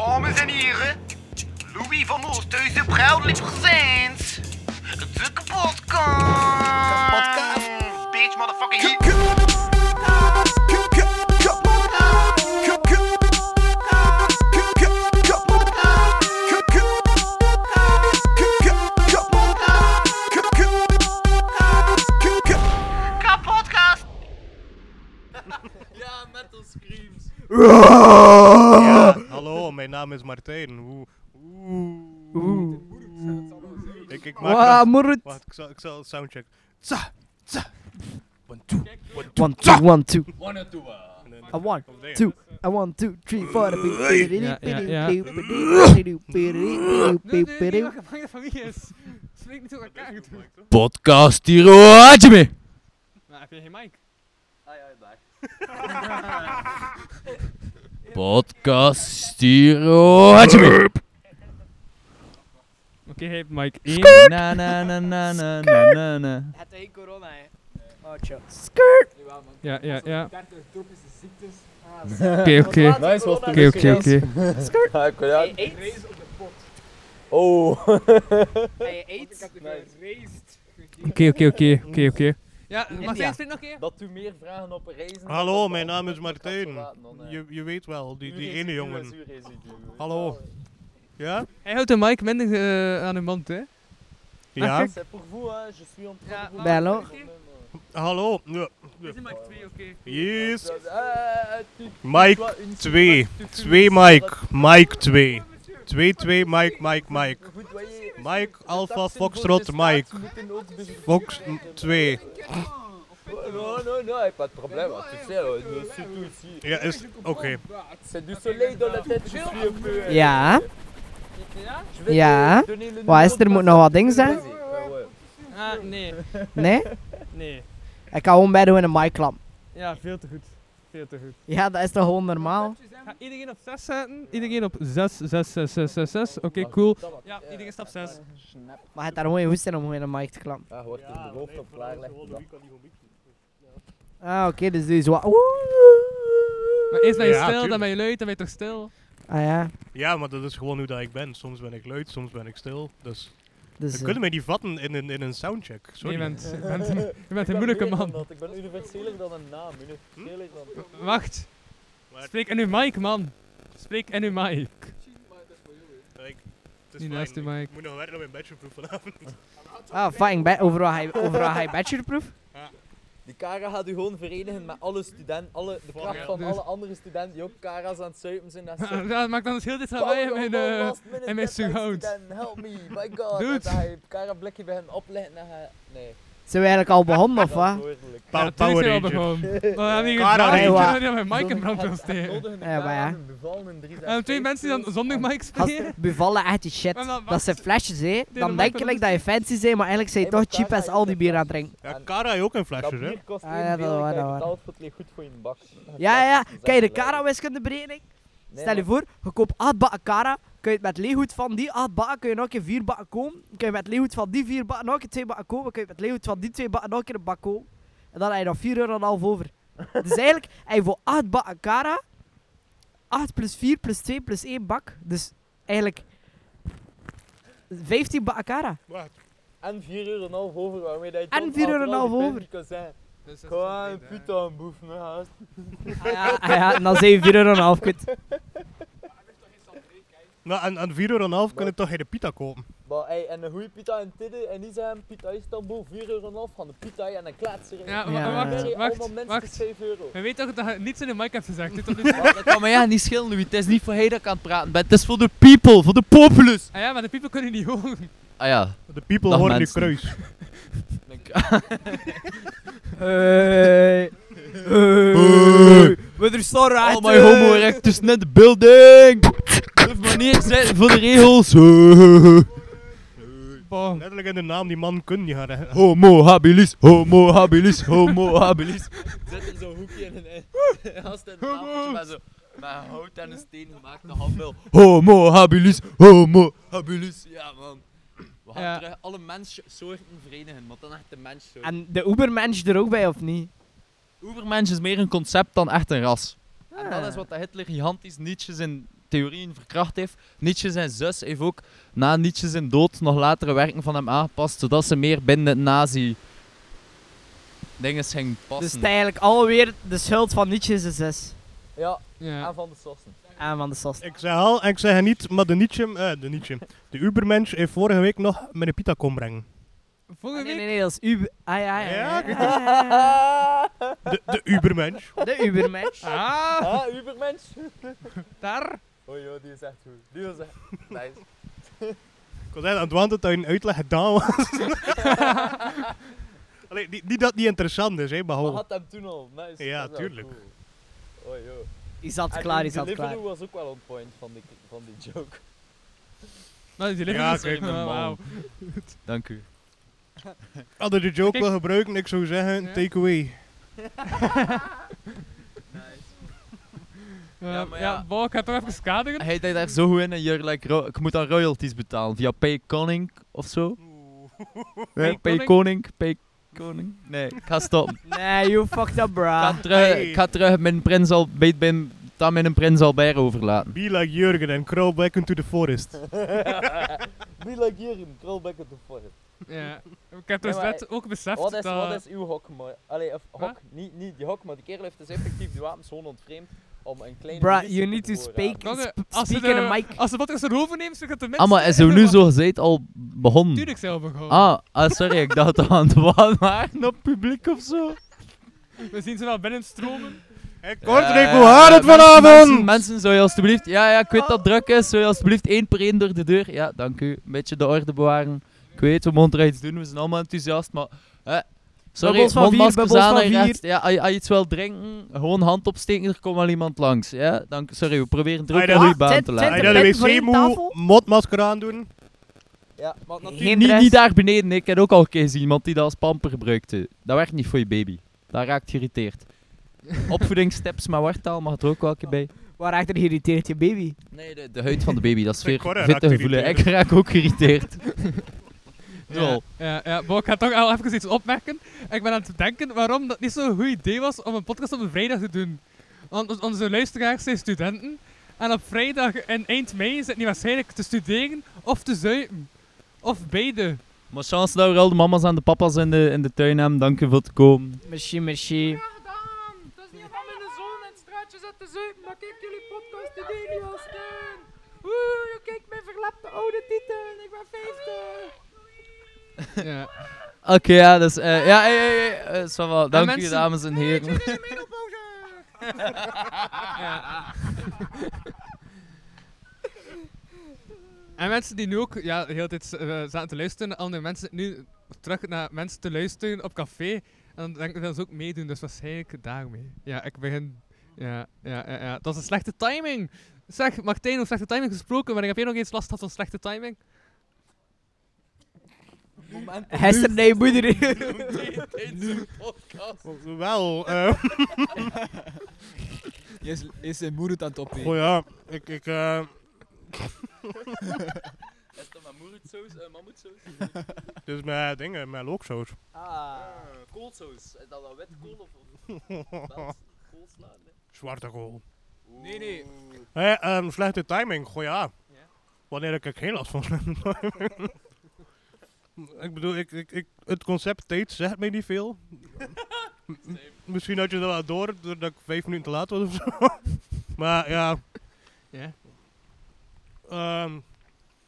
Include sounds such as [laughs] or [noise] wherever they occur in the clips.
Dames en heren, Louis van Oosthuizen, proudly presents de kapotkast. Kapotkast. Bitch, motherfucking K- hit. k- k- k- kapotkast. K- k- k- k- kapotkast. K- k- k- k- kapotkast. K- k- k- k- Kapotkast. Ja, metal screams. Ja, hallo, mijn naam is Martijn. Oeh. Oeh. Ik, ik maak Wa, nog- Moerut. Wacht, ik zal, ik zal soundcheck. Tsa, tsa. One, two. One, two, one, two. One or two. ah. En dan- A one, Of there. two. A one, two, three, four. Ja, ja, ja. Pew, Nee, pew, nee, pew. niemand gevangen van wie is. Spreek niet door elkaar toe. Podcast hier, mee. Maar heb je geen mic? Podcast hier, Oké, hij heeft mic 1. Na na na na na na na na. Het is corona, hè. Oh, chill. Ja, ja, ja. Oké, Oké, oké. Oké, oké, oké. Hij eet. Oh. Hij eet. Oké, oké, oké. Oké, oké. Ja, India. Martijn, spreek nog een keer. Dat u meer vragen op reizen. Hallo, mijn naam is Martijn. Je, je weet wel, eh, die, die ene jongen. Hallo. Ja? Hij houdt de mic minder eh, aan hun mond, hè. Ja? C'est eh, pour vous, hein, je suis en train de vous- Ben, hallo. Hallo. Ja. Dit is mic 2, oké. Yes. Eh, tu- Mike 2. 2 Mike. Mike 2. 2, 2, Mike, Mike, Mike. Vous voyez, Mike, Alpha, taxen voor Foxtrot, de Mike. straat moeten ook de- Fox 2. Oh, Non, non, non, pas de problème, tu sais, euh, surtout ici. Ja, is... Oké. C'est du soleil dans la tête, je suis un peu. euh, Ja. je vais Ja. te donner le numéro Wat is er? de Moet personne nog wat ding qui zijn? te réserve. Ouais, ouais. Ah, nee. Nee? Nee. Ik ga gewoon bij doen in een mic-lamp. Ja, veel te goed. Veel te goed. Ja, dat is toch gewoon normaal? Ga iedereen op 6 zetten? Iedereen op 6, 6, 6, 6, 6, 6. Oké, cool. Ja, iedereen stap 6. Maar het daar gewoon goed zijn om gewoon in een mic te klampen. Ah, hoort er de hoofd op klaar leggen, dat. Ah, oké, dus doe je zo. Maar eerst ben je Ja, stil, dan tuurlijk. ben je luid, dan ben je toch stil. Ah ja. Ja, maar dat is gewoon hoe dat ik ben. Soms ben ik luid, soms ben ik stil. Dus Dus, we eh, kunnen mij niet vatten in, een in een soundcheck. Sorry. Nee, je [laughs] bent, je bent, een- je bent een moeilijke man. Ik ben universeler dan een naam, universeler dan. Hm? Wacht. Waar? Spreek in uw mic, man. Spreek in uw mic. Ik, het fijn. Niet naast die mic. Ik [laughs] moet nog werken op mijn bachelorproef [laughs] vanavond. Ah, fucking bad. Overal hij, overal hij bachelorproef. Die Kara gaat u gewoon verenigen met alle studenten, alle, de Fuck, kracht ja. van Dus- alle andere studenten die ook Kara's aan het zuipen zijn. [laughs] Dat ze- Ja, maak dan eens heel dit lawaai in mijn... eh, in mijn surround. Help me, my [laughs] god. Dude. Dat hij Kara blikje bij hem opleggen en hij... Nee. Zijn we eigenlijk al begonnen of wat? verantwoordelijk. Pa- ja, Power Power Ranger. Maar [laughs] we hebben hier Kara gevraagd, Ranger. ik wil dat mijn mic in brand wil Het- het steken. nodige Ja, maar Kara ja. Ah, aan een bevallende drie zes Eh, twee vijf mensen die dan speels. zonder mic spelen. [laughs] Gast, bevallen echt die shit. Maar dan- Dat zijn flesjes, hè. Dan denk dan maak je maar like dat je fancy bent, maar eigenlijk zijn je Hey, toch maar cheap Kara als al is die een bier aan het plastic. drinken. Ja, En Kara heeft ook een Dat flesje, hè? bier kost Ah, ja, dat evenveel waar, dat en je waar. betaalt voor het ligt goed voor je bak. Ja, ja. Kijk, de Kara Kara-wiskundeberekening. Stel je voor, je koopt 8 bakken Kara. Kun je het met leegoed van die 8 bakken, kun je nog een keer 4 bakken komen. Kun je met leegoed van die 4 bakken nog een keer 2 bakken komen. Kun je met leegoed van die 2 bakken nog een keer een bak komen. En dan heb je nog 4 euro en een half over. dus eigenlijk, heb je voor 8 bakken Kara, 8 plus 4 plus 2 plus 1 bak. Dus eigenlijk 15 bakken Kara. Wacht. En 4 euro en een half over, waarmee dat je En toch vier euro en overal een half die over. puntjes kan zeggen. Gewoon putain een boef naar huis. Ah ja, ah ja, en dan zijn je 4 euro en een half kut. Nou, aan, aan 4,5 kun je toch geen pita kopen. Maar ey, en een goede pita en tidden en die zijn pita Istanbul 4 euro en een half van de pita en een kletser. Ja, wa- Ja. wacht, Hey, wacht, allemaal mensen met wacht. 5 euro. We weten toch dat je niets in de mic hebt gezegd, hè, tot [laughs] nu toe? Dat kan me ja niet schelen, Louis. Het is niet voor hij dat ik aan het praten ben. Het is voor de people, voor de populus. Ah ja, maar de people kunnen niet horen. Ah ja. De people Dag, horen nu [laughs] mensen. kruis. Hey. Hey. We er staan Al mijn homo erectus net de building. Durf maar niet zijn voor de regels. Bon. Letterlijk in de naam, die man kun je gaan hè. Homo habilis, homo habilis, homo habilis. Zet er zo'n hoekje in een gast in een met zo met hout en een steen gemaakte handbel. Homo habilis, homo habilis. Ja man. We gaan Ja. terug alle menssoorten verenigen, want dan echt de menssoort. En de Ubermensch er ook bij, of niet? Ubermensch is meer een concept dan echt een ras. En dat Ah. is wat de Hitler gigantisch Nietzsche's in theorieën verkracht heeft. Nietzsche zijn zus heeft ook na Nietzsche zijn dood nog latere werken van hem aangepast, zodat ze meer binnen het nazi dingen ging Dus het passen. is eigenlijk alweer de schuld van Nietzsche's zus. Ja, Ja. en van de Sossen. En van de Sas. Ik zeg al, en ik zeg het niet, maar de Nietzsche, eh, de Nietzsche, de Ubermensch heeft vorige week nog mijn pita komen brengen. Nee, Volgende nee, week. nee, dat is Uber. Ah, ja, Ja, ja, ja, ik weet ja. De, de [laughs] Ubermensch. De Ubermensch. Ah, Ah, Ubermensch. daar. Oh joh, die is echt goed. Die was echt [laughs] nice. Ik was echt aan het wandelen dat je een uitleg gedaan [laughs] was. Allee, niet, niet dat het niet interessant is, hè, maar Maar gewoon. had hem toen al. Nice. Ja, dat is wel tuurlijk. cool. Oh joh. Is dat En klaar, hun is dat klaar. delivery was ook wel on point van die, van die joke. [laughs] Nou, die Ja, liggen kijk, dus. man. Wauw. Dank u. Hadden de joke Kijk. wel gebruiken, ik zou zeggen, Ja. take away. Ja, Ja, maar ja. Eh, ja, wow, ik heb toch even [laughs] kaderen. Hij deed daar zo goed in en je like, ro- ik moet dan royalties betalen via Paykoning of zo. Paykoning? Nee, Paykoning, Paykoning. Nee, ik ga stoppen. Nee, you fucked up, Ik bra. ga terug, Hey. ik ga terug mijn prins al, bij, bij, dan mijn prins Albert overlaten. Be like Jurgen and crawl back into the forest. Be like Jurgen, crawl back at the forest. Ja. Ik heb Ja, dus maar net ook beseft Wat is, dat... wat is uw hok? Maar, allee, of Huh? hok, niet, niet die hok, maar die kerel heeft dus effectief die wapens gewoon ontvreemd om een kleine Bra, militie you te need to bevoorraden. speak. Kan je- sp- als ze speak in de- a mic. Als de podcast erover neemt, dan gaat de mensen... Ah, maar is er nu zo gezegd al begonnen? Tuurlijk zelf gewoon. Ah, ah, sorry, ik dacht dat we aan het [laughs] wa- waren op publiek of zo. We zien ze wel binnen stromen. Hey, Kortrijk, hoe gaat het Eh, mensen- Mensen, vanavond? mensen, zou je alstublieft... Ja, ja, ik weet dat het druk is. Zou je alstublieft één per één door de deur... Ja, dank u. Een beetje de orde bewaren. Ik weet, we moeten er iets doen. We zijn allemaal enthousiast, maar... hè, sorry, Bubbels van vier, mondmaskers bubbels aan van en vier. rechts. Ja, als je- als je iets wil drinken, gewoon hand opsteken. Er komt wel iemand langs. Ja, dank Sorry, we proberen druk Ah, aan dat- uw baan zet- te zet Als laten. je er naar mensen voor de wc één tafel? moet, mondmasker aandoen. Ja, maar natuurlijk... Geen Niet, dress. niet daar beneden. Ik heb ook al een keer gezien iemand die dat als pamper gebruikte. Dat werkt niet voor je baby. Dat raakt [laughs] geïrriteerd. Opvoedingsteps, maar wartaal mag er ook wel een keer bij. Waar achter irriteert je baby? Nee, de, de huid van de baby, dat is De weer korre fitte raakt gevoelen. Ik irriteerd. raak ook geïrriteerd. Zo. Ja, ja, ja. Maar ik ga toch al even iets opmerken. Ik ben aan het denken waarom dat niet zo'n goed idee was om een podcast op een vrijdag te doen. Want on- onze luisteraars zijn studenten. En op vrijdag en eind mei zitten die waarschijnlijk te studeren of te zuipen. Of beide. [laughs] Maar chance dat we al de mama's en de papa's in de, in de tuin hebben. Dank je voor het komen. Merci, merci. Het is niet om in de zon en straatjes uit te zuipen, maar kijk jullie podcast die deed niet al staan. Oeh, je kijkt mijn verlapte oude titel, ik ben 50. Ja. Oké, ja, dus... eh, ja, hey, hey, hey, eh, ça va. Dank u, mensen- dames en heren. [laughs] En mensen die nu ook ja, de hele tijd eh, zaten te luisteren, andere mensen nu terug naar mensen te luisteren op café. En dan denk ik dat ze ook meedoen, dus waarschijnlijk daarmee. Ja, ik begin. Ja, ja, ja, ja. Dat is een slechte timing. Zeg, Martijn, over slechte timing gesproken, maar ik heb jij nog eens last gehad van slechte timing? Hester, nee, moeder. [laughs] Wel, [laughs] eh, Is, is zijn moeder het aan het opnemen? goh Oh ja, ik, ik, eh, dus mijn dingen, mijn looksaus. Ah, koolsaus. is dat dan wit kool of koolslaan? Zwarte kool. Nee, nee. Hé, ehm, slechte timing, goh ja. Wanneer ik er geen last van slechte timing. [laughs] ik bedoel, ik, ik, ik, het concept tijd zegt mij niet veel. M- m- Misschien had je dat wel door, doordat ik vijf minuten te laat was of zo. [laughs] maar ja. Ja. Ehm,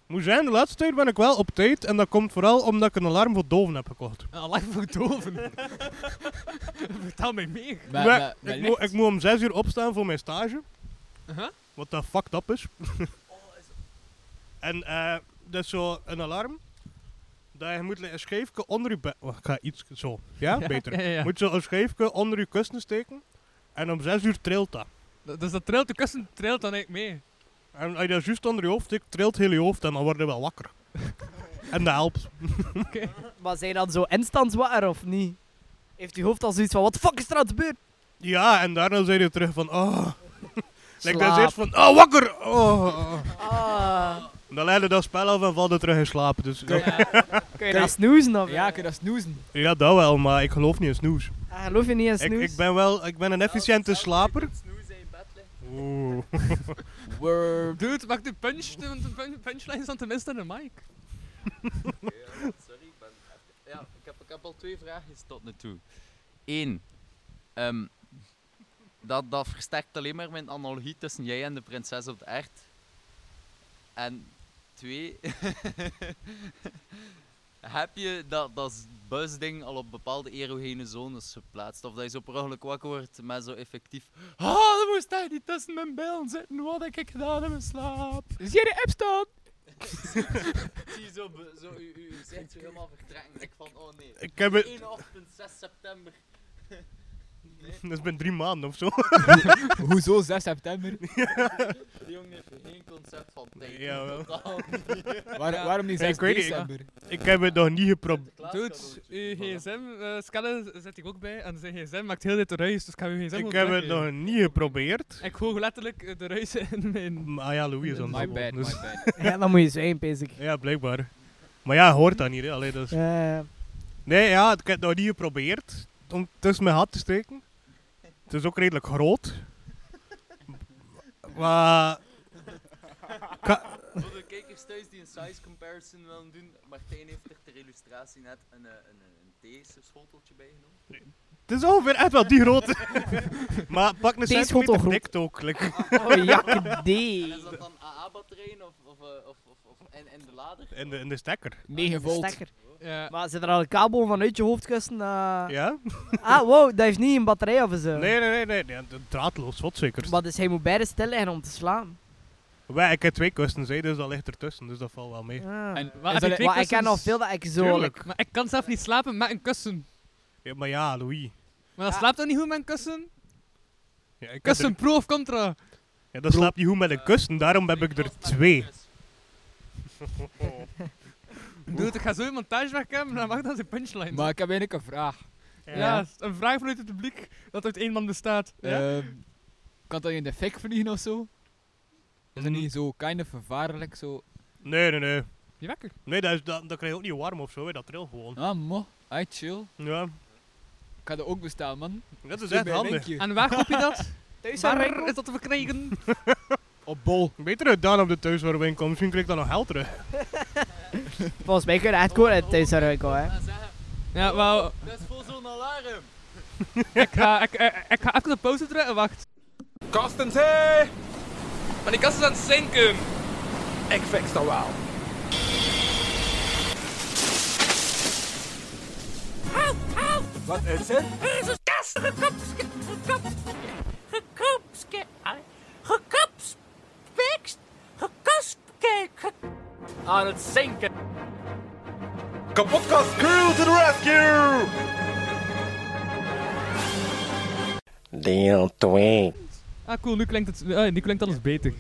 moet zijn, de laatste tijd ben ik wel op tijd. En dat komt vooral omdat ik een alarm voor doven heb gekocht. Een alarm voor doven. [laughs] Vertel mij meer. Maar, Maar [laughs] maar- maar ik, licht- moet, ik moet om zes uur opstaan voor mijn stage. Aha. Wat dat fucked up is. [laughs] en eh, dat is zo een alarm. Dat je moet een scheefje onder je bed... Wacht, ik ga iets... Zo. Ja? Beter. Ja, ja, ja. Moet zo een scheefje onder je kussen steken. En om zes uur trilt dat. D- Dus dat trilt, de kussen trilt dan eigenlijk mee. En als je dat juist onder je hoofd stikt, trilt heel je hoofd en dan word je wel wakker. en dat helpt. Maar zijn dan zo instant wakker of niet? Heeft uw hoofd al zoiets van, wat de fuck is er aan het gebeuren? Ja, en daarna zei je terug van... Oh. Like, dat is Slaap. eerst van... Oh, wakker! Oh. oh. Ah. En Dan leidde dat spel af en valde terug in slaap. Dus, ja. Kun je dan snoezen of? ja, kun je dat snoezen? Ja, dat wel, maar ik geloof niet in snoes. Ah, geloof je niet in Ik, snoezen? Oh, ik ben wel ik ben een efficiënte slaper. Oeh. Word. Dude, maak de punch, de de pun- punchlines dan tenminste aan de mic. Sorry, ik ben... Ja, ik heb, ik heb al twee vragen tot nu toe. Eén. ehm, dat, dat versterkt alleen maar mijn analogie tussen jij en de prinses op de echt. En twee. [laughs] heb je dat, dat s- busding al op bepaalde erogene zones geplaatst? Of dat je zo per ongeluk wakker wordt met zo effectief. Ah, dan moest hij niet tussen mijn billen zitten. Wat heb ik gedaan in mijn slaap? Zie je de app staan? Zie je zo, be- zo u, u, u zegt zo helemaal vertrekken. Ik van, oh nee. Ik heb het... 1 ochtend, 6 september. Dat is binnen drie maanden of zo. [laughs] Hoezo 6 september? Die jongen heeft geen concept van tijd. Jawel. [laughs] Totaal Waar- waarom niet Ja, 6 ik weet niet, december? Ik heb het nog niet geprobeerd. Dude, uw gsm, eh scannen zet ik ook bij. En zijn gsm maakt heel dit ruis, dus ik ga uw gsm Ik ook heb het weggeven. nog niet geprobeerd. Ik hoor letterlijk eh, de ruis in mijn... Maar ah ja, Louis is aan het My bad, babbelen, my dus- bad. [laughs] [laughs] Ja, dan moet je zijn, pees ik. Ja, blijkbaar. Maar ja, hoort dat niet, hè. Allee, dat is- Eh, Nee, ja, ik heb het nog niet geprobeerd om tussen mijn hart te steken. Het is ook redelijk groot. maar... Ka- Voor de kijkers thuis die een size comparison willen doen, Martijn heeft er ter illustratie net een, eh, een, een, een theeschoteltje bijgenomen. het is ongeveer echt wel die groot. [laughs] maar pak een Theeschotel centimeter groot. dik ook. like. oh, En jakkedee. is dat dan AA-batterijen of, of, eh, of, of, of in, in de lader? In de, in de stekker. 9 volt. Stekker. Ja, Maar zit er al een kabel vanuit je hoofdkussen? eh? Ja? Ah, wow, dat heeft niet een batterij of zo. Nee, nee, nee. nee, nee. een Draadloos, wat zeker. Eh, Maar dus hij moet beide stil liggen om te slaan. Wij, ik heb twee kussens, hè, dus dat ligt ertussen, dus dat valt wel mee. Ah. en, Is maar, dat- Maar ik ken al veel dat ik zo... Tuurlijk. Maar ik kan zelf niet slapen met een kussen. Ja, maar ja, Louis. Maar dat Ja. slaapt toch niet goed met een kussen? Ja, ik heb er- Kussen pro of contra? ja, dat slaapt niet goed met een kussen, daarom heb ik er twee. Dude, ik ga zo een montage wegkomen en dan mag dat zijn punchline. Maar ik heb eigenlijk een vraag. ja. een vraag vanuit het publiek dat uit één man bestaat. Ja? Ehm, kan dat in de fik vliegen of zo? Is dat niet zo kind of gevaarlijk zo? Nee, nee, nee. Die wekker. Nee, dat, is, dat, dat krijg je ook niet warm of zo, hè, dat trilt gewoon. Ah, mo. Ai, chill. Ja, Ik ga dat ook bestellen, man. dat is Doe echt bij handig. Linkje. En waar koop je dat? Thuis Waar is dat te verkrijgen? Op bol. Beter het dan op de thuiswarmwinkel, misschien krijg ik dan nog geld terug. Volgens mij kun je echt gewoon uit thuis eruit komen, hè. Ja, wauw. Dat is voor zo'n alarm. [laughs] Ik ga, ik, eh, ik ga even de pauze drukken, wacht. Kastens, hé! Maar die kast is aan het zinken. Ik fix dat wel. Wat is het? Aan het zinken. Kapotkast crew to the rescue! Ah, cool, nu klinkt, het, eh, nu klinkt alles beter.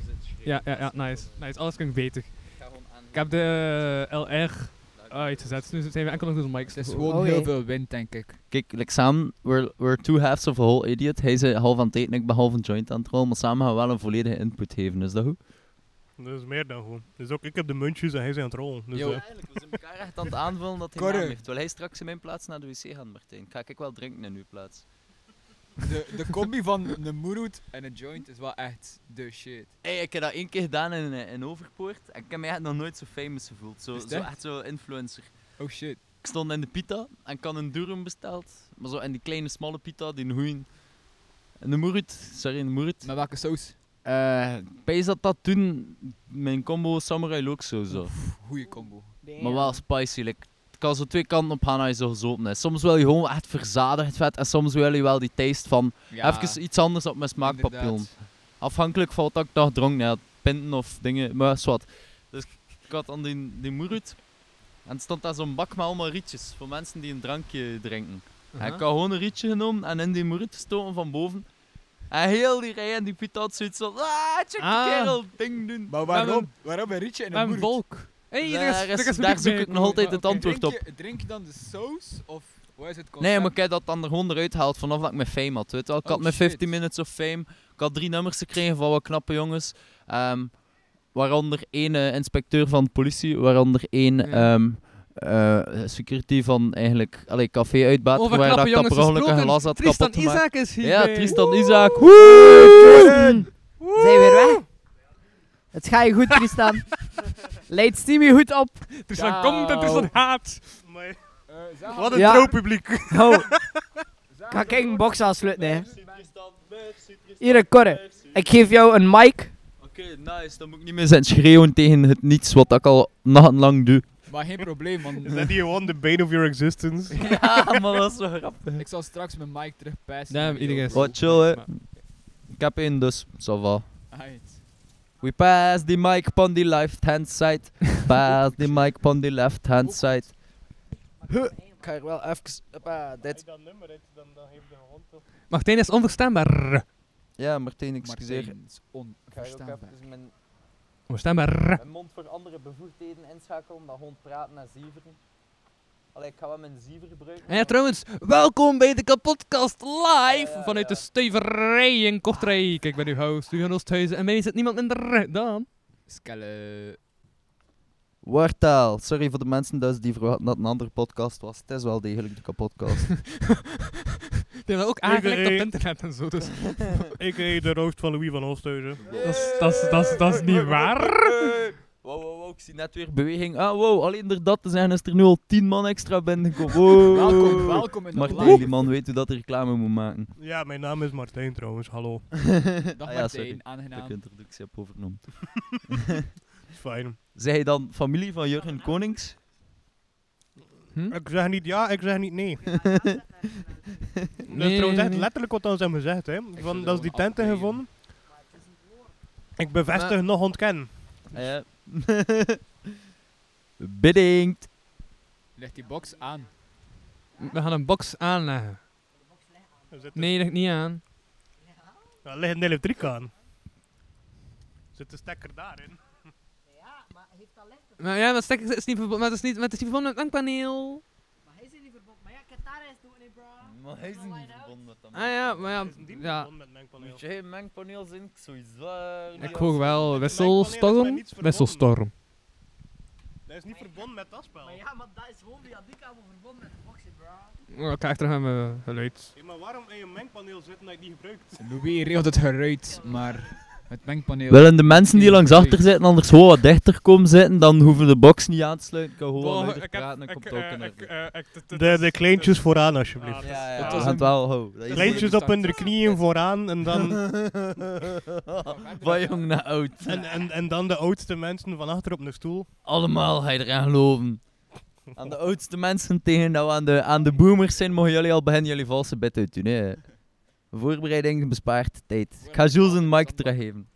Ja, ja, ja, nice. Nice, alles klinkt beter. Ik heb de eh, LR uitgezet, nu zijn we enkel nog door de mics. Oh, Het is gewoon Oké. heel veel wind, denk ik. Kijk, like samen, we're, we're two halves of a whole idiot. Hij is eh, half aan het eten, ik ben half een joint aan het rollen, maar samen gaan we wel een volledige input geven, is dat goed? Dat is meer dan gewoon. Dus ook, ik heb de muntjes en hij is aan het rollen. Dus, Yo. eh, eigenlijk, we zijn elkaar echt aan het aanvullen dat Corre. Wil hij straks in mijn plaats naar de wc gaan, Martijn? Ga ik wel drinken in uw plaats? De, de combi van een moeroet en een joint is wel echt de shit. Hey, ik heb dat één keer gedaan in, eh, in Overpoort en ik heb mij echt nog nooit zo famous gevoeld. Zo, Is het zo echt? echt zo influencer. Oh shit. Ik stond in de pita en ik had een durum besteld. Maar zo, en die kleine smalle pita, die hoeien. En de moerut, sorry, een moerut. Met welke saus? Eh, Ik pees dat dat toen mijn combo samurai look zo zo. Goeie combo. Maar wel spicy. Like. Het kan zo twee kanten op gaan als je zo gezopen is. Soms wil je gewoon echt verzadigd vet en soms wil je wel die taste van Ja, even iets anders op mijn smaakpapillen. Afhankelijk van wat ik dan gedronken had. Pinten of dingen, maar is wat. Dus ik had dan die, die moerut. En er stond daar zo'n bak met allemaal rietjes. Voor mensen die een drankje drinken. En ik had gewoon een rietje genomen en in die moerut gestoken van boven. En heel die rij en die piet had zoiets van... Ah, check die Ah. kerel, ding doen. Maar waarom- waarom? Waarom een rietje en een Een moeroet? volk. Hey, Daar is- daar zoek ik nog altijd Oh, het antwoord. Drink Antwoord op. je, drink je dan de saus of wat is het concept? Nee, maar ik heb dat dan er gewoon eruit gehaald vanaf dat ik mijn fame had. Weet je wel. Ik Oh, had mijn shit. 15 Minutes of Fame. Ik had drie nummers gekregen van wat knappe jongens. ehm, waaronder één eh, inspecteur van de politie. Waaronder één Ja. ehm, eh, security van eigenlijk allee, café uitbaat. Over Waar dat knappe ik dat jongens per ongeluk een gesproken. glas had Tristan kapot gemaakt. Isaac is hier. Ja, Tristan Isaac. Woe! Tristan! Woe! Zijn weer weg. Het gaat je goed, Tristan. [laughs] Leid Steamy goed op. Tristan komt en Tristan haat. Eh, Maar- Wat een ja. publiek. Ho. Ga ik een box aansluiten, hè. Hier, een Corre. Ik geef jou een mic. Oké, nice. Dan moet ik niet meer zijn schreeuwen tegen het niets wat ik al nachtenlang doe. Maar geen probleem, Is man. that the one, the bane of your existence? Ja, maar dat is wel grappig. Ik zal straks mijn mic terugpijsen. Damn, iedereen is- Wat chill, hè. Ik heb één, dus. Ça va. Aight. We pass the mic on the left hand side. Pass the mic on the left hand side. Huh. Ik ga hier wel even. Hoppa, dit. [laughs] Martijn is onverstaanbaar. Ja, Martijn, excuseer. Martijn is Ga je ook onverstaanbaar. even mijn, Onverstaanbaar. mijn mond voor andere bevoegdheden inschakelen, dat gewoon praten en zieveren? Allee, ik ga wel mijn ziever gebruiken. En ja, trouwens, welkom bij de kapotkast live Ja, ja, vanuit ja. de stuiverij in Kortrijk. Ik ben uw host, Hugo Thuizen en mij zit niemand minder dan... Skelle. Wartaal. Sorry voor de mensen thuis die verwachten dat het een andere podcast was. Het is wel degelijk de kapotkast. Die hebben ook Ik, aangelegd op eh, internet en zo, dus Ik de roast van Louis van Oosthuizen. [laughs] dat is- dat is- dat is- dat is niet waar. Wow, wow, wow, ik zie net weer beweging. Ah, wow, alleen door dat te zijn is er nu al 10 man extra binnengekomen. Wow. Welkom, welkom in de Martijn, live. die man weet hoe dat hij reclame moet [laughs] maken. Ja, mijn naam is Martijn trouwens, hallo. Dag Ah ja, sorry. Martijn, Dat ik aangenaam. introductie heb overgenomen. Is fijn. Zij dan familie van Jurgen Konings? Ik zeg niet ja, ik zeg niet nee. Dat is Nee, trouwens echt nee. letterlijk wat ons hebben gezegd, hè. zou Van, dat dat is die gewoon tenten afbreken. gevonden. Ik bevestig nog ontkennen. Ah, ja. [laughs] Bedankt. Leg die box aan. We gaan een box aanleggen. Er zit Nee, leg niet aan. een- Er ligt een elektriek aan. Zit de stekker daarin? Maar ja, dat stekker is niet verbonden, maar het is niet, maar het is niet verbonden met het dankpaneel. Maar hij is niet verbonden met dat Ah ja, maar ja, Is een ding ja. verbonden met een mengpaneel. Moet je geen mengpaneel zien? Ik eh, sowieso. Ik hoor wel Mijn paneel is met wisselstorm, niets verbonden. wisselstorm. Dat is niet verbonden met dat spel. ja, maar dat is gewoon via die kabel verbonden met de boxen, bro. Oh, Ik krijg terug aan mijn geluid. Hé, maar waarom in je mengpaneel zitten dat je het niet gebruikt? Louis regelt het geruit, maar het mengpaneel... Willen de mensen die langs achter zitten anders gewoon wat dichter komen zitten, dan hoeven de box niet aan te sluiten. Ik kan gewoon Wow, luider ik heb- Oh, praten en komt het ook in orde. De, de kleintjes vooraan, alsjeblieft. Ah, dat is- Ja, ja, dat was ja. We een- gaan het wel houden. Dat is Kleintjes op hun knieën vooraan en dan, [laughs] Van jong naar nou, oud. en, en, en dan de oudste mensen van achter op een stoel. Allemaal ga je eraan geloven. Aan de oudste mensen tegen dat we aan de, aan de boomers zijn, mogen jullie al beginnen jullie valse bed uit doen. Hè. Voorbereiding bespaart tijd. Ik ga Jules een mic teruggeven.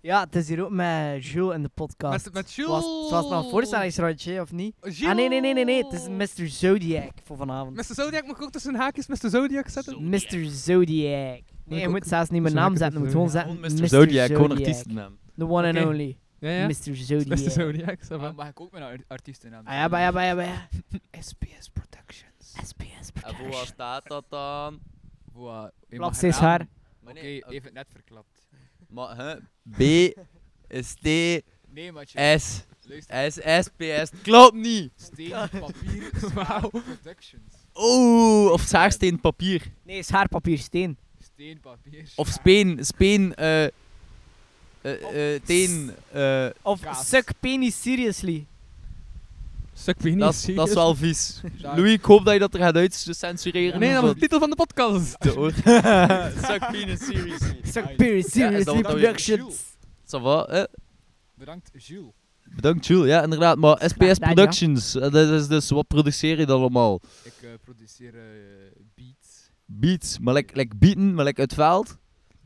Ja, het is hier ook met Jules in de podcast. Met, met Het Jules! was, het was nou nog een voorstellingsrondje, hè, of niet? Jules. Ah, nee, nee, nee, nee, nee. Het is Mr. Zodiac voor vanavond. Mr. Zodiac, moet ik ook tussen haakjes Mr. Zodiac zetten? Mr. Zodiac. Nee, je ook- moet zelfs niet mijn Zal naam ik zetten. Je moet het gewoon even- zetten Mr. Zodiac, gewoon artiestennaam. The one and Oké. only. Ja, ja. Mr. [laughs] Mr. Zodiac. Zodiac, ça va. Ah, Maar mag ik ook mijn ar- artiestennaam? Ah ja, bah, ja, bah, ja, bah, [laughs] ja. SPS Productions. SPS En voor wat Productions. staat dat dan? Wow. Plak zes haar. Maar Oké, nee, even net verklapt. Maar, hè? B, S, T, Nee, maatje. S, Luister. S, S, P, S. Klopt niet! Steen, papier, zwaar, productions. Oeh, Oh, of zaarsteen, papier. Nee, schaar, papier, steen. Steen, papier. Of schaar. speen, speen, eh... eh, eh, teen, eh... Of Kaas. suck penis seriously. Stuk wie niet, Dat is- zie dat is je? wel vies. Daar- Louis, ik hoop dat je dat er gaat uitcensureren. Nee, dat was of de titel van de podcast. wat. Hoor. Suck penis, ah, seriously. Suck penis seriously wat dat weer- productions. [laughs] Ça va, eh? Bedankt, Jules. Bedankt, Jules. Ja, inderdaad. Maar gedaan, SPS ja. Productions, eh, dat is dus... Wat produceer je dan allemaal? Ik eh, produceer eh, beats. Beats, maar like, like bieten, maar like het veld.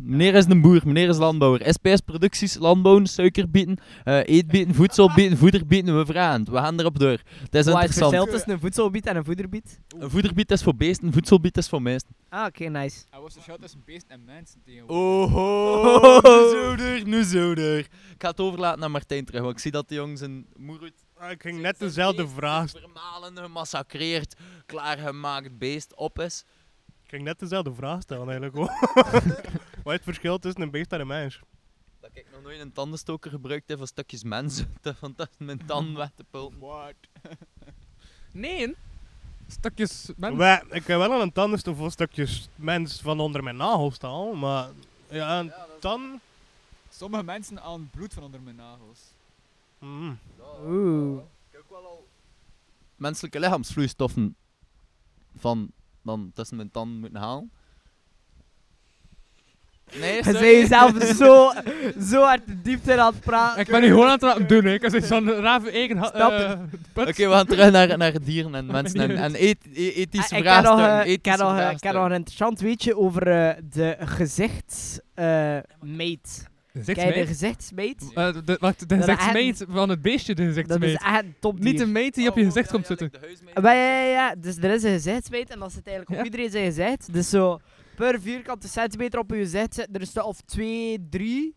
Meneer is een boer, meneer is landbouwer. SPS producties, landbouwen, suikerbieten, eh eetbieten, voedselbieten, voederbieten, we vragen. het. We gaan erop door. Het is Waar het verschil interessant. tussen dus een voedselbiet en een voederbiet? Een voederbiet is voor beesten, een voedselbiet is voor mensen. Ah, oké, nice. Hij was dus een shout tussen beest en mensen tegenwoordig. Oh. Oho, Oh, nu zo er, nu zo er. Ik ga het overlaten aan Martijn terug, want ik zie dat de jongens een moeruit... Ah, Ik ging net dezelfde vraag Vermalen, gemassacreerd, klaargemaakt beest op is. Ik ging net dezelfde vraag stellen eigenlijk hoor. Wat is het verschil tussen een beest en een mens? Dat ik nog nooit een tandenstoker gebruikt heb voor stukjes mensen, [laughs] want dat is mijn tand weg te pulpen. What? Nee. Stukjes mens. Wij, ik heb wel aan een tandenstoel voor stukjes mens van onder mijn nagel staan, maar ja, een tan Sommige mensen aan bloed van onder mijn nagels. Mm. Oh. Oeh. menselijke lichaamsvloeistoffen van dan tussen mijn tanden moeten halen. [laughs] Nee, Je sorry. bent jezelf [laughs] zo, zo hard de diepte aan het praten. Ik ben nu gewoon aan het laten doen, hè. Ik heb zo'n raar eigen ha- Snap eh, put. Oké, we gaan terug naar, naar dieren en [laughs] mensen en, en eet- e- ethische Ah, ik ken nog, vraagstukken. eh, ik ken ethische nog, eh, ik ken vraagstukken. nog een interessant weetje over eh, de gezichtsmeet. Gezichtsmeet? Ken je de gezichtsmeet? Eh, de- Wacht, de Dat is gezichtsmeet van het beestje, de Dat is gezichtsmeet. echt een topdier. Niet de meet die op Oh, je gezicht komt zitten. Maar ja, ja, ja, dus er is een gezichtsmeet en dat zit eigenlijk op iedereen zijn gezicht. Dus zo per vierkante centimeter op je gezicht zit er een stuk of 2, 3.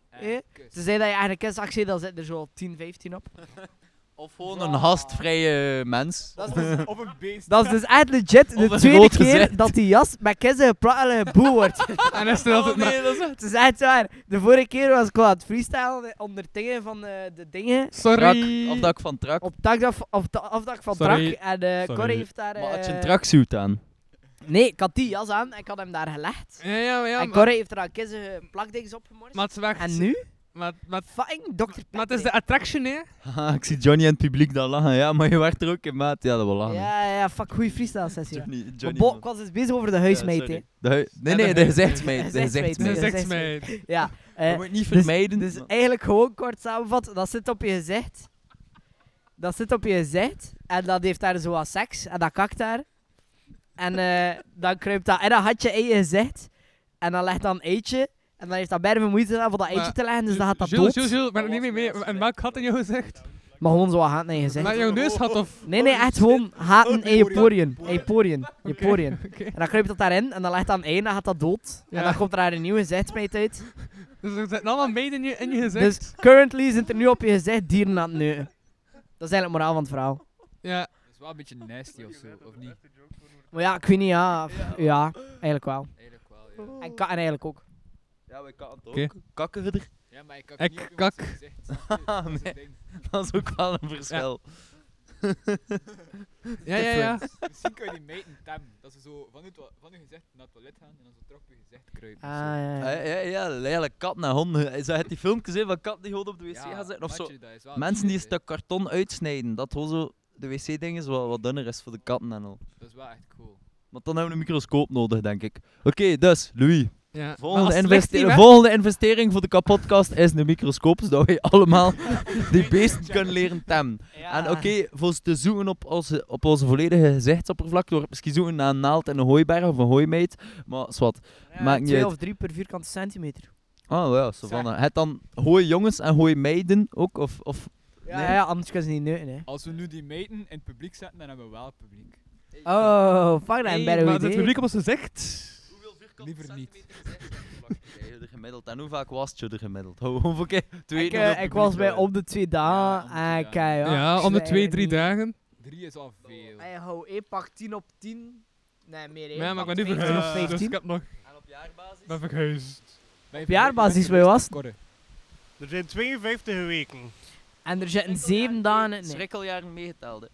Ze zijn dat je eigenlijk kunstactie, dan zit er zo 10, 15 op. [laughs] Of gewoon een gastvrije mens. Dat is dus, Op een beest. dat is dus echt legit Of de een tweede groot keer gezicht. dat die jas met kissen geplakt en geboe [laughs] wordt. En Oh, is er Oh, altijd maar... Het is echt waar. De vorige keer was ik wel aan het freestylen eh, onder dingen van eh, de dingen. Trak, Sorry. of dat ik van trak. Op het dakdak van- op het afdak van Sorry. Drak. En eh Sorry. Corrie heeft daar... Maar had je eh, een tracksuit aan? [laughs] Nee, ik had die jas aan en ik had hem daar gelegd. Ja, ja, maar ja. en Maar Corrie heeft er aan kissen plakdings op gemorst. maar het is weg. en nu? Maar, maar, Fucking Dr. Pepper. maar het is de attraction, hè. Haha, ik zie Johnny en het publiek dan lachen. Ja, maar je werd er ook in maat. Ja, dat wil lachen. Ja, ja, fuck, goeie freestyle sessie. Johnny, Maar Johnny Bo, ik was dus bezig over de huismeet, hè. De hui- nee, Ja, de nee, de hui- [laughs] gezichtsmeet. de De gezichtsmeet. De Nee, gezichtsmeet. dat is gezichtsmeet. Ja. eh, Je moet niet vermijden. dus maar- eigenlijk gewoon kort samenvatten, dat zit op je gezicht. Dat zit op je gezicht. En dat heeft daar zo wat seks. En dat kakt daar. En eh, dan kruipt dat. En dan had je in je gezicht. En dan legt dat een eitje. En dan heeft dat bijna veel moeite gedaan om dat eitje Maar- te leggen. Dus dan gaat dat Jules, dood. Jules, Jules, ik ben er niet mee mee. En welk gat in je gezicht? Maar gewoon zo wat haat in je gezicht. Maar Oh, jouw neus had of... Nee, nee, echt gewoon haten in je poriën. In je poriën. In je [laughs] Oké, poriën. oké. En dan kruipt dat daarin. En dan legt dat een ei. En dan gaat dat dood. Ja. En dan komt er daar een nieuwe gezichtsmeet uit. Dus er zitten allemaal meiden in je, in je gezicht. Dus currently zijn er nu op je gezicht dieren aan het neuken. Dat is eigenlijk het moraal van het verhaal. Ja. Dat is wel een beetje nasty of zo, of niet? Maar ja, ik weet niet, ja. Oh. pff, Ja, eigenlijk wel. Eigenlijk wel, ja. En katten eigenlijk ook. Ja, we katten Oké. ook. Kakken we er? Ja, maar ik kak Ik niet op iemands kak. gezicht. [laughs] Ah, Dat is nee. een ding. Dat is ook wel een verschil. Ja, ja, ja. Misschien kun je die meten temmen. Dat ze zo van, het, van je gezicht naar het toilet gaan en dan zo terug op je gezicht kruipen. Ah, of zo. ja, Ja, ja. ja, ja, eigenlijk kat naar honden. Zou je die filmpje zien van kat die gewoon op de wc Ja, gaat zitten of zo? matje, dat is wel Mensen die een creepy, hè. stuk karton uitsnijden, dat gewoon zo de wc-ding is wat, wat dunner is voor de katten en al. Dat is wel echt cool. Want dan hebben we een microscoop nodig, denk ik. Oké, dus, Louis. ja. Maar als Volgende, het investe- licht niet werkt- volgende investering voor de kapotkast is een microscoop, zodat wij allemaal [laughs] die beesten kunnen leren temmen. En oké, voor ze te zoeken op onze, op onze volledige gezichtsoppervlakte, wordt misschien zoeken naar een naald en een hooiberg of een hooimeid. Maar, zwart. Ja, maakt niet twee uit. of drie per vierkante centimeter. Oh ja, Savannah. Het dan hooi jongens en hooi meiden ook? Of, of Ja, ja, ja, anders kunnen ze niet neuken, hè. Als we nu die meten in het publiek zetten, dan hebben we wel publiek. Oh, fuck dat, een Hey, maar better het idee. publiek op ons gezicht. Liever niet. de gemiddeld. En hoe vaak was je er gemiddeld? [laughs] Ho- Hoeveel keer? Twee, Ik, eh, ik was bij om de twee dagen Ja, en om de ik, twee eh, Ja, ja... om de twee, drie dagen. Drie is al veel. Hij hou één pak 10 op 10. Nee, meer één Maar ja, maar ik ben nu pak verhuisd. 15 eh, of Dus ik 15. heb nog... En op jaarbasis? ben verhuisd. Op jaarbasis bij was- Er zijn 52 weken. En er zitten zeven dagen in. Nee, Schrikkeljaren meegeteld. hè.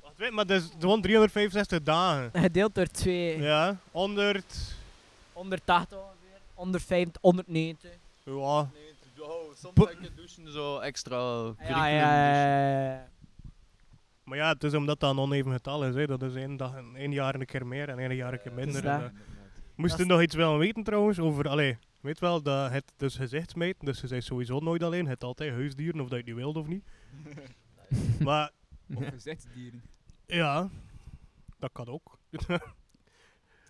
Wacht, weet, maar dat is gewoon 365 dagen. gedeeld door twee. Ja, 100. 180 ongeveer. 150, 190. Ja, Nee, oh, soms heb je douchen zo Ja, extra ja, curriculum douchen. ja. ja. maar ja, het is omdat dat een oneven getal is. Hè. Dat is één, dag, één jaar een keer meer en één jaar een keer minder. dat. En, eh, Moest je nog iets willen weten trouwens over, allee, weet wel, dat het dus gezichtsmeten, dus je bent sowieso nooit alleen, het altijd huisdieren, of dat je die wilt of niet. maar Of gezichtsdieren. ja, dat kan ook. [laughs]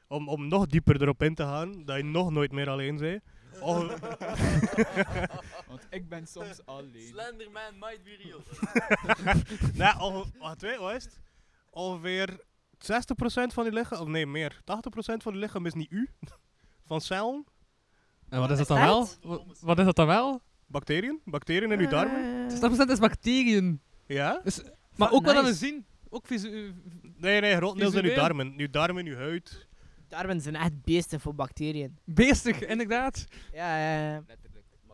om, om nog dieper erop in te gaan, dat je nog nooit meer alleen bent. Of, Want ik ben soms alleen. Slenderman might be real. nee, of, wacht, weet, wat is het? Ongeveer 60% van je lichaam, of nee, meer, 80% van je lichaam is niet u, [laughs] van cellen, En wat is dat Is dan wel? Wa- Wat is dat dan wel? bacteriën, bacteriën in je darmen. Eh, 60% is bacteriën. Ja? Maar Fuck, ook wel aan nice. het zien. Ook visu... eh, Nee, nee, grotendeels in je Visueel. darmen. Je darmen, je huid. Darmen zijn echt beesten voor bacteriën. Beestig, inderdaad. Ja, ja, ja. Letterlijk.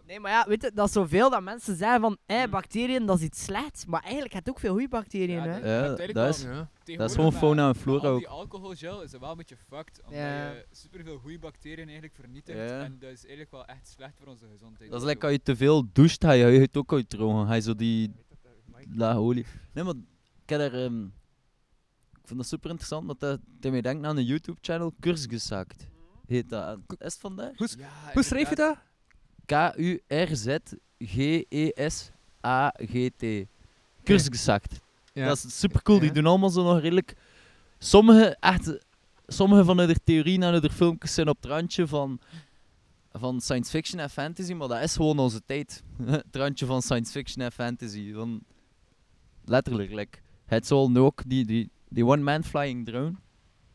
Nee, maar ja, weet je, dat is zoveel dat mensen zeggen van, hé, bacteriën, dat is iets slechts. Maar eigenlijk heb je ook veel goede bacteriën, hè. Hmm. Ja, uiteindelijk dat wel. is- Ja. Tegenwoordig gewoon met- fauna en met flora al ook. Die alcoholgel is wel een beetje fucked, omdat Ja. je superveel goede bacteriën eigenlijk vernietigt. Ja. En dat is eigenlijk wel echt slecht voor onze gezondheid. Dat en is lekker zo. als je te veel doucht, ga je huid ook uitdrogen. Ga je zo die laag olie. Nee, maar ik heb daar, ehm, ik vind dat super interessant dat dat dat mij denkt aan een YouTube-channel, Kursgezakt. Heet dat. En Is het vandaag? Ja, Hoe schreef je inderdaad. dat? K-U-R-Z-G-E-S-A-G-T. Kursgezakt. Ja. Dat is super cool. Die Ja. doen allemaal zo nog redelijk. Sommige, echt, sommige van hun theorieën en hun filmpjes zijn op het randje van, van science fiction en fantasy, maar dat is gewoon onze tijd. [laughs] het randje van science fiction en fantasy. Van, letterlijk. Like, het zal nu ook die, die, die one-man flying drone.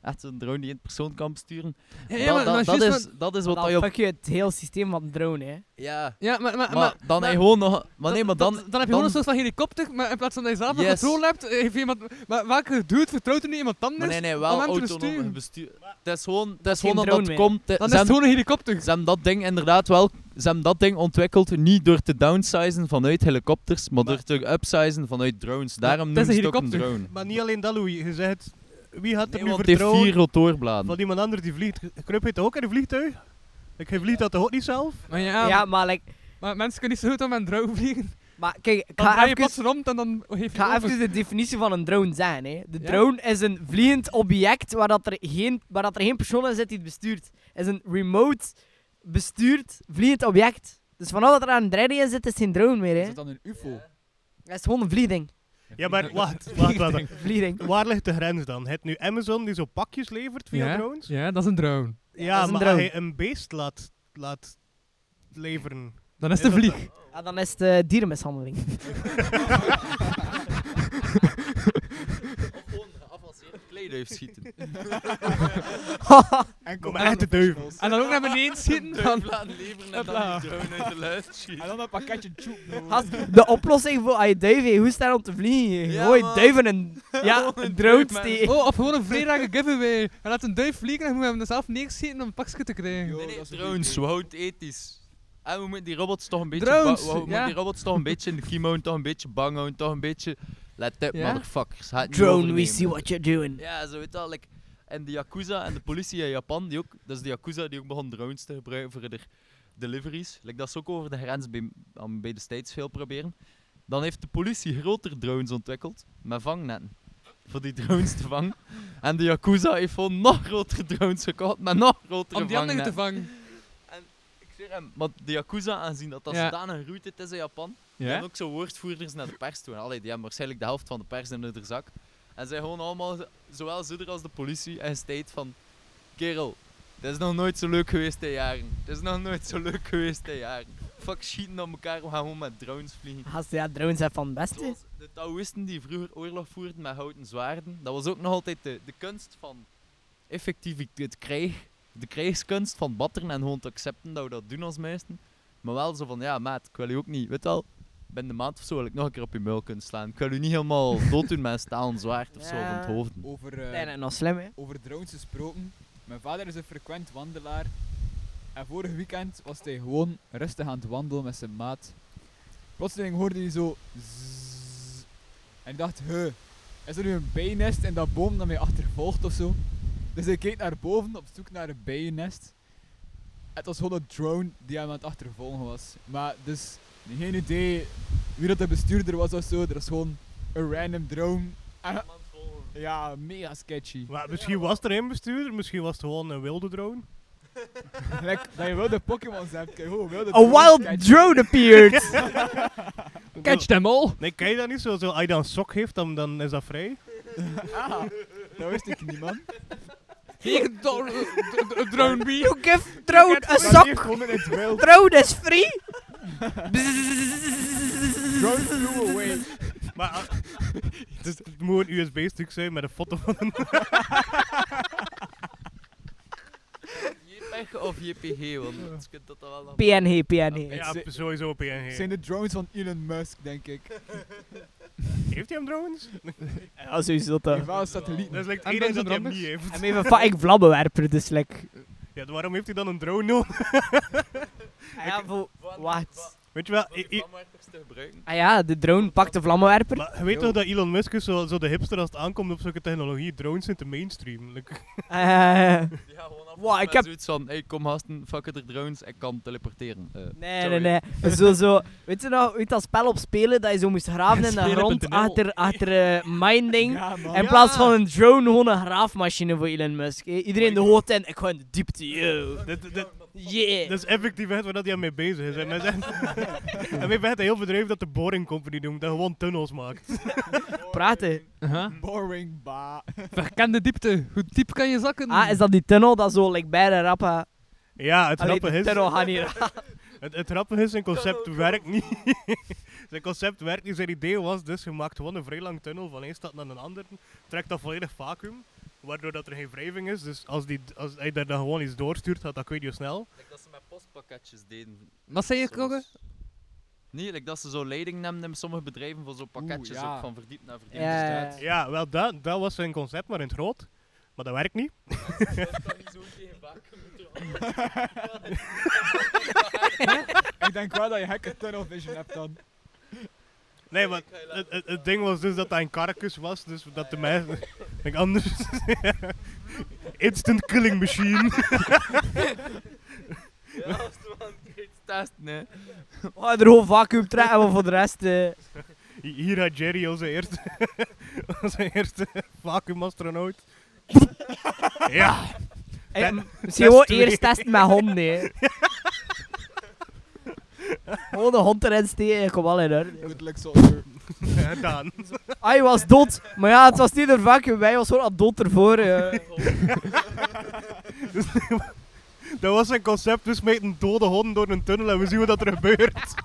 Echt een drone die je in persoon kan besturen. Ja, dat, maar- dat- maar dat juist is, dat is wat Dan je op. Dus fuck je het heel systeem van de drone, hè. Ja. Ja, maar... maar, Maar, Ah, maar- dan maar- heb je gewoon nog. Maar nee, maar dan. dan heb je gewoon een soort van helikopter, maar in plaats van dat je zelf een Yes. controle hebt, eh, heeft iemand... Maar welke dude vertrouwt er nu iemand anders? Maar nee, nee, om wel hem te autonoom besturen? bestuur. Het is gewoon, het is geen gewoon dat dat drone meer. komt. Dan eh, is Ze het hebben, gewoon een helikopter. ze hebben dat ding inderdaad wel. Ze hebben dat ding ontwikkeld niet door te downsizen vanuit helikopters, maar, Maar- door te upsizen vanuit drones. Daarom dat is noemen een ze het ook een helikopter. drone. Maar niet alleen dat, Louis. Je zegt, wie had er Nee, nu want die heeft vier vertrouwen rotorbladen. van iemand anders die vliegt? Kruip heet dat ook in een vliegtuig? Ik hij vliegt dat toch ook niet zelf? Maar ja, Ja, maar, like, maar mensen kunnen niet zo goed om een drone vliegen. maar kijk, ik Dan ga draai je even... plots rond en dan heeft Ik je ga over. even de definitie van een drone zeggen. Hè. De Ja. drone is een vliegend object waar, dat er, geen, waar dat er geen persoon in zit die het bestuurt. Het is een remote bestuurd vliegend object. Dus vanaf dat er aan een derde in zit, is het geen drone meer. Hè. Is dat dan een UFO? Het is gewoon een vliegding. Ja, maar wacht, wacht, wacht. Een vliegding. Waar ligt de grens dan? Het nu Amazon die zo pakjes levert via ja? drones? Ja, dat is een drone. Ja, dat is een maar drone. hij een beest laat, laat leveren. Dan is Is het een dat- vlieg. Ja, dan is het eh, dierenmishandeling. [laughs] schieten. Kom maar uit de duivel. En dan ook naar [laughs] beneden schieten. Dan, Hopla. En dan een pakketje tjoep. Gast, de oplossing voor als je duiven in staan om te vliegen. Ja, Gooi man. duiven in ja, een drone steken. Oh, of gewoon een vrijdag giveaway. En laat een duif vliegen en moet je hem dan zelf neerschieten om een pakje te krijgen. Yo, dat is een goed drones, we idee. houden het ethisch. En we moeten die robots toch een beetje, Drones, ba- we moeten ja. die robots [laughs] toch een beetje in de kiem houden, toch een beetje bang houden, toch een beetje... Let up, Ja. motherfuckers. Ga het niet Drone, we overnemen. see what you're doing. Ja, zo weet je wel. like, en de Yakuza en de politie in Japan, die ook, dat is de Yakuza die ook begon drones te gebruiken voor de deliveries. Like, dat is ook over de grens bij, aan- bij de States veel proberen. Dan heeft de politie grotere drones ontwikkeld, met vangnetten. Voor die drones te vangen. En de [laughs] Yakuza heeft gewoon nog grotere drones gekocht, met nog grotere Om die anderen te vangnetten. vangen. Ik zeg hem, maar de Yakuza, aanzien dat dat Ja. zodanig route is in Japan, die hebben ook zo woordvoerders naar de pers toe. Allee, die hebben waarschijnlijk de helft van de pers in hun zak. En zijn gewoon allemaal, z- zowel Zuider als de politie, en steeds van... Kerel, het is nog nooit zo leuk geweest in jaren. Het is nog nooit zo leuk geweest in jaren. Fuck schieten op elkaar, we gaan gewoon met drones vliegen. Gast, ja, drones zijn van het beste. Zoals de Taoïsten die vroeger oorlog voerden met houten zwaarden, dat was ook nog altijd de, de kunst van effectief het krijg, de krijgskunst van batteren en gewoon te accepten dat we dat doen als meisten. Maar wel zo van, ja maat, ik wil u ook niet, weet wel, binnen de maand of zo wil ik nog een keer op je muil kunnen slaan. Ik wil u niet [laughs] helemaal dood doen met een stalen zwaard of zo van het Ja. hoofd. Over, eh, Nee, nee, nog slim, hè. over drones gesproken. Mijn vader is een frequent wandelaar. En vorig weekend was hij gewoon rustig aan het wandelen met zijn maat. Plotseling hoorde hij zo. zzzz. en dacht, huh, is er nu een bijennest in dat boom dat mij achtervolgt of zo? Dus hij keek naar boven op zoek naar een bijennest. Het was gewoon een drone die hem aan het achtervolgen was. Maar dus, geen idee wie dat de bestuurder was of zo. Er was gewoon een random drone. En- ja, mega sketchy. Maar misschien was er een bestuurder, misschien was het gewoon een wilde drone. Like, dat je wilde Pokémon's hebt. Kijk, hoe Oh, wilde A wild drone appeared! Catch them all. Nee, kan je dat niet zo? zo als je dan een sok heeft, dan, dan is dat [laughs] vrij. Ah, Dat wist ik nou niet, man. Tegen [laughs] drone bee. You give drone a Dat is sock. gewoon in het [laughs] wild. Drone is free. Drone flew away. Maar ah, het, is- het moet een USB-stuk zijn met een foto van een... JPEG of JPG, want je kunt dat dan wel nog... PNG, PNG. Het Ja, zi- sowieso PNG. zijn de drones van Elon Musk, denk ik. Heeft hij hem drones? Ja, sowieso In toch. ieder geval satelliet. Dat is like En het enige dat hij Benjamin hem niet heeft. Hij heeft een fucking vlammenwerper, dus like... Ja, waarom heeft hij dan een drone nodig? Ja, voor, Wat? Weet je wel, i- i- te gebruiken. Ah ja, de drone pakt de vlammenwerper. maar je weet toch dat Elon Musk is zo, zo de hipster als het aankomt op zulke technologie. Drones zijn te mainstream. Like, [laughs] Eh, Ja, gewoon af. Wow, ik heb- zoiets van, hey, kom hasten, fuck it, er drones, ik kan teleporteren. Eh, nee, sorry. nee, nee. Zo, zo. Weet je nog, weet dat spel op spelen dat je zo moest graven in de Spelen.nl. grond achter, achter eh, mijn ding? man. In plaats van een drone, gewoon een graafmachine voor Elon Musk. eh. Iedereen de hoogte in, ik ga in de diepte, yo. dat, dat, Yeah. dat is effectief echt waar dat hij aan mee bezig is. En wij [laughs] zijn en wij weten heel bedreven dat de Boring Company doet, dat gewoon tunnels maakt. Praten. Aha. Boring ba. Verkende diepte. Hoe diep kan je zakken? Ah, is dat die tunnel dat zo, like, bij de rappa... Ja, het Allee, grappige de is... tunnel gaat niet raken. Het, het grappige is, zijn concept werkt niet. [laughs] zijn concept werkt niet. Zijn idee was dus, je maakt gewoon een vrij lang tunnel van één stad naar een andere. Trekt dat volledig vacuüm, waardoor dat er geen wrijving is. Dus als, die, als hij daar dan gewoon iets doorstuurt, gaat dat weet je snel. Like dat ze met postpakketjes deden. Wat zei je, Soms. Kroger? Nee, like dat ze zo leiding nemen in sommige bedrijven voor zo'n pakketjes ja. ook van verdiep naar verdiep. Ja, Dus ja, dat- ja. Ja, wel, dat, dat was zijn concept, maar in het groot. Maar dat werkt niet. Ik denk wel dat je hekken tunnel vision hebt dan. Nee, maar het, het, het ding was dus dat hij een karkus was, dus dat de [laughs] mensen... Ik anders... [laughs] Instant killing machine. Ja, als er wel een keer iets testen, hè. We gaan er gewoon vacuüm trekken, maar voor de rest... eh, Hier had Jerry als eerste... [laughs] als eerste vacuumastronaut. [laughs] ja! eh, Test- m- Misschien gewoon twee. eerst testen met honden, hè. [laughs] Gewoon de hond erin steken, kom al in hoor. Good luck, soldier. gedaan. Ah, je was dood. Maar ja, het was niet er vacuüm bij, je was gewoon al dood ervoor. [laughs] eh. Dat was zijn concept, dus met een dode hond door een tunnel en we zien wat dat er gebeurt. [laughs]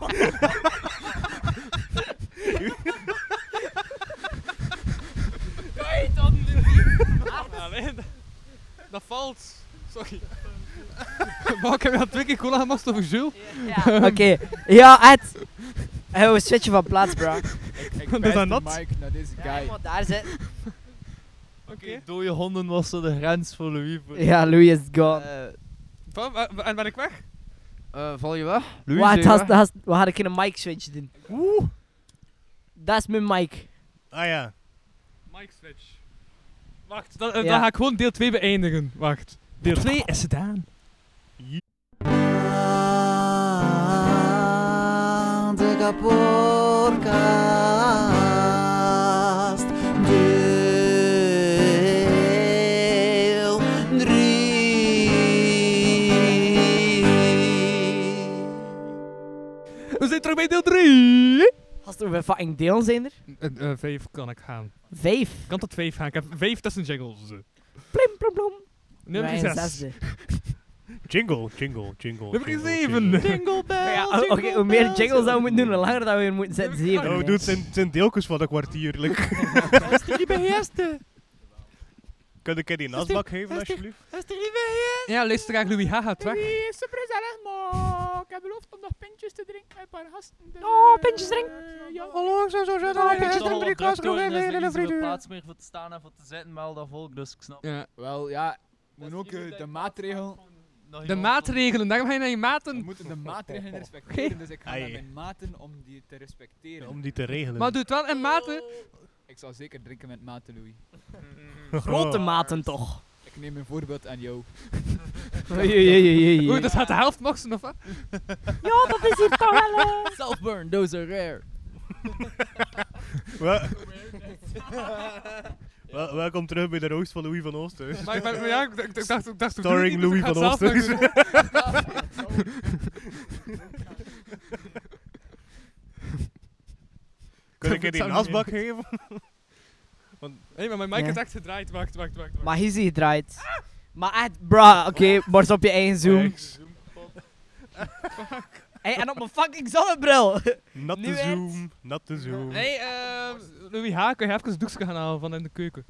Dat valt. Sorry. [laughs] Maar ik heb je al twee keer cola gemast over Jules. Oké. Ja, Ed. Hey, we switchen van plaats, bro. Ik, ik Doe wijs dat de nat. mic naar deze guy. Iemand daar zitten. Oké, Dode honden was zo de grens voor Louis. Voor Ja, Louis is gone. Eh, Van, wa- wa- en ben ik weg? eh, val je weg? Louis, Wat, zie je has, weg? has, we gaan een keer een mic switch doen. Dat is mijn mic. Ah ja. Mike switch. Wacht, dan, eh, dan Ja. ga ik gewoon deel 2 beëindigen. Wacht. Deel 2 is gedaan. We zijn terug bij deel 3. Als er weer fucking deel zijn er. Eh, vijf kan ik gaan. Vijf. Kan tot vijf gaan. Ik heb vijf tussen jingles. Plim, plim, plim. Nummer Wij een 6. zesde. Jingle, jingle, jingle. Nummer jingle, 7. jingle. Jingle Maar ja, oh, Oké, hoe meer jingles dat we moeten doen, hoe langer dat we weer moeten zetten. Zeven. Oh, hè. dude, het zijn, het zijn deeltjes van een kwartier. Like. die beheerste. Kun ik je die nasbak geven, alsjeblieft? Ja, luisteraar Louis Haha, het weg. Wie is super gezellig, maar ik heb beloofd om nog pintjes te drinken. Een paar gasten. Dus, Oh, eh, pintjes drinken. eh, ja. Hallo, zo zo Ik heb het al druk door en er is niet zoveel plaats meer voor te staan en voor te zitten met al dat volk, dus ik snap Ja. Wel ja, we moeten ook eh, de Oh, maatregel. nog De iemand maatregelen, daarom ga je naar je We maten. moeten de maatregelen respecteren, dus ik ga naar Ai. mijn maten om die te respecteren. Om die te regelen. Ah, Maar doe het wel in maten. Ik zal zeker drinken met maten, Louis. Grote Oh. maten toch. Ik neem een voorbeeld aan jou. [laughs] Oei, oei, oei, oei, Oeh, oei. dat gaat de helft mochten of wat? Self-burn, those are rare. Wel- [laughs] Wel- welkom terug bij de roos van Louis van Oosthuis. Maar ik ben, maar ja, ik, ik- ik dacht, ik dacht, ik doe het Starring niet, Louis dus ik van ga het zelf Oosthuis. nog [laughs] Kun ik Dat je die zou nasbak geven? doen. Nee, maar mijn mic Ja. is echt gedraaid. Wacht, wacht, wacht. [laughs] wacht. Maar hier zie je draait. Maar echt, bra, oké, borst op je eigen zoom. Hey, en op mijn fucking zonnebril. Not Nu the echt? zoom, not the zoom. Nee, eh Louis H, kun je even een doekje gaan halen van in de keuken?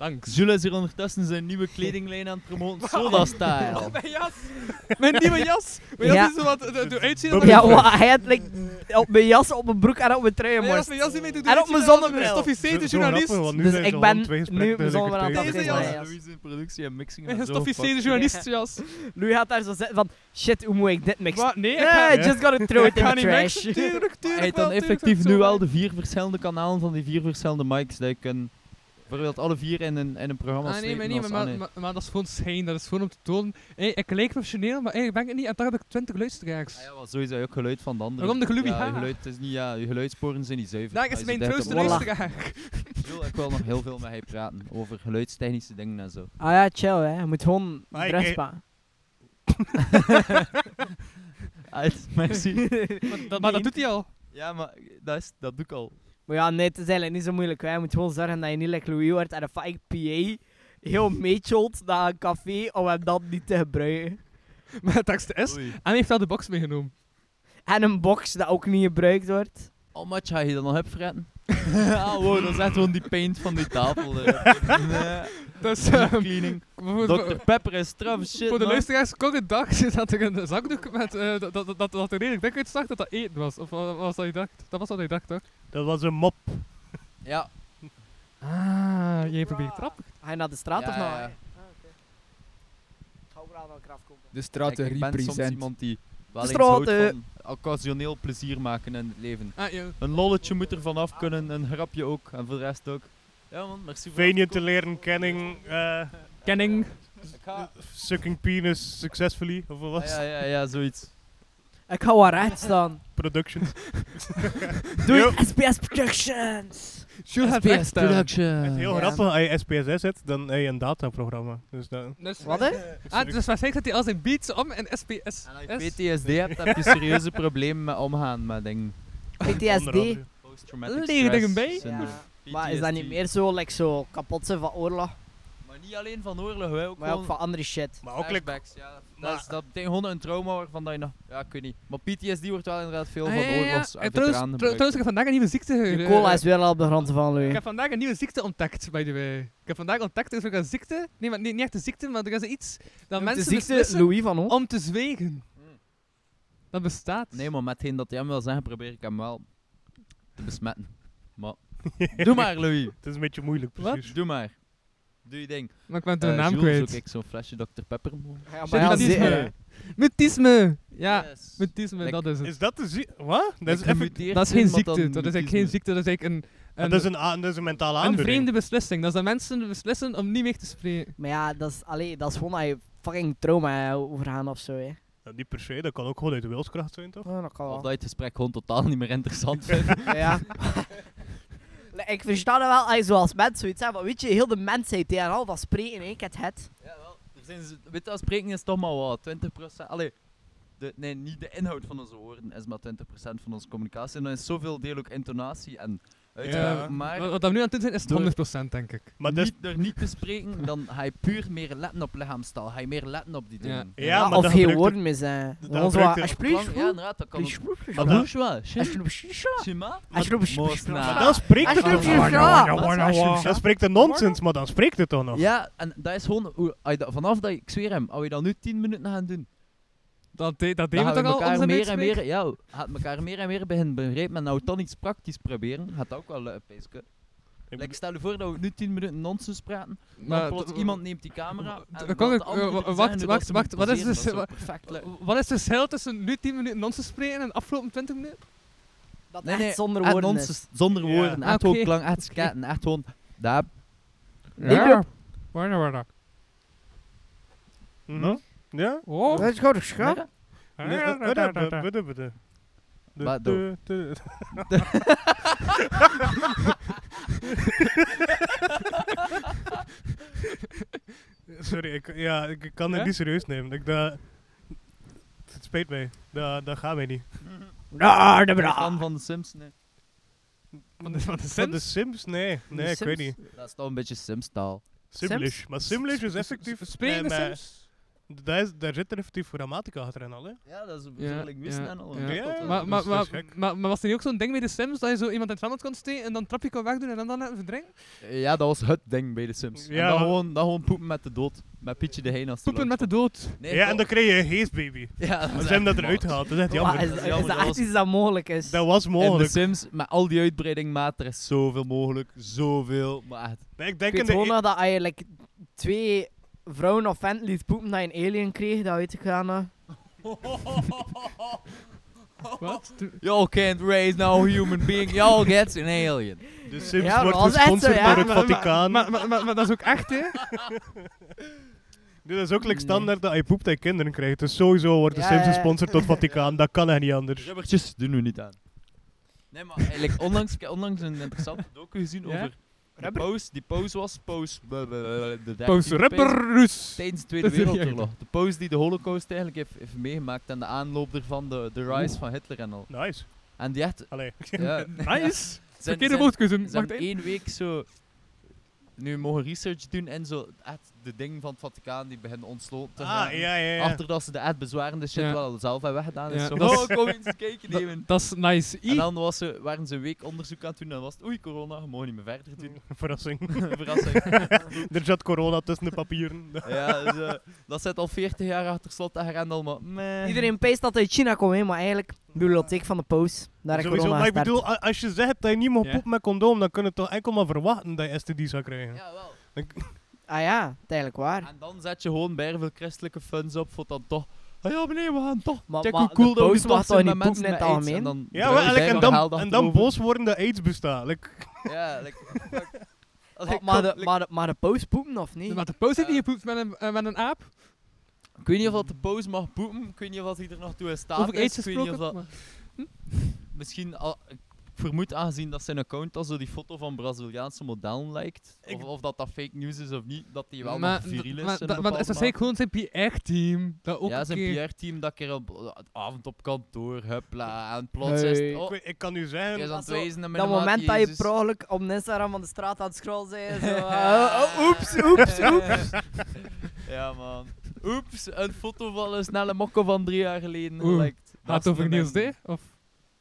Dank. Jules is hier ondertussen zijn nieuwe kledinglijn aan het [laughs] promoten. Soda style. Mijn jas! Mijn nieuwe jas! Mijn jas Ja. is zo wat eh, doet uitzien. als Bubble een- ja, wa- hij had like, op mijn jas, op mijn broek en op mijn trui, Nee, als morst. mijn jas niet mee doet, En doe op je mijn het wel. zonnebril. Gestoffieerde Zo- zo grappig, journalist. want nu Dus zijn ze ik al aan ben twee nu gesprekken bijzonder tegen aan het tegen- tegen- afleiden. Deze jas. Louise in productie en mixing. Mijn en zo, gestoffieerde fuck. journalistjas. Louis gaat daar zo zitten van, shit, hoe moet ik dit mixen? Wat? Nee, ik Eh, ga- I just gotta throw it ik in ga the niet trash. mixen. Tuurlijk, tuurlijk Hij heeft dan wel, tuurlijk effectief dat nu zo al werkt. de vier verschillende kanalen van die vier verschillende mics die je kunt bijvoorbeeld alle vier in een, in een programma Ah, nee, slepen maar, nee, maar, als- maar, ah, nee. maar- maar dat is gewoon schijn, dat is gewoon om te tonen. Hey, ik leek professioneel, maar eigenlijk ben ik het niet. En daar heb ik 20 luisteraars. Ah ja, want sowieso heb je ook geluid van de anderen. Waarom de geluid? Ja, je Ja. geluid is niet, ja, je geluidssporen zijn niet zuiver. Daar Maar is je mijn zit echt troost de op- Voilà. luisteraar. Ik wil echt wel nog heel veel met hij praten over geluidstechnische dingen en zo. Ah ja, chill hè, je moet gewoon Maar ik- dress pakken. Uit, merci. [laughs] Maar dat doet hij al. [laughs] [laughs] ja, maar dat, is, dat doe ik al. Maar ja, nee, het is eigenlijk niet zo moeilijk. Hè. Je moet gewoon zorgen dat je niet like Louis wordt en een fake PA [laughs] heel meetjolt naar een café om hem dat niet te gebruiken. Maar het tekst is, en Oei. hij heeft wel de box meegenomen. En een box dat ook niet gebruikt wordt. How much ga je dan nog [laughs] hebben, ah, wow, dat is echt gewoon die paint van die [laughs] tafel. eh. Dus, ehm, cleaning. voor- voor- Dr. Pepper is straf shit, Voor de man. luisteraars, korte dag [laughs] zit dat er een zakdoek met, eh, dat, dat, dat, dat er redelijk dik uitzag dat dat eten was. Of wa- was dat je dacht? Dat was wat je dacht, toch? Dat was een mop. Ja. Ah, jij probeert trappen. Ga je naar de straat Ja, of nou? ja, ja. Ik ga ook aan elkaar afkomen. De Kijk, straten ik ben soms represent. iemand die wel eens houdt Straten. van occasioneel plezier maken in het leven. eh. Ah, ja. Een lolletje moet er vanaf kunnen, een grapje ook, en voor de rest ook. Ja man, merci voor Veen je te afkomen. leren kenning, eh, Kenning. Ik ga- sucking penis successfully, of wat was Ah, Ja, ja, ja, zoiets. Ik ga wel recht [laughs] staan. Productions. Doei, Yo. SPS Productions! Jules had echt Het is heel Ja. grappig, als je SPSS zit, dan heb je een dataprogramma. Dus dat... Dus, Wat hè? Ah, dus waarschijnlijk zet hij al zijn beats om in SPS. En als je PTSD hebt, [laughs] heb je serieuze problemen met omgaan met dingen. PTSD. Post-traumatic Leren stress dingen bij? syndrome. Ja. Maar is dat niet PTSD. meer zo, like, zo kapot zijn van oorlog? Maar niet alleen van oorlog, hè, ook Maar ook gewoon van andere shit. Maar ook like, flashbacks. Ja. Dat, is, dat betekent gewoon een trauma waarvan dat je nog... Ja, ik weet niet. Maar PTSD wordt wel inderdaad veel Ah, van ja, ja, ja. oorlogs En trouwens, veteranen trou- trouwens, ik heb vandaag een nieuwe ziekte. Je eh, cola is weer al op de grond van Ik Louis. heb vandaag een nieuwe ziekte ontdekt, by the way. Ik heb vandaag ontdekt, er is ook een ziekte. Nee, maar nee, niet echt een ziekte, maar er is iets dat De mensen ziekte beslissen Oh, Louis van ons. om te zwegen. Dat bestaat. Nee, maar met hetgeen dat hij hem wil zeggen, probeer ik hem wel te [laughs] besmetten. Maar... Doe maar, Louis. het is een beetje moeilijk, Wat? precies. Doe maar. Doe je ding. maar ik ben de Eh, naam Jules, kwijt. ook ik zo'n flesje Dr. Pepper. Ja, Shit, dat is ze- me. [laughs] Mutisme! Ja, Yes. mutisme, Like, dat is het. Is dat de ziekte? Wat? Dat is, Ik effe- gemuteerd dat is geen zijn, maar dan ziekte, dat is eigenlijk geen mutisme. ziekte, dat is eigenlijk een, Ah, een, dat, is een, a- dat is een mentale een aandoening. vreemde beslissing. Dat is dat mensen beslissen om niet meer te spreken. Maar ja, dat is, allee, dat is gewoon dat je fucking trauma overgaan of zo, hè. Nou, niet per se, dat kan ook gewoon uit de wilskracht zijn, toch? Oh, dat kan Of dat wel. je het gesprek gewoon totaal niet meer [laughs] interessant vindt. Ja. Nee, ik versta dat wel als je zoals mensen zoiets hebben, maar weet je, heel de mensheid die er al van spreken, hè. Ik heb het. Er zijn z- Weet je, spreken is toch maar wat, 20%. Allee, de, nee, niet de inhoud van onze woorden is maar 20% van onze communicatie. En dan is zoveel deel ook intonatie en uitspraak. Ja. Maar Wat, wat we nu aan het doen zijn, is Ah, het Door- 100% denk ik. Maar dat is- niet, door niet te spreken, dan ga je puur meer letten op lichaamstaal. Ga je meer letten op die Ja. dingen. Ja, maar dat of geen gebruikt er- woorden meer zijn. dat Gewoon zo, gebruikt er- alsjeblieft, Ja, inderdaad, dat kan ook. alsjeblieft, Maar Doe dat- eens wat, shit. Shima? alsjeblieft, Moos na. maar dan spreekt het Alsjeblieft, ja. Dan spreekt het nonsens, maar dan spreekt het toch nog. Ja, en dat is gewoon, hoe, als je dat- vanaf dat, ik zweer hem, als je dat nu 10 minuten gaan doen, Dat, de, dat dan deden we gaan toch we al, elkaar onze meer en uitspreek? meer, ja, gaat elkaar meer en meer beginnen begrijpen, maar nou dan iets praktisch proberen, gaat dat ook wel lukken, Peeske. Ik Like, stel je voor dat we nu 10 minuten nonsens praten, Maar maar plots d- iemand neemt die d- camera, en kan laat ik- de anderen eh, wa- zeggen wacht, hoe dat wacht, ze wacht, moeten wat is poseren, dus- dat zou wa- perfect lukken. Wat is het verschil tussen nu 10 minuten nonsens spreken en de afgelopen 20 minuten? Dat Nee, nee, echt zonder echt woorden is. nonsens, zonder Ja. woorden, Ah, echt oké. ook lang, echt [laughs] skaten, echt gewoon, daar, Ja. Ja. Waar waar waar. Mhm. Ja? Oh. is gewoon schat. Nee, eh, eh, eh, eh, eh, eh, eh. De- Wat doe? de- de- Sorry, ik, ja, ik ik kan het Ja? niet serieus nemen. Ik, dat, het spijt mij. Dat, dat gaat mij niet. fan van de Sims, nee. Van de, van de Van de Sims? dus Sims? Nee, nee ik weet niet. Dat is toch een beetje Sims-taal. Simlish. Maar Simlish is effectief... Spreken de eh, maar- Sims? Daar is- daar zit effectief grammatica achter en al, hè. Ja, dat is een Ja, persoonlijk missen en al. ja. Ja, Dat- Maar, maar, dat is- maar, dat is gek. maar, maar was er niet ook zo'n ding bij de Sims dat je zo iemand in het strand kon steken en dan trapje kon wegdoen en dan dan laten verdrinken? Ja, dat was het ding bij de Sims. Ja, en dan, maar- gewoon, dan gewoon poepen met de dood. Met Pietje de Hein als Poepen met de dood. Nee, Ja, kom- en dan kreeg je een geestbaby. Ja, dat Maar is ze hebben dat echt eruit mal. gehaald, dat is echt Maar is, dat jammer. is is jammer, dat dat echt was- iets dat mogelijk is? Dat was In de mogelijk. Sims, met al die uitbreiding, maat, er is zoveel mogelijk. Zoveel, maar echt. Maar ik Ik denk in weet de gewoon e- nog dat eigenlijk twee vrouwen of vent liet poepen dat je een alien kreeg, dat uit te gaan. hè. Wat? Toen- Y'all can't raise no human being, y'all gets an [laughs] alien. de Sims Ja, wordt dat was echt zo, gesponsord ja. door het Maar- maar- Vaticaan. Maar, maar, maar, maar dat is ook echt, [laughs] hè? Dit is ook like Nee. standaard dat je poept dat je kinderen krijgt. Dus sowieso wordt de Ja, Sims ja. gesponsord door het Vaticaan. Dat kan echt niet anders. Rubbertjes doen we niet aan. Nee, maar eigenlijk onlangs, ik heb onlangs een interessante docu gezien Ja? over de Poos. Die Poos was Poos... De Poos 13e rubberroes. Tijdens de Tweede Dat is niet Wereldoorlog. De Poos die de holocaust eigenlijk heeft, heeft meegemaakt en de aanloop ervan, de, de rise van Hitler en al. Nice. En die [laughs] echt... Allee. Ja, Nice. zijn, Verkeerde zijn, woordkeuze. ze hebben Martijn. één week zo... Nu mogen research doen en zo... Echt de ding van het Vaticaan die beginnen ontsloten te Ah, gaan. ja, ja, ja. Achter dat ze de echt bezwarende shit Ja. wel zelf hebben weggedaan. Ja, Is zo, dat is- oh, kom eens kijken, nemen. Dat is nice. I. En dan was ze, waren ze een week onderzoek aan het doen en dan was het oei, corona, je mag niet meer verder [laughs] doen. Verrassing. [laughs] Verrassing. er zat corona tussen de papieren. ja, dus, eh, dat zit al 40 jaar achter slot en grendel, maar meh. Iedereen peest dat uit China komt, hè, maar eigenlijk de bibliotheek van de Poos. Daar heb ik [laughs] Sowieso, corona maar ik gestart. bedoel, a- als je zegt dat je niet mag Ja. poepen met condoom, dan kun je toch enkel maar verwachten dat je STD zou krijgen. Ja, wel. Ah ja, dat is eigenlijk waar. En dan zet je gewoon bij veel christelijke funds op voor dan toch. Ah ja, meneer, we gaan toch. Maar- Kijk maar hoe cool de dat we paus toch mag zijn toch met niet mensen poepen met in het AIDS. En dan Ja, wel, draaien wij eigenlijk, en nog dan, geld en dan achterover. boos worden dat aids bestaat. Like, Ja, like, [laughs] fuck. Allee, Maar, maar, kom, de, like- maar, de, maar de Poos poepen of niet? Maar de poos heeft Eh. niet gepoept met een, eh, met een aap. Ik weet niet of dat de poos mag poepen, ik weet niet of dat hij er nog toe in staat Over aids is. Ik weet niet of gesproken. dat... maar- misschien al, ik vermoed aangezien dat zijn account al zo die foto van Braziliaanse modellen lijkt, of, Ik- of dat dat fake news is of niet, dat die wel Maar nog viriel is. maar in dat- een maar dat is waarschijnlijk bepaalde gewoon zijn PR-team. Dat mate. ook ja, een zijn keer- PR-team dat keer op eh, avond op kantoor, huppla, en plots is het, Hey. oh, ik, ik kan nu hij is zeggen, aan het zo, wijzen naar mijn dat maat moment dat je Jezus. per ongeluk op de Instagram van de straat aan het scrollen bent. Zo, eh, oh, oeps, oeps, oeps. [laughs] Ja, man. Oeps, een foto van een snelle mokko van drie jaar geleden. Oeh, lijkt. Dat Gaat is over een- Niels D? Of...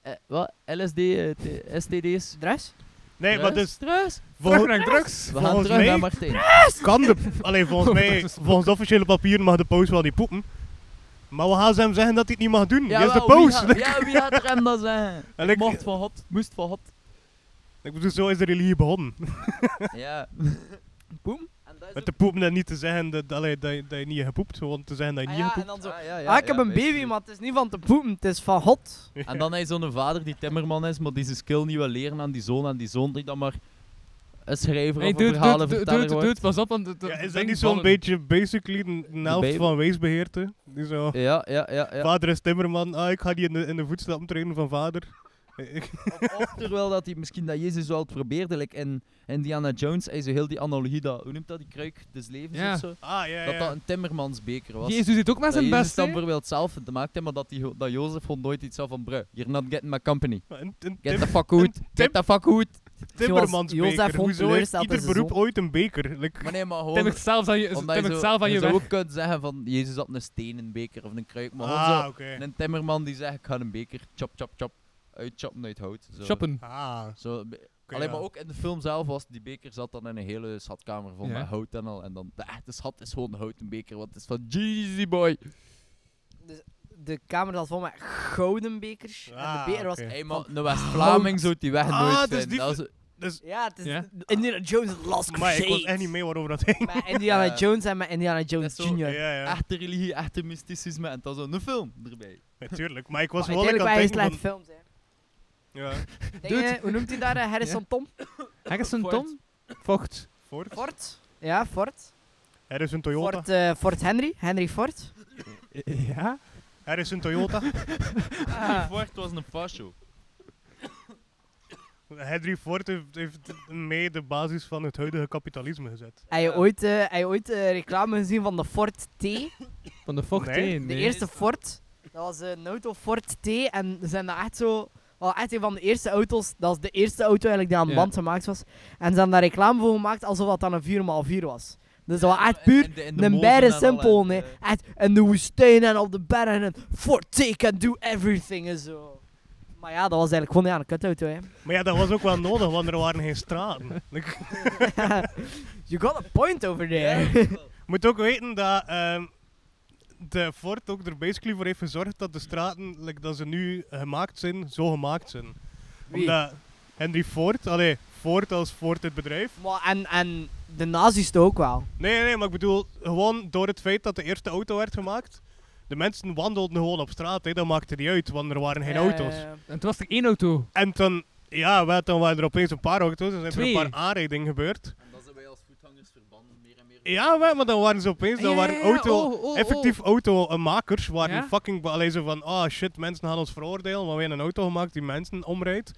Eh, wat? LSD, eh, t- STD's? Dress? nee, maar dus, Drugs? Drugs? Terug vol, naar drugs. We gaan volgens terug mij- naar Martijn. kan de, allee, [laughs] Oh, volgens mij, Drugs. volgens de officiële papieren mag de paus wel niet poepen. Maar we gaan ze hem zeggen dat hij het niet mag doen. Ja, is de Jawel, wie [laughs] paus. gaat- Ja, wie gaat er hem dan zijn? En ik, [laughs] Mocht van God, moest van God. ik bedoel, zo is de religie begonnen. Ja. Poem? Met te poepen en niet te zeggen dat, allee, dat, je- dat je niet hebt gepoept. Gewoon te zeggen dat je Ah niet ja, hebt en gepoept. dan zo. ja, eh. ah, ik heb een baby, maar het is niet van te poepen, het is van hot. En dan hij zo'n vader die timmerman is, maar die zijn skill niet wil leren aan die zoon. En die zoon die dan maar een schrijver Hey, of dude, een dude, verhalen dude, vertellen dude, dude, pas op, want het- Ja, het is dat ding niet zo'n vallen. beetje basically een- een helft baby. van weesbeheerte? Die zo, Ja, ja, ja. ja. vader is timmerman, ah, ik ga die in de, in de voetstappen trainen van vader. Ik- Of terwijl dat hij misschien dat Jezus wel het probeerde, like in Indiana Jones, hij zo heel die analogie dat, hoe noemt dat, die kruik des levens Ja. of zo? ah, ja, Dat dat ja. een timmermansbeker was. Jezus doet ook maar dat zijn Jezus best, dan hè. bijvoorbeeld zelf het maakte, maar dat, die, ho- dat Jozef gewoon nooit iets zou van, bruh, you're not getting my company. Een, een Get tim- the fuck out, tim- get the fuck out. [laughs] Jozef timmermansbeker. vond Hoezo heeft teleurgesteld ieder in zijn beroep zoon. ooit een beker? Like, Maar nee, maar Tim gewoon... het zelf aan je, Omdat tim je het zo- zelf aan je je zou weg. ook kunnen zeggen van, Jezus had een steen in een beker of een kruik, maar gewoon ah, zo, oké. een timmerman die zegt, ik ga een beker, chop, chop, chop, uitchoppen uit hout. Zo. Shoppen. Ah, oké, Zo, be- Alleen ja. maar ook in de film zelf was die beker zat dan in een hele schatkamer vol Ja. met hout en al. En dan de echte schat is gewoon een houten beker, want het is van Jeezy Boy. De kamer zat vol met gouden bekers. en Ah, de beker was. oké. Hey, maar een West-Vlaming zou die weg Ah, nooit dus vinden. die Dat is- Dus, Ja, het is. Ja? Indiana Jones Last maar Crusade. ik was echt niet mee waarover dat [laughs] heen. Met Indiana [laughs] Ja. Jones en met Indiana Jones Dat is zo- Jr. Ja, ja, ah. echte religie, echte mysticisme en dat is een film erbij. natuurlijk. Maar ik was Maar wel ik uiteindelijk aan het waren het denken slechte van- films, hè. Ja, Dingen, hoe noemt hij daar? eh, Harrison Tom? Harrison Ford. Tom? Vocht. Ford. Ford? Ja, Ford. Er [laughs] is een Toyota. Ford, eh, Ford Henry. Henry Ford. Ja? Er is een Toyota. [laughs] Die Ford was een fascio. Henry Ford heeft, heeft mee de basis van het huidige kapitalisme gezet. Heb je ooit, eh, heb je ooit eh, reclame gezien van de Ford T? Van de vocht Nee. heen. De nee. eerste Ford. Dat was eh, een auto Ford T. En ze zijn dat echt zo... Wel echt een van de eerste auto's. Dat was de eerste auto eigenlijk die aan de Ja. band gemaakt was. En ze hebben daar reclame voor gemaakt alsof dat dan een 4x4 was. Dus dat was echt puur Een bare simpel, nee. eh, Echt, en de woestijn en op de bergen en Forte can do everything en zo. Maar ja, dat was eigenlijk gewoon ja, een kutauto, hè. [laughs] Maar ja, dat was ook wel nodig, want er waren geen straten. Like, you got a point over there. Moet ook weten dat ehm, de Ford ook er basically voor heeft gezorgd dat de straten, like dat ze nu gemaakt zijn, zo gemaakt zijn. Wie? Omdat Henry Ford, allee, Ford als Ford het bedrijf. [laughs] Maar en, en de nazi's toch ook wel. Nee, nee, nee, maar ik bedoel, gewoon door het feit dat de eerste auto werd gemaakt, de mensen wandelden gewoon op straat, hè, dat maakte niet uit, want er waren geen Ja, auto's. ja, ja. En toen was er één auto. En toen, ja, wel, dan waren er opeens een paar auto's, en zijn er Twee. een paar aanrijdingen gebeurd. En dan zijn wij als voetgangers verbanden meer en meer. Ja, wel, maar dan waren ze opeens, dan Ja, waren ja, ja, auto... oh, oh, oh. effectief automakers waren Ja? fucking alleen zo van, ah shit, mensen gaan ons veroordelen, maar we hebben een auto gemaakt die mensen omrijdt.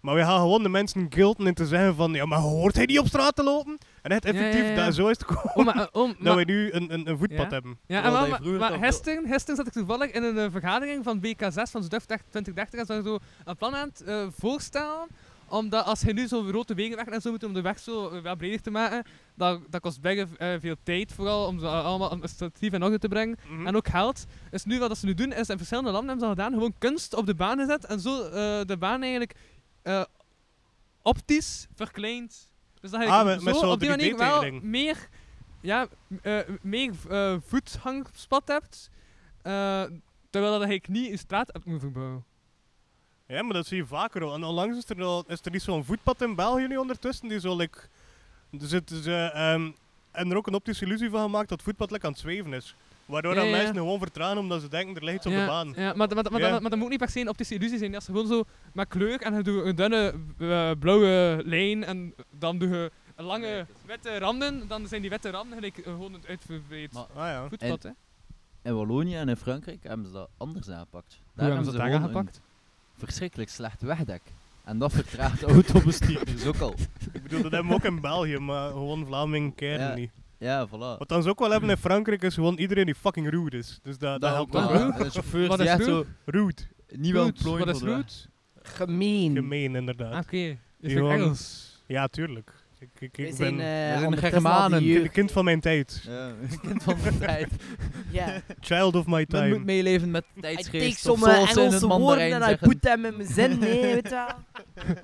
Maar we gaan gewoon de mensen guilden in te zeggen van, ja, maar hoort hij niet op straat te lopen? En het Ja, ja, effectief, ja. daar- zo is het gekomen Oh, maar, eh, [laughs] oh, dat maar- we nu een, een, een voetpad Ja? hebben. Ja, en Terwijl wel, dat maar, je vroeger maar toch wel- gisteren, gisteren zat ik toevallig in een eh, vergadering van BK6 van Zuid 2030 en ze waren zo een plan aan het eh, voorstellen. Omdat als je nu zo'n grote wegen weg en zo moet om de weg zo eh, wel breder te maken, dat, dat kost bijna eh, veel tijd vooral om ze allemaal administratief in orde te brengen. Mhm. En ook geld. Dus nu wat ze nu doen is in verschillende landen hebben ze al gedaan, gewoon kunst op de baan gezet en zo eh, de baan eigenlijk eh, optisch verkleind. Dus dat je Ah, met- met zo zo'n op die manier wel 3D-tekening. meer ja, m- eh, meer eh, voetgangspad hebt, eh, terwijl dat eigenlijk niet een straat hebt moeten verbouwen. Ja, maar dat zie je vaker al. En onlangs is er, al, is er niet zo'n voetpad in België nu ondertussen, die zo, like, er zit, ze, ehm, en er ook een optische illusie van gemaakt dat voetpad like, aan het zweven is. Waardoor Ja, dat ja, ja. mensen gewoon vertragen omdat ze denken, er ligt iets op de ja, baan. Ja, maar, maar, maar, Ja. maar, maar dat moet niet per se een optische illusie zijn. Dat is gewoon zo met kleur en je doet een dunne eh, blauwe lijn en dan doe je een lange witte randen. Dan zijn die witte randen gelijk eh, gewoon een uitverbreid Maar- Ah ja. voetpad. hè. In Wallonië en in Frankrijk hebben ze dat anders aangepakt. Daar hebben ze dat gewoon aangepakt? een verschrikkelijk slecht wegdek. En dat vertraagt [laughs] autobestuurders ook al. Ik bedoel, dat hebben we ook in België, maar gewoon Vlamingen keren Ja. niet. Ja, voilà. Wat dan ze ook wel hebben in Frankrijk is gewoon iedereen die fucking rude is. Dus dat, dat helpt wel. wel. wel. En de chauffeur Wat die is echt zo roet? Rude, niet Roet, wel plooien Wat is voor de weg. roet? Gemeen. gemeen Ah, inderdaad. Oké, is Gewoon- het Engels? [laughs] Ja, tuurlijk. Ik, ik, ik We ben zijn, eh, zijn ondertussen Germanen. al die een jeugd. kind van mijn tijd. Ja, een kind van de tijd. [laughs] Ja. Child of my Men moet time. meeleven met de Ik take tijdsgeest. Of sommige zoals ze in het Engelse woorden Mandarijn en I zeggen. put them in mijn zin, [laughs] nee, weet je wel.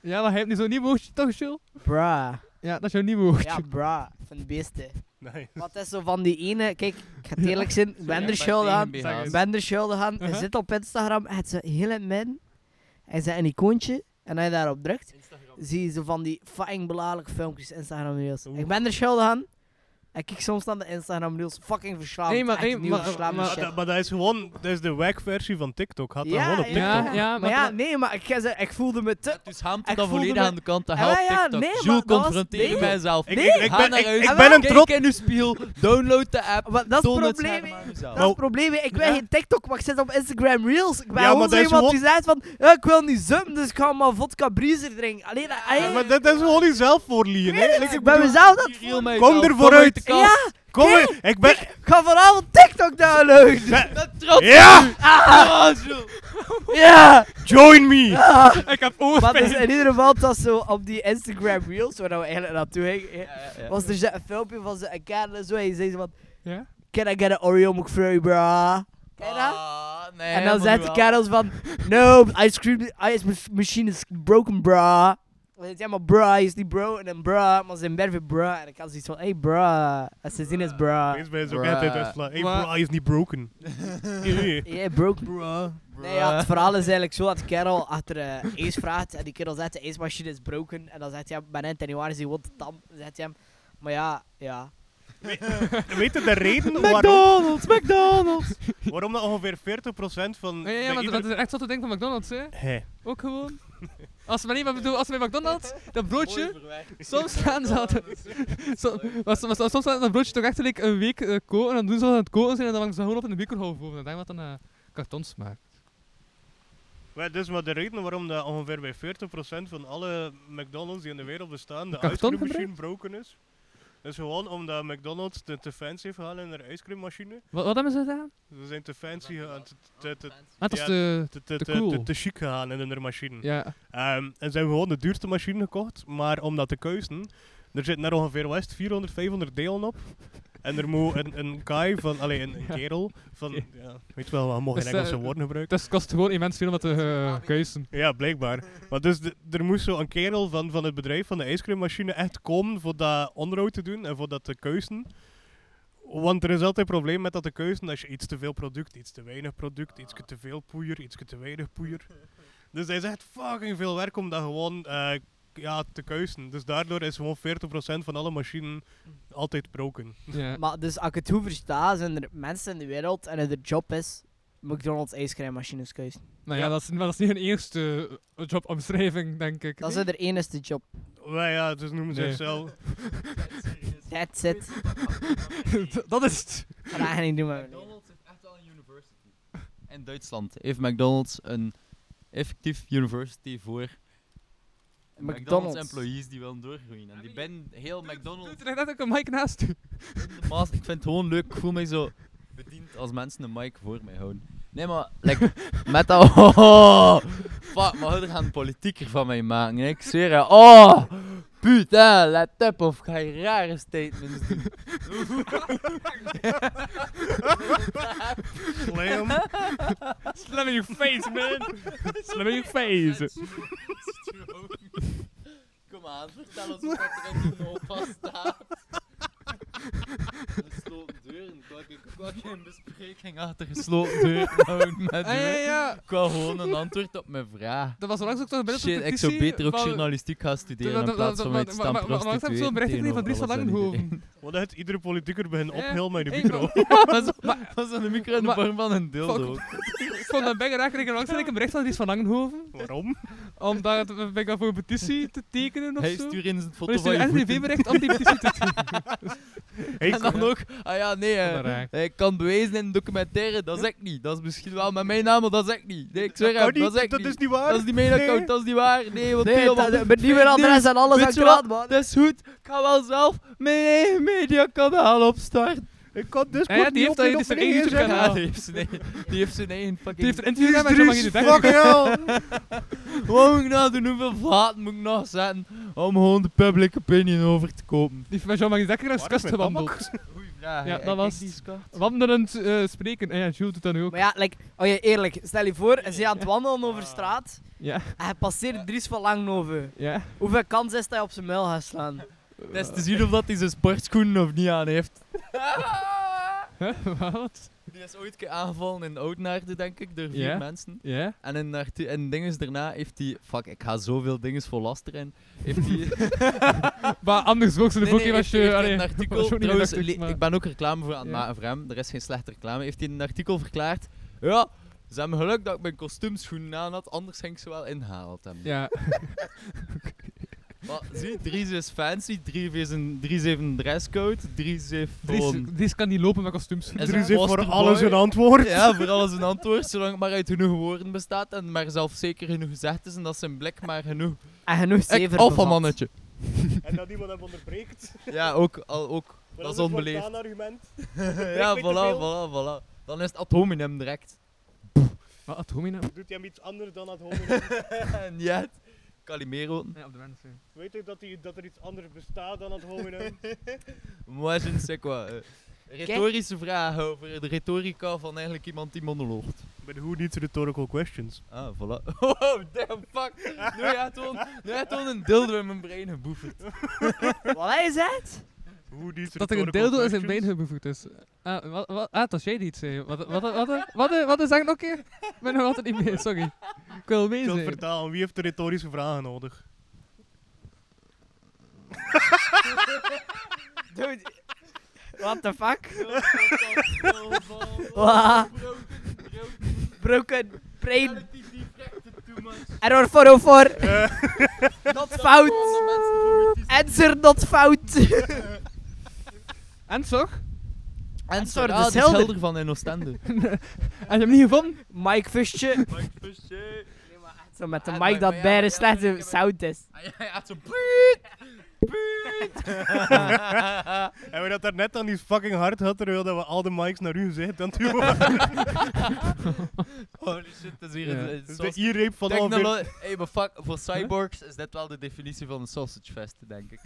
Ja, dat heeft nu zo'n nieuw woordje toch, Jules? Bruh. Ja, dat is jouw nieuw woordje. Ja, bruh. Van de beesten. Nee. Wat is zo van die ene, kijk, ik ga [laughs] het eerlijk zijn, Wender aan. Zeg eens. Bender Schuldehan Uh-huh. zit op Instagram, het is heel in het midden. Hij zet een icoontje en als je daarop drukt, zie je zo van die fucking belachelijke filmpjes Instagram reels. Oeh. Ik ben er Schuldehan en kijk soms naar de Instagram reels, fucking verslaafd. Nee, maar- echt nee, opnieuw maar- verslaafde maar- Maar shit. dat, Ah, maar dat is gewoon, dat is de wack-versie van TikTok. Had dat Ja, gewoon op TikTok. ja. Ja, ja, maar maar ja, nee, maar ik, ga zeggen, ik voelde me te... Dus haalt Ik dan voelde volledig me- aan de kant. Dat Ah, helpt ja, nee, TikTok. maar Jules, dat was- confronteer nee. mijzelf. Ik, Nee, ik, ik Ga ben, naar ik, huis. ik Ah, ben wel, een Kijk trots... in uw spiegel. Download de app. Maar dat is toon het het probleem. scherm hè. aan uzelf. Dat is het probleem. hè. Ik wil Ja. geen TikTok, maar ik zit op Instagram Reels. Ik Ja, ben maar gewoon dat zo is iemand gewoon- die zegt van, "Ja, ik wil niet zumpen, dus ik ga maar vodka breezer drinken. Alleen dat... Ja, maar dat, dat is gewoon niet zelf voorliegen. hè. Like, ik ik ben bedoel, mezelf dat... Riel mij Kom zelf, er vooruit. uit de Ja, kast. kom er- ik ben... Ik ga vanavond TikTok downloaden. Dat trots. Ja! Ah, Jules. [laughs] Ja! Join me! Ik heb Maar [laughs] oorspelen. dus in ieder geval, het was zo op die Instagram Reels, waar we eigenlijk naartoe gingen, was er zo een filmpje van zo'n kerel en zo, en je zei zo van, Ja? can I get an Oreo McFlurry, bruh? Ken je dat? Ah, nee, en dan zegt de manuel. kerel zo van, no, ice cream, ice machine is broken, bruh. Dan zegt hij maar bruh, hij is niet bro, en dan bruh, maar zijn berven bruh. En dan kan ze iets van, hey bruh, als ze zin is Eh, bruh. Eens ben je zo Bruh. altijd uitslag. Hey, Maar- bro, hij is niet [laughs] broken. Nee. Yeah, broken. Bruh. Nee, ja, het verhaal is eigenlijk zo dat de kerel achter eh Ace vraagt en die kerel zegt de Ace-machine is broken. En dan zegt hij hem, mijn eind januari is die wat tam. Dan zegt hij hem, maar ja, ja. Weet je de [laughs] reden waarom, McDonald's, McDonald's! waarom dat ongeveer 40% van... Ja, ja, bij maar ieder- dat is echt zo'n ding van McDonald's, hè? Hè. Ook gewoon. Als we, niet, maar bedoel, als we bij McDonald's dat broodje. Soms gaan ze dat. so, maar, so- maar so- soms gaan ze dat broodje toch echt like, een week eh, koken. En dan doen ze dat aan het koken zijn en dan hangen ze dat gewoon op in de microgolf boven. En dan denk ik dat een eh, karton smaakt. Maar dus maar de reden waarom dat ongeveer bij 40% van alle McDonald's die in de wereld bestaan, de Karton ijscreammachine broken is. Dat is gewoon omdat McDonald's te, te fancy heeft gehaald in haar ijscreammachine. Wat, wat hebben ze gedaan? Ze zijn te fancy gegaan, te, te, te, Ah, dat is Ja. de. te, te, Te te, te, cool. te chic gegaan in hun machine. Ja. Ehm, en ze hebben gewoon de duurste machine gekocht, maar om dat te kuisen, er zitten er ongeveer West 400, 500 delen op. En er moet een, een guy van, allee, [laughs] een, een kerel van, ja, weet je wel, we mogen Dus, eh, Engelse woorden gebruiken. Dus het kost gewoon immens veel om dat te eh, kuisen. Ja, blijkbaar. Maar dus de- er moest zo een kerel van, van het bedrijf, van de ijscreammachine, echt komen voor dat onderhoud te doen en voor dat te keuzen. Want er is altijd een probleem met dat te keuzen als je iets te veel product, iets te weinig product, iets te veel poeier, iets te weinig poeier. Dus hij is echt fucking veel werk om dat gewoon eh, k- ja, te keuzen. Dus daardoor is gewoon 40% van alle machines altijd broken. Ja. Maar dus als ik het goed versta, zijn er mensen in de wereld en hun job is McDonald's ijscreammachines keuzen. Nou ja, Ja. Dat, is, maar dat is niet hun eerste eh, jobomschrijving, denk ik. Dat is nee? hun enigste job. Maar ja, dus noemen ze Nee. zichzelf. [laughs] That's it. dat is het. [laughs] Dat ga ik niet doen met mijn McDonald's heeft echt wel een university. In Duitsland heeft McDonald's een effectief university voor McDonald's, McDonald's. employees die willen doorgroeien. En die ben heel McDonald's. Doet er net ook een mic naast u. in de baas. Ik vind het gewoon leuk. Ik voel mij zo bediend als mensen een mic voor mij houden. Nee, maar like, met dat. Oh, fuck, maar er gaan politieker van mij maken. hè. Ik zweer je. Oh, putain, let up of ik ga je rare statements doen. Slam. Slam in your face, [laughs] man. Slam in your face. Kom aan, vertel ons wat er in die nota staat. Gesloten deuren. Ik wou geen bespreking achter gesloten deuren houden met Ah, ja, ja, u. ja. Ik wou gewoon een antwoord op mijn vraag. Dat was langs ook toch een bericht op Shit, ik petitie zou beter ook van- journalistiek gaan studeren dat- in dat- plaats dat- van maar- mij te maar- staan maar- maar- maar- maar- prostitueren zo'n bericht niet van Dries tegenover van alles en iedereen. [laughs] Langenhoven. Wat heeft iedere politieker begint Eh, ophelmen in de ik- micro. Maar zo- Maar zo'n micro in de Maar- vorm van een dildo. Ik vond dat Benga raak langs ik een bericht van Dries van Langenhoven. [laughs] Waarom? Omdat het- Benga voor een petitie te tekenen of Hij zo. stuurt in zijn Maar foto is van stuurde je een voeten. NVV-bericht om die [laughs] petitie te tekenen. Hey, En dan ook, ah ja, nee, eh, Dat raakt. hij kan bewezen in een documentaire, dat zeg ik niet. Dat is misschien wel met mijn naam, maar dat zeg ik niet. Nee, ik zweer kan hem, dat niet, zeg ik dat niet. is niet waar. Dat is niet mijn Nee. account, dat is niet waar. Nee, want Nee, helemaal- dat- mijn e-mailadres en alles Weet je accuraat, wat? man. Dat is goed, ik ga wel zelf mijn eigen mediakanaal opstarten. Ik kan dus Ja, ja, die heeft dat- die is er één YouTube Ja, kanaal. [laughs] die heeft zijn eigen, die heeft zijn eigen Die heeft fucking... een interview gedaan met John Magie de Dekker. Fucking hell! Wat moet ik nou doen? Hoeveel vaat moet ik nog zetten om gewoon de public opinion over te kopen? Die heeft met John Magie de Dekker naar de Waar is kast mijn gewandeld. [laughs] Goeie vraag. Ja, hè. dat Kijk, was die het. skat. Wandelend eh, spreken. En ja, Jules doet dat nu ook. Maar ja, like, oh ja, eerlijk, stel je voor, ze aan het wandelen Ah. over straat Ja. en je passeert Dries van Langenhoven. Ja. [laughs] Hoeveel kans is dat je op zijn muil gaat slaan? Het is te zien of dat hij zijn sportschoenen of niet aan heeft. Huh? Wat? Die is ooit een keer aangevallen in Oudenaarde, denk ik, door vier Ja. mensen. Ja? En in, haar tu- in dinges daarna heeft hij... Fuck, ik ga zoveel dinges voor laster in. Heeft [laughs] hij... Maar anders ook zo'n Nee, nee, boekje was heeft je... hij- heeft hij allee, [laughs] een was ook artikel... niet Trouwens, redacties, le- maar- ik ben ook reclame voor aan het Ja. maken voor hem. Er is geen slechte reclame. Heeft hij in een artikel verklaard... Ja, ze hebben geluk dat ik mijn kostuumschoenen aan had, anders ging ik ze wel ingehaald hebben. [laughs] Ja. Maar zie, Dries is dus fancy, Dries heeft een, Dries heeft een dresscode, Dries heeft Dries, gewoon... Dries kan niet lopen met kostuums. is Dries een heeft voor posterboy. alles een [laughs] antwoord. Ja, voor alles een antwoord, zolang het maar uit genoeg woorden bestaat en maar zelf zeker genoeg gezegd is en dat zijn blik maar genoeg. En genoeg Ik, zeven alpha mannetje. En dat iemand hem onderbreekt. Ja, ook, al, ook. [laughs] Dat is onbeleefd. argument. Ja, weet te voilà, veel. voilà, voilà. Dan is het atominem direct. Wat, wat hoor je nou? Doet hij hem iets anders dan het horen? En ja, Calimero. Ja, op de wens. Weet u dat, hij, dat er iets anders bestaat dan het horen? Moi, je ne sais quoi. eh. retorische vraag over de retorica van eigenlijk iemand die monologt. But who needs rhetorical questions? Ah, voilà. [laughs] Oh, damn, fuck. Nu gaat gewoon, nu gaat gewoon een dildo in mijn brein geboeferd. Wat hij zegt? Who needs Dat er een rhetorical dildo in zijn been questions? geboefd is. Ah, wat, wat, ah, dat was jij die het zei. Wat, wat, wat, wat, wat, wat is dat nog een keer? Ik ben nog altijd niet mee, sorry. Ik wil mee Ik wil zijn. vertalen, wie heeft de retorische vragen nodig? Dude, what the fuck? Wa- Broken brain. Error 404. Eh. [laughs] Not fout. Answer not fout. Eh. En toch? sorry, En sorry, de de Zelder. schilder van in Oostende. Heb je hem niet gevonden? Mike Fustje. Zo met de mic dat Ah, maar- maar ja, bij maar de ja, maar ik slechte heb- sound is. Hij had zo'n puut, puut. En we dat daarnet dan niet fucking hard had, terwijl dat we al de mics naar u gezegd dan toe. Holy shit, dat is hier Ja. een- een Dus de sausage- i-reep van ongeveer... Technolo- Hey, maar fuck, voor cyborgs is dit wel de definitie van een sausage fest, denk ik.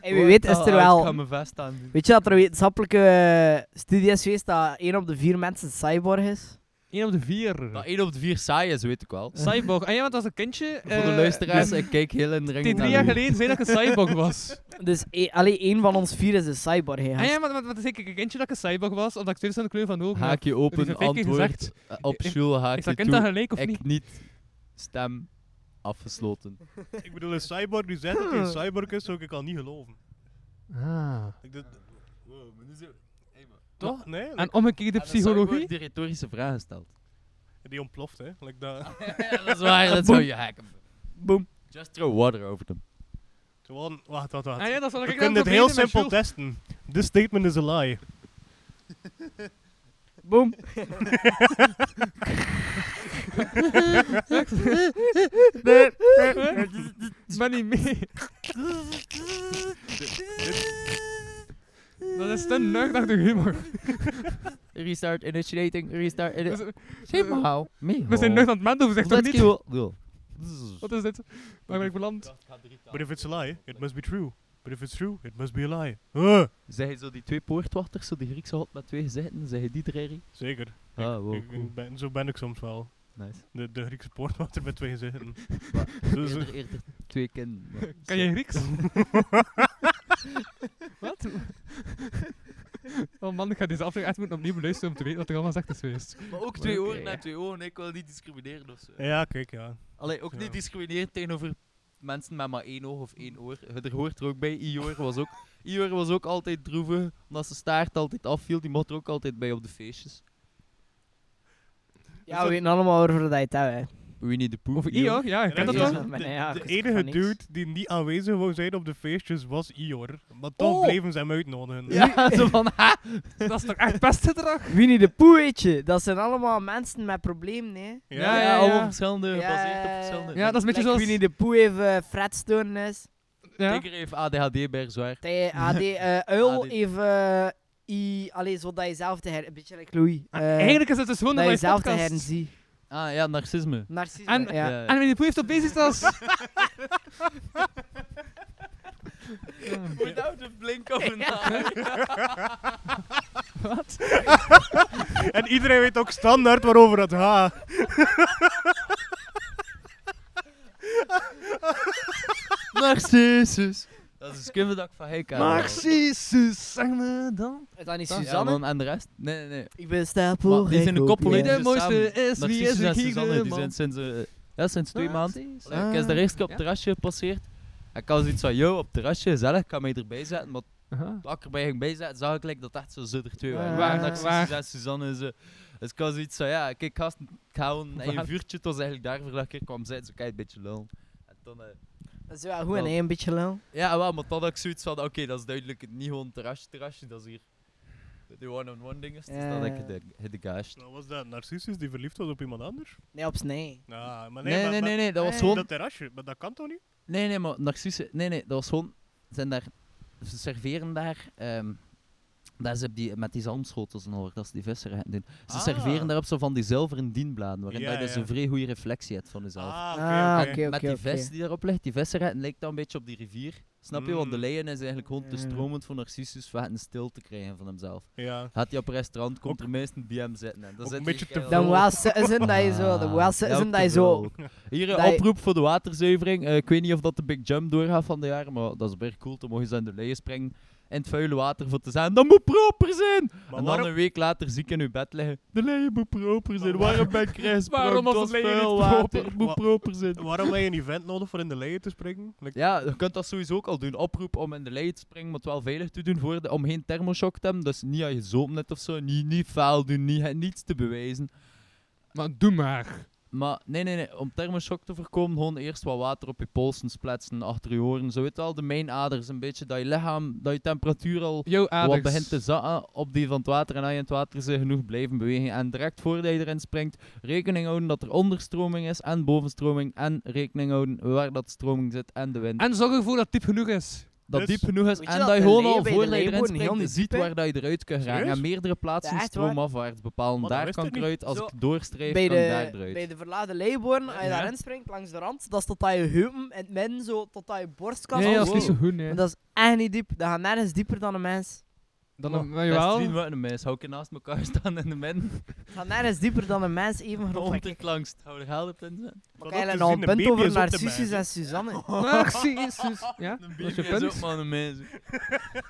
En wie weet is er Ah, wel... Ik ga mijn vest aan doen. Weet je dat er een wetenschappelijke eh, studie is geweest dat 1 op de 4 mensen cyborg is? 1 op de 4. Nou, Dat 1 op de 4 saai is, weet ik wel. Cyborg. En jij bent als een kindje. eh, Voor de luisteraars, ik kijk heel in de ring Die drie naar jaar geleden zei dat ik een cyborg [laughs] was. Dus e alleen één van ons vier is een cyborg. hè, En gast. Ah, ja, maar maar- maar dat is ik een kindje dat ik een cyborg was, omdat ik steeds aan de kleur van de Lou. ogen had. Haakje Dus open, heb ik antwoord gezegd, eh, op ik- Jules, Is dat haakje kind dat toe. gelijk of niet? Ik niet. Stem afgesloten. Ik bedoel, een cyborg die zegt dat hij een cyborg is, zou ik al niet geloven. Ah. Ik dit- Toch? Ah. Ah, Nee, En omgekeerde psychologie? die retorische vragen stelt. die ontploft, hè. Like dat. [laughs] dat is waar, dat zou je hacken. Boom. Just throw water over them. Gewoon, wacht, wacht, wacht. Ah ja, dat zal ik We dan kunnen dit proberen heel met simpel Jules. testen. This statement is a lie. Boom. Maar niet mee. Dat is te nuchtig humor. Restart initiating, restart We initiating. zijn- Zeg maar hou. We zijn nuchter aan het menten, zeg toch Oh. Let's niet? go. Go. Wat is dit? Waar ben ik beland? But if it's a lie, it must be true. But if it's true, it must be a lie. Huh, Zeg je zo die twee poortwachters, zo de Griekse hot met twee gezichten, zeg je die drie? zeker. Ik- Ah, wow, ik- ik cool. ben- zo ben ik soms wel. Nice. De, de Griekse poortwachter met twee [laughs] gezichten. Zo- zo- Eerder, eerder twee kinderen. maar- Kan [laughs] jij Grieks? Wat? Oh man, ik ga deze aflevering echt moeten opnieuw beluisteren om te weten wat er allemaal zegt is geweest. Maar ook twee oren en twee ogen, ik wil niet discrimineren of zo. ja, kijk, ja. Allee, ook Ja. niet discrimineren tegenover mensen met maar één oog of één oor. Eh, Er hoort er ook bij. Ior was ook, Ior was ook altijd droevig, omdat ze staart altijd afviel. Die mocht er ook altijd bij op de feestjes. Ja, we weten allemaal waarover dat je het hebt. hè. [laughs] Winnie de Pooh. Over Ior? Ja, ik ken dat Ja. toch? Maar De, nee, ja, de ik wist enige van niks. dude die niet aanwezig wou zijn op de feestjes was Ior. Maar toch Oh. bleven ze hem uitnodigen. Ja, zo van, ha! Dat is toch echt pestgedrag? Winnie de Pooh, weet je. Dat zijn allemaal mensen met problemen, hè. Ja, ja, ja, allemaal ja. verschillende, gebaseerd op Ja. verschillende. Ja, dat is een beetje Like zoals... Winnie de Pooh heeft eh, fretstoornis. Ja. Tiger heeft ADHD bij zwaar. [laughs] Tij- AD, eh, uil AD. heeft... eh, I, allee, zo dat je zelf te her... Een beetje like Louis. Ah, eh, Eigenlijk is het dus gewoon dat je een zelf te podcast. herzien. Ah ja, narcisme. Narcisme, En- ja. En Winnie de Pooh heeft op Bezitas. Without the blink of an eye. En iedereen weet ook standaard waarover het gaat. Narcissus. Dat is een skuffeldak van Heika. Narcissus, zeg me dan. Is dat niet Ja, Suzanne? man, en de rest? Nee, nee, nee. ik ben stapel. Maar die zijn een koppel, Wie Ja. de Ze mooiste is, samen. wie is Narcissus en ik Suzanne, hier, die zijn man. sinds, eh, ja, sinds twee maanden. Allee, Ik Ah. is de eerste keer op het Ja. terrasje gepasseerd. En ik had zoiets van, yo, op het terrasje, gezellig, ik kan mij erbij zetten. Maar Aha. toen ik erbij ging bijzetten, zag ik like, dat het echt zo zudder twee waren. Ah. Waar, Waar, Narcissus waar. en Suzanne. Ze. Dus ik had zoiets van, ja, kijk gasten, ik ga gewoon in een Waar? vuurtje. Het was eigenlijk daarvoor dat ik hier kwam zitten, zo kijk, een beetje lul. En toen, eh, Dat is wel goed, hè, een beetje lang. ja, wel, maar toen had ik zoiets van, oké, dat is duidelijk niet gewoon terrasje, terrasje, dat is hier... De one-on-one dingen, dus dan heb ik Ja. de, de gage. Nou, was dat Narcissus die verliefd was op iemand anders? Nee, op snij. Ja, maar nee, Nee, maar, nee, nee, maar- nee, dat was Nee. gewoon Dat terrasje, maar dat kan toch niet? Nee, nee, maar narcissen... Nee, nee, dat was gewoon... ze Zijn daar... Ze serveren daar... ehm daar ze die, met die zalmschotels en hoor, dat ze die vissen gaan doen. Ze Ah. serveren daarop zo van die zilveren dienbladen, waarin Ja, dat je dus ja. een vrij goede reflectie hebt van jezelf. Ah, oké, Ah, oké. oké, met oké, die oké. vest die daarop ligt, die vissenretten lijkt dan een beetje op die rivier. Snap je? Want de Mm. leien is eigenlijk gewoon Ja. te stromend voor dus Narcissus om stil te krijgen van hemzelf. Ja. Gaat hij op een restaurant, komt Ook- er meest een BM zitten. En dan ook zit een beetje hij- te Dan veel. wel citizen dat je zo, dan Ah, wel ja, citizen ook dat je te veel zo... ook. Hier dat een je- oproep voor de waterzuivering. Eh, ik weet niet of dat de Big Jump doorgaat van de jaren, maar dat is weer cool. Dan mogen ze aan de leien springen in het vuile water voor te zijn. Dat moet proper zijn! Maar en dan waarom, een week later ziek in uw bed liggen. De leien moet proper zijn. Waarom ben ik Chris? Waarom was het de leien vuil niet proper? water? Het moet Wa- proper zijn. waarom heb je een event nodig voor in de leien te springen? Like, Ja, je kunt dat sowieso ook al doen. Oproep om in de lijn te springen, maar het wel veilig te doen voor de, om geen thermoshock te hebben. Dus niet aan je zoom net of zo. Niet, niet vuil doen, niet, niets te bewijzen. Maar doe maar. Maar nee, nee, nee. Om thermoshock te voorkomen, gewoon eerst wat water op je polsen spletsen, achter je oren. Zo weet je al, de mijnaders een beetje, dat je lichaam, dat je temperatuur al Yo, wat aders. begint te zakken op die van het water. En als je in het water zit, genoeg blijven bewegen. En direct voordat je erin springt, rekening houden dat er onderstroming is en bovenstroming. En rekening houden waar dat stroming zit en de wind. En zorg ervoor dat het diep genoeg is. dat Dus- diep genoeg is Weet en je dat, dat je de gewoon leeuw al bij voor de je erin leeuwen heel springt, diep ziet is? waar dat je eruit kan geraken. Serieus? En meerdere plaatsen Ja, echt waar. stroomafwaarts bepalen. Maar dat Daar wist kan ik ik niet. eruit, als Zo, ik doorstreef, Bij kan ik de, daar bij eruit. de verlaagde leiborn, als je Ja. daarin springt langs de rand, dat is tot aan je heupen in het midden, zo tot aan je borstkast. Nee, dat is Wow. niet zo goed, nee. Maar dat is echt niet diep. Dat gaat nergens dieper dan een mens. Dan Oh, een- best jawel. zien wat een mens. Hou ik naast elkaar staan in de midden. Dat [laughs] gaat nergens dieper dan een mens, even groot. als ik. Ontdekt langs. Hou er geld op in zijn. Maar dat Kijk, te nou zien, een een punt baby over is op de Narcissus en mens, Suzanne. Ah Narcissus. Ja, dat is je Baby is ook punt. maar een mens.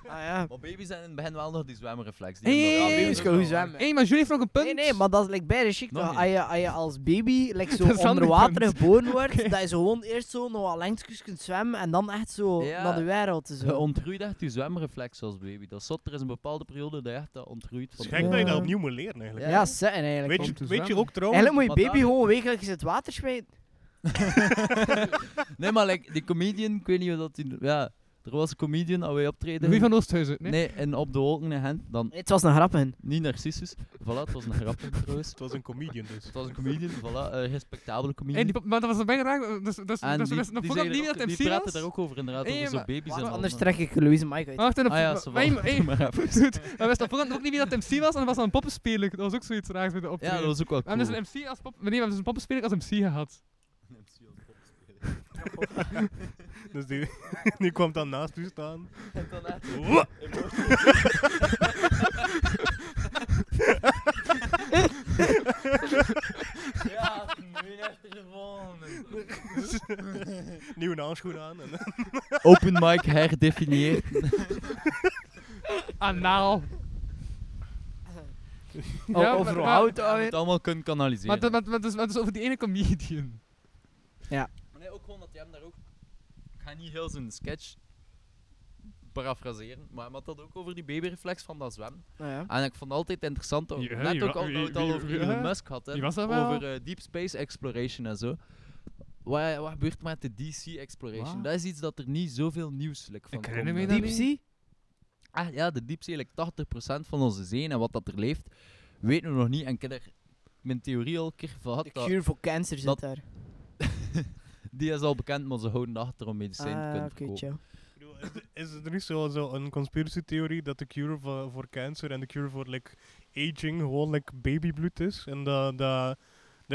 ja. Maar baby's zijn in het begin wel nog die zwemreflex. Die Hey, hebben dat hey, wel. hey, Baby's kunnen goed zwemmen. Hé, maar jullie heeft nog een punt. Nee, nee, maar dat is like bij de chic. Nog toch? niet. Als je, als je als baby like, zo Dat is onder ander water punt. geboren wordt, dat je zo gewoon eerst zo nog wat lengtjes kunt zwemmen en dan echt zo Ja. naar de wereld. Zo. Je ontroeit echt je zwemreflex als baby. Dat is zot. Er is een bepaalde periode dat je echt dat ontroeit. Het van is de gek dat je Ja. dat opnieuw moet leren eigenlijk. Ja, dus zetten eigenlijk. Weet, om je, te weet je zwemmen. ook trouwens... Eigenlijk moet je Want baby daar- gewoon wekelijks in het water smijten. Nee, maar like, die comedian, ik weet niet of dat die... Ja, er was een comedian dat wij optreden. Louis van Oosthuizen. Nee. Nee, en Op de Wolken en Gent. Dan Nee, Het was een grap, hè. niet Narcissus. Voilà, het was een grap [laughs] trouwens. Het was een comedian dus. Het was een comedian, voilà, een respectabele Hey, comedian. die, pap- maar dat was er bijna raak. Dus, dus, dus, dus en we die, wisten op die, voorhand zeiden niet ook- dat die MC praten was. daar ook over inderdaad, Hey, over zo'n maar- baby's en Anders al. trek ik Louise Mike uit. Wacht, en op, Ah ja, ze wij- valt. hey, maar even. Dude, we wisten op voorhand ook niet wie dat MC was en dat was dan een poppenspeler. Dat was ook zoiets raars bij de [laughs] Ja, optreden. dat was ook wel We hebben dus cool. een MC als pop... Nee, we hebben dus een poppenspeler als MC gehad. Dus die, [laughs] die kwam dan naast u staan. Ja, nu heeft hij gewonnen. Nieuwe handschoen aan. En, Open mic herdefinieerd. [laughs] Anaal. O- Ja, Oh, over maar- hoe maar- oud Je alweer? moet allemaal kunnen kanaliseren. Maar, dat- maar, maar, dus, maar dus over die ene comedian. Nee, ook gewoon dat hij hem daar ook... Ik ga niet heel zijn sketch parafraseren, maar hij had dat ook over die babyreflex van dat zwemmen. Nou ja. En ik vond het altijd interessant, dat we Ja, net ja, ook al, wie- dat we het al wie- over wie- Elon hè? Musk had, hè, Wie was dat wel? over eh, deep space exploration en zo. Wat, wat gebeurt met de DC exploration? Wat? Dat is iets dat er niet zoveel nieuws like, van Ik herinner komt, me hè. dat niet. Diepzee? Ah, ja, de diepzee, like, 80% van onze zee en wat dat er leeft, weten we nog niet. En ik heb er mijn theorie al een keer gehad, De dat- cure voor cancer dat- zit daar. die is al bekend, maar ze houden achter om medicijnen te Ah, kunnen oké, verkopen. chill. Ik bedoel, is, de- [laughs] is er niet zo, zo een conspiracy theorie dat de cure voor, voor cancer en de cure voor like, aging gewoon like, babybloed is? En dat dat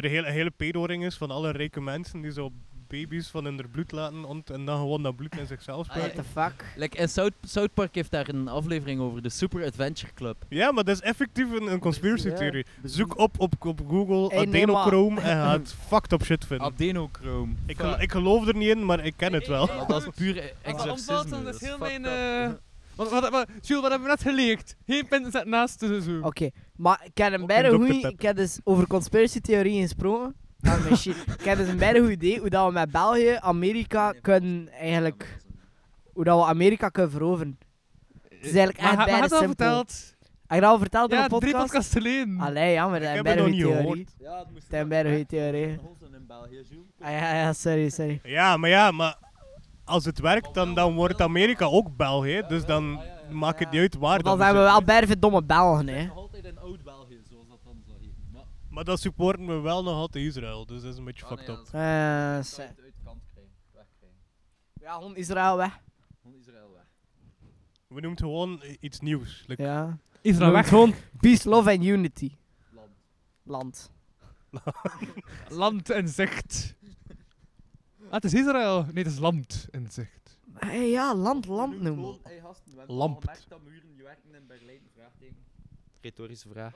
er een hele, hele pedoring is van alle rijke mensen die zo baby's van hun bloed laten ont en dan gewoon dat bloed in zichzelf Ah, ja, spuiten. What the fuck? Like, in South, South Park heeft daar een aflevering over, de Super Adventure Club. Ja, maar dat is effectief een, een conspiracy Ja. theorie. Zoek op op, op Google Hey, nee, maar- adenochrome en ga het fucked up shit Hm. vinden. Adenochrome. Ik, Ah, Fuck. gel- ik geloof er niet in, maar ik ken het wel. Maar dat is puur e- Wat exorcisme. dan? Dat is heel mijn... fucked up. eh, Wat, wat, wat, Jules, wat hebben we net geleerd? Geen punten zet naast de zo. Oké, maar ik heb een Hm. Ook bijna een Dr. goeie... Pepper. Ik heb dus over conspiracy theorieën gesproken. Ah, mijn shit. Ik heb dus een bijna goed idee hoe dat we met België, Amerika kunnen eigenlijk... Hoe dat we Amerika kunnen veroveren. Het is Eh, eigenlijk Maar echt hij- hij bijna had al simpel. verteld. Heb je dat al verteld in Ja, een drie podcast? podcasts geleden. Allee, jammer. Ik Dat is heb bijna het goeie nog niet theorie. gehoord. Ja, het moest Dat is bijna goeie [laughs] theorie. in België, Jules. Ah, ja, ja, sorry, sorry. Ja, maar ja, maar als het werkt, dan, dan wordt Amerika ook België. Dus dan maakt het niet uit waar. Dan dat zijn we is. wel berven domme Belgen, hè. Nog altijd in Oud-België, zoals dat dan zo heet. Maar Maar dan supporten we wel nog altijd Israël. Dus dat is een beetje Ah, fucked nee, up. dat is- Eh, dat zou se- het uit de kant krijgen, wegkrijgen. ja, gewoon Israël weg. Van Israël weg. We noemen het gewoon i- iets nieuws. Like, Ja. Israël weg. Gewoon peace, love and unity. Land. Land. Land en zicht. Ah, het is Israël. Nee, het is land en zicht. Hey, Eh, ja, land, land noemen. Lampt. dat muren niet werken in Berlijn? Vraagteken. Retorische vraag.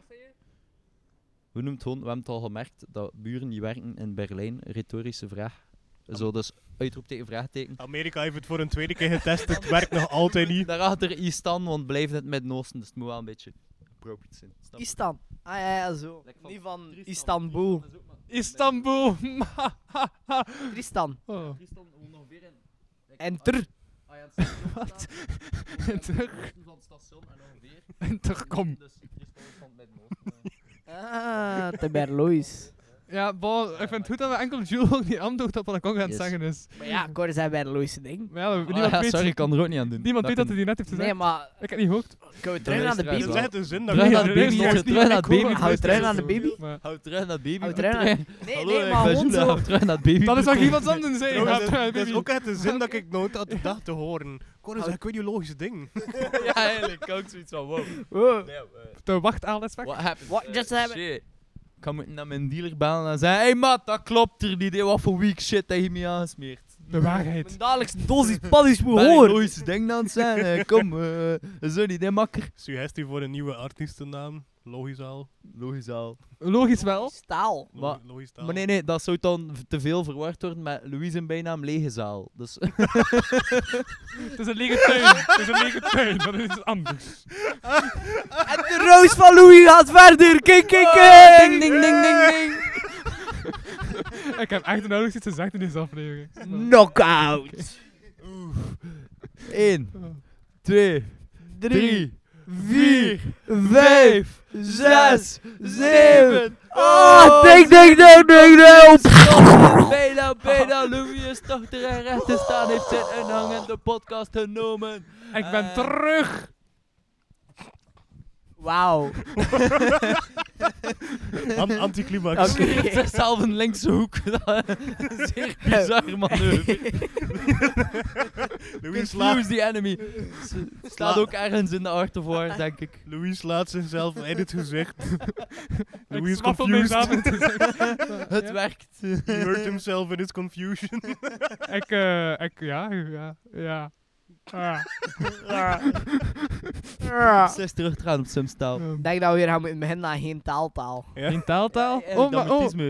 We noemt gewoon, we hebben het al gemerkt dat muren niet werken in Berlijn. Retorische vraag. Zo, dus uitroepteken, vraagteken. Amerika heeft het voor een tweede keer getest. Het werkt nog altijd [laughs] niet. Daarachter Istan, want blijft het met Noosten, dus het moet wel een beetje appropriate zijn. Snap je? Istan. Ah ja, ja, zo. Like van Die van Istanbul. Istan is ook maar- Istanbul. Tristan. oh. Istan woont ongeveer in. like, Enter. Ah ja, het station staat- En terug. Van het station en [laughs] ongeveer. En terug, kom. Dus Istan stond met Noosten. Ah, te Berlois. Ja, bon, ik vind het goed dat we enkel Jules ook niet aandoet op wat ik ook aan het Yes. zeggen is. Maar ja, Cor zijn bij de loose ding. Maar ja, we- niemand Ah, ja, weet, sorry, ik kan er ook niet aan doen. niemand weet dat kan hij die net heeft gezegd. Nee, maar Ik heb niet gehoord. gaan we terug naar de luisteraars Het baby? is wel. echt een zin dat Terug ik- [laughs] naar de baby, Nee, jongens, ik terug naar hoor de baby. het Hou niet. terug naar de baby. Maar- Houd terug naar de baby. Hou terug naar- Nee, Hallo, nee, ik maar ben gewoon Jula, zo. hou terug naar de baby. Dat is nog iemand anders zijn. Trouwens, Ja, dat- terug naar de Dat is baby. ook echt een zin dat ik nooit had gedacht te horen. Corus, ik weet je logische ding. [laughs] Ja, eigenlijk ook zoiets van, wow. Wow. De wacht aan, let's What happened? What just Eh, happened? Shit. Ik ga moeten naar mijn dealer bellen en zeggen, hey maat, dat klopt er niet. hè. Wat voor weak shit heb je me aangesmeerd? De waarheid. Mijn dagelijkse dosis paddies moet Ben ik horen. nooit ding aan het zijn? [laughs] eh, Kom, eh, zo niet, hè, makker. Suggestie voor een nieuwe artiestennaam. Logisch al. Logisch al. Logisch wel. Staal. Lo- Maar- Logisch taal. Maar nee, nee, dat zou dan v- te veel verward worden met Louise een bijnaam Legezaal. [laughs] Dus Het is een lege tuin. Het is een lege tuin. Dat is iets anders. En de roos van Louis gaat verder. Kijk, kijk, kijk. Ah, ding, ding, ding, ding, ding. Ik heb echt nauwelijks iets gezegd in deze aflevering. Knockout. 1, 2, 3, 4, 5, 6, 7, Ah, ding, ding, ding, ding, ding. Bijna, bijna, Louis is toch er recht te staan, heeft zijn inhangende podcast genomen. Ik ben Eh. terug. Wauw. An- [laughs] Anticlimax. Oké. Smeert zichzelf een linkse hoek. [laughs] Zeer bizar [laughs] manoeuvre. Louis, sla Confuse the [laughs] enemy. S- Staat ook ergens in de Art of [laughs] War, denk ik. Louis slaat zichzelf in het gezicht. Ik Louis is smaffel mijn confused. naam in te zeggen. Het Ja. werkt. [laughs] He hurt [laughs] himself in his confusion. Ik, eh, ik, ja, ja, ja. Ah. Zes terug te gaan op Simstaal. denk dat we weer gaan moeten beginnen naar geen taaltaal. In taaltaal? Eh, oh, dat maar, oh. mutisme.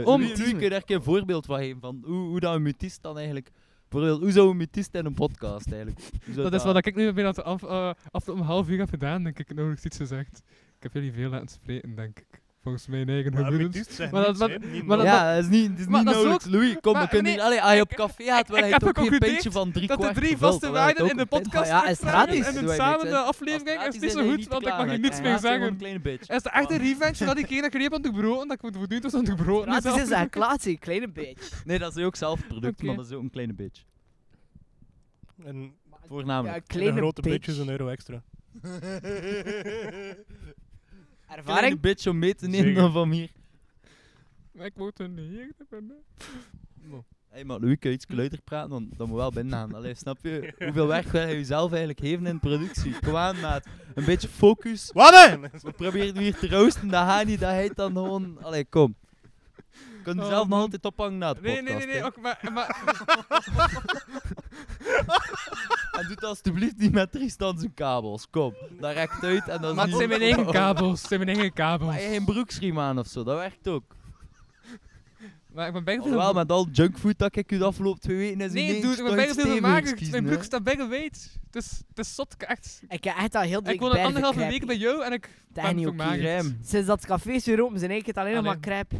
eh, om- Louis- Louis, kun je daar een keer een voorbeeld van geven? Van hoe, hoe dat een mutist dan eigenlijk... Bijvoorbeeld, hoe zou een mutist in een podcast eigenlijk? Hoe zou Dat is wat ik nu binnen het af, eh, af een half uur heb gedaan, denk ik, nauwelijks iets gezegd. Ik heb jullie veel laten spreken, denk ik. Volgens mijn eigen Maar gevoelens. amethyst zegt Maar dat- niets, maar- hè. Niet maar dat- nodig. Ja, dat is niet, dat is Maar niet dat is nodig. Louis, kom, we maar kunnen nee, hier... Allee, als je ik- op café gaat, wil ik hij heb toch geen geconcludeerd pintje van drie Dat de kwart drie gevuld, vaste wil hij waarden ook in de een pintje- podcast ja, is terugkomen gratis, en doen een wij niks, samende hè. aflevering Als is niet gratis zo hij goed, want ik mag klagen. hier niets Hij meer haat gewoon zeggen. een kleine bitch. Is het echt een revenge dat ik ene keer heb onderbroken, dat ik het voortdurend was onderbroken? Gratis is mezelf? een klatie, kleine bitch. Nee, dat is ook zelf het product, Oké. maar dat is ook een kleine bitch. En Ja, Voornamelijk. een kleine grote bitch. bitch is een euro extra. Kleine Ervaring? bitch om mee te nemen Zeker. dan van hier. Ik word een heer. Hé, maar Louis, kun je iets kluiter praten? Want dat moet wel binnen gaan. Allee, snap [laughs] je? Hoeveel werk wil hij jezelf eigenlijk geven in productie? Kom aan, maat. Een beetje focus. Wat hè? We proberen hem hier te roosten. Dat gaat niet. Dat heet dan gewoon... Allee, kom. Je kunt Oh, jezelf nog man. altijd ophangen na het Nee, nee, nee, podcast, nee, hè. ook, maar, maar En doe het alstublieft niet met Tristan zijn kabels. Kom. Dat rekt uit en dan is Maar het niet- zijn mijn eigen [laughs] kabels, het zijn mijn eigen kabels. Maar je geen broeksriem aan of zo. Dat werkt ook. Maar ik ben bijna Wel, met al junkfood dat ik u de afgelopen twee weken is Oh. Nee, ineens dude, ik ben toch bijna veel iets stevigs vermakelijk. kiezen, Mijn hè. broek staat bijna weet. Het is, het is zot, ik echt. Ik heb echt al heel dik Ik woon een bergen anderhalve crêpe. week bij jou en ik Tijn ben niet ook vermakelijk. Crème. Sinds dat cafés weer open zijn, ik het alleen nog maar Alleen. crêpe.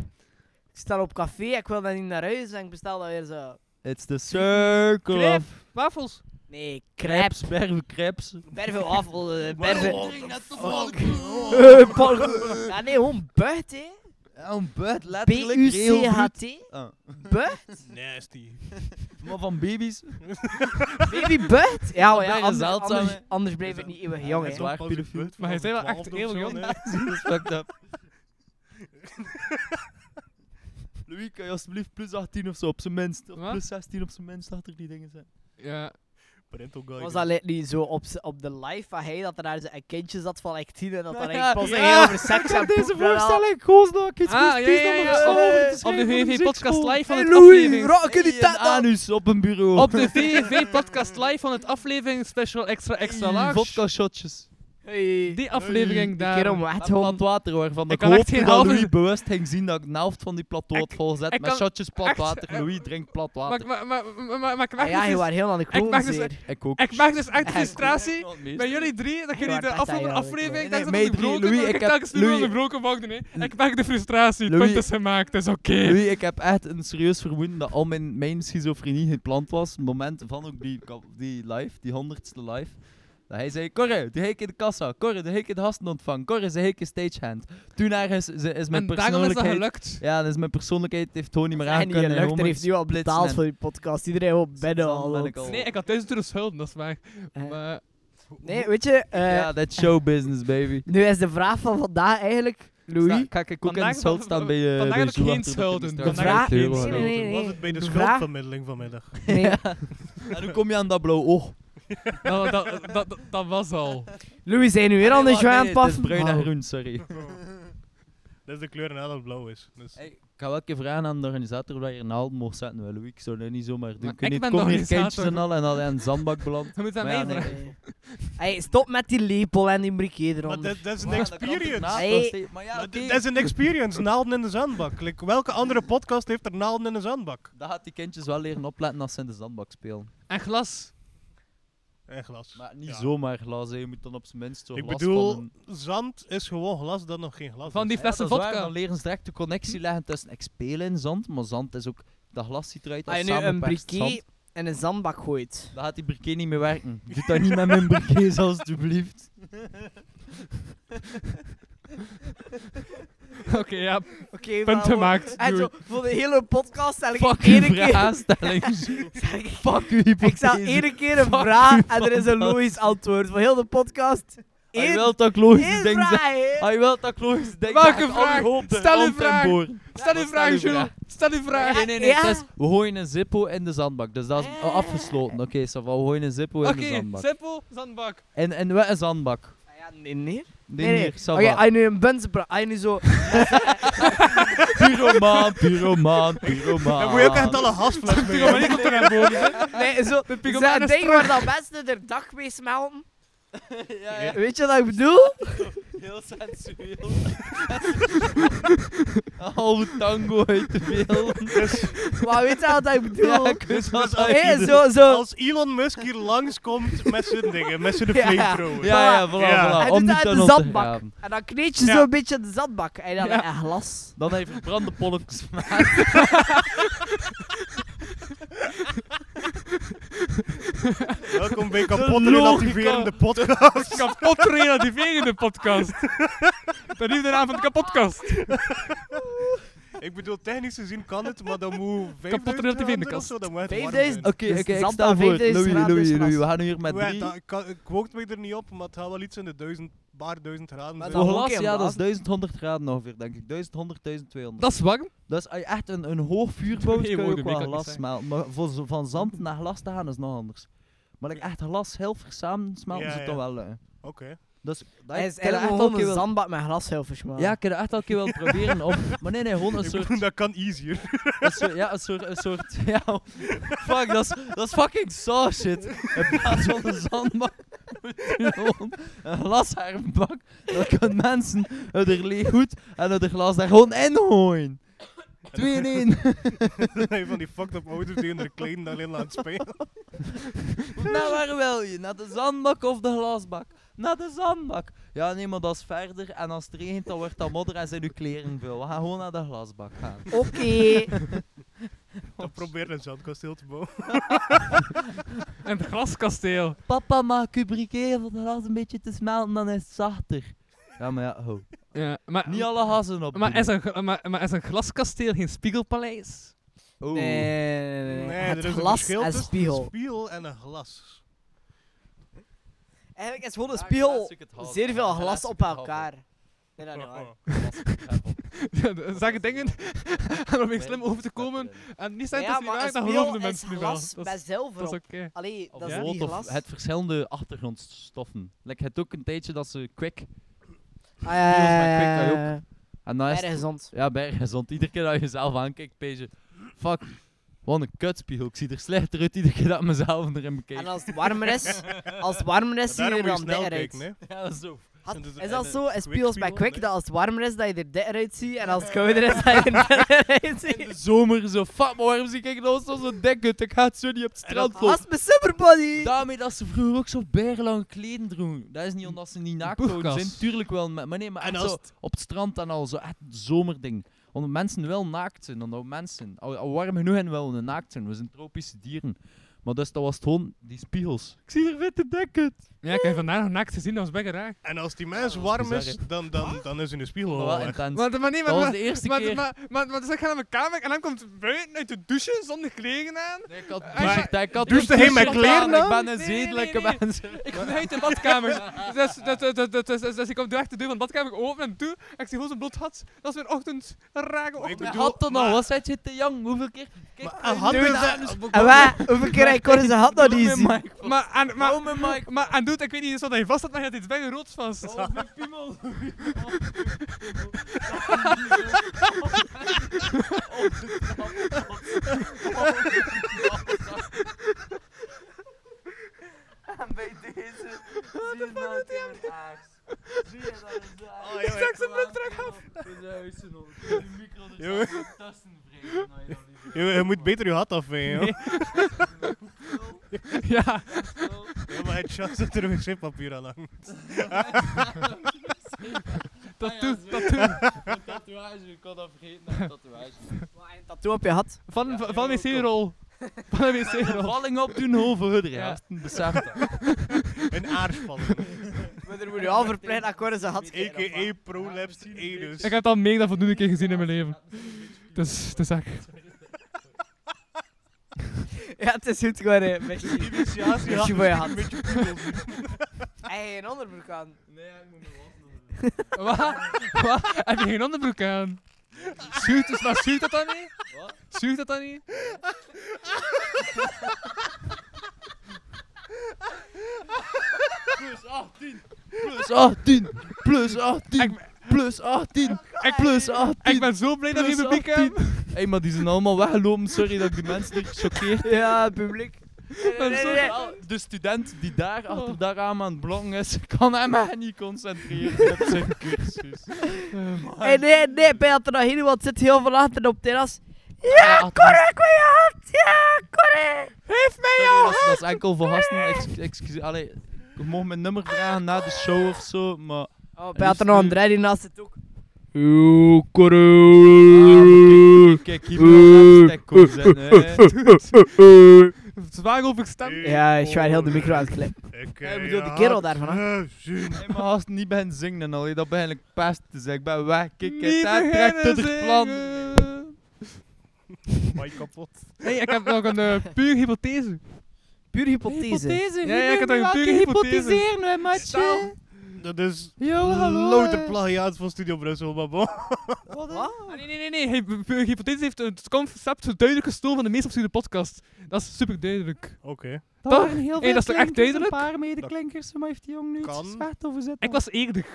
Ik sta op café, ik wil dan niet naar huis en ik bestel dan weer zo. It's the circle Crêpe. of... Wafels. Nee, Crepes, crêpes. berven, crepes. Berven wafel, eh, berven... Fuck. nou? Eh, pal- Ja, nee, gewoon buit, hè. Een buit, Oh, letterlijk. heel goed. B-U-C-H-T. Ah. Buit? Nasty. Maar van baby's. Baby [laughs] buit? Ja, maar ja, Bergen anders, Ah. zeldzaam, anders, hè. anders blijf ik niet eeuwig jong, het hè. is waar, pedofiel. Maar hij zei wel echt heel jong. Dat is fucked up. Louis, kan je alsjeblieft plus 18 of zo op zijn minst. Of Wat? plus 16 op zijn minst, dat er die dingen zijn. Ja, Was dat net niet zo op, z- op de live van hij dat er daar zo een kindje zat van like 10 en dat daar Ja, eigenlijk pas ja. ging over seks en Deze poep en al. voorstelling, goos nog, iets Ah, goeds, ja, kies ja, dan ja, Oh, maar ja. zo over te Op de schrijven voor VV podcast zitschool. live van Hey, het Louis, aflevering. raak je die Hey, een tent anus op een bureau. Op de VV Podcast Live van het aflevering Special Extra Extra Large. Vodka shotjes. Hey. Die aflevering Een daar. keer om weg te Met plat houden. water waarvan Ik ik kan echt hoopte geen dat halve- Louis bewust ging zien dat ik de helft van die plateau had Ik- volgezet ik met kan shotjes plat echt- water. Louis drinkt plat water. Maar, maar, maar, maar, maar, maar ik Ah merk ja, dus je iets- was heel aan de ik kloon merk dus- zeer. Ik ook. ik maak dus echt Ja, frustratie bij jullie drie, Ja, dat jullie de maar dat afgelopen zei je wel, aflevering ik weet dat het. nee, Nee, onderbroken mij drie, Louis, dat ik ik heb- telkens weer Louis- onderbroken mocht. Nee, ik merk de frustratie, het Louis- punt is gemaakt, het is oké. Louis, ik heb echt een serieus vermoeden dat al mijn, mijn schizofrenie gepland was. Het moment van ook die, ka- die live, die honderdste live. Dat hij zei, Corre, de hek in de kassa. Corre, de hek in de gasten ontvang. Corre, ze hek is stagehand. Toen ergens ze, is mijn En daarom is dat persoonlijkheid... gelukt. ja, dat is mijn persoonlijkheid, heeft Tony niet meer En die aankunnen. lucht, er heeft nu al Splitsen betaald en- voor die podcast. Iedereen wil bedden Dan ben al. ik al- Nee, ik had thuis terug schulden, dat is waar. Eh, Maar Nee, weet je, eh, Ja, dat is showbusiness, [laughs] baby. nu is de vraag van vandaag eigenlijk, Louis. Sta- Kijk, ik ook in Vandaag- de schuld staan bij je. vandaag heb ik geen schulden. De Vandaag vraag, heb ik nee, geen nee, nee, Toen nee. was het bij de De vraag- schuldvermiddeling vanmiddag. nee. En hoe kom je aan dat blauw oog? [laughs] dat, Nou, dat, dat, dat, dat was al. [laughs] Louis, zijn nu weer al dus Nee, niet wacht, aan nee, het passen? Het is bruin en Oh. groen, sorry. Dat is de kleur en alles blauw is. Dus Hey, ik ga wel een keer vragen aan de organisator dat je een naald mocht zetten. Wel, Louis, ik zou dat niet zomaar doen. Maar Ik weet ik niet, ben kom de hier kindjes organisator. en al en al in een zandbak beland. Je moet dat Maar ja, mij vragen. nee. Hey, stop met die lepel en die briquet maar eronder. dat dat is een Maar dat kan experience. ernaast Hey. wel steeds- Maar ja, Maar oké. dit- Dat is een experience, naalden in de zandbak. Like, welke andere podcast heeft er naalden in de zandbak? Dan gaat die kindjes wel leren opletten als ze in de zandbak spelen. En glas. En glas. Maar niet Ja. zomaar glas, hè. je moet dan op zijn minst toch Ik last bedoel, van een... zand is gewoon glas dat nog geen glas Van is. die Ja, dat flessen is waar, vodka. dan leren ze direct de connectie leggen tussen ik speel in zand, maar zand is ook... Dat glas ziet eruit Als als je nu een samengeperst zand. briquet in een zandbak gooit. Dan gaat die briquet niet meer werken. Doe dat niet met mijn briquet, [laughs] alstublieft. Oké, ja, Oké, punt Nou, gemaakt. eh, En zo, Doei. voor de hele podcast stel ik Fuck uw één keer... [laughs] vraagstelling. stel ik- Fuck uw hypothese. Ik stel één keer een Fuck vraag you, en er is een podcast. logisch antwoord voor heel de podcast. Hij Eén, wil dat ik logische één dingen zeg. vraag, hè. Hij wil dat ik logische dingen Welke zeg. Al vraag? die hoop, de Stel uw hand en vraag. boor. Stel uw Wat vraag, stel uw Jules. vraag? Stel uw vraag. Ja, Nee, nee, nee. ja. het is- we gooien een zippo in de zandbak. Dus dat is Eh. afgesloten. Oké, ça va, we gooien een zippo in de Oké, zandbak. simpel, zandbak. En, en wat een zandbak? Ah ja, nee, nee. Nee, Nee, nee. nee. ça Oké, ah, va. als je nu een buns bra- als je nu [laughs] zo... Pyromaan, pyromaan, pyromaan. Dan moet je ook echt alle [laughs] gasfles mee. Ik [laughs] kom er naar boven. Nee, zo... pygomaan Zo'n is ding waar dat mensen er dag mee [laughs] smelten. Weet je wat ik bedoel? Heel sensueel. Een halve tango uit de beelden. Maar weet je wat ik bedoel? [laughs] Ja, ik weet wat hij Nee, bedoelt. zo, zo... Als Elon Musk hier langskomt met zijn dingen, met zijn Ja. flamethrower. Ja, ja, voilà, Ja. voilà. Hij Om doet die dat in de tunnel te zandbak. graven. En dan kneed je Ja. zo een beetje de zandbak. En dan Ja. een glas. Dan heeft verbrande pollux. Welkom bij De kapot logica. relativerende podcast. Kapot relativeren de podcast. De liefde naam van de kapotkast. Ik bedoel, technisch gezien kan het, maar dan moet 5000 Kapot relativerende of kast. zo, dan moet het warm 5000 zijn. Oké, Dus oké, ik zand stel aan voor. Louis, 5000 Louis, graden Louis, is glas. we gaan hier met Ja, oh, drie. dat- ik kan- Ik quote me er niet op, maar het gaat wel iets in de duizend, paar duizend graden. Maar zijn. Voor dan- glas, Oké, ja, dat is blazen. 1100 graden ongeveer, denk ik. 1100, 1200. Dat is warm. Dat is als je echt een, een hoog vuur bouwt, Nee, kun je woorden, ook ik wel kan het glas niet smelten. Maar voor zo- van zand naar glas te gaan is nog anders. Maar like, echt glas heel ver samen smelten Ja, ze ja. toch wel lukken. Oké. Dus dat Hij is ik heb dat eigenlijk echt al een gewoon keer een wil- zandbak met glashelvers, man. Ja, ik heb dat echt al een keer [laughs] wil proberen. Of, maar nee, nee, [laughs] gewoon een Ik soort... bedoel, [laughs] dat kan easier. Een soort ja, een soort... Een soort [laughs] ja, oh, fuck, dat is, dat is fucking saw shit. In plaats van een zandbak. moet je gewoon Een glashermbak. Dan kunnen mensen het er leeg goed en het er glas daar gewoon in gooien. Twee in één. [laughs] Dan heb je van die fucked up ouders die in hun kleden alleen laten spelen. Naar Nou, waar wil je? Naar de zandbak of de glasbak? Naar de zandbak. Ja, nee, maar dat is verder. En als het regent, dan wordt dat modder en zijn uw kleren veel. We gaan gewoon naar de glasbak gaan. Oké. Dan probeer een zandkasteel te bouwen. En het glaskasteel. Papa, mag ik uw briquet van het glas een beetje te smelten? Dan is het zachter. Ja, maar ja, ho. Ja, maar, Niet alle hazen op. maar, is een, gl- maar, maar is een glaskasteel geen spiegelpaleis? [laughs] Oh. Nee, nee, nee, nee. Nee, Het er is een glas verschil en tussen spiegel. een spiegel en een glas. Eigenlijk is gewoon een spiegel zeer veel glas op elkaar. Nee, dat is niet waar. Zeg ik dingen [laughs] om er weer slim over te komen. En niet zijn Ja, dus dat niet maar waar, een dan geloven spiegel de is mensen nu wel. glas Dat met is- zilver dat is op. oké. Allee, Of dat is rood niet of glas. het verschillende achtergrondstoffen. Like, het ook een tijdje dat ze kwik. Ah, ja, ja, maar ja, quick kan je ja, ja. En dan is Erg het gezond. Ja, bijgezond. Iedere keer dat je jezelf aankijkt, pees je... Fuck, wat een kutspiegel. Ik zie er slechter uit iedere keer dat ik mezelf erin bekijk. En als het warmer [laughs] is, als het warmer is, zie je Daarom er moet je dan snel dikker kijken, uit. hè. Ja, dat is zo. Had- Dus Is en, dat eh, zo? Is quick spiegels bij spiegel, quick nee. dat als het warmer is, dat je er dikker uitziet en als [laughs] het kouder is, dat je er dikker In de uitziet? zomer zo. Fuck, maar waarom zie ik nou zo zo'n dik uit? Ik ga het zo niet op het strand lopen. Als mijn superbody! Daarmee dat ze vroeger ook zo bergelang kleden droegen. Dat is niet omdat ze niet naakt Boerkas. zijn. Tuurlijk wel. Maar maar nee, maar En echt als zo op het strand en al. Zo echt een zomerding. Omdat mensen wel naakt zijn. Omdat mensen al, al warm genoeg en wel naakt zijn. We zijn tropische dieren. Maar dus dat was het gewoon die spiegels. Ik zie er witte dekken. Ja, ik heb vandaag nog naakt gezien, dat was best raar. En als die mens warm bizar, is, dan, dan, dan is in de spiegel Dat wel was weg. intens. Maar, maar nee, maar, Dat was maar- de eerste maar, keer. Maar, maar, maar dus ik ga naar mijn kamer en dan komt buiten uit de douche zonder kleren aan. Nee, ik had Maar- t-shirt, ik had Douche een hij met t-shirt aan, kleren Ik ben een Nee, nee, zedelijke nee. mens. Ik kom uit de badkamer. [laughs] dus, dat dat dat dat dus, dus ik kom echt de deur van de badkamer open en toe. En ik zie gewoon zo'n blot had. Dat is mijn ochtend, een rare Maar ik ochtend. Hij bedoel, had dat nog, maar- was hij te jong? Hoeveel keer? Kijk, Maar hij had dus dat- En waar? Hoeveel keer heb ik horen ze had dat Doe niet mijn zien? mic vast. Maar, en, maar, Hou mijn mic maar, en doet, ik weet niet eens wat hij vast had, maar hij had iets bij roods vast. Oh, mijn piemel. Oh, mijn piemel. En bij deze. Wat de fuck doet hij Zie je dat? Oh, joh, joh. zijn broek terug af. Jongen. Je, je moet beter je hat [laughs] afwegen, joh. [laughs] Ja. Ja, maar het chat zit er wc-papier al aan. Tattoo, tattoo. Tatoeage, ik kon dat vergeten. Tatoeage. Tattoo op je [laughs] had. Van, van, van wc-rol. Van een wc-rol. Valling op doen, hoven hudder, Ja. ja. Besef dat. Een [laughs] aarspannen. Maar er moet je al verplein dat ik horen ze had. A.k.a. prolapsed anus. Ik heb dat meer dan voldoende keer gezien in mijn leven. Dus, dus echt. Ja, het is goed geworden. hè. Met je- Initiatie met je had voor je had. [laughs] Hey, een onderbroek aan. Wat? Wat? Heb je geen onderbroek aan? Zuurt, dus, maar zuurt dat dan niet? Wat? Zuurt dat dan niet? Plus 18, plus 18, Ik- plus 18, plus 18. Ik ben zo blij dat je Plus publiek hebt. 18. Hé, maar die zijn allemaal weggelopen. Sorry dat ik die mensen niet choqueer. Ja, het publiek. En zo wel, De student die daar achter dat raam aan het blokken is, kan hem echt niet concentreren op [laughs] zijn cursus. Hey, nee, nee, bij had er nog heel wat zit heel veel achter op het terras. Ja, correct! Ja, correct. Geef mij jouw dat, is- dat is enkel voor gasten. Ex- Excuus, allee, ik mocht mijn nummer vragen na de show of zo, maar... Oh, bij had er nog een dreadie naast het ook. Ah, kijk, hier moet ik op zijn, [laughs] hè. Zwaar overstemd. Ja, ik ben heel de micro aan het klippen. Ik eh, Ja, ik bedoel, die kerel daarvan, Nee, maar als het niet begint zingen en allee, dat begin ik pest te zeggen. Ik ben weg, ik Niet heb daar trekt beginnen het er plan. zingen. Maar kapot. Hey, ik heb nog een eh, puur hypothese. Puur hypothese. Ja, ja, ik heb nog een pure hypothese. hè, Stel- Dat is Yo, louter plagiaat van Studio Brussel, maar bon. [laughs] Ah, nee, nee, nee, nee. Hey, pu- pure hypothese heeft het concept duidelijk gestolen van de meest absurde podcast. Dat is super duidelijk. Oké. Dat waren heel veel dat is toch echt duidelijk? medeklinkers, maar heeft die jongen nu iets Kan. zwaar Ik was eerder.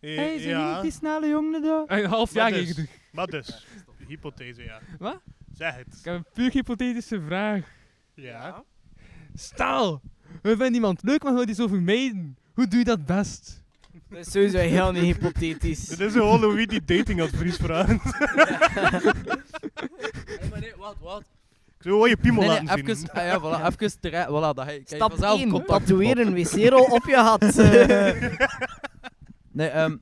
Eh, Ja, snelle jongen daar? Een half Maar jaar dus. eerder. maar dus. Hypothese, ja. Wat? Zeg het. Ik heb een puur hypothetische vraag. Ja. Stel, we vinden iemand leuk, maar we willen die zo vermijden. Hoe doe je dat best? Dat is sowieso heel niet [laughs] hypothetisch. Dit is een Halloween die datingadvies vraagt. maar nee, wat, wat? Ik zou wel je piemel Nee, nee, laten zien. even, ah, ja, voilà, even terecht, voilà, dat hij kijk, Stap vanzelf 1. contact Tatoeëren een wc-rol op je had. eh. op. [laughs] Nee, ehm,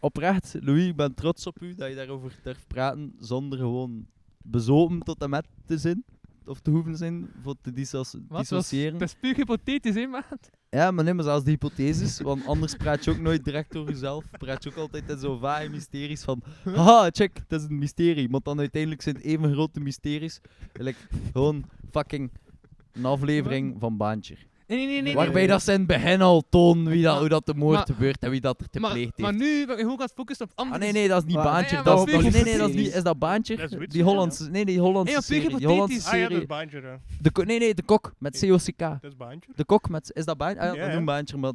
oprecht, Louis, ik ben trots op u dat je daarover durft praten zonder gewoon bezopen tot en met te zijn. Of te hoeven zijn voor te dissoci- Wat? Dat is- dissociëren. Dat is puur hypothetisch, hè, maat? Ja, maar nee, maar zelfs de hypotheses, want anders praat je ook nooit direct door jezelf. Praat je ook altijd in zo vage mysteries van, haha, check, het is een mysterie. Want dan uiteindelijk zijn het even grote mysteries. Like, gewoon fucking een aflevering van Baantje. Nee, nee, nee. nee, nee. Waarbij dat ze in het begin al toon wie dat, Maar- hoe dat de moord maar- gebeurt en wie dat er te maar, heeft. maar nu ben ik ook aan het focussen op andere ah, nee, nee, dat is niet Ah, Baantje. nee, dat maar is, dat is- nee, nee, dat is hypothetisch. niet. Is dat Baantje? Dat is Witcher, die Hollandse, nee, die Hollandse Nee, maar puur serie. Die hypothetisch. Hollandse Ah ja, dat serie. is baantje, hè. de, ko- nee, nee, de kok met COCK. Dat is baantje. De kok met, is dat Baantje? Ah, ja, Ja, dat ja. noemt Baantje, maar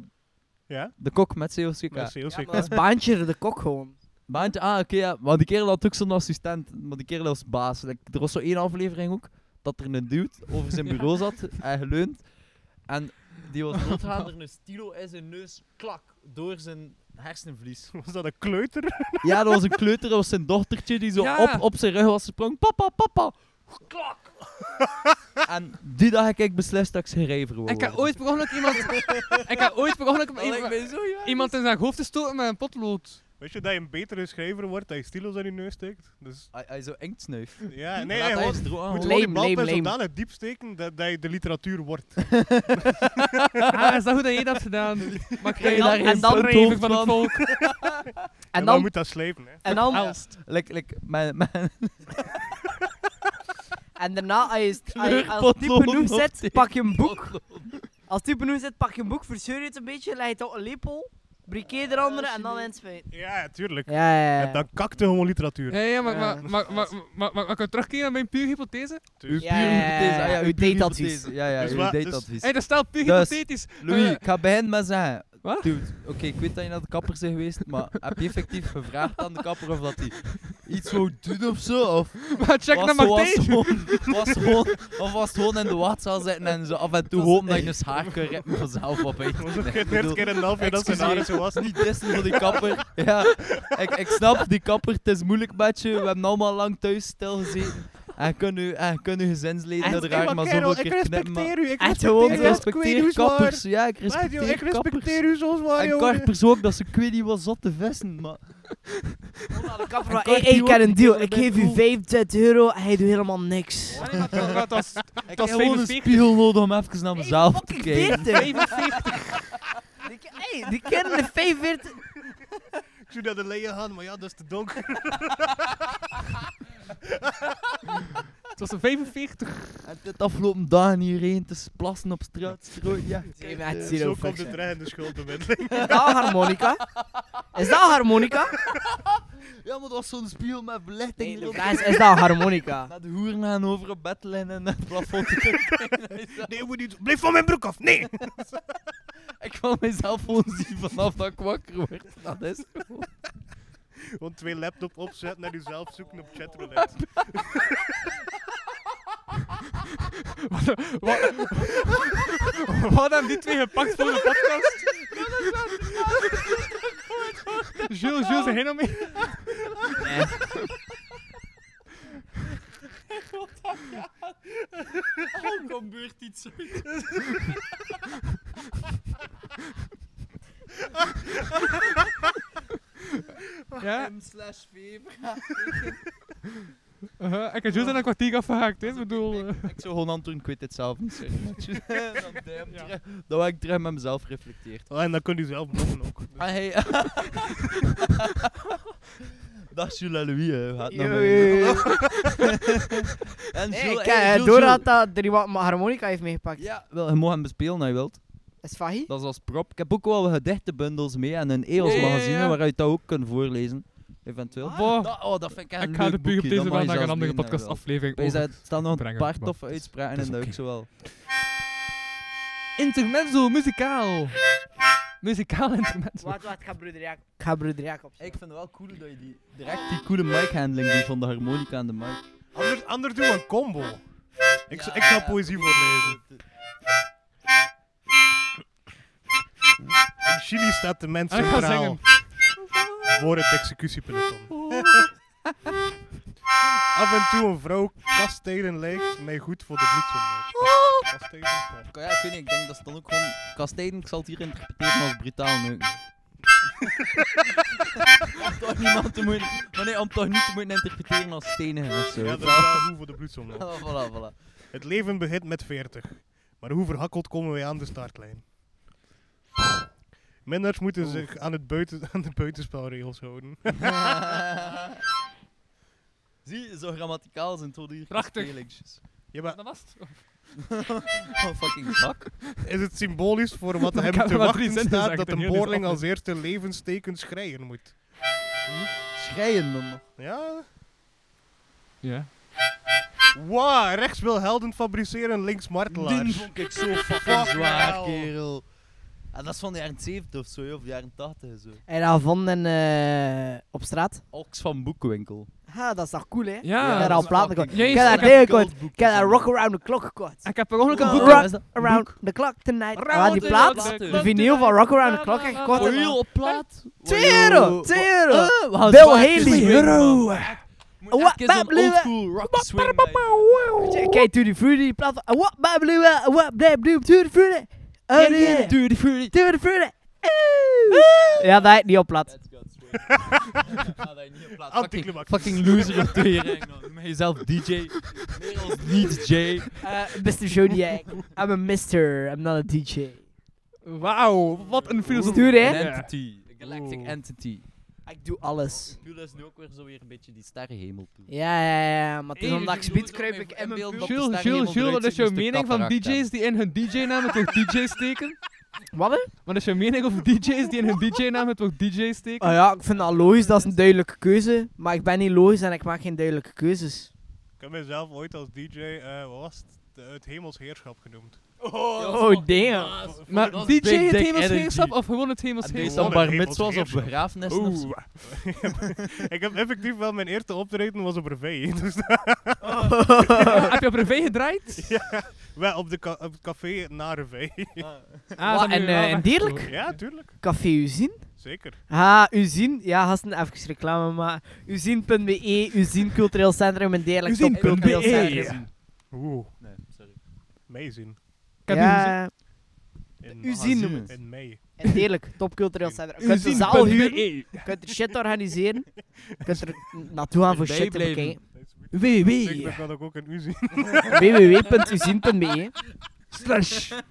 Ja, de kok met COCK. dat is heel Dat is zeker. baantje de kok gewoon. Baantje, ah, oké, ja. Maar die kerel had ook zo'n assistent. Maar die kerel was baas. Like, er was zo één aflevering ook, dat er een dude over zijn bureau [laughs] zat en geleund. En die was doodgaan, er een stilo in zijn neus, klak, door zijn [laughs] hersenvlies. [laughs] Was dat een kleuter? Ja, dat was een kleuter, dat was zijn dochtertje die zo Ja. op, op zijn rug was gesprongen. Papa, papa! Klak! en die dag heb ik beslist dat ik zijn rijver wou Ik heb worden. ooit per ongeluk iemand... ik heb ooit per ongeluk iemand, iemand in zijn hoofd te stoten met een potlood. Weet je dat je een betere schrijver wordt, dat je stilos aan je neus steekt? Dus, Hij hij zo inkt snuift. ja, nee, Laat hij hij gewoon- eens droog aan, moet hoor. gewoon je Lame, lame, balpen lame. zodanig diep steken dat, dat je de literatuur wordt. Ah, is dat goed dat jij dat hebt gedaan? Maar En jij dan- daar en geen dan- streven van het volk? En dan dan, moet dat slepen, hè. en dan, Elst. Like, like, mijn, mijn en daarna, als je- als je als het diep Kleurpotlood genoeg of zit, pak je een boek. Als het diep genoeg zit, pak je een boek, verzeur je het een beetje, leg het op een lepel, brikeer er andere en dan inspuiten. Ja, tuurlijk. Ja, ja, En dan kakte gewoon literatuur. Ja, ja, maar, Ja. maar, maar, maar, maar, maar, maar ik kan terugkeren naar mijn puur hypothese. Dus, Ja, ja, ja, hypothese. Ah, ja, uw ja, puur dateadvies. hypothese. Ja, ja, Dus uw wat- dus- dateadvies. Hé, dat staat puur Dus, hypothetisch. Louis, Eh, ik ga beginnen met zeggen. Wat? Dude, oké, ik weet dat je naar de kapper bent geweest, maar heb je effectief gevraagd aan de kapper of dat hij iets wou doen of zo? Of maar check was, naar was, Martijn. gewoon, was, gewoon, of was gewoon in de waterzaal zitten en zo af en toe hopen dat je een schaar kan rippen vanzelf [laughs] op [laughs] eten. was ook Nee, het ik bedoel, eerste keer in een half jaar dat ze excuseer. naar zo was. niet dissen voor die kapper. Ja, ik, ik snap die kapper, het is moeilijk met je. We hebben allemaal lang thuis stilgezeten. En kunnen u, en kun uw gezinsleden En- er raar maar zoveel keer knippen. maar- u, ik En gewoon Ik Ja, respecteer kappers. Ja, ik respecteer Ik respecteer kappers. u zoals waar, En jongen. karpers ook, dat ze ik weet niet wat zat te vissen. Maar Maar kan hey, die hey, ik ook heb een niet deal. doen, Ik dat geef is u cool. 25 euro en hij doet helemaal niks. Ah, nee, maar het was- maar het was- ik heb was gewoon een 45. spiegel nodig om even naar mezelf te fucking kijken. 40. 45. Die, ki- hey, die kinderen de 45. Ik zie dat de leien gaan, maar ja, dat is te donker. het was een 45. En dit afgelopen dagen hierheen te plassen op straat, strooien. Ja. Nee, maar het is hier Zo ook komt fucks, het hè. terecht in de schuldbemiddeling. Is dat een harmonica? Is dat een harmonica? ja, maar dat was zo'n spiegel met belichting. Nee, de erop. vraag is, is dat een harmonica? Naar de hoeren gaan over op bed liggen en naar het plafond [laughs] te kijken. Nee, moet niet. Blijf van mijn broek af, nee! [laughs] Ik wil mezelf gewoon zien vanaf dat ik wakker word. Dat is gewoon... Gewoon twee laptop opzetten en jezelf zoeken op chatroulette. Wat, wat hadden die twee gepakt voor de podcast? Jules, Jules, heen mee. Ja, slash fever. eh, ik heb Jules aan een kwartier afgehaakt, hè. Ik bedoel... eh. Ik zou gewoon Anton, ik weet dit zelf niet zeggen. Dan duim terug- Dan heb ik terug met mezelf reflecteerd. Oh, en dan kun je zelf blokken ook. Ah, [laughs] hey. Dag Jules en Louis, hè. Gaat naar Yo, mij. yo, [laughs] yo. En Nee, Jules, ik hey, ken Jules, Doordat Jules. dat er iemand mijn harmonica heeft meegepakt. Ja, wel, je mag hem bespelen als je wilt. Is Fahi? Dat is als prop. Ik heb ook wel gedichtenbundels mee en een EOS Ja, ja, ja. magazine waaruit je dat ook kunt voorlezen. Eventueel. Boah. Dat, oh, dat vind ik echt Ik een ga leuk de puur op boekje, dat deze mag wel je naar een zelfs andere meenemen, wel. podcastaflevering Bij over dat staan nog een brengen, paar maar toffe het is- het uitspraken en is dat oké. ook zo wel. Intermezzo muzikaal. Muzikaal intermezzo. Wacht, wacht, ik ga broeder Jacob. Ik ga broeder Jacob. Ik vind het wel cool dat je die, direct die coole mic handling doet van de harmonica aan de mic. Anders, anders doen we een combo. Ik, Ja, ik ga ja. poëzie voorlezen. In Chili staat de mens Ah, En ik ga centraal zingen. voor het [laughs] executiepeloton. Af en toe een vrouw kastelen lijkt mij goed voor de bloedsomloop. Oh. Kastelen, ja. Ja, ik weet niet, ik denk dat ze dan ook gewoon... Kastijden, ik zal het hier interpreteren als brutaal [laughs] neuken. om toch niemand te moeten... Maar nee, om toch niet te moeten interpreteren als stenen of zo. Ja, dat weet je is wel. wel goed voor de bloedsomloop. Ah, voilà, voilà. Het leven begint met 40. Maar hoe verhakkeld komen wij aan de startlijn? Minders moeten Oh. zich aan, het buiten, [laughs] aan de buitenspelregels houden. [laughs] Zie, zo grammaticaal zijn tot hier. Prachtig. spelingetjes. Ja, maar Dat was het. Oh, fucking zak. is het symbolisch voor [laughs] wat Dan hem kan te er maar drie wachten zinnen staat zeggen, dat dan een heel die boorling zakken. als eerste levensteken schreien moet? Schreien dan nog. Ja? Ja. Wow, rechts wil helden fabriceren, links Die martelaars. vond ik zo fucking Fuck zwaar, hell. kerel. En dat is van de jaren 70 of zo, joh, of de jaren 80 en zo. En dat vonden eh op straat. Ox van Boekwinkel. Ha, dat is toch cool, hè? Ja. Ja, dat dat is al platen fucking- gekocht. Jezus, Ik heb dat ik heb ding gekocht. Ik heb dat Rock Around the Clock gekocht. Ik heb per ongeluk een boek Rock is dat? Around the Clock tonight. Round Ah, die the plaat. clock. De vinyl van Rock Around the Clock heb ik gekocht. Voor op plaat? 2 euro! 2 euro! Eh, we gaan Bill zwaar Haley. kunnen swingen, Euro. man. Echt, moet Wat even zo'n babbeluwe. oldschool rock swing bij- Kijk, Tutti Fruity, plaat van... What, babbelu, what, blab, doop, Tutti Fruity. Oh, Yeah, yeah. Duty Fruity. Eh. Tutti Fruity. Oeh. Eh. Ja, dat heb ik niet op plaat. Let's go, swing. Ga daar niet op plaats. Fucking, Anticlimax. fucking loser op tering. man. Noem jezelf DJ. Meer [laughs] als niet J. Eh, Mr. Zodiac. I'm a mister. I'm not a DJ. Wauw, wat een filosofie. Stoer, Een hè? entity. Een galactic Oeh. entity. Ik doe alles. Pula is nu ook weer zo weer een beetje die sterrenhemel toe. Ja, ja, ja. Maar toen Hey, omdat ik jullie speed doen kruip het ik ook in mijn mee. En beeld. beeld- Jules, Daar Jules, helemaal Jules, wat eruit is zien, jouw dus de mening van kataracten. DJ's die in hun DJ-namen toch DJ steken? Wat, hè? Wat is jouw mening over DJ's die in hun DJ-namen toch DJ steken? Ah ja, ik vind dat logisch. Dat is een duidelijke keuze. Maar ik ben niet logisch en ik maak geen duidelijke keuzes. Ik heb mezelf ooit als DJ, eh, wat was het? De- het hemels heerschap genoemd. Oh, damn. Maar Dat is DJ big het dick hemelsgeerschap energy. of gewoon het En deze hemelsgeerschap? dan Gewoon bar een mitzwas of hemeltje. begrafenissen of zo. [laughs] ik heb effectief wel mijn eerste optreden was op privé. [laughs] Dus [laughs] Heb je op privé gedraaid? wel op, de ka- op het café na privé. Ah, Wat, dat en, nu eh, wel en weg. [laughs] dierlijk? ja, tuurlijk. Café Uzin? Zeker. Ah, Uzin? Ja, gasten, even reclame, maar... Uzin.be, Uzin Cultureel Centrum en dergelijke Uzin top cultureel punt be. centrum. Oeh, Nee, sorry. meezien. Ik heb die Ja, In, Uzin noemen we het. in mei. En dierlijk, top cultureel centrum. Je kunt de Uzin zaal punt huren, be. je kunt er shit organiseren, je kunt er n- naartoe gaan voor Erbij shit te blijven. bekijken. Ik www. denk dat ik ook een u zien. www.uzin.be Slash.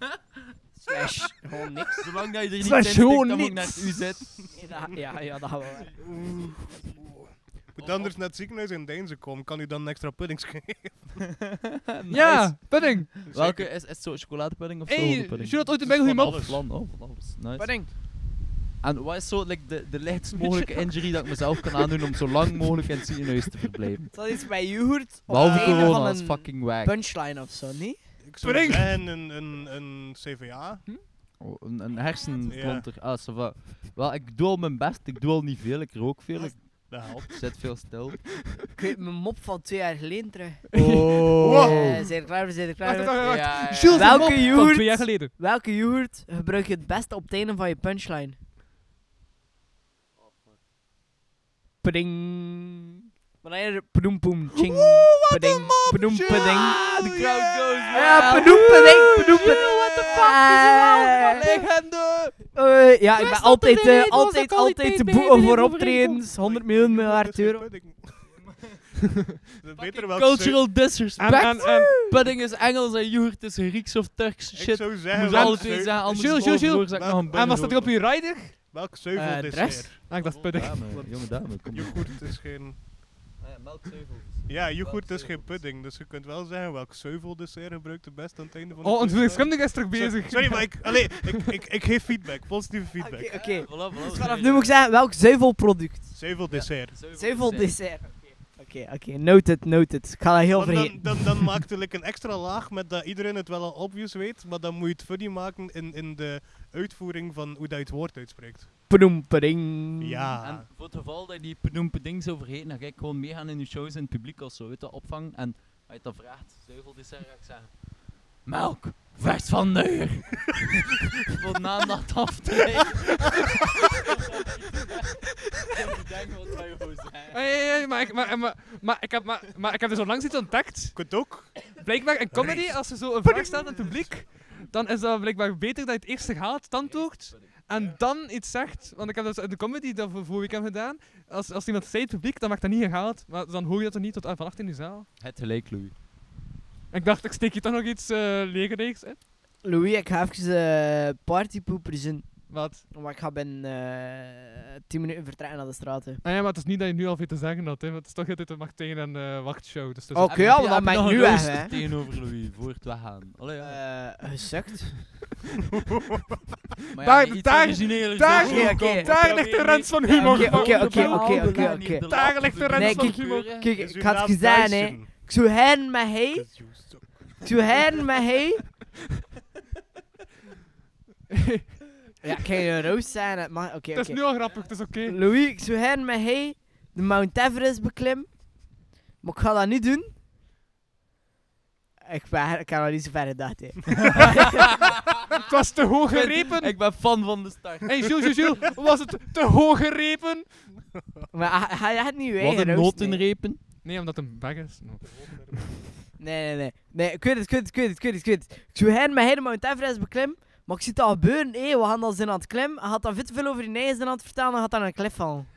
Slash. Gewoon niks. Zolang dat je er niet Slash in stikt, gewoon dan moet ik naar niks. het u zet. Ja, ja, ja, dat gaan we wel. Moet anders naar het ziekenhuis in Deinzen komen, kan u dan een extra puddings geven? Ja, pudding. Welke is, is het zo chocoladepudding of Hey, zo? pudding? Jules, ooit een bagel hierop. Alles. Plan, oh, van alles. Nice. En wat is zo like, de, de lichtst Beetje mogelijke injury dat ik mezelf kan aandoen om zo lang mogelijk in het ziekenhuis te verblijven? Is dat iets bij yoghurt? Of Behalve het einde van corona, is een fucking wack. punchline of zo, niet? Ik [laughs] zou Pudding! zeggen een, een, een CVA. Oh, een, een hersen Ja. komt er. Ah, ça va. Wel, ik doe al mijn best. Ik doe al niet veel. Ik rook veel. Ik Dat helpt. zit veel stil. Ik weet mijn mop van twee jaar geleden terug. Oh. Eh, zijn er klaar voor? Zijn er klaar Wacht, voor? wacht, wacht. Ja, ja. Jules, Welke een mop van joert? twee jaar geleden. Welke yoghurt gebruik je het beste op het einde van je punchline? Pring. Wanneer padoem poem ching. Pading. Padoem pading. The crowd goes Ja, wild. padoem pading. Padoem pading. What the fuck wel? is er Legende! Eh, ja, ik Best ben altijd, optreden, eh, was altijd, ook al die altijd te PB boeken voor erin optredens. 100 miljoen miljard euro. [laughs] Beter wel Cultural En, disrespect. en, en, eh, Pudding is Engels en yoghurt is Grieks of Turks. Ik Shit. zou Ik zeggen, moet welk alle twee zeu- zijn, anders Jules, Jules, Jules. veroorzaak ik nog een en bang was dat ook op je rider? welk Eh, zeuvel is dress? hier? Ah, ik dacht pudding. Dame, jonge dame, kom op. Yoghurt is geen... Melkzeuvel. Ja, yoghurt is geen pudding, dus je kunt wel zeggen welk zeuveldessert gebruikt het best aan het einde van de Oh, dus onze punchline. verschilling is terug Sorry- bezig. Sorry, maar ik, allee, ik, ik, ik geef feedback, positieve Oké, feedback. oké. Dus vanaf nu moet ik zeggen welk zeuvelproduct. Zeuveldessert. Zeuveldessert. Oké, oké. noted, noted. Ik ga dat heel Want vergeten. dan, dan, dan maakt het like een extra laag met dat iedereen het wel al obvious weet, maar dan moet je het funny maken in, in de uitvoering van hoe dat je het woord uitspreekt. Padoem, pading. Ja. Ah. En voor het geval dat je die benoemde ding zou vergeten, dan ga ik gewoon meegaan in je shows in het publiek of zo, weet dat opvang. En als je het dan vraagt, zeugeldessert, ga ik zeggen: Melk, vers van neuer. [laughs] Voor naam dat af te leggen. Ik denk wat wij gewoon zijn. Ah, ja, ja, ja, maar, ik, maar, maar, maar, ik heb, maar, maar ik heb dus onlangs iets ontdekt. Je kunt ook. Blijkbaar in comedy, als je zo een vraag stelt aan het publiek, dan is dat blijkbaar beter dat je het eerst haalt, tandwoord, en dan iets zegt. Want ik heb dat in de comedy dat voor voor weekend gedaan. Als, als iemand zei in het publiek, dan werd dat niet gehaald, maar dan hoor je dat er niet tot aan vannacht in de zaal. Het gelijk, Louis. En ik dacht, ik steek hier toch nog iets eh legerrijks in. Louis, ik ga even eh partypoepers in. Wat? Maar ik ga binnen eh 10 minuten vertrekken naar de straten. Ah ja, maar het is niet dat je nu al weet te zeggen dat, hè. want Het is toch altijd een macht tegen en eh wachtshow. Dus dat is Oké, ja, maar dan ben ik nu weg, hè. tegenover Louis, voor het weggaan. Allee, ja. Eh gesukt. Maar daar- ja, iets daar- origineelers daar- dan. Oké, oké. Daar ligt de rens van humor. Oké, man. oké, oké, Bepaalde oké, oké, lijn. oké. Daar ligt de rens Nee, van kijk, humor. Kijk, Is uw ik had het naam gezegd, hè. Dyson? Ik zou hen met hij. Is you suck. Ik zou hen met [laughs] hij. Ja, ik ging een roos zijn. het mag- Oké, Het is oké. nu al grappig, het is oké. [laughs] Louis, ik zou hen met hij de Mount Everest beklim. Maar ik ga dat niet doen. Ik, ben, ik heb nog niet zo ver gedacht, hè. [laughs] Het was te hoog Ik ben- gerepen. Ik ben fan van de start. Hey, Jules, Jules, Jules, was het te hoog gerepen? Maar hij- hij had niet uw Wat eigen een roos, noot in nee. repen. Nee, omdat het een bag is. Nee, nee, nee. Nee, ik weet het, ik weet het, ik weet het, ik weet het. Ik, weet het. ik zou hen met hij de Mount Everest beklim. Maar ik zie het al gebeuren, hé. We gaan al zijn aan het klimmen. Hij gaat dan veel te veel over die eigen zijn aan het vertellen. Dan gaat dan een klif vallen.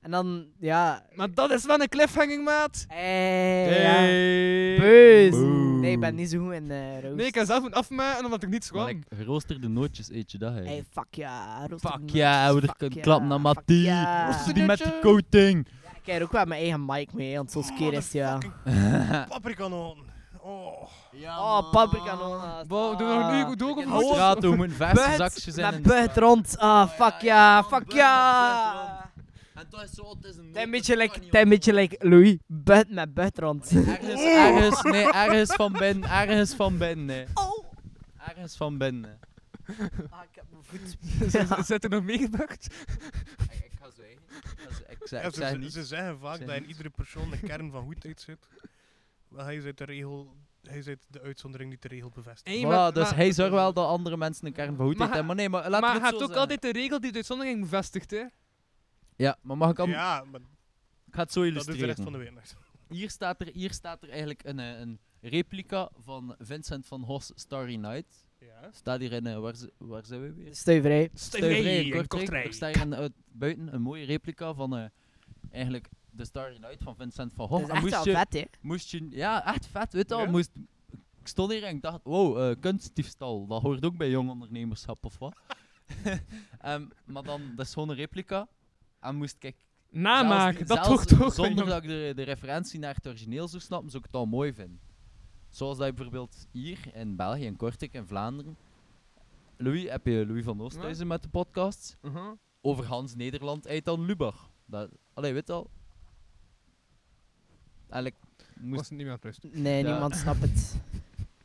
En dan, ja... Maar dat is wel een cliffhanging, maat. Eh, ja. Hey. Beus. Boe. Nee, ik ben niet zo goed in eh roast. Nee, ik heb zelf moeten afmaken omdat ik niets kwam. Maar ik geroosterde nootjes eet je dat, hè. Hey, fuck ja. roast Fuck op ja, nootjes, we fuck kunnen ja, klappen naar fuck Mattie. ja. Rooster [laughs] die met de [laughs] coating. Ik krijg ook wel mijn eigen mic mee, want zo skeer is het, ja. Paprika noten. Oh. Oh, paprika nona's. Wow, doen we Ah. nog nu doe ook ik een heb hoofd? [laughs] Straat om een Buit, vestzakje zijn. Met buit rond. Ah, fuck ja, fuck ja. buit En dat is zo, het is een Het is een beetje like, het is een beetje like Louis, buit met buit rond. Ergens, ergens, nee, ergens van binnen, ergens van binnen, nee. Oh. Ergens van binnen. Ah, ik heb mijn voet. Zit er nog meegebukt? Ik, ik ga zwijgen. Ik, ga zwijgen. ik, zeg, Ja, ik ze, zeg ze- niet. ze zeggen vaak zeg dat in niets. iedere persoon de kern van goedheid zit. Maar hij is uit de regel, hij is uit de uitzondering niet de regel bevestigt. Hey, Voilà, maar- dus maar- hij zorgt wel dat andere mensen een kern van goedheid Maar- hebben. Maar nee, maar laten Maar we je het hebt ook zo zeggen. altijd de regel die de uitzondering bevestigt, hè? Ja, maar mag ik al... Ja, maar Ik ga het zo dat doet de illustreren. rest van de wereld. [laughs] Hier staat er, hier staat er eigenlijk een, eh, een replica van Vincent van Hos Starry Night. Ja. Staat hier in, eh, waar, z- waar zijn we weer? [laughs] Stuiverij. Stuiverij in Kortrijk. Er staat hier een, eh, buiten een mooie replica van eh, eigenlijk de Starry Night van Vincent van Hos. Dat is En echt Oh, moest wel je- vet, hè. Moest je... Ja, echt vet, weet je wel. Ja? Moest, ik stond hier en ik dacht, wow, eh, kunstdiefstal, dat hoort ook bij jong ondernemerschap, of wat? [laughs] Ehm, maar dan, dat is gewoon een replica. En moest ik... zelfs die- Namaken, dat zelfs toch toch? [laughs] Zonder dat ik de, de referentie naar het origineel zou snappen, zou ik het al mooi vinden. Zoals dat je bijvoorbeeld hier in België, in Kortrijk, in Vlaanderen... Louis, heb je Louis van Oost Ja. Uh-huh. thuis met de podcast? Over Hans Nederland uit dan Lubach. Dat, allee, weet je al? Eigenlijk... Moest Moest niet meer rust. Nee, Ja. niemand snapt [laughs] het.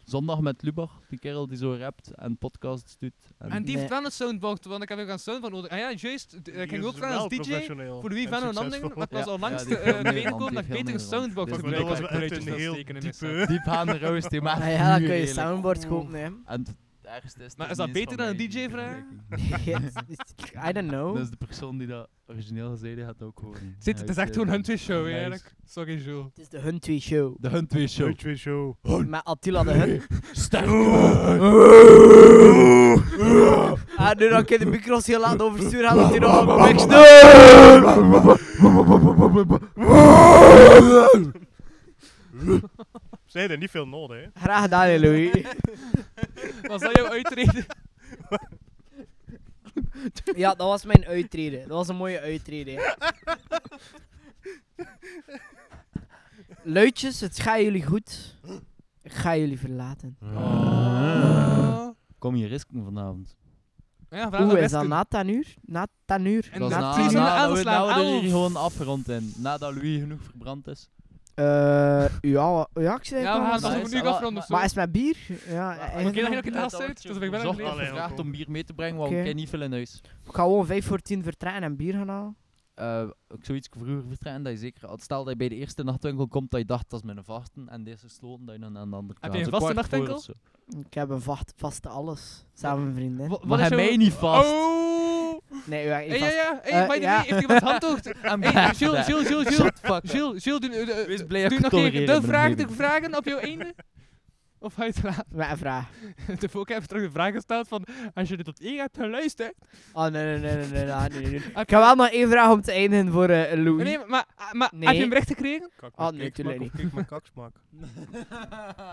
Zondag met Lubach, die kerel die zo rapt en podcasts doet. En die Nee. heeft wel een soundboard, want ik heb ook een soundboard nodig. Ah ja, juist, d- ik Die ging ook is wel wel als DJ. professioneel Voor Louis en Van Onaningen, succesvol. maar het was Ja, al langs ja, de die heeft heel eh, Nederland, binnenkomen die dat ik heeft betere heel Nederland. soundboard Dus kon dat gebruiken. als was ik wel echt geluidjes een wil heel steken in mijn diepe- set. Diep aan de roos, die maakt Ah, ja, dan vuur, kun je eerlijk. soundboard kopen, hè. [laughs] En het ergste is... Maar er is dat niets beter van dan een mij DJ die vragen? vergelijking. I don't know. Dus de persoon die dat origineel gezeten had ook gewoon... Zit, het is echt gewoon hun twee show, nice. eigenlijk. Sorry, Jules. [laughs] Het is de Hun 2 show. De Hun 2 show. Show. Show. Met Attila de Hun. Ah, nu dat ik de micro's heel laat overstuur, had hij nog ook niks Ze hebben niet veel nodig, hè. Graag gedaan, hè, Louis. Was dat jouw uitreden? Ja, dat was mijn uitreden. Dat was een mooie uitreden. hè. Luidjes, het gaat jullie goed. Ik ga jullie verlaten. [laughs] Kom je risken vanavond. Ja, vraag Hoe aan is dat Wesken. na ten uur? Na ten uur? En Dat is na na- tien uur na- aan dat we- slaan, dat we er hier elf. gewoon afgerond in. Nadat Louis genoeg verbrand is. Eh, ja, ja, ik zei Ja, we het gaan het wel. Nice. alsnog nu afronden of zo. Maar is het met bier? Ja, eh, Oké, eigenlijk dan ga wel. ik het haast uit. Dus ik ben Zocht wel Allee, gevraagd Alko. om bier mee te brengen, want Oké. ik ken niet veel in huis. ik ga gewoon 5 voor 10 vertrekken en bier gaan halen. eh ik zoiets vroeger vertrekken dat je zeker had. Stel dat je bij de eerste nachtwinkel komt dat je dacht dat is mijn vasten en deze sloten dat je dan aan de andere Heb kant. je een Zo vaste kwart voor nachtwinkel? of zo. Ik heb een vacht, vaste alles. Samen met mijn vriendin. Maar hij mij niet vast. Oh! Nee, ja, Hey, ik ja, vast. ja. Hey, Eh, by the ja. way, heeft iemand [laughs] handtocht? I'm Hey, back. Jules, Jules, Jules, Jules. Shut fuck up. Jules, Jules, doe, doe, doe- Wees blij dat doe ik nog even tolereren de ben vraag, hier. de vragen op jouw einde. Of ga je het laten? Met een vraag. [laughs] De volk heeft terug de vraag gesteld van, als je dit tot één hebt geluisterd... Oh, nee, nee, nee, nee, nee, nee, nee, nee. Ik heb wel nog één vraag om te eindigen voor eh, Louis. Nee, maar, ah, maar Nee. heb je een bericht gekregen? Kak Ah, maar nee, tuurlijk keksmaak of kijk maar kaksmaak.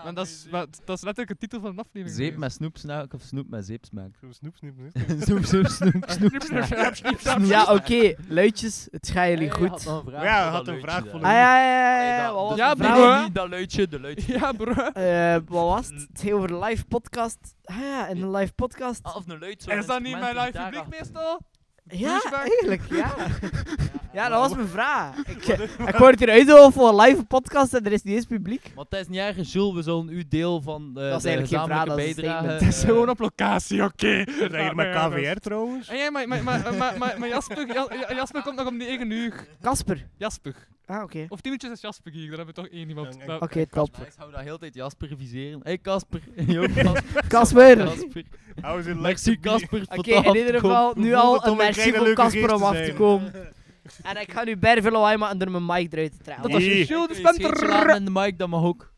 Want dat is, wat- dat is letterlijk de titel van de aflevering. Zeep [laughs] met snoep [laughs] smaak of snoep met zeep smaak. Zo Snoep, snoep, snoep. snoep, snoep, snoep, snoep. [laughs] Ja, oké. Luidjes, het gaat jullie goed. Ah, Ja, hij had een vraag voor ja, ja, ja, ja, ja. Wat was Ja, de vraag? broer. niet dat luidje, de luidje. Ja, bro. Eh, wat was het? Het ging over live podcast. Ah ja, in een live podcast. Of een luid zo. Is dat niet mijn live publiek meestal? Ja, douchebag. eigenlijk, ja. Ja, dat was mijn vraag. Ik, eh, ik word hier uitgehoord voor een live podcast en er is niet eens publiek. Want het is niet erg, Jules, we zullen uw deel van eh, Dat is de eigenlijk geen vraag, gezamenlijke dat is een bijdrage... statement. eh, Het is gewoon op locatie, oké. We zijn hier [laughs] met KVR trouwens. En jij, maar, maar, maar, maar, maar, maar Jasper, Ja- Ja- Jasper komt nog om 9 uur. Casper. Jasper. Ah, oké. Of tientjes is Jasper hier, daar hebben we toch één iemand. Ja, Dat- Oké, top. Nice, hou dat heel de tijd Jasper viseren. Hé hey, [laughs] Kasper, [laughs] Jo Kasper. Casper. Kasper. Hou ze Merci Kasper. Oké, voor de in ieder afkomst. geval nu voelt het om al een een merci kleine voor leuke geest Casper te om af te zijn? komen. En ik ga nu bij veel lawaai maken door mijn mic eruit te trekken. Dat was Nee. je shield Schild Spencer. en de mic, dat mag ook.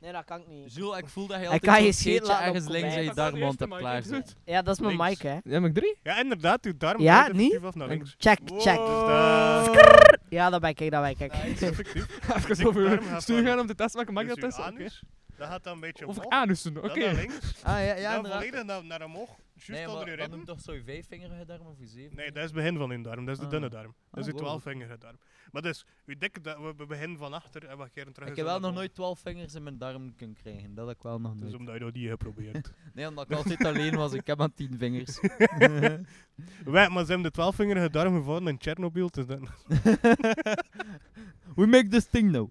Nee, dat kan ik niet. Jules, ik voel dat je Hij altijd kan zo'n je scheet scheetje laten ergens opkomen. links in je Dat was de darmond eerste mic, hebt klaarzet. Ja, dat is mijn Links. mic, hè. Ja, maar ik drie? Ja, inderdaad, doe daarom. Ja, deed het niet? effectief Af Nou, naar links. Check, Wow, check. dus dat- Ja, dat ben ik, dat ben ik. dat is effectief. [laughs] Even Linker arm over gaat stuur van- gaan om de test te maken, mag Dus dat uw testen? Oké. anus, Dat gaat dan een beetje Of omhoog. ik anussen, oké. dan naar links. Ah, ja, ja, dan inderdaad. volledig naar, naar omhoog. Juist onder Nee, je maar dat ribben. noemt toch zo'n vijfvingerige darm of je zeven? Nee, dat is het begin van uw darm. Dat is de Ah. dunne darm. Dat is Ah, uw wow. twaalfvingerige darm. Maar dus, uw dikke darm, we- we beginnen van achter en we keren terug. eens Ik heb wel naar nog boven. nooit twaalf vingers in mijn darm kunnen krijgen. Dat heb ik wel nog Dat is nooit. omdat je dat niet hebt geprobeerd. [laughs] Nee, omdat [laughs] ik altijd alleen was. Ik heb maar tien vingers. Wij, maar ze hebben de twaalfvingerige darm gevonden in Tsjernobyl. Dus dan [laughs] We make this thing now.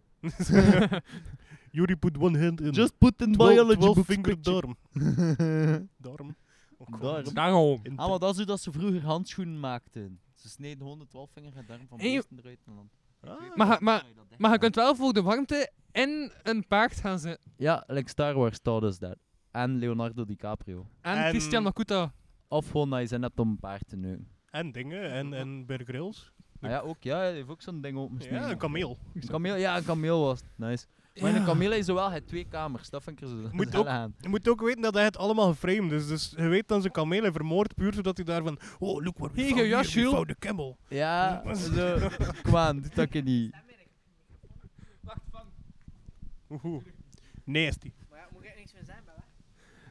Yuri put one hand in. Just put in biology books. finger picture. darm. [laughs] Darm. Oh, God. Darm. Daarom. In- Ah, maar dat is hoe dat ze vroeger handschoenen maakten. Ze sneden 112 vingerige darm van Eeuw. beesten eruit. en dan- Ah. Ik weet Maar- niet maar- hoe je dat Maar echt je maakt. kunt wel voor de warmte in een paard gaan zitten. Ja, like Star Wars taught us that. En Leonardo DiCaprio. En En- Christian Makuta. Of gewoon dat je zin hebt om een paard te neuken. En dingen. En, en Bear Grylls. Ah ja, ook. Ja, hij heeft ook zo'n ding opgesneden. Ja, een kameel. Een kameel, ja, een kameel was het. Nice. Maar in een kameel is zowel het twee kamers. Dat vind ik er zo Moet gezellig ook- aan. Je moet ook weten dat hij het allemaal geframed is. Dus je weet dat zijn kameel hij vermoord puur zodat hij daarvan... Oh, look what we Hier, found here, jas, we Jules. found a camel. Ja, zo. Kwaan, doe dat je [laughs] niet. Eh, Oehoe. Nasty. Maar ja, moet ik niks meer zijn, hè?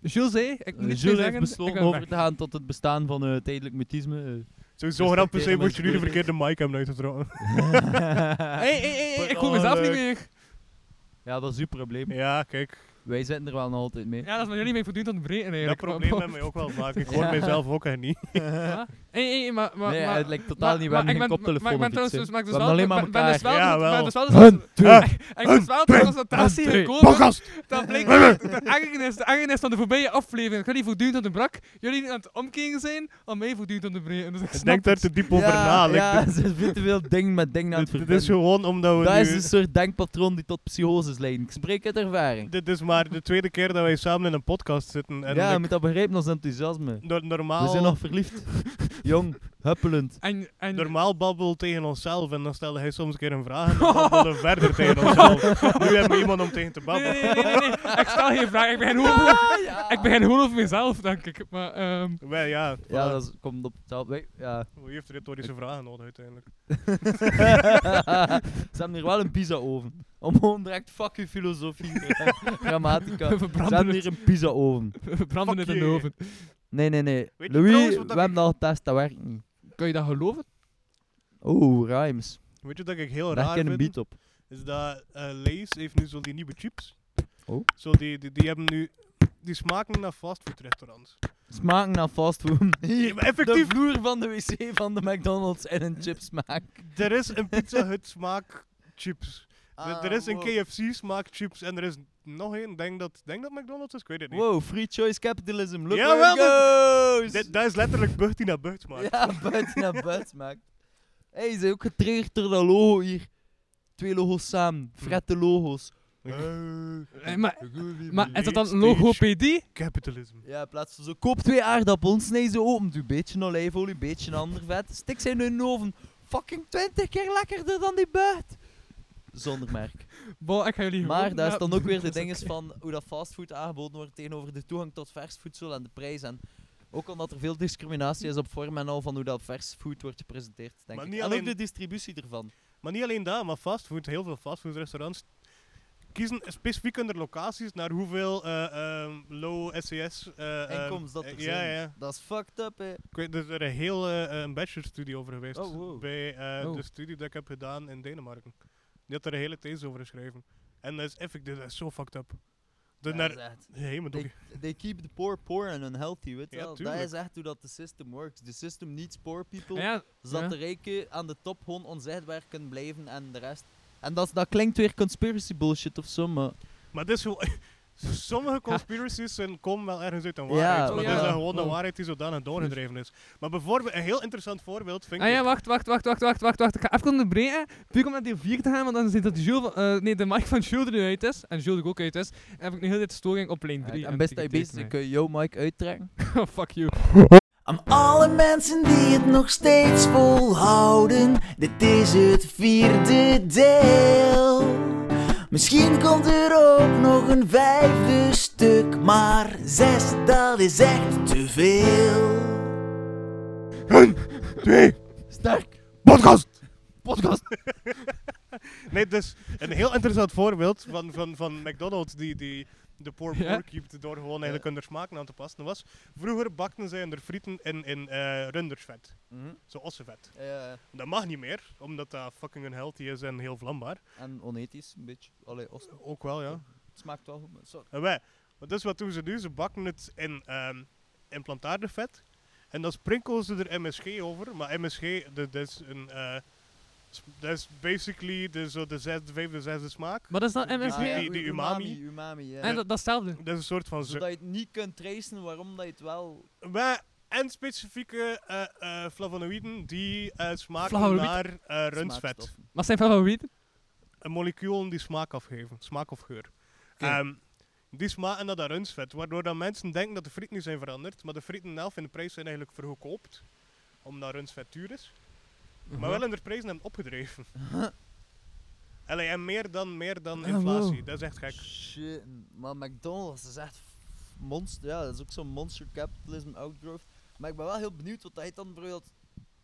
Jules zei, ik moet Eh, niet Jules zeggen, heeft ik besloten ben over weg. te gaan tot het bestaan van eh, tijdelijk mutisme. eh. Sowieso Respecteer grappig zijn moest je nu de mensen. verkeerde mic hebben uitgetrokken. [laughs] Hey, hey, hey, hey, ik hoor Oh, mezelf niet leuk. meer. Ja, dat is uw probleem. Ja, kijk. Wij zitten er wel nog altijd mee. Ja, dat is maar jullie mee voortdurend aan het breken Dat eigenlijk. probleem hebben wij ook wel vaak. [laughs] Ik hoor Ja. mijzelf ook echt niet. Ja. Hey, hey, maar... maar, nee, maar het lijkt totaal niet. We hebben geen koptelefoon Maar ik ben of trouwens iets, hè. dus, maar ik dus We wel... hebben alleen maar ik ben- ben dus wel elkaar. tot- Ja, ben wel. dus wel tot- twee, Ik ben dus wel tot concentratie twee. gekomen. Dat bleek de ergernis, de ergernis van de voorbije aflevering. Ik ga die voortdurend aan de brak. Jullie aan het omkeren zijn, om mij voortdurend aan de breken. Dus ik Ik snap denk daar te diep over na. Like, [laughs] Ja, dit- er is veel te veel ding met ding aan dit- Dit het verbinden. is gewoon omdat we Dat is dus- nu- een soort denkpatroon die tot psychoses leidt. Ik spreek uit ervaring. Dit is maar de tweede keer dat wij samen in een podcast zitten. En ja, je like, moet dat begrijpen, ons enthousiasme. no- normaal, We zijn nog [laughs] verliefd. Jong, huppelend. En, en normaal babbel tegen onszelf en dan stelde hij soms een keer een vraag en [laughs] dan babbelden we verder tegen onszelf. Nu hebben we iemand om tegen te Nee, babbelen. nee, nee, nee, nee, nee. Ik stel geen vraag. Ik begin gewoon over, ik begin gewoon over mezelf, denk ik. Maar, ehm Wel ja, Ja, voilà. dat is- komt op hetzelfde. wij- [laughs] Ja. wie heeft retorische vragen nodig uiteindelijk? Ze hebben hier wel een pizza-oven. Om gewoon direct fuck je filosofie, [laughs] eh, grammatica. we Ze hebben verbranden het, hier een pizza-oven. we branden Fuck het in de you. oven. Nee, nee, nee. Weet je Louis, trouwens we wat dat hebben dat getest, dat werkt niet. Kan je dat geloven? Oh, rhymes. Weet je wat ik heel Leg raar je een vind? beat op. Is dat eh Lay's heeft nu zo die nieuwe chips. Oh. Zo die, die, die hebben nu... Die smaken naar fastfoodrestaurants. Smaken naar fastfood. Ja, [laughs] Hier, maar effectief. de vloer van de wc van de McDonald's en een chipsmaak. Er is een Pizza Hut smaak chips. Er- Ah, er is een wow. KFC smaak chips en er is nog één. Denk dat, denk dat McDonald's is, ik weet het niet. Wow, free choice capitalism. Look Ja, where it goes. Dit, dat is letterlijk bucht die naar bucht smaakt. Ja, [laughs] buiten naar buiten maakt. Hé, hey, ze zijn ook getriggerd door dat logo hier. Twee logo's samen. Frette logo's. Eh, maar, maar is dat dan Stage. logopedie? Capitalism. Ja, in plaats van zo, koop twee aardappels, snij ze open, doe een beetje olijfolie, een beetje ander vet, stik ze in hun oven, fucking 20 keer lekkerder dan die buit. Zonder merk. Bon, ik ga jullie Maar gewoon- daar ja, is dan ook weer de [laughs] dat is dinges oké. van hoe dat fastfood aangeboden wordt tegenover de toegang tot vers voedsel en de prijs. En ook omdat er veel discriminatie is op vorm en al van hoe dat vers food wordt gepresenteerd, denk Maar ik. niet En ook alleen- de distributie ervan. Maar niet alleen dat, maar fastfood, heel veel fastfoodrestaurants kiezen specifiek hun locaties naar hoeveel eh, ehm, low SES... eh, ehm, Inkomens dat er eh, Ja, zijn. ja. Dat is fucked up, hè. Ik weet, er is er een heel eh, een bachelorstudie over geweest. Oh, wow. Bij eh, Oh. de studie die ik heb gedaan in Denemarken. Die had er een hele thesis over geschreven. En dat is effectief, dat is zo fucked up. De Ja, naar, dat is echt- hey, maar doe- They, they keep the poor poor and unhealthy, weet je Ja, wel. Dat tuurlijk. is echt hoe dat de system works. The system needs poor people, Ja, zodat ja. de rijken aan de top gewoon onzichtbaar kunnen blijven en de rest... En dat, is- dat klinkt weer conspiracy bullshit of zo, maar... Maar dit is gewoon- [laughs] Sommige conspiracies zijn, komen wel ergens uit een waarheid, Ja, maar Oh, dit ja. is dan gewoon de Oh. waarheid die zodanig doorgedreven is. Maar bijvoorbeeld, een heel interessant voorbeeld vind [laughs] Ah ik... ja, wacht, wacht, wacht, wacht, wacht, wacht, wacht. Ik ga even onderbreken. Puur om naar deel 4 te gaan, want dan zit dat Jules van, eh, nee, de mic van Jules er nu uit is. En Jules er ook uit is. En heb ik nu heel dit storing op lane 3. en best dat je bezig bent, kun je jouw mic uittrekken. [laughs] Oh, fuck you. Aan alle mensen die het nog steeds volhouden, dit is het vierde deel. Misschien komt er ook nog een vijfde stuk, maar zes, dat is echt te veel. Twee. Sterk. Podcast. Podcast. [laughs] Nee, dus een heel interessant voorbeeld van, van, van McDonald's die, die de poor Ja? poor keept door gewoon eigenlijk hun smaken aan te passen. was, vroeger bakten zij hun frieten in, in eh, rundersvet. Mhm. Zo ossenvet. Ja, ja, ja. Dat mag niet meer, omdat dat fucking unhealthy is en heel vlambaar. En onethisch, een beetje. Allee, os- Ook wel, ja. het smaakt wel goed, maar sorry. En wij, want dat is wat doen ze nu. Ze bakken het in, ehm in plantaardenvet. En dan sprinkelen ze er MSG over. Maar MSG, dat is een... eh, s- dat is basically de, zo de zesde, vijfde, zesde smaak. Wat is dat MSG? Ja, die- die umami. Ah, Umami, umami, ja. En dat, datzelfde. Dat is een soort van... zu- Zodat je het niet kunt tracen waarom dat je het wel... Wij en specifieke eh, eh, flavonoïden die eh, smaken Flavonoïden? naar eh rundvet. smaakstoffen. Wat zijn favorieten? Eh, Moleculen die smaak afgeven, smaak of geur. Oké. Ehm, die smaken naar dat rundvet, waardoor dan mensen denken dat de frieten niet zijn veranderd, maar de frieten zelf in de prijs zijn eigenlijk vergoedkoopt, omdat rundvet duur is. Uh-huh. Maar wel in de prijzen hebben opgedreven. Allee, en meer dan, meer dan Ah, inflatie, wow. dat is echt gek. Shit, maar McDonald's is echt monster. Ja, dat is ook zo'n monster capitalism outgrowth. Maar ik ben wel heel benieuwd wat hij dan bijvoorbeeld,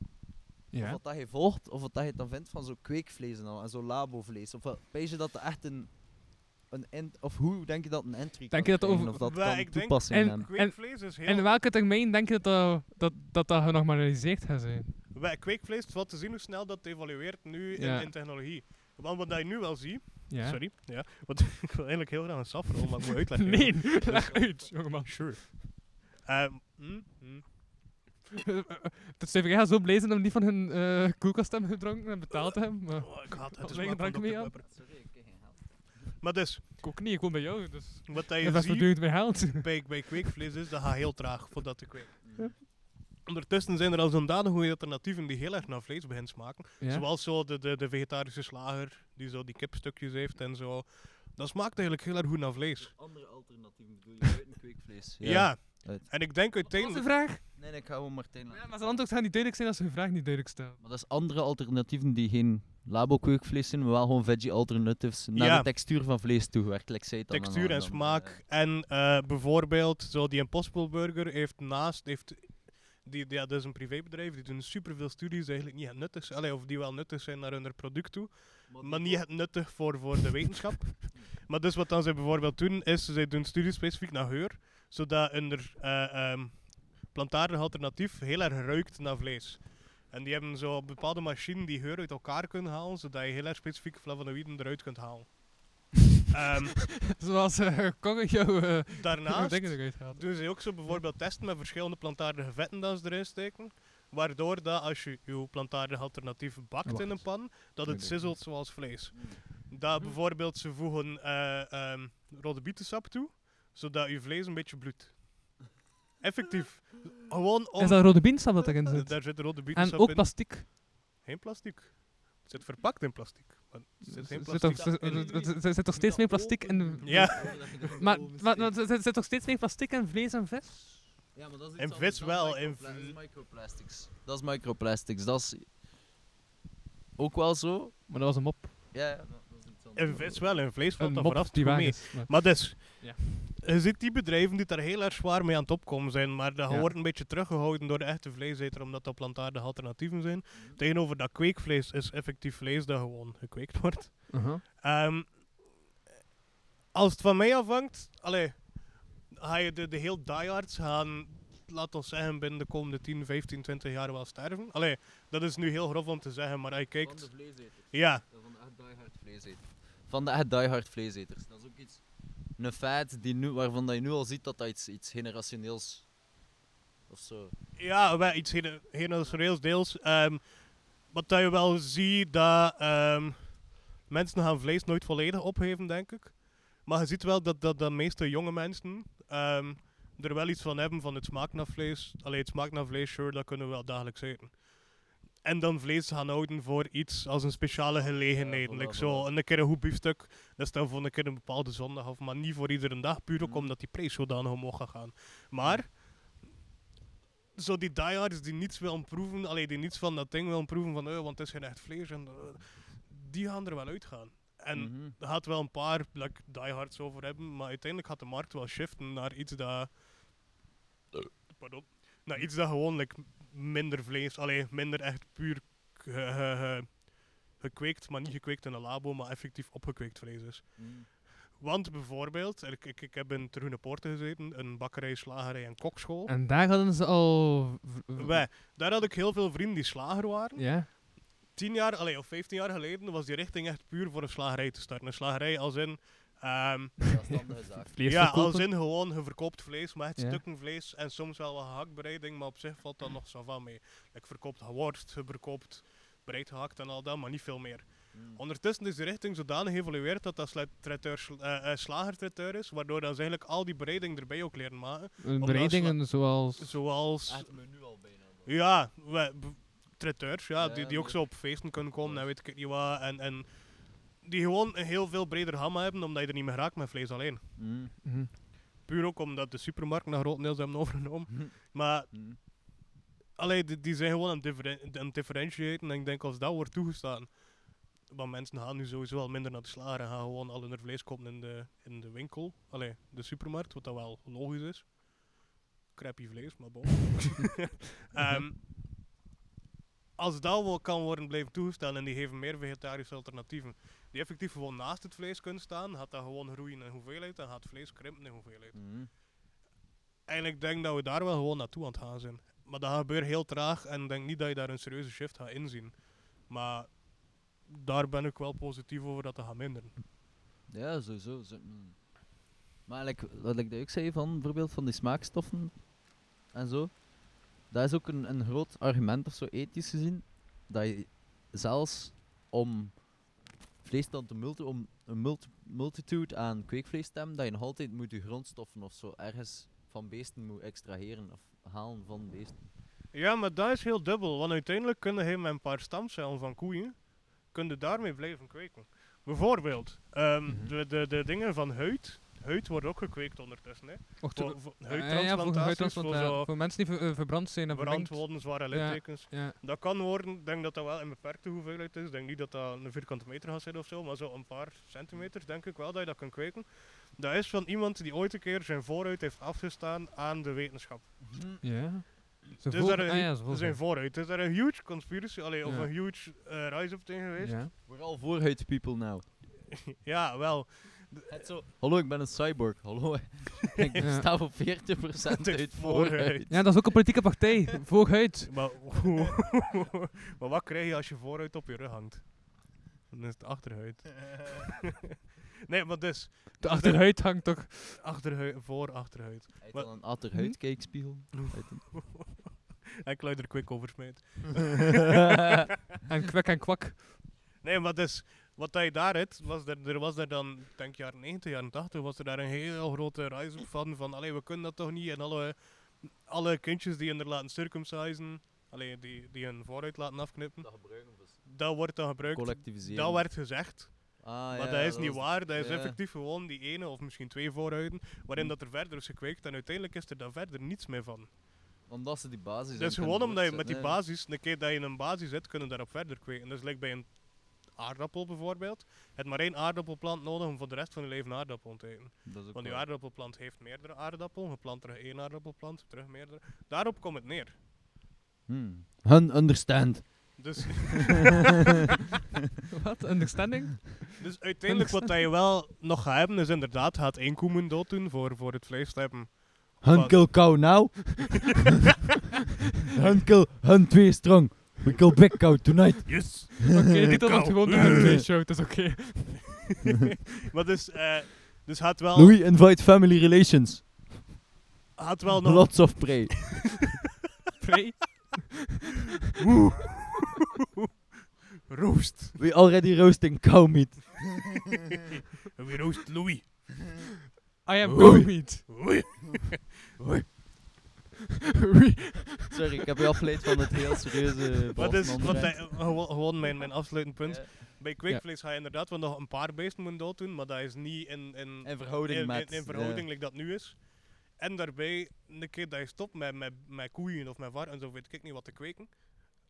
of Ja. wat dat hij volgt, of wat dat hij dan vindt van zo'n kweekvlees en al, en zo'n labovlees. Of wat- weet je dat er echt een, een ent, of hoe denk je dat een entry Denk kan je dat krijgen, over- of dat Wel, kan ik denk- toepassing en- hebben? Kweekvlees is heel... In welke termijn denk je dat dat, dat, dat genormaliseerd gaat zijn? Bij kweekvlees het valt te zien hoe snel dat evolueert nu in- Ja. in, technologie. Want wat je nu wel ziet, Ja. sorry, ja, want [laughs] ik wil eigenlijk heel graag een safrol, maar ik moet uitleggen. [laughs] [laughs] Nee, [laughs] leg uit, jongeman. Sure. Ehm, mm, mm. Dat zijn gaat zo blij zijn om niet van hun eh koelkast te hebben gedronken en betaald te hebben. Maar Oh, ik haat het, het Wat is leg je maar drank van mee Dr. aan? Pepper. Maar dus, ik ook niet, ik kom bij jou. Dus wat dat dat je is ziet voortdurend mijn geld. [laughs] bij, bij kweekvlees is, dat gaat heel traag voordat te kweken. Ondertussen zijn er al zodanig goede alternatieven die heel erg naar vlees beginnen smaken. Ja. Zoals zo de, de, de vegetarische slager, die zo die kipstukjes heeft en zo. Dat smaakt eigenlijk heel erg goed naar vlees. Andere alternatieven bedoel je, buiten kweekvlees. Ja. Uit. En ik denk Wat was de uiteindelijk... vraag? Nee, nee, ik ga gewoon Martijn laten. Ja, maar zijn antwoord gaat niet duidelijk zijn als ze hun vraag niet duidelijk stelt. Maar dat is andere alternatieven die geen labo-kweekvlees zijn, maar wel gewoon veggie alternatives naar Ja. de textuur van vlees toegewerkt. Like zij het dan textuur en dan, smaak. En eh, bijvoorbeeld, zo die Impossible Burger heeft naast, heeft, die, die- ja, dat is een privébedrijf, die doen superveel studies die eigenlijk niet echt nuttig zijn, allee, of die wel nuttig zijn naar hun product toe, eh, maar niet echt nuttig voor, voor de wetenschap. maar dus wat dan zij bijvoorbeeld doen, is zij doen studies specifiek naar geur, zodat hun eh ehm, plantaardig alternatief heel erg ruikt naar vlees. En die hebben zo bepaalde machines die geur uit elkaar kunnen halen, zodat je heel erg specifiek flavonoïden eruit kunt halen. Ehm, Zoals eh Kong jouw eh, daarnaast dingen eruit haalt. doen ze ook zo bijvoorbeeld testen met verschillende plantaardige vetten dat ze erin steken. Waardoor dat als je je plantaardige alternatief bakt in een pan, dat het sizzelt zoals vlees. Dat bijvoorbeeld ze voegen eh ehm, rode bietensap toe, zodat je vlees een beetje bloedt. Effectief. Gewoon om... Is dat rode biensap dat erin Eh, zit? Daar zit rode En bietensap ook in. plastic. Geen plastic. Het zit verpakt in plastic. Maar er zit geen Er zit toch- plastic er- in. er- er- er zit toch steeds meer plastic in... de- eh. Ja, Maar, maar, maar er zit- zit toch steeds meer plastic in vlees en vis? Ja, maar dat is in vis wel. In Dat is microplastics. Dat is microplastics. Dat is ook wel zo. Maar dat was een mop. Ja, ja. in vis wel, in vlees valt Een dat mop vanaf die toe waar mee. is. maar- Maar dus, Ja. je ziet die bedrijven die daar heel erg zwaar mee aan het opkomen zijn, maar dat Ja. wordt een beetje teruggehouden door de echte vleeseter, omdat dat plantaardige alternatieven zijn. Mhm. Tegenover dat kweekvlees is effectief vlees dat gewoon gekweekt wordt. Aha. Ehm, als het van mij afhangt, allee, ga je de, de heel diehards gaan, laat ons zeggen, binnen de komende 10, 15, 20 jaar wel sterven. Allee, dat is nu heel grof om te zeggen, maar als je Van de kijkt... vleeseters. Ja, Van de echt diehard vleeseters. Van de echt diehard vleeseters. Dat is ook iets... Een feit die nu, waarvan dat je nu al ziet dat dat iets, iets generationeels... Of zo. Ja, wel iets hele- generationeels deels. ehm, wat dat je wel ziet, dat ehm, mensen gaan vlees nooit volledig opgeven, denk ik. Maar je ziet wel dat dat de meeste jonge mensen ehm, er wel iets van hebben van het smaak naar vlees. Alleen het smaak naar vlees, sure, dat kunnen we wel dagelijks eten. En dan vlees gaan houden voor iets als een speciale gelegenheid. voilà, like voilà. zo, een keer een goed biefstuk, dat is dan voor een keer een bepaalde zondag of maar niet voor iedere dag, puur ook Mhm. omdat die prijs zodanig omhoog gaat gaan. Maar zo die diehards die niets willen proeven, alleen die niets van dat ding willen proeven van, eh, want het is geen echt vlees, en, eh, die gaan er wel uitgaan. En Mhm. er gaat wel een paar like, diehards over hebben, maar uiteindelijk gaat de markt wel shiften naar iets dat. Pardon. Naar iets dat gewoon like, minder vlees, alleen minder echt puur k- ge- ge- ge- gekweekt, maar niet gekweekt in een labo, maar effectief opgekweekt vlees is. Want bijvoorbeeld, ik, ik, ik heb in Terhune Poorten gezeten, een bakkerij, slagerij en kokschool. En daar hadden ze al... v- v- Wij, daar had ik heel veel vrienden die slager waren. Ja? Tien jaar, allee, of 15 jaar geleden was die richting echt puur voor een slagerij te starten. Een slagerij als in... ehm, Zelfstandige zaak. Vlees ja, verkopen? als in gewoon je verkoopt vlees, maar het Ja. stukken vlees en soms wel wat gehaktbereiding, maar op zich valt dat nog zo van mee. Ik verkoopt geworst, je verkoopt breed gehakt en al dat, maar niet veel meer. Ondertussen is de richting zodanig geëvolueerd dat dat sla- traiteur sl- eh, eh, slagertraiteur is, waardoor dat ze eigenlijk al die bereiding erbij ook leren maken. eh, Omdat Bereidingen zoals... Zoals... Echt me nu al bijna. bro. Ja, we, b- traiteurs, ja, Ja, die, die ook die- zo op feesten kunnen komen en weet ik niet wat. En, en die gewoon een heel veel breder gamma hebben, omdat je er niet meer raakt met vlees alleen. Mhm. Puur ook omdat de supermarkten dat grotendeels hebben overgenomen. Maar, allee, die, die zijn gewoon aan het differen- aan het differentiëren. En ik denk, als dat wordt toegestaan, want mensen gaan nu sowieso wel minder naar de slager en gaan gewoon al hun vlees kopen in de, in de winkel. Allee, de supermarkt, wat dat wel logisch is. Crappy vlees, maar bon. [laughs] Ehm, als dat wel kan worden blijven toegestaan en die geven meer vegetarische alternatieven, die effectief gewoon naast het vlees kunnen staan, gaat dat gewoon groeien in hoeveelheid en gaat het vlees krimpen in hoeveelheid. mhm. Eigenlijk denk ik dat we daar wel gewoon naartoe aan het gaan zijn. Maar dat gebeurt heel traag en ik denk niet dat je daar een serieuze shift gaat inzien. Maar daar ben ik wel positief over dat dat gaat minderen. Ja, sowieso. zo- mm. Maar like, wat ik daar ook zei van bijvoorbeeld van die smaakstoffen en zo, dat is ook een, een groot argument of zo ethisch gezien, dat je zelfs om vlees dan te multi, om een multi- multitude aan kweekvlees te hebben, dat je nog altijd moet je grondstoffen of zo ergens van beesten moet extraheren of halen van beesten. Ja, maar dat is heel dubbel, want uiteindelijk kunnen hij met een paar stamcellen van koeien, kunnen daarmee blijven kweken. Bijvoorbeeld, ehm, Mhm. de, de, de dingen van huid, huid wordt ook gekweekt ondertussen. Hè. Och, Voor, ter- voor Ah, ja, voor huidtransplantaties, voor, huidtransplantaat- zo voor mensen die ver- eh, verbrand zijn en verbrand verminkt. worden, zware littekens. Ja. Dat kan worden, ik denk dat dat wel in beperkte hoeveelheid is. Ik denk niet dat dat een vierkante meter gaat zijn of zo, maar zo een paar centimeter denk ik wel dat je dat kan kweken. Dat is van iemand die ooit een keer zijn vooruit heeft afgestaan aan de wetenschap. Ja. Ze Dus volgen- daar, een ah hu- ja, ze er zijn volgen. vooruit. Er is daar een huge conspiracy, allee, of Ja. een huge eh, rise-up tegen geweest. Ja, Ja. Vooral vooruit people now. [laughs] wel. Hallo, ik ben een cyborg. Hallo, [laughs] ik Ja. sta op 40% uit vooruit. ja, dat is ook een politieke partij. Vooruit. Maar, [laughs] maar wat krijg je als je vooruit op je rug hangt? Dan is het achteruit. [laughs] nee, maar dus, De achterhuid hangt [laughs] toch. achterhuid, voor, achteruit. Hij Wat- dan een achteruitkijkspiegel. Uit een- Ik luid er quick over smijt. En kwek en kwak. Nee, maar dus, wat dat je daar hebt, was er, er was er dan, ik denk jaren 90, jaren 80, was er daar een heel grote rise-up van, van allee, we kunnen dat toch niet, en alle, alle kindjes die hun er laten circumcisen, allee, die, die hun vooruit laten afknippen, Dat gebruiken we. dus. dat wordt dan gebruikt, Collectiviseren. dat werd gezegd. Ah, Maar ja, dat is dat niet was- waar, dat is ja. Hm. effectief gewoon die ene of misschien twee vooruiten, waarin dat er verder is gekweekt en uiteindelijk is er daar verder niets meer van. Omdat ze die basis Dus in gewoon kunnen omdat je met die voortzetten, basis, een keer dat je in een basis zit, kunnen daarop verder kweken. Dus lijkt bij een aardappel bijvoorbeeld, je hebt maar één aardappelplant nodig om voor de rest van je leven een aardappel te eten. hè. Dat is ook Want die waar. aardappelplant heeft meerdere aardappelen, je plant terug één aardappelplant, terug meerdere. Daarop komt het neer. Hmm. Hun understand. [laughs] Dus Wat? Understanding? Dus uiteindelijk wat dat je wel nog gaat hebben, is inderdaad, gaat één koemen dood doen voor, voor het vlees te hebben. Hun Wat? kill cow now. [laughs] hun kill, hun twee strong. We kill big cow tonight. Yes! Oké, dit titel wordt gewoon door een face show, dat is oké. Maar dus, eh dus gaat wel, Louis invite family relations. gaat wel nog... Lots of prey. Play. Roost! We already roasting cow meat. We roost Louis. I am Oei. Gomit. Oei. Sorry, ik heb je afgeleid van het heel serieuze [laughs] Wat is, Bosman wat brand. hij- gewoon, gewoon mijn, mijn afsluitend punt. Ja. Bij kweekvlees ga je inderdaad wel nog een paar beesten moeten dood doen, maar dat is niet in, in, In verhouding in, met... eh, in, in verhouding like dat nu is. En daarbij, een keer dat je stopt met, met, met koeien of met varkens of weet ik niet wat te kweken,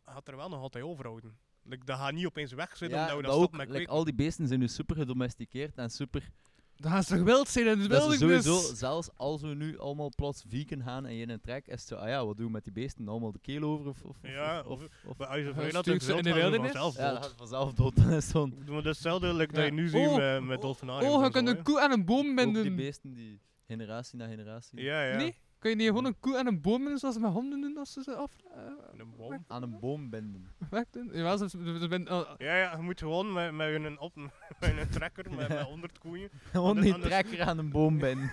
gaat er wel nog altijd overhouden. Like, dat gaat niet opeens wegzitten Ja, omdat we maar dat stoppen ook, met like, kweken. al die beesten zijn nu super gedomesticeerd en super... Dat gaat toch wild zijn in de Dat ze wildernis? sowieso, dus- zelfs als we nu allemaal plots vegan gaan en je in een trek, is het zo, ah ja, wat doen we met die beesten? Allemaal de keel over of... of Ja, of, of, of- Maar als je Hij verhindert stuurt ze in in de de wildernis, wildernis? vanzelf ja, dat dood. gaat vanzelf dood. [laughs] Dat is zo'n... Maar Dat is hetzelfde like, dat je Ja. nu ziet Oh, met, met dolfinariums Oh, je en kunt zo, een koe aan een boom Ook die binden. beesten die generatie na generatie Ja, ja. Nee? Kun je niet gewoon een koe aan een boom binden zoals ze met honden doen als ze ze af... eh, Een boom. aan een boom binden. wegdoen? Jawel, ze, ze, ze binden- oh, Ja, ja, je moet gewoon met, met een, op, [laughs] met een trekker, met, met 100 koeien, Gewoon Anders- die anders- trekker aan een boom [laughs] binden.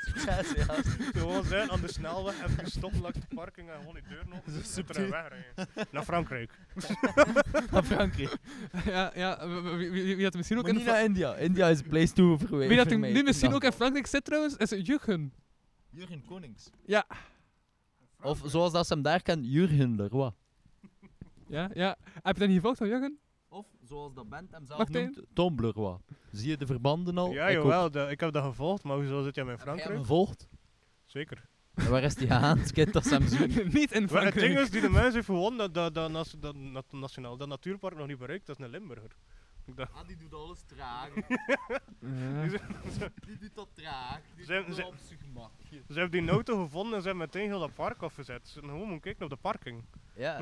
Succes, ja. gewoon zijn aan de snelweg, even stoppen langs de parking en gewoon die deur [laughs] nog en er wegrijden. Naar Frankrijk. [laughs] Naar Frankrijk. [laughs] ja, ja, w- w- wie, wie, wie had misschien ook Maar in niet Fra- naar India. India is a place to verwijzen. Wie dat er nu misschien ook in Frankrijk zit trouwens, is Jurgen. Jurgen Konings. Ja. Of zoals dat ze hem daar kennen, Jurgen Leroy. Ja, ja. Heb je dat niet gevolgd van Jurgen? Of zoals dat band hem zelf Martijn? noemt, Tom Leroy. Zie je de verbanden Oh. al? Ja, Ik ook. jawel, dat- ik heb dat gevolgd, maar hoezo zit jij in Heb jij hem Frankrijk? gevolgd? Zeker. En waar is die gegaan? Het kind dat ze [laughs] hem zoeken. [laughs] niet in Maar het ding Frankrijk. is, die [laughs] de mens heeft gewonnen, dat, dat, dat, nas- dat, nat- nationaal, dat natuurpark nog niet bereikt, dat is een Limburger. Dat, Ah, die doet alles traag. Ja. Die doet dat traag. doet Zijn- dat zijn- op zijn gemak. ze hebben die auto [laughs] gevonden en ze hebben meteen heel dat park afgezet. Ze zijn gewoon moeten kijken op de parking. Ja.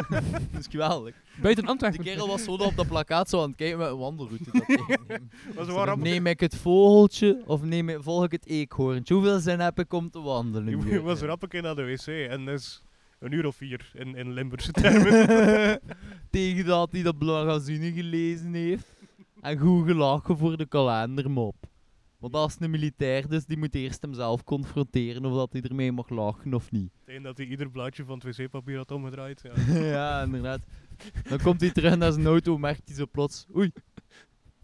[laughs] dat is geweldig. Buiten Die Antwerpen. kerel was zo dat op dat plakkaat zo aan het kijken met een wandelroute. [laughs] Dat tegenneemt. Maar ze waren op- neem ik het vogeltje of neem ik, volg ik het eekhoorntje? Hoeveel zin heb ik om te wandelen? Ik hier? was rap een keer naar de wc en dat is een uur of vier in, in Limburgse termen. [laughs] Tegen dat hij dat magazine gelezen heeft. En goed gelachen voor de kalendermop. Want dat is een militair, dus die moet eerst hemzelf confronteren of dat hij ermee mag lachen of niet. Tegen dat hij ieder blaadje van het wc-papier had omgedraaid. Ja. ja, inderdaad. Dan komt hij terug naar zijn auto, merkt hij zo plots. Oei.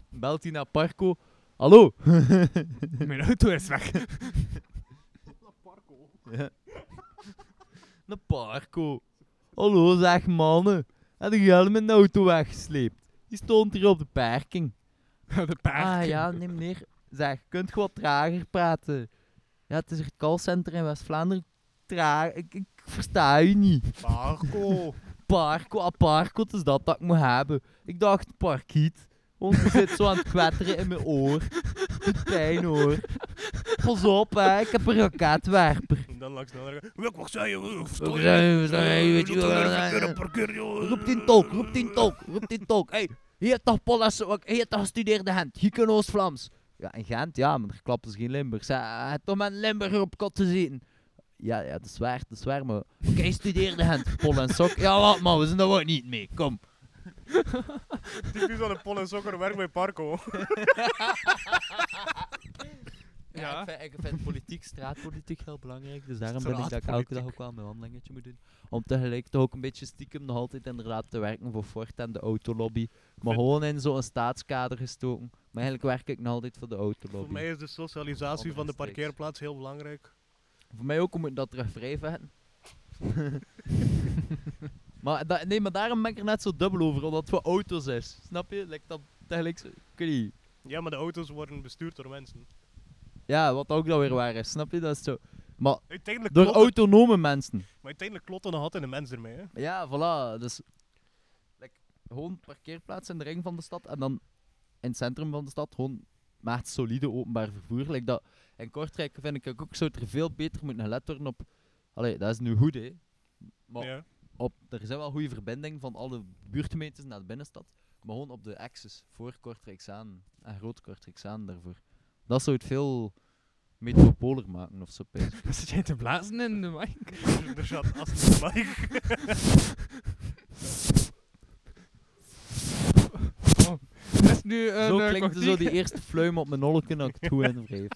Belt hij naar Parco. Hallo. Mijn auto is weg. Ja. Naar Parco. Hallo zeg mannen. Heb je al mijn auto weggesleept? Die stond hier op de parking. de paard. Ah ja, nee meneer. Zeg, kunt je wat trager praten? Ja, het is hier het callcenter in West-Vlaanderen. Traag, ik, ik versta u niet. Marco! Parco, ah Parco, het is dat dat ik moet hebben. Ik dacht parkiet. Want je zit zo aan het kwetteren in mijn oor. Doet pijn hoor. Pas op hè, ik heb een raketwerper. En dan langs de andere Welk mag zij? Wat zei je, wat zei je, weet je wel, eh, Roep die tolk, roep die [laughs] tolk, roep die tolk. Hey, hier toch Polles, ook- hier toch gestudeerde Gent, hier kunnen ons Vlaams. Ja, in Gent, ja, maar er klapt dus geen Limburgs. hè. Hij had toch met een Limburger op kot te zitten. Ja, ja, dat is waar, dat is waar, maar... Oké, studeerde Gent, Pol en Sok. Ja, laat maar, we zijn daar ook niet mee, kom. Typisch aan een pol en sokker werk bij Parco. Ja, Ik, vind, ik vind politiek, straatpolitiek heel belangrijk. Dus daarom ben ik dat ik elke dag ook wel mijn wandelingetje moet doen. Om tegelijk toch ook een beetje stiekem nog altijd inderdaad te werken voor Ford en de autolobby. Maar Vind- gewoon in zo'n staatskader gestoken. Maar eigenlijk werk ik nog altijd voor de autolobby. Voor mij is de socialisatie Andere van de steeks. parkeerplaats heel belangrijk. ook, om dat terug vrijvetten. [laughs] maar da- nee, maar daarom ben ik er net zo dubbel over, omdat het voor auto's is. Snap je? Like dat tegelijk zo... ik weet niet. Ja, maar de auto's worden bestuurd door mensen. Ja, wat ook dan weer waar is. Snap je? Dat is zo... Maar Uiteindelijk door klotten- autonome mensen. Maar uiteindelijk klotten nog altijd de mens ermee. Hè. Ja, voilà. Dus like, gewoon parkeerplaats in de ring van de stad en dan in het centrum van de stad gewoon maakt solide openbaar vervoer. Like dat, in Kortrijk vind ik ook zo dat er veel beter moet gelet worden op... Allee, dat is nu goed, hè. Maar Ja. op, er zijn wel goede verbindingen van alle buurtgemeentes naar de binnenstad. Maar gewoon op de axis voor Kortrijksaan en Groot Kortrijksaan daarvoor. Dat zou het veel metropoler maken of zo. pijs [laughs] ik. Wat zit jij te blazen in de [laughs] mic? er zat Aston Mike. Dat is nu een Zo eh, klinkt kwartier. zo die eerste fluim op mijn nolken dat ik het goed [laughs] in wreef.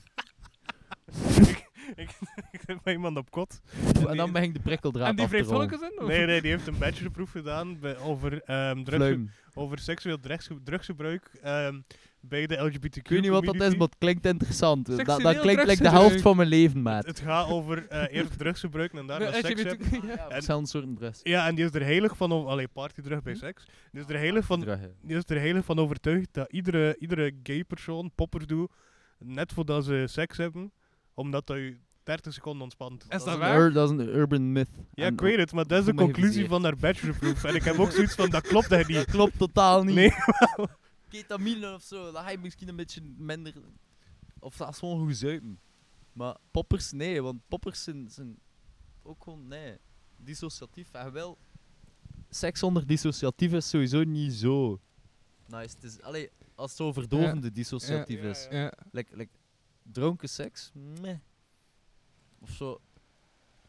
Ik heb [laughs] bij iemand op kot. En dan begint de prikkeldraad En die af te vreemd rollen. in? [laughs] of- Nee, nee, die heeft een bachelorproef gedaan bij, over, ehm drugs, Fluim. over seksueel drugsge- drugsgebruik ehm, bij de LGBTQ Ik weet niet wat dat is, community. maar het klinkt interessant. Dat, dat Seksueel klinkt like de drugsgebruik. helft van mijn leven, maat. Het gaat over eh, eerst drugsgebruik en daarna Nee, seks hebben. LGBT [laughs] ja. Verschillende soorten drugs. Ja, en die is er heilig van... over- Allee, partydrug bij seks. Die is er heilig van, Drugs. die is er heilig van overtuigd dat iedere, iedere gay persoon poppers doet, net voordat ze seks hebben, omdat dat je 30 seconden ontspant. Is dat Een waar? ur- Dat is een urban myth. Ja, En ik weet het, maar dat is de voel me conclusie geviseerd. van haar bachelorproof. en ik heb ook zoiets van, dat klopt hij [laughs] Dat niet. klopt totaal niet. Nee. Ketamine of zo, dat ga je misschien een beetje minder. Of dat is gewoon goed zuipen. Maar poppers, nee, want poppers zijn, zijn ook gewoon, nee, dissociatief. En wel, seks onder dissociatief is sowieso niet zo nice. Het is, allee, als het zo verdovende dissociatief is. Ja. Like, like, dronken seks, meh. Of zo.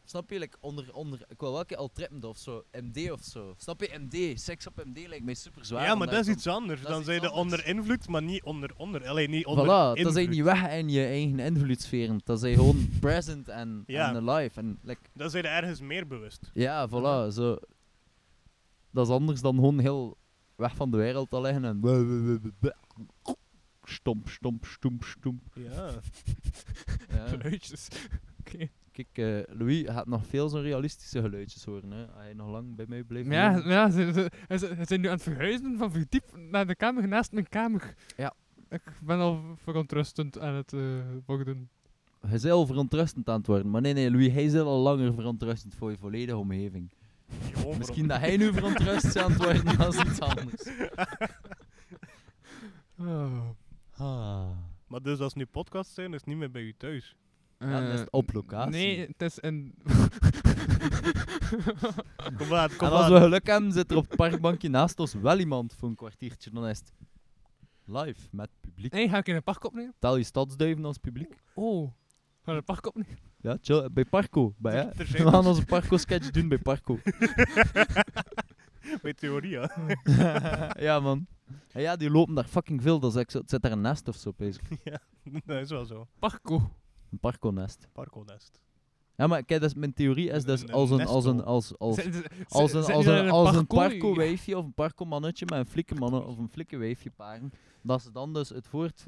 Snap je, like, onder, onder, ik wil welke al trippend of zo, MD of zo. Snap je, MD, seks op MD lijkt mij super zwaar. Ja, maar dat is iets anders. dat is Dan iets zijn je anders. onder invloed, maar niet onder onder. Alleen niet onder Voilà, invloed. dat zijn niet weg in je eigen invloedssferen. Dat zijn [laughs] gewoon present en, Ja. en alive. En, like, Dan zijn je ergens meer bewust. ja, voilà, zo. Dat is anders dan gewoon heel weg van de wereld te liggen en. [laughs] Stomp, stomp, stomp, stomp. [laughs] Ja. Ja. Geluidjes. Kijk, eh, Louis gaat nog veel zo'n realistische geluidjes horen. Hè. Hij nog lang bij mij blijft. Ja, wonen. ja ze, ze- ze- ze zijn nu aan het verhuizen van verdiep naar de kamer naast mijn kamer. Ja. Ik ben al verontrustend aan het eh worden. Hij is heel verontrustend aan het worden. Maar nee, nee, Louis, hij is al langer verontrustend voor je volledige omgeving. Gewoon Misschien dat hij nu verontrust is aan het worden als iets anders. Oh. Ah. Maar dus als het nu podcasts zijn, is het niet meer bij u thuis. Ja, dat is het op locatie. Eh, Nee, het is een... Kom aan, kom en als we aan. geluk hebben, zit er op het parkbankje naast ons wel iemand voor een kwartiertje. Dan is het live met publiek. Nee, ga ik in een park opnemen? Tel je stadsduiven als publiek. Oh. Ga ik een park opnemen? Ja, chill, bij Parco. Bij, hè. Er We zijn gaan onze Parco-sketch doen bij Parco. Bij theorie, ja. [laughs] ja, man. En ja, die lopen daar fucking veel. Dat is echt zo- het zit daar een nest of zo, bezig. [laughs] dat is wel zo. Parko. Een Parco-nest. Parkonest. Ja, maar kijk, dat is, mijn theorie is dus Een- een als een, als een, nestel. als, als, Zit- zit- als een, zit als niet een, in als een parkour? parco-wijfje of een parco-mannetje met een flikkenmannen of een flikkenwijfje paren, dat ze dan dus het voort...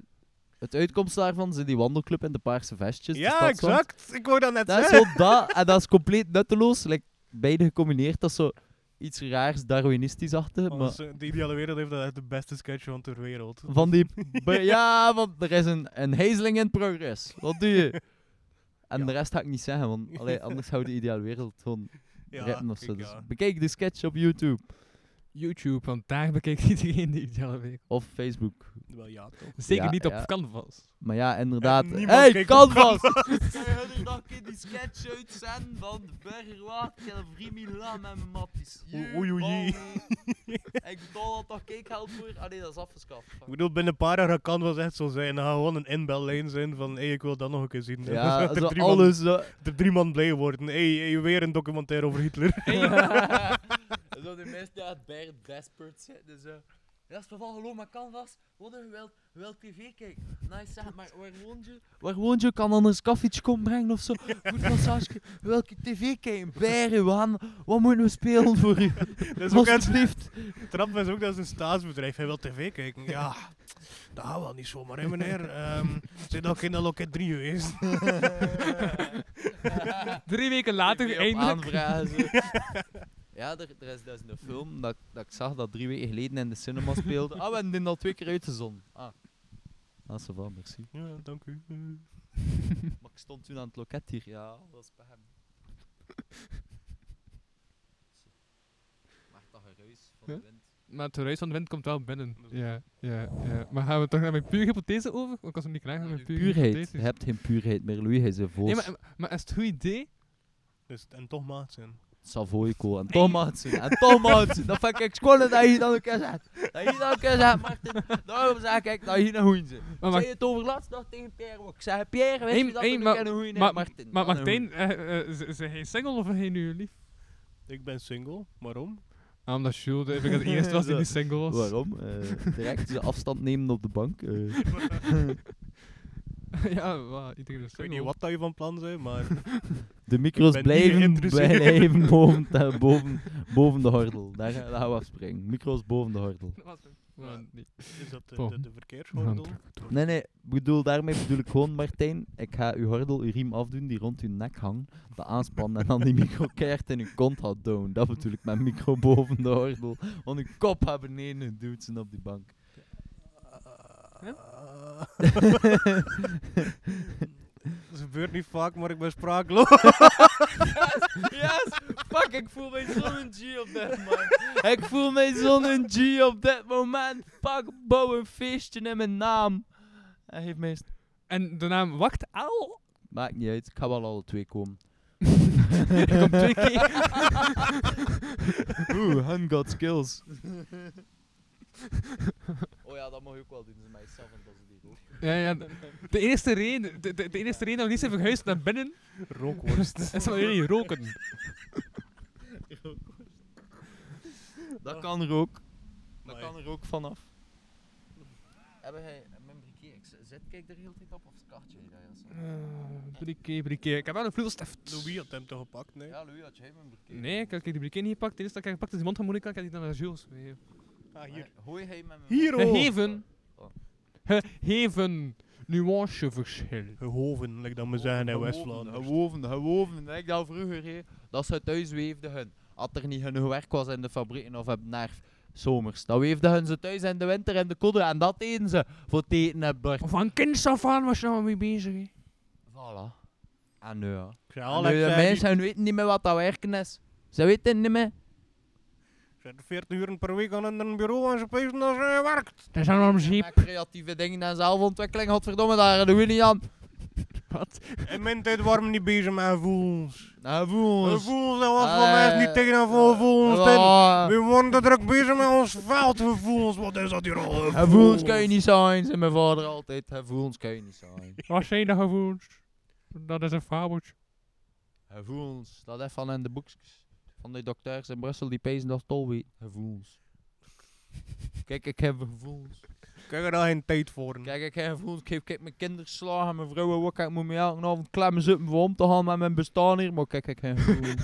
Het uitkomst daarvan zijn die wandelclub in de paarse vestjes. Dus de Ja, stadswand. exact. Ik wou dat net Dat is zeggen. zo dat, en dat is compleet nutteloos. Like, beide gecombineerd, dat is zo iets raars Darwinistisch-achtig, maar... Anders, eh, De ideale wereld heeft dat echt de beste sketch van ter wereld. Van die... [laughs] be- ja, want er is een, een hezeling in progress. Wat doe je? En de rest ga ik niet zeggen, want allee, anders houdt de ideale wereld gewoon rippen of zo. kijk, Dus [laughs] ja. bekijk de sketch op YouTube. YouTube, want daar bekijkt iedereen de ideale wereld. Of Facebook. Wel ja, toch. Zeker Ja, niet op ja. canvas. Maar ja, inderdaad. En eh, niemand hey, kijkt op Canvas! [laughs] Kun je nog die sketch uitzenden van de Burgerwaard, Calvary Milan en Matties? Oei, oei, oei. [laughs] Jee, Ik bedoel dat toch keekgeld voor? Ah nee, dat is afgeschaft. Ik bedoel, binnen een paar jaar dat kan wel echt zo zijn. Dan gaat gewoon een inbellijn zijn van, hé, ik wil dat nog een keer zien. [laughs] Ja, Dat zo er drie alles. Zo, Man, er drie man blij worden. Hé, hey, weer een documentaire over Hitler. [laughs] zo de mensen die uit Bear Desperate zitten. Zo. Dat is toevallig geloof maar Canvas. Wat een geweld, geweld tv kijken. Nice, zeg maar waar woont je? Waar woont je? Kan anders een koffietje komen brengen of zo? Goed massage. Welke tv kijken? Beren, Waan. Wat moeten we spelen voor u? dat is ook echt... Alsjeblieft. Trap is ook, dat is een staatsbedrijf. Hij wil tv kijken. Ja, dat gaat wel niet zomaar, hè meneer. Ehm zijn dat ook in de loket 3 geweest? Drie weken later, TV op eindelijk. aanvragen. zo. Ja, er, er is dus een film dat, dat ik zag dat drie weken geleden in de cinema speelde. Ah, we hebben dit al twee keer uitgezonden. Ah. Ah, ça va, merci. Ja, dank u. Maar ik stond toen aan het loket hier, ja, dat is bij hem. Maakt dat geruis van Ja? de wind. [laughs] Maar het ruis van de wind komt wel binnen. Ja, ja, ja. Maar gaan we toch naar mijn pure hypothese over? Want ik was hem niet klaar met mijn pure Puurheid. hypothese. Je hebt geen puurheid meer, Louis. Hij is een Nee, voos. maar, maar is het een goed idee? Dus, en toch maat zijn. Savoico en Tom Hudson. En Tom Hudson. Dat vind ik schoon dat je dan elkaar zet. Dat je dan elkaar zet, Martin. Daarom zeg ik dat je een goeie zit. Maar, Ik maar, zei het overlaatst nog tegen Pierre ook. Ik zei, Pierre, weet Hey, je dat hey, er maar- een goeie maar- is, Martin? Ah, maar Dan een Martijn, eh, eh, z- zijn hij single of is hij nu lief? Ik ben single. Waarom? Ah, omdat Jules de, ik het [laughs] eerste was die Zo. niet single was. goeie. Waarom? Eh, direct de afstand nemen op de bank. eh. [laughs] ja, wow, iedereen is Ik weet niet single. wat dat je van plan zijn, maar De micro's Ik ben niet blijven, geïnteresseerd. blijven boven, de- boven, boven de hordel. Daar gaan daar gaan we afspringen. Micro's boven de hordel. Wat? Ja, nee. is dat de, Bon. de, de verkeersgordel? Nee, nee, bedoel, daarmee bedoel ik gewoon, Martijn. Ik ga uw hordel, uw riem afdoen die rond uw nek hangt. Dat aanspannen en dan die micro keihard in uw kont houdt doen. Dat bedoel ik met micro boven de hordel. Want uw kop gaat beneden duwtsen op die bank. [laughs] Eh, Het gebeurt niet vaak, maar ik ben spraakloos. Yes! Fuck, ik voel mij zo'n G op dat [laughs] moment. Ik voel mij zo'n G op dat moment. Fuck, bouw een feestje in mijn naam. Hij heeft mij... st- En de naam Wacht Al? Maakt niet uit, ik ga wel alle twee [laughs] komen. Ik kom [laughs] twee keer. Oeh, hun got skills. Oh ja, dat mag ik ook wel doen. Ze mij zelf en dat is niet. Ja, ja. De eerste reden, de, de, de eerste reden dat we niet zijn verhuisd naar binnen... Rookworst. [laughs] is dat jullie roken. Dat kan er ook. Dat Amai. kan er ook vanaf. Hebben jij mijn briquet? Ik zit kijk er heel tijd op of kaartje dat Eh, Briquet, briquet. Ik heb wel een vloeistof. Louis had hem toch gepakt, nee? Ja, Louis, had jij mijn briquet? Nee, ik heb ik heb die briquet niet gepakt. De eerste dat ik gepakt is die mondharmonica. Ik heb die dan naar Jules gegeven. Ah, hier. Hooi hij met mijn Hier, oh! Gegeven. Gegeven. Nuanceverschil. Gehoven, lijkt dat me zeggen in West-Vlaanderen. Gewoven, gewoven. Denk dat vroeger, hè. dat ze thuis weefden hun. Als er niet genoeg werk was in de fabrieken of op nerf zomers. Dan weefden hun ze thuis in de winter in de koude en dat deden ze voor het eten en bord. Van kinds af aan was je nou mee bezig. hè. Voilà. En nu ja. Ik zei En al, nu, ik de zei die- mensen weten niet meer wat dat werken is. Ze weten niet meer. ik zei 40 uur per week aan een bureau en ze pezen als je werkt. Dat is een arm Met creatieve dingen en zelfontwikkeling, godverdomme, daar doen we niet aan. In mijn tijd waren we niet bezig met gevoelens. Nou, voel ons. Gevoelens, dat was voor Eh, mij niet tegen een vol gevoelens. in. Ah, We worden te druk bezig met ons veldgevoelens. Wat is dat hier al? Gevoelens kan je niet zijn, zei mijn vader altijd. Gevoelens kan je niet zijn. Wat zijn de gevoelens? Dat is een fabeltje. Gevoelens, dat is van in de boekjes. Van die dokters in Brussel die pezen dat tol weet. Gevoelens. Kijk, ik heb gevoelens. Kijk er daar geen tijd voor. Kijk, ik heb gevoelens. Ik geef kijk, mijn kinderen slagen, mijn vrouwen wakker. Ik moet me elke avond klemmen zitten voor om te gaan met mijn bestaan hier. Maar kijk, ik [laughs] heb gevoelens.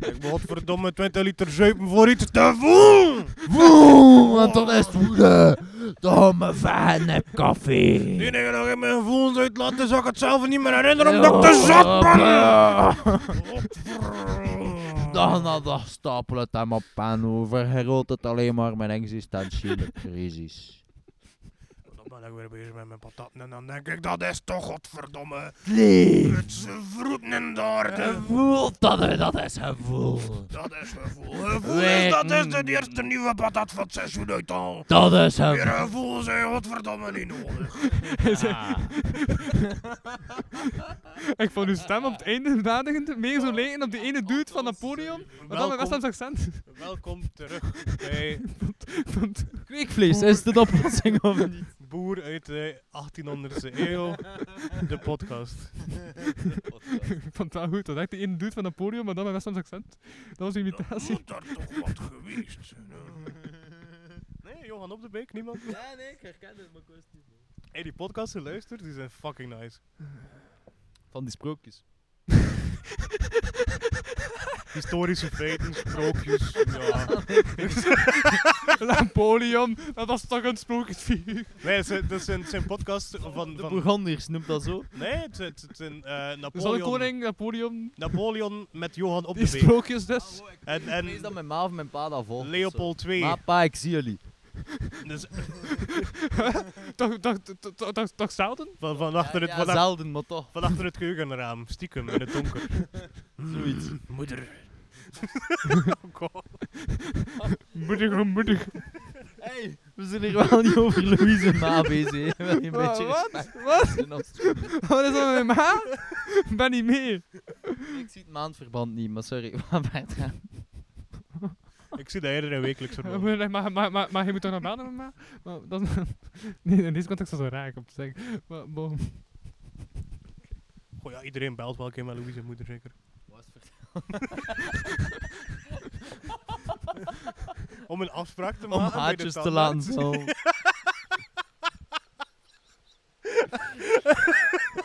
Ik moet verdomme 20 liter zuipen voor iets te voelen. Voel, want dat is woede. Dan mijn fan heb koffie. Die dingen nog in mijn gevoelens uitlaat, dus ik het zelf niet meer herinneren omdat ik te zat ben. Dag na dag stapelt het hem op en over. Vergroot het alleen maar mijn existentiële crisis. Dan ben ik weer bezig met mijn patatten en dan denk ik, dat is toch godverdomme. Nee, Het is vroeten in de aarde. gevoel, dat, dat is gevoel. Dat is gevoel. Gevoelens, dat is de eerste nieuwe patat van het seizoen uit al. Dat is hem. Meer gevoelens zijn godverdomme niet nodig. Ik vond uw stem op het einde verdadigend. Meer zo lijken op die ene dude van Napoleon. Maar dan een Welkom. West-Hams accent. Welkom terug bij Kweekvlees is de oplossing of niet? Boer uit de 1800e eeuw, de podcast. Ik vond het wel goed. Dat echt die ene dude van Napoleon, maar dan met West-Hams accent. Dat was uw imitatie. daar toch wat geweest zijn. [laughs] Nee, Johan op de Beek, niemand. Ja, nee, ik herken het, maar ik wist niet. Hey, die podcasts die luistert, die zijn fucking nice. [laughs] Van die sprookjes. Historische feiten, sprookjes, ja. Napoleon, dat was toch een sprookjesfiguur. Nee, het zijn, dat zijn, het zijn podcasts van... De van Bourgondiërs noemt dat zo. nee, het zijn, het zijn eh, De zonnekoning, Napoleon, Napoleon, Napoleon met Johan op die de Beek. sprookjes dus. En, Wees dat en mijn ma of mijn pa dat volgt. Leopold II. Maar pa, ik zie jullie. Dus Toch, toch, toch, toch, toch, toch zelden? van, van, achter het, Ja, van, ach- zelden, maar toch. van achter het keukenraam, stiekem, in het donker. [laughs] Zoiets. Moeder. Moedig, oh, moedig. Hey, we zijn hier wel niet over Louise en ma [laughs] bezig. hè. Wel een Wa- beetje wat? respect. Wat? doen alsjeblieft. [laughs] Wat is dat met mijn ma? [laughs] Ik ben niet mee. Ik zie het maandverband niet, maar sorry. [laughs] we gaan verder. Ik zie dat eerder in wekelijks Eh, verband. Maar, maar, maar, maar, maar je moet toch nog bellen met mij? Maar dan, [laughs] nee, in deze context is dat raar om te zeggen. Maar, bon. Goh ja, iedereen belt wel een keer met Louise en moeder zeker. [laughs] Om een afspraak te Om maken bij de haartjes te tandarts. laten zo. [laughs]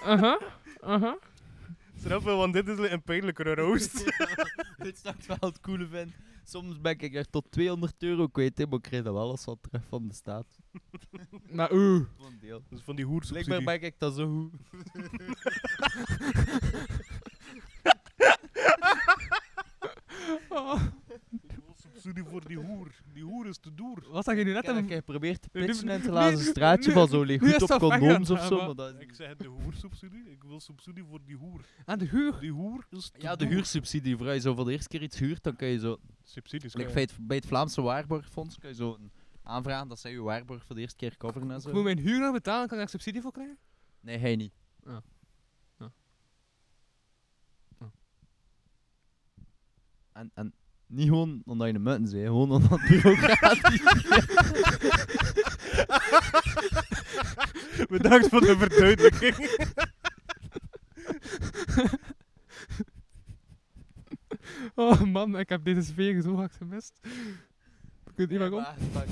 Uh-huh. Uh-huh. [laughs] Snap je, want dit is een pijnlijkere [laughs] roost. [laughs] Dit is toch wel het coole vind. Soms ben ik er tot 200 euro kwijt, hè, maar ik krijg dat wel als wat terug van de staat. Maar oeh. Voor een deel. Dat is van die Blijkbaar hoersubsidie. ben ik dat zo goed. Oh. Zo die voor die hoer. Die hoer is te doer. Was dat je nu net Ik heb een... een keer geprobeerd te Nu- pitchen in het nu- glazen nu- straatje nu- van zo ligt nu goed is op dat weggegaan, condooms of hè, zo. maar- Maar dat, Ik zeg de hoersubsidie. Ik wil subsidie voor die hoer. Aan de huur. Die hoer is te ja, de doer. huursubsidie. Vooral je zo voor de eerste keer iets huurt, dan kan je zo... Subsidies. eh. Like bij, het, bij het Vlaamse Waarborgfonds kan je zo een aanvragen dat zij je waarborg voor de eerste keer coveren en Ik moet zo. mijn huur nog betalen, kan ik daar subsidie voor krijgen? Nee, hij niet. En, en niet gewoon omdat je een mutten zei, gewoon omdat het bureaucratisch Bedankt voor [laughs] de verduidelijking. Oh man, ik heb deze sfeer zo hard gemist. Ik weet niet [laughs] Ja, waarom. maar- maar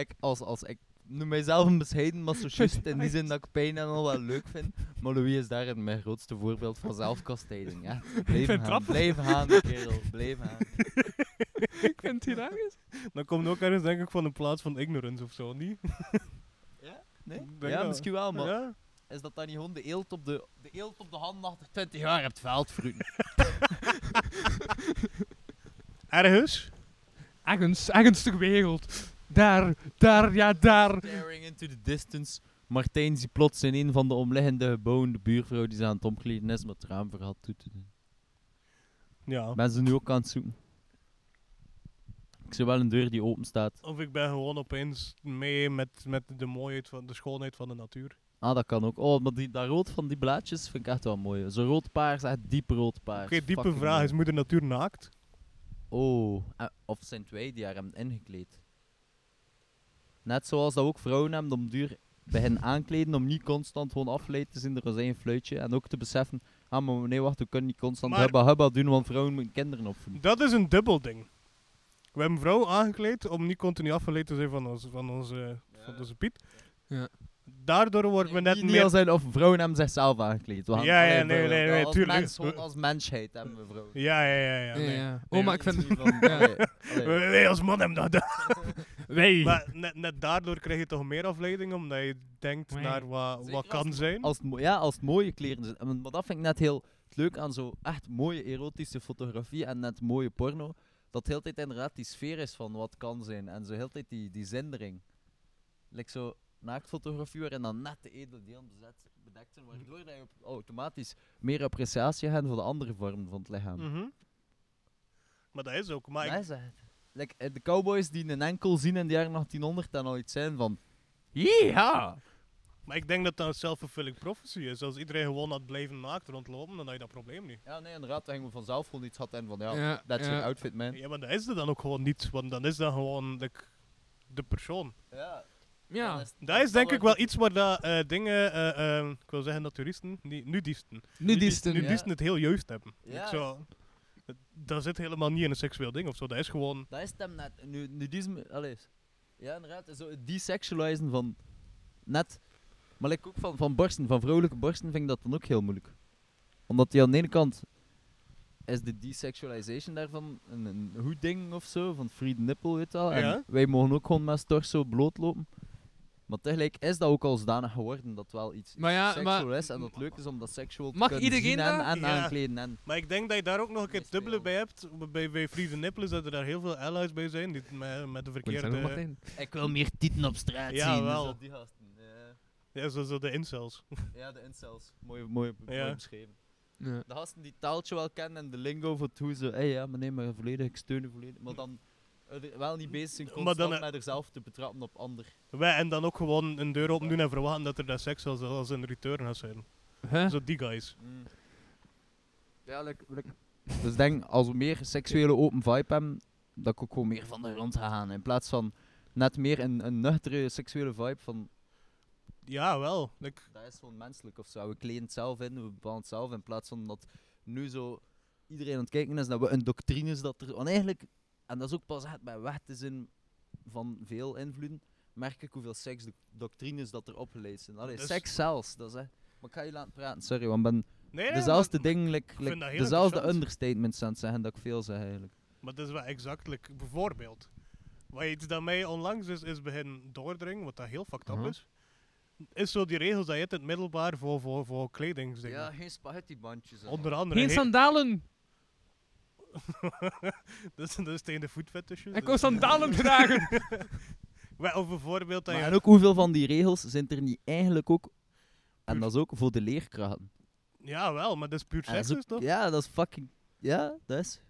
Ik, als, als, ik noem mijzelf een bescheiden masochist in die zin dat ik pijn en al wel leuk vind. Maar Louis is daarin mijn grootste voorbeeld van zelfkastijding. Ja. Blijf het gaan, grappig. blijf gaan, kerel. Blijf gaan. Ik vind het hilarisch. Dan komt ook ergens denk ik van een plaats van ignorance of zo, niet? Nee? Ik denk Ja, dat- misschien wel, maar Ja? is dat dan niet gewoon de eelt op de, de, eelt op de hand na 20 jaar hebt veldvruiten? Ergens? Ergens, ergens ter wereld. Daar, daar, ja, daar. [laughs] Staring into the distance. Martijn ziet plots in een van de omliggende gebouwen de buurvrouw die ze aan het omkleden is met het raam verhaal toe te doen. Ja. Mensen nu ook aan het zoeken. Ik zie wel een deur die open staat. Of ik ben gewoon opeens mee met, met de mooiheid van de schoonheid van de natuur. Ah, dat kan ook. Oh, maar die, dat rood van die blaadjes vind ik echt wel mooi. Zo rood paars, echt diep rood paars. Oké, diepe Fucking vraag. mooi. Is moeder natuur naakt? Oh, eh, of zijn het wij die haar hebben ingekleed? Net zoals dat ook vrouwen hebben om duur bij hen aankleden om niet constant gewoon afgeleid te zijn door zijn fluitje. En ook te beseffen, ah maar nee wacht, we kunnen niet constant Maar- hubba hubba doen, want vrouwen moeten kinderen opvoeden. Dat is een dubbel ding. We hebben vrouw aangekleed om niet continu afgeleid te zijn van, ons, van, onze, van onze Piet. Ja. Daardoor worden we Nee, net niet meer... als zijn of vrouwen hebben zichzelf aangekleed. We Ja, gaan- ja, allee, nee, vrouwen, nee, ja, nee, als tuurlijk. mens, gewoon als mensheid hebben we vrouwen. Ja, ja, ja. ja, nee. ja. Nee, Oh, maar ik dat vind... Niet [laughs] van- Ja. allee, allee. Wij, wij als man hebben dat [laughs] gedaan. Wij. Maar net, net daardoor krijg je toch meer afleiding, omdat je denkt Nee. naar wat, wat Zeker kan zijn. Als het, mo- ja, als het mooie kleren zijn. En Maar dat vind ik net heel het leuk aan zo echt mooie erotische fotografie en net mooie porno. Dat de hele tijd inderdaad die sfeer is van wat kan zijn. En zo heel de tijd die, die zindering. Like zo naaktfotografie waarin dan net de edele delen bezet, bedekt zijn. Waardoor dat je op- automatisch meer appreciatie hebt voor de andere vormen van het lichaam. Mm. Mhm. Maar dat is ook. Maar ik- Nee, zeg. Like, eh, de cowboys die een enkel zien in de jaren 1800 en al iets zijn van... Ja! Maar ik denk dat dat een self-fulfilling prophecy is. Als iedereen gewoon had blijven naakt rondlopen, dan had je dat probleem niet. Ja, nee, inderdaad. Dan gingen we vanzelf gewoon iets had en van... Ja, Ja, that's ja. your outfit, man. Ja, maar dat is er dan ook gewoon niet, want dan is dat gewoon like, de persoon. Ja. Ja. Dat is denk ik wel iets waar dat, eh, dingen, eh, eh, ik wil zeggen naturisten, nee, nudisten. Nudisten. Nu ja. het heel juist hebben. Ja. Ik Zo, dat- dat zit helemaal niet in een seksueel ding of zo. Dat is gewoon, Dat is het hem net. Nu, nudisme, allee. Ja, inderdaad. Zo het desexualizen van net. Maar like ook van, van borsten, van vrouwelijke borsten, vind ik dat dan ook heel moeilijk. Omdat die aan de ene kant is de desexualization daarvan een, een goed ding of zo, van freed nipple, weet je wel. Ja. En wij mogen ook gewoon met ons torso blootlopen. Maar tegelijk is dat ook al zodanig geworden dat wel iets Maar ja, seksueel maar- is en dat het leuk is om dat seksueel te Mag kunnen iedereen zien en, dat? en Ja. aankleden. En, maar ik denk dat je daar ook nog een keer het Meestal. dubbele bij hebt. Bij, bij Frieden Nippel is dat er daar heel veel allies bij zijn, die het met, met de verkeerde... ik wil meer tieten op straat Ja, zien, dus wel. dat die gasten. Ja. Ja, zo, zo de incels. Ja, de incels. Mooi, mooi, Ja. mooi beschreven. Ja. De gasten die taaltje wel kennen en de lingo voor het hoe ze... Hey, ja, maar nee, maar volledig, ik steun je volledig. Maar dan eh, wel niet bezig zijn Maar dan, constant eh, met zichzelf te betrappen op ander. Wij, en dan ook gewoon een deur open doen en verwachten dat er daar seks als, als een return gaat zijn. Huh? Zo die guys. Ja, Dus ik denk, als we meer seksuele open vibe hebben, dat ik ook gewoon meer van de grond ga gaan. In plaats van net meer een, een nuchtere seksuele vibe van... Ja, wel. Like, Dat is gewoon menselijk of zo. We kleden het zelf in, we bouwen het zelf in plaats van dat nu zo iedereen aan het kijken is dat we een doctrine is dat er. Want eigenlijk, en dat is ook pas echt bij weg te zijn van veel invloeden, merk ik hoeveel seksdoctrines dat er opgeleid zijn. Allee, Dus- seks zelfs, dat is echt. Maar ik ga je laten praten, sorry, want ik ben nee, nee, dezelfde maar- maar- dingen, like, vind like, dat heel dezelfde interessant. understatements aan het zeggen dat ik veel zeg eigenlijk. Maar dat is wel exact, like, bijvoorbeeld. Wat iets dat mij onlangs is, is beginnen doordringen, wat dat heel fucked up Mhm. is. Is zo die regels dat je hebt in het middelbaar voor, voor, voor kledingsdingen. Ja, geen spaghettibandjes. Onder andere. Geen he- sandalen. dus [laughs] dat is tegen de voetfetishes. Ik wou sandalen dragen. Wel, of bijvoorbeeld dat Maar je... en ook hoeveel van die regels zijn er niet eigenlijk ook... En dat is ook voor de leerkrachten. Ja, wel, maar dat is puur En dat is ook- seksisch, toch? Ja, dat is fucking... Ja, dat is...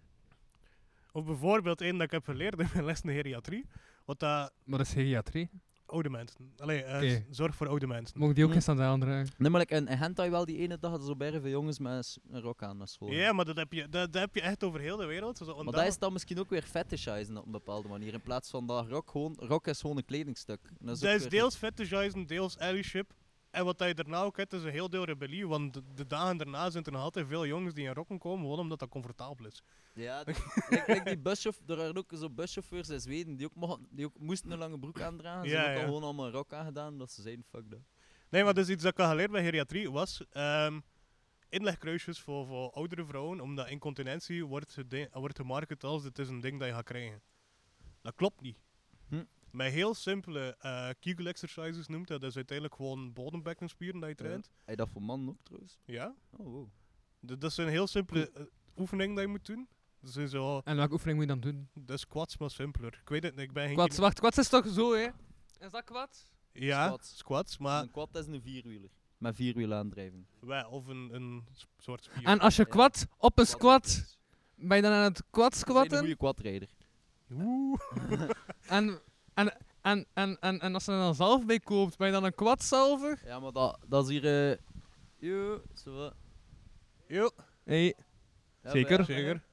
Of bijvoorbeeld één dat ik heb geleerd in mijn les in de geriatrie. Wat dat Maar dat is geriatrie. oude mensen... Allee, eh, Oké. z- zorg voor oude mensen. Mogen die ook Hm. geen sandalen dragen? Nee, maar like, in, in Gent had je wel die ene dag dat er zo bergen veel jongens met s- een rok aan naar school. Ja, maar dat heb, je, dat, dat heb je echt over heel de wereld. Zo, Maar dat is dan misschien ook weer fetishizen op een bepaalde manier. In plaats van dat rok gewoon... Rok is gewoon een kledingstuk. En dat ook is weer- deels fetishizen, deels allyship. En wat dat je daarna ook hebt, is een heel deel rebellie. Want de, de dagen daarna zijn er nog altijd veel jongens die in rokken komen, gewoon omdat dat comfortabel is. Ja, d- like, like die buschauff- er waren ook zo buschauffeurs in Zweden die ook, mochten- die ook moesten een lange broek aandragen. Ze Ja, hebben ook al ja. gewoon allemaal een rok aangedaan, omdat ze zeiden fuck dat. Nee, maar dus iets dat ik had geleerd bij geriatrie was ehm inlegkruisjes voor, voor oudere vrouwen, omdat incontinentie wordt, gede- wordt gemarket als dit is een ding dat je gaat krijgen. Dat klopt niet. Hm. Met heel simpele eh kegel exercises noemt dat, dat is uiteindelijk gewoon bodembekkenspieren dat je traint. Hij dat voor mannen ook trouwens. Ja? Oh, wow. D- dat zijn heel simpele Hm. eh, oefeningen die je moet doen. Dat zijn zo, En welke oefening moet je dan doen? dat is quads maar simpeler. Ik weet het, niet, ik ben geen... Kwats, kine- wacht, kwats is toch zo, hè? Is dat kwats? Ja, Squats. squats, Ah. maar Hm. Een quad is een vierwieler. Met vierwiel aandrijving. wij, of een, een s- soort spier. En als je Ja. kwat op een squat, Quadriceps. ben je dan aan het kwat Dat is een squatten? goede quadrijder. Oeh. En, en, en, en, en, en als je er dan zelf bij koopt, ben je dan een kwat zalver? Ja, maar dat, dat is hier... eh Yo, zo wat. Jo. Nee. Ja, Zeker. maar ja. Zeker.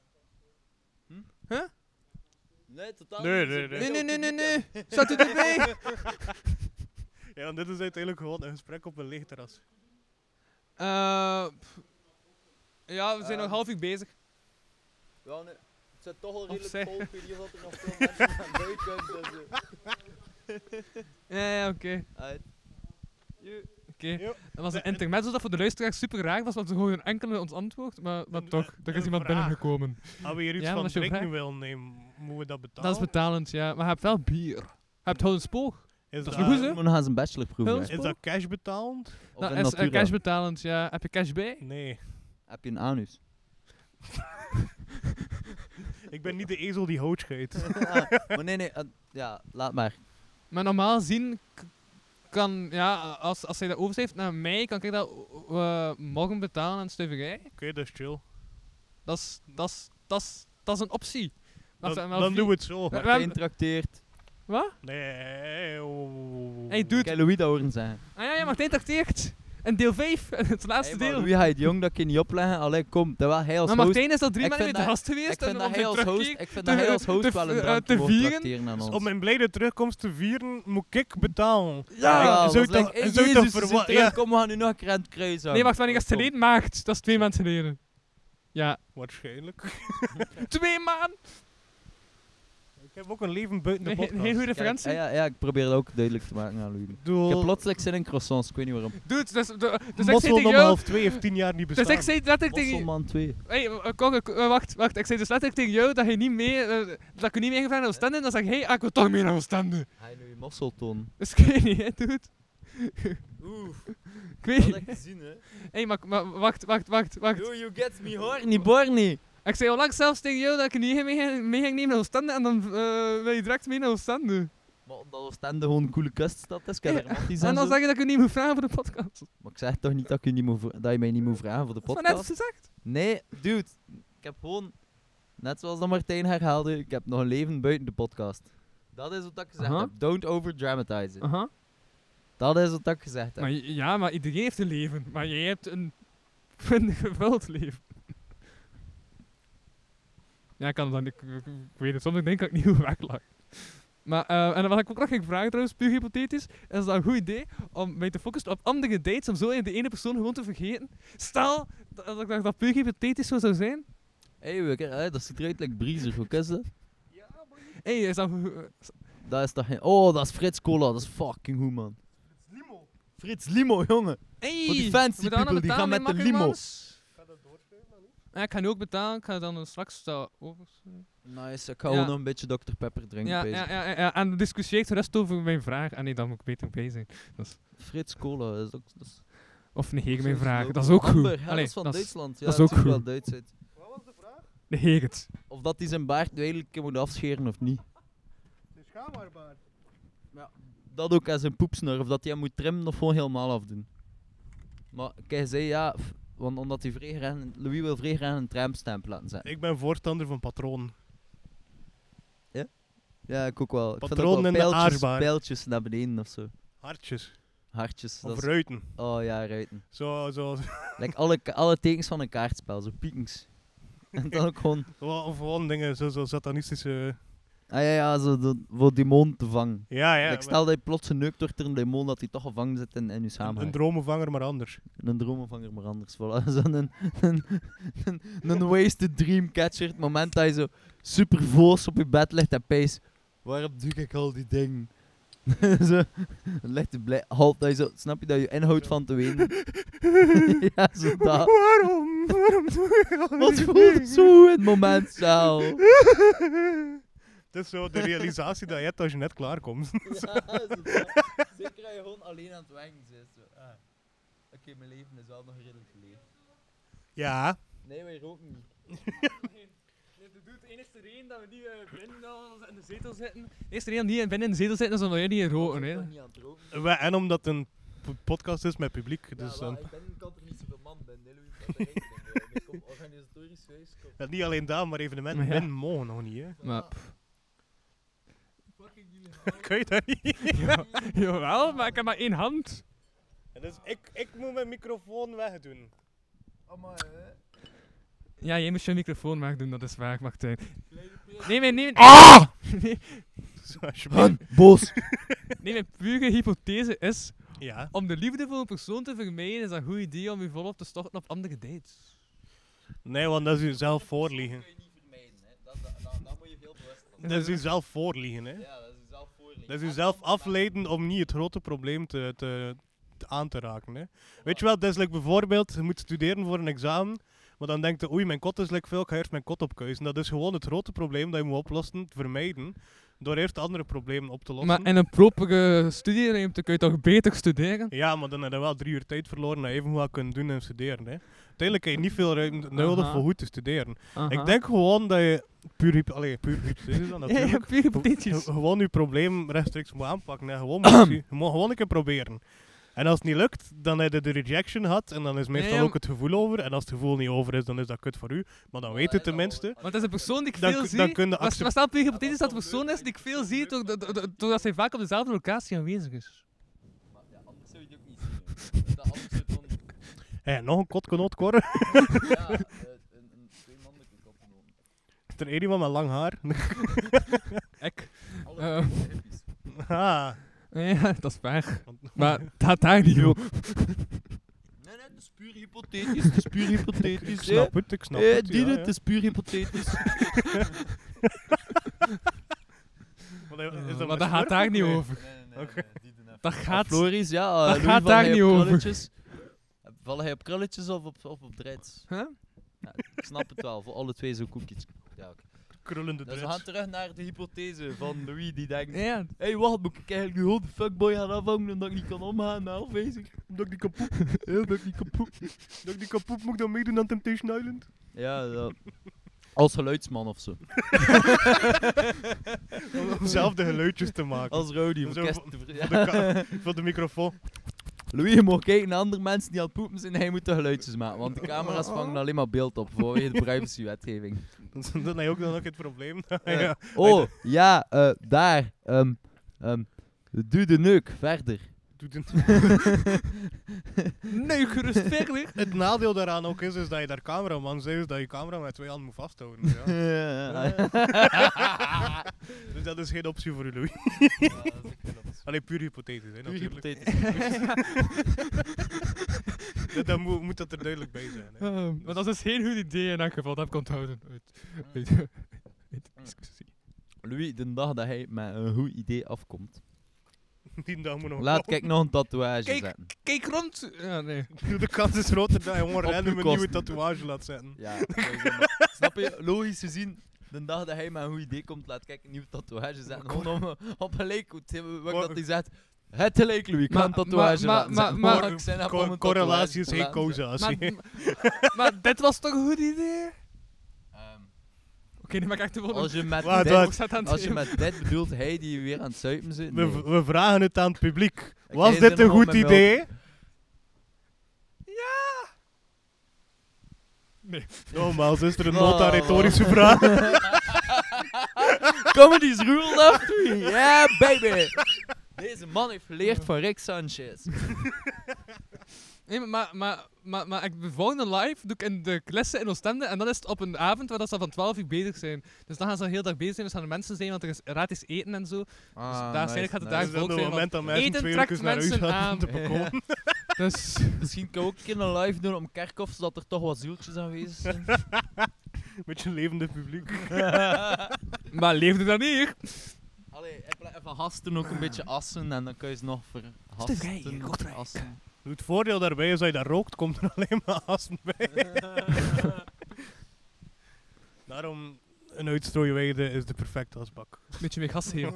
Nee, Oh, totaal Nee, niet. nee, Zo nee. Nee, ben nee, nee, je ook nee, niet. nee. Staat u [laughs] erbij? Ja, want dit is uiteindelijk gewoon een gesprek op een leeg terras. Eh, pff. ja, we zijn nog Ehm. half uur bezig. Ja, nee. Het zit toch al zij. redelijk vol, ik weet niet of er nog veel [laughs] mensen aan buiten kunnen. Dus, [laughs] eh, Ja, ja, oké. uit. Oké. Jo. Dat was een Nee, intermezzo dat voor de luisteraar super raar was, want ze gooiden enkele ons antwoord, maar, maar Een- toch, er een is iemand vraag. binnengekomen. Als we hier iets Ja, van dat is jouw drinken vraag. willen nemen, moeten we dat betalen? Dat is betalend, ja. Maar je hebt wel bier. Je hebt houden spoog. Is dat is dat, goed, hè? We gaan zijn bachelorproef Heel doen. is dat cash betaald? Of Dat in is eh, natura. cash betalend, ja. Heb je cash bij? Nee. Heb je een anus? Ik ben niet de ezel die hout [laughs] scheidt. Ah, maar nee, nee. eh, ja, laat maar. Maar normaal zien k- kan, ja, als, als hij dat overschrijft naar mij, kan ik dat eh, morgen betalen aan de stuiverij. Oké, dat is chill. Dat is- dat is- dat is- dat is een optie. Dan, dan doen we het zo. We- we Martijn hebben- trakteert. Wat? Nee. oh. Hey, dude. Kijk, Louis dat horen zeggen. Ah ja, ja Martijn trakteert. En deel 5, [laughs] het laatste Hey, maar deel. Louis gaat het jong dat ik je niet opleggen. Allee, kom. Terwijl hij als Nou, Maar host... Martijn is al drie Ik maanden vind de dat- gast geweest. Ik vind en dat onze hij als host, terugkeer- ik vind te- dat hij als te- host te- wel eh, te een drankje moet vieren. trakteren aan Dus ons. om mijn blijde terugkomst te vieren, moet ik betalen. Ja, Ik- dat zou is ik toch- leuk. Hey, zou ik toch Jezus, verwa- ze zijn terug. ja. Kom, we gaan nu nog een keer aan het kruis hangen. Nee, wacht, wanneer is het Kom. geleden maakt? Dat is twee maanden geleden. [laughs] Ja, Waarschijnlijk. twee maanden! Ik heb ook een leven buiten de Nee, podcast. Geen geen goede Kijk, referentie. ah, ja, ja, ik probeer dat ook duidelijk te maken aan Louis. Ik Ik heb Oh. bedoel, plotseling zin in croissants, ik weet niet waarom. Dude, dus, dus, dus ik zei mossel tegen om jou... half twee heeft tien jaar niet bestaan. Dus ik zei letterlijk tegen Mosselman 2. Hey, eh, Kok, eh, eh, wacht, wacht. Ik zei dus letterlijk tegen jou dat je niet mee, eh, dat ik je niet meegevraagd naar Oostende. En dan zeg jij, ah, ik wil toch mee naar Oostende. Hij nu mosselton. Dus ik weet niet, hè, dude. Oeh, [laughs] Ik weet niet. gezien hè. Hey, maar, maar wacht, wacht, wacht, wacht. Oh, you get me horny borny. Ik zei al lang zelfs tegen jou dat ik je niet mee, ging- mee ging nemen naar Oostende. En dan eh wil je direct mee naar Oostende. Maar omdat Oostende gewoon een coole kuststad is, kan Ja, er romantisch En en dan zo. zeg je dat ik je niet moet vragen voor de podcast. Maar ik zeg toch niet dat, ik u niet moet vra- dat je mij niet moet vragen voor de Dat is maar net podcast? gezegd. Nee, dude. Ik heb gewoon, net zoals dat Martijn herhaalde, ik heb nog een leven buiten de podcast. Dat is wat ik gezegd Aha. heb. Don't overdramatize it. Aha. Dat is wat ik gezegd heb. Maar, j- ja, maar iedereen heeft een leven. Maar jij hebt een, [laughs] een gevuld leven. Ja, ik kan het dan. Ik, ik, ik weet het. Soms denk ik dat ik niet [laughs] goed weglag. Maar, eh, en wat ik ook nog ging vragen trouwens, puur hypothetisch, is dat een goed idee om mij te focussen op andere dates, om zo in de ene persoon gewoon te vergeten? Stel dat, dat, dat, dat puur hypothetisch zo zou zijn. Hey, we- eh, dat ziet eruit like Briezer, hoe is dat? Hé, hey, is dat... eh, goed? Dat is toch geen... Oh, dat is Frits Cola, dat is fucking goed, man. Frits Limo. Frits Limo, jongen. Hey, Voor die fancy moet dat people, die betalen, gaan nee, met de makker, limo. mans? Ja, ik ga nu ook betalen, ik ga dan eh, straks dat over... Nice, ik ga Ja. gewoon nog een beetje Dr. Pepper drinken. Ja, bezig. ja, ja, ja, ja, en discussieert de rest over mijn vraag. En nee, dan moet ik beter bij zijn. Frits Cola, dat is ook... Dat is Of negeer mijn zo'n vraag. slogan. Dat is ook goed. Amber, ja, Allee, dat is van dat is- Duitsland. Ja, dat is dat ook is wel goed. Duits uit. negeer Negeer het. Of dat hij zijn baard nu eigenlijk moet afscheren of niet. Dus ga maar, baard. Dat ook aan zijn poepsnor, of dat hij hem moet trimmen of gewoon helemaal afdoen. Maar kijk, zei ja, f- want omdat hij vrij graag een- Louis wil vrij graag een tramstamp laten zetten. Ik ben voorstander van patroon. Ja, ik ook wel. Ik vind ook Patroon wel in de pijltjes, aardbaar. pijltjes naar beneden of zo. Hartjes. Hartjes. dat Of is- ruiten. Oh ja, ruiten. Zo, zo. Like alle, ka- alle tekens van een kaartspel, zo piekens. [laughs] en dan ook gewoon, Of gewoon dingen, zo, zo satanistische... ah ja, ja zo de, voor demon te vangen. Ja, ja. Like, stel dat je plots geneukt wordt door een demon, dat hij toch gevangen zit in, in je een, een samenhang. dromenvanger, maar anders. Een dromenvanger, maar anders. Voilà. [laughs] Zo'n een, een, een, een wasted dream catcher. Het moment dat je zo super voos op je bed ligt en pees. Waarom doe ik al die dingen? [laughs] zo, dan ligt je blij. Halt, dat je zo, snap je dat je inhoudt van te wenen? [laughs] ja, zo dat. Waarom? Waarom doe je al Wat die voelt dingen? zo in het moment [laughs] zelf? Het is zo de realisatie dat je hebt als je net klaarkomt. Zeker dat je gewoon alleen aan het wenken zit. Ah. Oké, mijn leven is wel nog redelijk geleefd. [laughs] Ja. Nee, wij roken niet. doet de enige reden dat we niet binnen in de zetel zitten. De enige reden dat we niet binnen in de zetel zitten is omdat jij niet roken, hè? niet aan het roken. We- En omdat het een p- podcast is met publiek, dus dan... ik ben, kan er niet zoveel man ben, nee, Louis, dat is Ik kom organisatorisch geweest, kom. Ja, niet alleen daar, maar evenementen Ja. ben mogen nog niet, hè. [laughs] Maar, Kun je dat niet? jawel, maar ik heb maar één hand. Dus ik, ik moet mijn microfoon wegdoen. Ja, jij moest je microfoon wegdoen, dat is waar, Martijn. Nee, mijn, nee, nee, Zo, [laughs] Ah, Alsjeblieft. Bos! nee, mijn pure hypothese is, Ja. om de liefde voor een persoon te vermijden, is dat een goed idee om je volop te storten op andere dates. Nee, want dat is jezelf voorliegen. Dat kun je niet vermijden, hè. Dat, dat, dat, dat moet je heel bewust van Dat is jezelf voorliegen, hè. zijn. Ja, dat is zelf voorlicht. Dat is jezelf afleiden om niet het grote probleem te, te, te- aan te raken. Hè. Weet je wel, dat is like bijvoorbeeld, je moet studeren voor een examen, maar dan denkt je, oei, mijn kot is like veel, ik ga eerst mijn kot opkuisen. Dat is gewoon het grote probleem dat je moet oplossen, vermijden, door eerst andere problemen op te lossen. Maar in een propere studieruimte kun je toch beter studeren? Ja, maar dan heb je wel drie uur tijd verloren dat je even wat kunnen doen en studeren. Hè. Uiteindelijk heb je niet veel ruimte nodig Aha. voor goed te studeren. Aha. [laughs] Ik denk gewoon dat je puur, hypo- allee, puur hypothese dan Ja, natuurlijk. ja, pure hypothetisch. Ge- Gewoon je probleem rechtstreeks moet aanpakken. Hè. Gewoon, [clears throat] moet je, je moet gewoon een keer proberen. En als het niet lukt, dan heb je de rejection gehad. En dan is meestal ja, ook het gevoel over. En als het gevoel niet over is, dan is dat kut voor u. Maar dan weet u tenminste. Want dat is een persoon die ik Dan veel kun- zie. dan kun je maar, accep- maar stel puur hypothetisch dat het een persoon is die ik veel zie, door- door- door- doordat hij vaak op dezelfde locatie aanwezig is. Ja, anders zou je het ook niet zien. hè. Dat anders zit dan... Hé, nog een kotkenoot, [laughs] Cor. Ja, eh, een, een twee mannelijke koppen. Is er één iemand met lang [laughs] haar? Ik. Alle Eh. [laughs] twee zijn hippies. ah, Ja, dat is waar. Want- Maar het gaat daar niet op. Nee, nee, Ah, het is puur hypothetisch. Het is puur hypothetisch. ik snap het, ik snap Eh, het. die ja, dit ja. is puur hypothetisch. Maar dat- is Maar dat gaat daar niet over. nee, nee, die doen Dat gaat... Floris, ja. eh, Dat Louis, gaat val daar hij op niet over. krulletjes? Eh, Val hij op krulletjes of op, of op dreads? Huh? Ja, ik snap het wel, voor alle twee zo'n koekjes. Ja, oké. Krullende Dus we gaan dreads. terug naar de hypothese van Louis die denkt... Hé, Ja, hey, wacht, moet ik eigenlijk nu gewoon de fuckboy gaan afhangen omdat ik niet kan omgaan Nou, na afwezig? Dat ik die kapot. [laughs] dat ik die kapot. Dat ik die kapot moet ik dan meedoen aan Temptation [laughs] Island. Ja, dat... Als geluidsman of zo. Om om zelf de geluidjes te maken. Als Rody. om Zo kerst voor- te ver- Voor Ja. de, ka- voor de microfoon. [laughs] Louis, je mag kijken naar andere mensen die aan het poepen zijn en hij moet de geluidjes maken. Want de camera's vangen alleen maar beeld op vanwege de [laughs] privacywetgeving. [laughs] Dan heb je ook dan ook het probleem. [laughs] Eh, ja. Oh, ja, eh, daar. ehm, ehm, doe de neuk verder. [laughs] Doet een- nee, gerust verder. Het nadeel daaraan ook is, is dat je daar cameraman zegt, is dat je camera met twee handen moet vasthouden. dus [laughs] ja. dus dat is geen optie voor u, Louis. Alleen puur hypothetisch, hè, Puur natuurlijk. hypothetisch. Dat, dat moet, moet dat er duidelijk bij zijn. [laughs] Hè. Ehm, maar dat is geen goed idee in elk geval, dat heb ik onthouden. Uit, uit, uit de discussie. Louis, de dag dat hij met een goed idee afkomt. Die dag moet nog Laat komen. kijk nog een tatoeage Kijk. zetten. Kijk rond! Ja, nee. [laughs] De kans is groter dat je gewoon Op random uw een nieuwe kosten. tatoeage laat zetten. Ja, sowieso, maar snap je? Logisch gezien, de dag dat hij met een goed idee komt, laat kijken een nieuwe tatoeage zetten. Gewoon om, eh, op een leek, hoe- wat Cor- dat hij zegt. Het leek, Louis, ik ga Maar- een tatoeage maar- laten maar- zetten. maar- Hoor, maar- ik zijn op Co- om een correlatie is tatoeage geen te laten zetten. causatie. Maar, maar dit was toch een goed idee? Ehm, nu ben ik echt te Als je met, Wacht, dit, wacht. volgen. als je met dit bedoelt hij die weer aan het zuipen zit. We, Nee. v- we vragen het aan het publiek. jij Was zit dit er een nog goed met melk. idee? Nee. Nogmaals, is er een Oh. nota retorische vraag? Comedy's rule of three. Yeah, baby. Deze man heeft geleerd van Rick Sanchez. Nee, maar, maar, maar, maar, maar ik, de volgende live doe ik in de lessen in Oostende. En dan is het op een avond waar dat ze van 12 uur bezig zijn. Dus dan gaan ze de hele dag bezig zijn. Dus gaan er mensen zijn, want er is gratis eten en zo. Ah, waarschijnlijk nice, gaat het nice. daar is dat volk het zijn, moment dat want mensen eten twee trekt uur naar huis mensen gaan [laughs] aan. om te bekomen? Dus [laughs] Misschien kan ik ook een keer een live doen om Kerkhoff, zodat er toch wat zieltjes aanwezig zijn. Met je levende publiek. Maar leefde dat niet? hier? Allee, in plaats van hasten ook een beetje assen en dan kun je ze nog verhasten. Assen. Het voordeel daarbij is dat je dat rookt, komt er alleen maar asem bij. [laughs] Daarom, een uitstrooiweide is de perfecte asbak. [laughs] Beetje meer gas geven.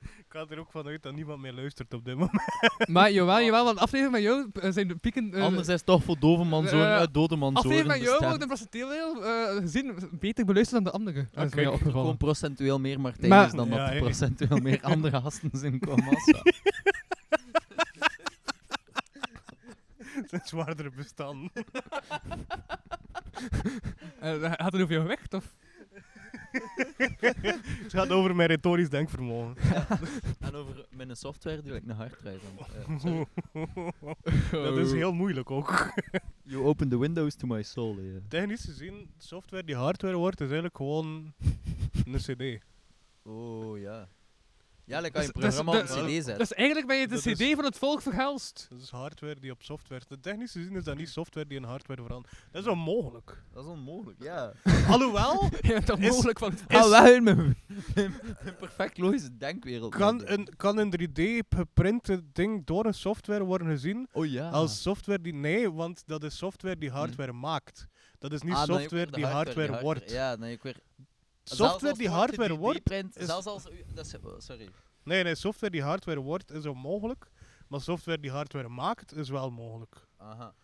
Ik ga er ook vanuit dat niemand meer luistert op dit moment. Maar jawel, jawel, want aflevering met jou eh, zijn de pieken... eh, Anders is het toch voor dove manzoren eh, uit dode manzoren aflevering met jou wordt in bestemd. procentueel eh, gezien beter beluisterd dan de andere. Dat is mij kijk, opgevallen. Gewoon procentueel meer Martijn Maar- is dan Ja, dat er hè. procentueel [laughs] meer andere hasten zijn qua massa. Het is zwaardere bestand. Eh, had het over jouw gewicht, of? Het gaat over mijn retorisch [laughs] denkvermogen. En over mijn software die ik naar hard rijd. Dat is heel moeilijk ook. [laughs] you open the windows to my soul. eh. Technisch gezien, software die hardware wordt, is eigenlijk gewoon een cd. Oh ja. Ja, dan kan je een Dus- dus programma op een de- cd zetten. Dus eigenlijk ben je de Dat cd is- van het volk verhelst. [laughs] Dat is hardware die op software... Technisch gezien is dat niet software die in hardware verandert. Dat is onmogelijk. Dat is onmogelijk, ja. [laughs] Alhoewel... Ja, dat Is- mogelijk van [laughs] het Hou wel in mijn, mijn- mijn perfect logische denkwereld. Kan denken. een, kan een 3D-geprinte ding door een software worden gezien Oh ja. als software die... Nee, want dat is software die hardware maakt. Dat is niet Ah, dan heb je software ook die de hardware, wordt. Ja, dan heb ik weer... zelfs Software als die het hardware 3D wordt... print, is- zelfs als... u- dat is- oh, Sorry. Nee, nee, software die hardware wordt is onmogelijk. Maar software die hardware maakt is wel mogelijk. Oké, [laughs] Aha.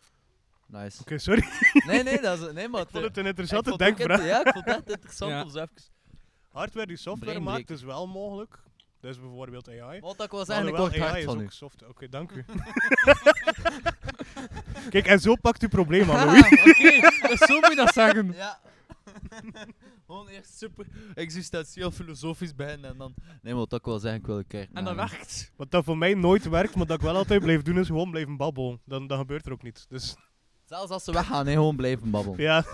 Nice. sorry. Nee, nee, dat is... Nee, maar... Ik vond het een [laughs] ik vond interessante het eh, ook denkvraag. inter- Ja, ik vond dat interessant Ja. om zo even... Hardware die software maakt Brainbreaker. is wel mogelijk. Dat is bijvoorbeeld AI. Want ik was eigenlijk Alhoewel, kort hard AI is van u. ook software. Oké, dank [laughs] u. Kijk, en zo pakt u probleem aan, [laughs] Louis. Dus zo moet je dat zeggen. Ja. [laughs] Gewoon eerst super existentieel filosofisch beginnen en dan... Nee, maar wat ik wil zeggen, ik wil een keer... En dat naar- werkt. Wat dat voor mij nooit werkt, maar dat ik wel altijd blijf doen, is gewoon blijven babbelen. Dan, dan gebeurt er ook niets. Dus Zelfs als ze weggaan, nee, gewoon blijven babbelen. ja,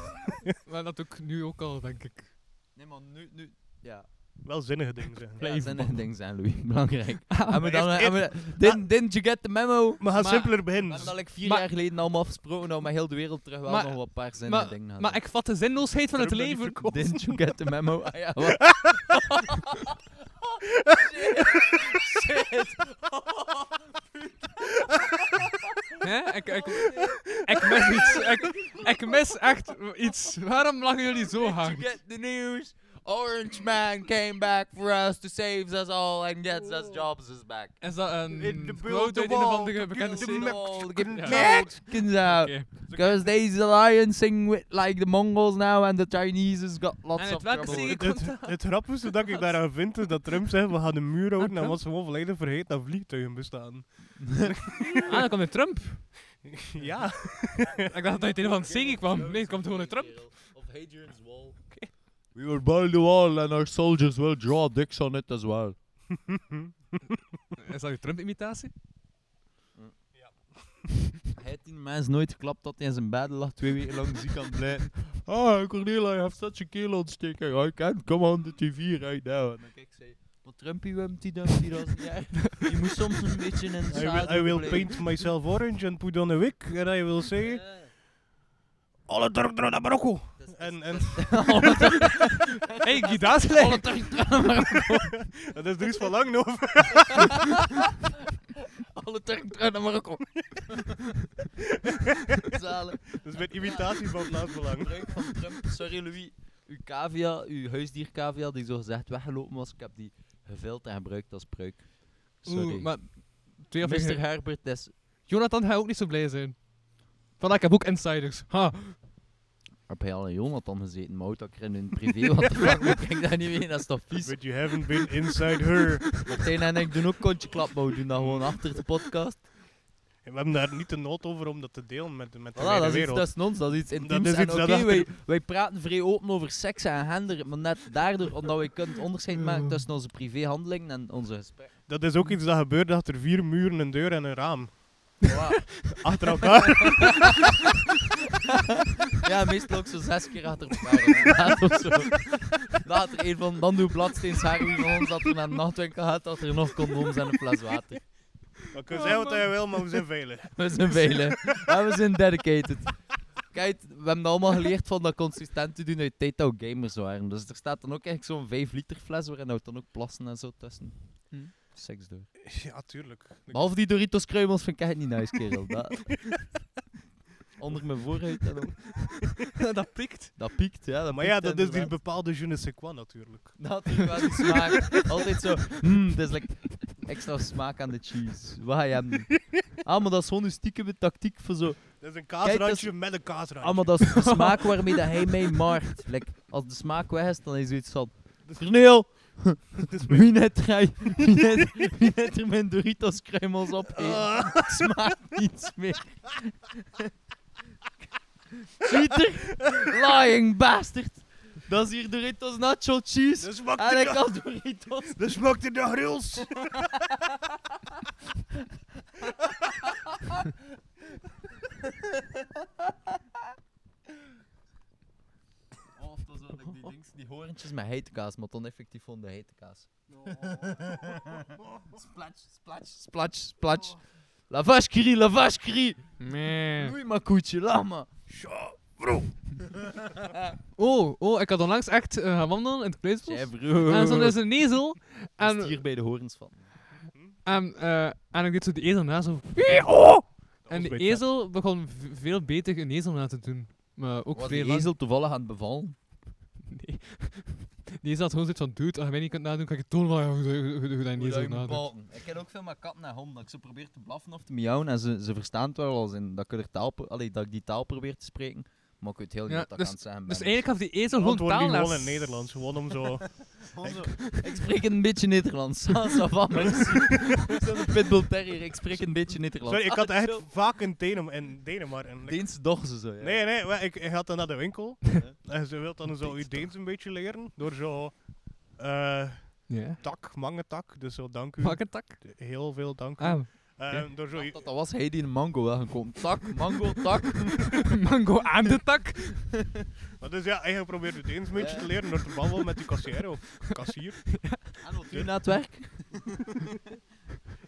Maar dat ook nu ook al, denk ik. Nee, maar nu... nu ja. wel zinnige dingen zeggen. Ja, dat zijn echt dingen zijn, Louis. [laughs] [laughs] Belangrijk. Ah, Hebben we dan... echt- hebben we- Didn't didn't you get the memo? Maar ga Maar- simpeler We beginnen. hebben dat ik vier Maar- jaar geleden allemaal afgesproken, nou met heel de wereld terug wel Maar- nog wat paar zinnen en Maar, dingen aan maar ik vat de zinloosheid van het Terug naar die leven. verkoop. Didn't you get the memo? [laughs] Ah ja, wat? Shit. Shit. Hè? Ik, ik, ik mis iets. Ik, ik mis echt iets. Waarom lachen jullie zo Did you hard? get the news? Orange Man came back for us to save us all and gets us jobs is back. Is dat In de een buurt, quote de uit een of wall, andere bekende de serie? map. All the good Ja. Americans out. Oké. Because they's alliancing with like the Mongols now and the Chinese has got lots En of uit welke trouble. serie Het, komt [laughs] het, dat? het grappigste dat ik daaraan vind is dat Trump zegt we gaan de muur houden en Ah, Trump? was gewoon volledig vergeten dat vliegtuigen bestaan. [laughs] Ah, dan komt de Trump. ja. Ik dacht dat hij uit een van de serie kwam. Nee, het komt gewoon uit Trump. Of Hadrian's Wall. We will burn the wall and our soldiers will draw dicks on it as well. Is dat je Trump-imitatie? Hij heeft die mens nooit geklapt dat hij in zijn bed lag twee weken lang ziek aan het blijven. [laughs] Ah, Cornelia, je hebt such a keelontsteking. I can't come on the TV right now. En dan kijk ik zei, maar Trumpy Wumpty Dumpty, dat is niet [laughs] echt. Je moet soms een beetje in de I will, I will [laughs] paint myself orange and put on a wig and I will say alle Turk naar Marokko. En, en Hey, gitaar is gelijk. [laughs] dat is Dries van Lang over. Alle Turken terug naar Marokko. Zalen. Dat is mijn imitatie van Plaatsbelang. Gebruik van Trump. Sorry Louis, uw cavia, uw huisdier cavia die zo gezegd weggelopen was, ik heb die gevild en gebruikt als pruik. Sorry. Oeh, maar twee of Mr. Herbert is... Jonathan gaat ook niet zo blij zijn. Vandaag heb ik ook insiders. Ha. Heb jij al een Jonathan gezeten? Maar houd dat ik er in hun [laughs] privé, want de fuck moet ik dat niet mee, dat is toch vies. But you haven't been inside her. Martijn en ik doen ook kontjeklap, maar we doen dat gewoon achter de podcast. En We hebben daar niet de nood over om dat te delen met, met de Voilà, wijde dat is iets wereld. tussen ons, dat is iets intiems. is En iets Oké, dat achter- wij, wij praten vrij open over seks en gender, maar net daardoor, omdat wij kunnen het onderscheid maken tussen onze privéhandelingen en onze gesprekken. Dat is ook iets dat gebeurt achter vier muren, een deur en een raam. Voilà. [laughs] Achter elkaar. Ja, meestal ook zo zes keer achter elkaar. inderdaad, of zo. Later een van Bandoe Bladsteens haar wie van ons dat er naar de nachtwinkel gaat, dat er nog condooms en een fles water. We kunnen zeggen wat hij wil, maar we zijn veilig. We zijn veilig. En we zijn dedicated. Kijk, we hebben dat allemaal geleerd van dat consistent te doen uit tijd dat we gamers waren. Dus er staat dan ook eigenlijk zo'n 5 liter fles waarin houdt dan ook plassen en zo tussen. Hmm. Hm. Seks door. [laughs] Ja, tuurlijk. Behalve die Doritos kruimels vind ik echt niet nice, kerel. Dat... Onder mijn voorhuid en ook. [laughs] dat pikt. Dat piekt, ja. Dat Maar ja, dat is die die bepaalde je ne sais quoi natuurlijk. Dat is wel die smaak. Altijd zo, hmm, dat is like extra smaak aan de cheese. Wat ga je hebben? Ah, maar dat is gewoon een stiekeme tactiek voor zo... Dat is een Kijk, kaasrandje dat met een kaasrandje. Ah, maar dat is de smaak waarmee dat hij mij markt. Like, als de smaak weg is, dan is het iets van... Verneel! [laughs] Wie net, gij- wie net, wie net er mijn Doritos kruimels op eet, Ah, smaakt niets meer. Cheater! Lying bastard! Dat is hier Doritos nacho cheese. dat smaakt En er ik nog- had Doritos. dat smaakt er nog ruls. Of dat zo, like, die dings, die hoorntjes met heitkaas, maar dan effectief van de heitkaas. splatsch, splatsch, splatsch, splatsch. La vache qui rit, la vache qui rit. Nee. Doei maar koetje, laat maar. Oh, oh, ik had onlangs echt eh, gaan wandelen in het Jij Pleisbos. broer. En stond is een ezel. en En, hier bij de horens van. en, eh, en ik deed zo die ezel na, zo... En was bij de het ezel begon v- veel beter een ezel na te doen. Maar ook Was veel die lang. ezel toevallig aan het [laughs] bevallen? Nee. Die ezel had gewoon zoiets van, dude, als je mij niet kunt nadoen, kan ik je tonen waar hoe, hoe, hoe, hoe dat een ezel nadoet. Ik ken ook veel met katten en honden. Dat ik ze probeer te blaffen of te miauwen en ze, ze verstaan het wel als in dat ik, er taal, pro- allee, dat ik die taal probeer te spreken. Maar ik weet heel niet Ja, wat dat dus- kan zijn. Dus eigenlijk gaf die ezel gewoon Antwoord nu taalles. gewoon in Nederlands. Gewoon om zo... [laughs] Ik spreek een beetje Nederlands. [laughs] Ça va, merci. Zo'n pitbull terrier. Ik spreek een beetje Nederlands. Sorry, ik had Ah, echt zo. vaak in, Denem in Denemarken. Deens doch ze zo, ja. Nee, nee, maar ik, ik had dan naar de [laughs] winkel. En ze wil dan zo je Deens een beetje leren. Door zo... eh, Ja. tak, mangetak. Dus zo dank u. Pakkentak. Heel veel dank u. Ah, [laughs] Eh, door zo... Dat, dat was hij die een mango wel gekomen. Tak, mango, [laughs] tak. mango aan de tak. Maar dus ja, hij probeerde het eens een beetje te leren door te babbelen met die kassier of kassier. En wat u na het werk?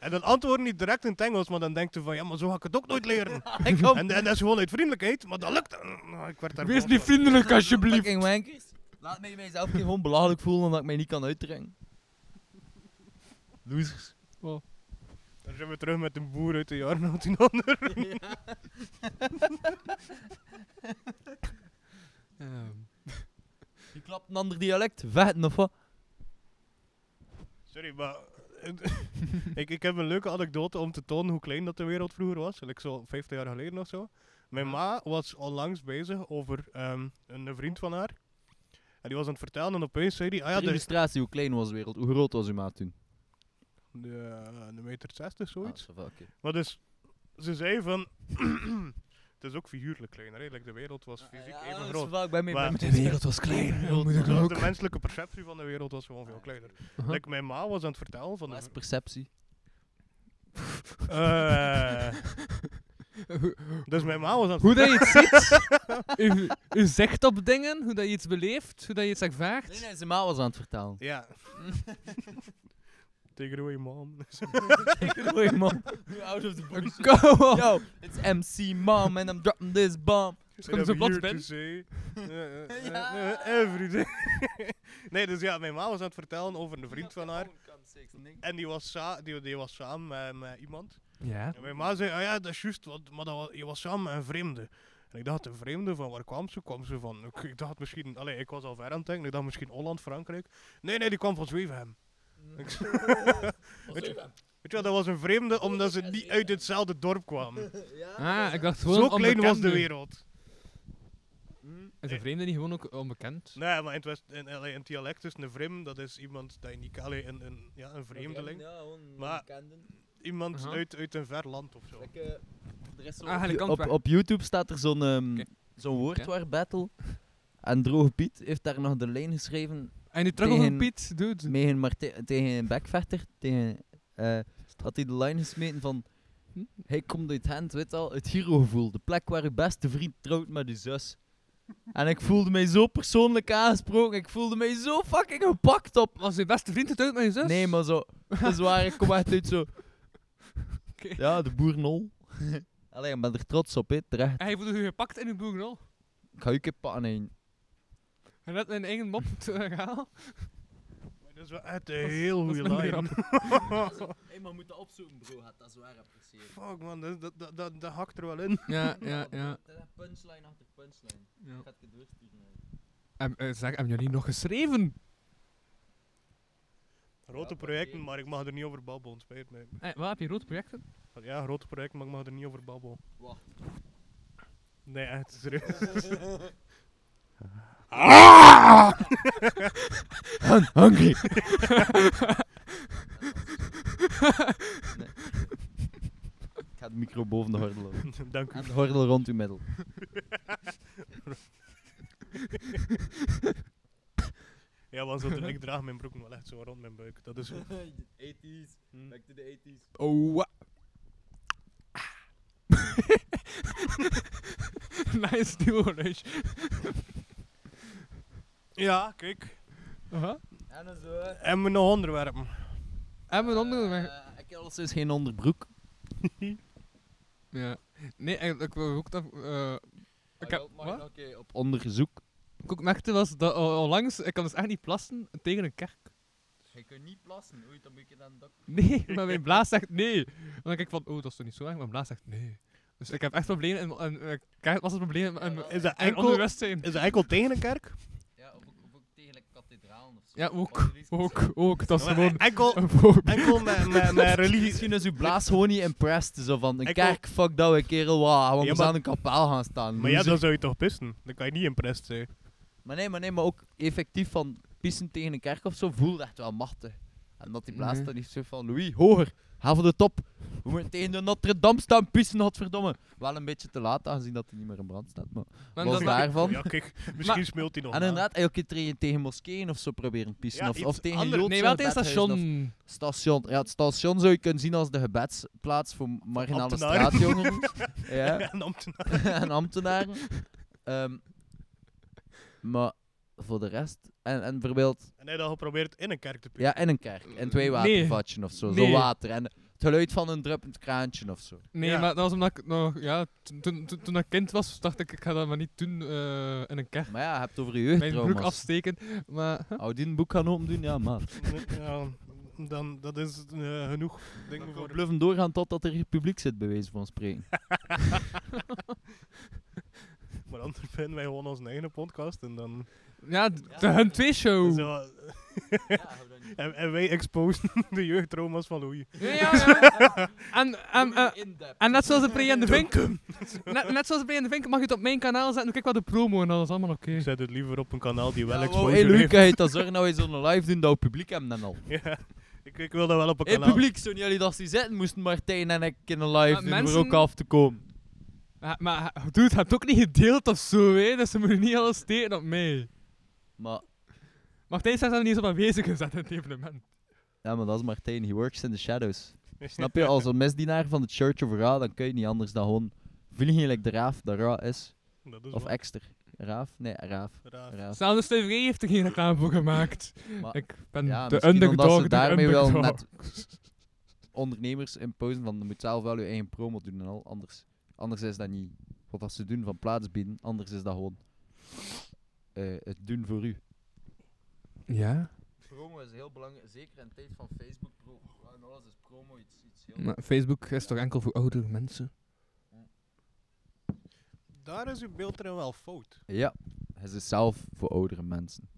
En dan antwoorden niet direct in het Engels, maar dan denkt hij van ja, maar zo ga ik het ook nooit leren. [laughs] Ik kom. En, en dat is gewoon uit vriendelijkheid, maar dat lukt. Nou, ik werd daar Wees boos niet van. vriendelijk alsjeblieft. Fucking wankers. Laat mij mijzelf niet gewoon belachelijk voelen omdat ik mij niet kan uitdrukken. Losers. Dan zijn we terug met een boer uit de jaren 1900. Ehm, Je klapt een ander dialect. Vetten of wat? Sorry, maar... eh, [laughs] ik, ik heb een leuke anekdote om te tonen hoe klein dat de wereld vroeger was. Like zo 50 jaar geleden of zo. Mijn ma was onlangs bezig over ehm, een een vriend van haar. En die was aan het vertellen en opeens zei hij... Ah ja, Ter er is illustratie, hoe klein was de wereld? Hoe groot was uw maat toen? eh, een meter 60 zoiets. Ah, ça va, oké. Maar dus, ze zei van... [clears throat] het is ook figuurlijk kleiner, hè. Like, de wereld Ah, was Ah, fysiek even groot. Ik ben mee. Maar- De wereld was klein. Dus de menselijke perceptie van de wereld was gewoon veel kleiner. Aha. Like, mijn ma was aan het vertellen van... de- Dat is perceptie. [laughs] Eh, dus mijn ma was aan het Hoe dat je iets ziet. [laughs] u, u zegt op dingen, hoe dat je iets beleeft, hoe dat je iets ervaart. Nee, nee, zijn ma was aan het vertalen. Ja. [laughs] Tegen away, mom. [laughs] Goeie man. Out of the box. Go on. Yo, it's MC Mom and I'm dropping this bomb. Dus komt zo plots Ben. [laughs] Eh, Every day. eh, [laughs] nee, dus ja, mijn ma was aan het vertellen over een vriend van haar. En die was, sa die, die was samen met, met iemand. Ja. En mijn ma zei, ah ja, dat is juist, want- maar dat wa- je was samen met een vreemde. En ik dacht, een vreemde, van waar kwam ze? Kwam ze van, ik, ik dacht misschien, allee, ik was al ver aan het denken, ik dacht misschien Holland, Frankrijk. Nee, nee, die kwam van Zwevenhem. Ik zei, [laughs] weet, je, weet je wel, dat was een vreemde omdat ze niet uit hetzelfde dorp kwamen. Ah, ik dacht gewoon Zo klein was de onbekende. wereld. Is een vreemde niet gewoon ook onbekend? Nee, maar in, het West, in LA, een dialect is een vreemde, dat is iemand die in die Cali een, een, ja, een vreemdeling. Ja, gewoon Maar- Iemand Aha. uit, uit een ver land of zo. Ah, op, Helikant op, weg. op YouTube staat er zo'n ehm, Oké. zo'n woordwaar battle. En Droge Piet heeft daar nog de lijn geschreven En nu terug over Tegen- Piet, dude. tegen, Marte- tegen een backvechter. Tegen, eh, had hij de lijn gesmeten van... "Hm, Hij komt uit Gent, weet al, het Giro-gevoel. De plek waar uw beste vriend trouwt met uw zus. En ik voelde mij zo persoonlijk aangesproken. Ik voelde mij zo fucking gepakt op. Was je beste vriend het uit met je zus? Nee, maar zo. Dat is waar, ik kom echt uit zo. Oké. Ja, de boernol. [laughs] Allee, ik ben er trots op, hè, terecht. En hij voelde je gepakt in uw boegrol. Ik ga je kip pakken heen. En dat een eigen mop [laughs] te herhalen. Maar dat is wel echt een [laughs] heel goede een lijn. Hé, maar moet dat opzoeken, bro. Gaat dat zwaar appreciëren. Fuck man, dat, dat, dat, dat, dat hakt er wel in. Ja, ja, ja. Punchline achter punchline. Ja. ga het doorsturen. En, eh, zeg, hebben jullie nog geschreven? Grote projecten, maar ik mag er niet over babbelen, spijt me. Eh, wat heb je rood projecten? Ja, grote projecten, maar ik mag er niet over babbelen. Wat? Nee, echt [laughs] serieus. Ah! Hungry! Ik ga de micro boven de gordel houden. Dank u. En de gordel rond uw middel. Ja, want zo, ik draag mijn broek wel echt zo rond mijn buik. Dat is zo. 80s. Back to the 80s. Oh, wa- Ah. [laughs] nice duo, Rush. [laughs] Ja, kijk. Aha. En zo. En we nog onderwerpen. En mijn onderwerp. Eh, ik heb al sinds geen onderbroek. Ja. Nee, ik, ik wil ook dat... Ah, eh, ik heb... Wat? Oké, op onderzoek. Wat ik ook merkte was dat eh, onlangs... Ik kan dus echt niet plassen tegen een kerk. [laughs] Je kunt niet plassen, ooit dan moet je dan dokter. Nee, maar mijn blaas zegt nee. En dan denk ik van, oh, dat is toch niet zo erg? Maar mijn blaas zegt nee. Dus ik heb echt problemen in... mijn- en, eh, kerk was het probleem in, in, Is dat in enkel, onderwijszijn. is dat enkel tegen een [laughs] kerk? Ja, of ook, of ook tegen like, kathedralen of zo. Ja, Oh, ook. Ook, ook. Dat is gewoon... [laughs] Enkel, een voorbeeld. enkel met, met, [laughs] met religie. Misschien is uw blaas gewoon niet impressed. Zo van, een Ik kerk, fuck dat, we kerel, wauw, we Ja, moeten maar- aan een kapel gaan staan. Maar ja, loser. dan zou je toch pissen. Dan kan je niet impressed zijn. maar nee, maar nee, maar ook effectief van pissen tegen een kerk of zo, voelt echt wel machtig. En dat die blaas Nee. dan niet zo van, Louis, hoger, ga voor de top. We moeten tegen de Notre Dame staan pissen, godverdomme. Wel een beetje te laat, aangezien dat hij niet meer in brand staat, maar Maar los dat- [laughs] daarvan. Ja, kijk, misschien Maar- smeelt hij nog. En na. [laughs] inderdaad, en ook je tegen, tegen moskeeën of zo proberen pissen. Ja, of, of iets tegen anders. Joodse Nee, wel tegen bedhuizen of- station. Station. Ja, het station zou je kunnen zien als de gebedsplaats voor marginale ambtenaren. straatjongeren. ja, En ambtenaar. [laughs] en ambtenaren. Ehm, maar voor de rest... En, en bijvoorbeeld... En hij had geprobeerd in een kerk te pissen. Ja, in een kerk. In twee watervatjes of zo. Nee. Zo water. En het geluid van een druppend kraantje of zo. Nee, Ja. maar dat was omdat ik nog, ja, toen, toen, toen- toen ik kind was, dacht ik, ik ga dat maar niet doen eh, in een [laughs] kerk. Maar ja, je hebt het over je Mijn broek jeugdtrauma's. afsteken, maar... huh? Hou die een boek gaan opendoen? Ja, maar. Ja, dan, dat is eh, genoeg. Denk We voor bluffen doorgaan totdat er publiek zit, bij wijze van spreken. Maar anders vinden wij gewoon onze eigen podcast. En dan... Ja, d- de Hun 2 show! Zo, [laughs] en, en wij exposen [laughs] de jeugdtrauma's van Louis. Ja, [laughs] ja, ja. En, en, eh, en net zoals de Pre en de Vink, net, net zoals de Pre en de Vink mag je het op mijn kanaal zetten, dan kijk ik wel de promo en dat is allemaal oké. Zet het liever op een kanaal die wel Ja, wow, hey, exposure Louis, heeft. kan je dat zorgen dat wij zo'n live doen dat we publiek hebben dan al? [laughs] Ja, ik, ik wil dat wel op een In kanaal. publiek, zo'n jullie dat ze zitten, moesten Martijn en ik in een live Maar doen mensen- voor ook af te komen. Maar, maar dude, je hebt het ook niet gedeeld of zo, hè, dus ze moeten niet alles steken op mij. Maar, Martijn staat er niet eens op aanwezig gezet in het evenement. ja, maar dat is Martijn, he works in the shadows. Snap je, als een misdienaar van de Church of Ra, dan kun je niet anders dan gewoon vliegen gelijk de raaf dat Ra is. Dat is Of wel Exter. Raaf? Nee, raaf. raar. raaf. Zelfs de STVG heeft er geen reclame voor gemaakt. Maar- ik ben ja, de misschien underdog, omdat ze de daarmee wel underdog. net- Ondernemers imposen van, je moet zelf wel je eigen promo doen en al, anders, anders is dat niet wat dat ze doen van plaats bieden, anders is dat gewoon eh, het doen voor u. Ja? Promo is heel belangrijk, zeker in de tijd van Facebook, bro. En alles is promo, iets, iets heel... Maar Facebook is toch enkel voor oudere mensen? Daar is uw beeld er wel fout. Ja, hij is zelf voor oudere mensen.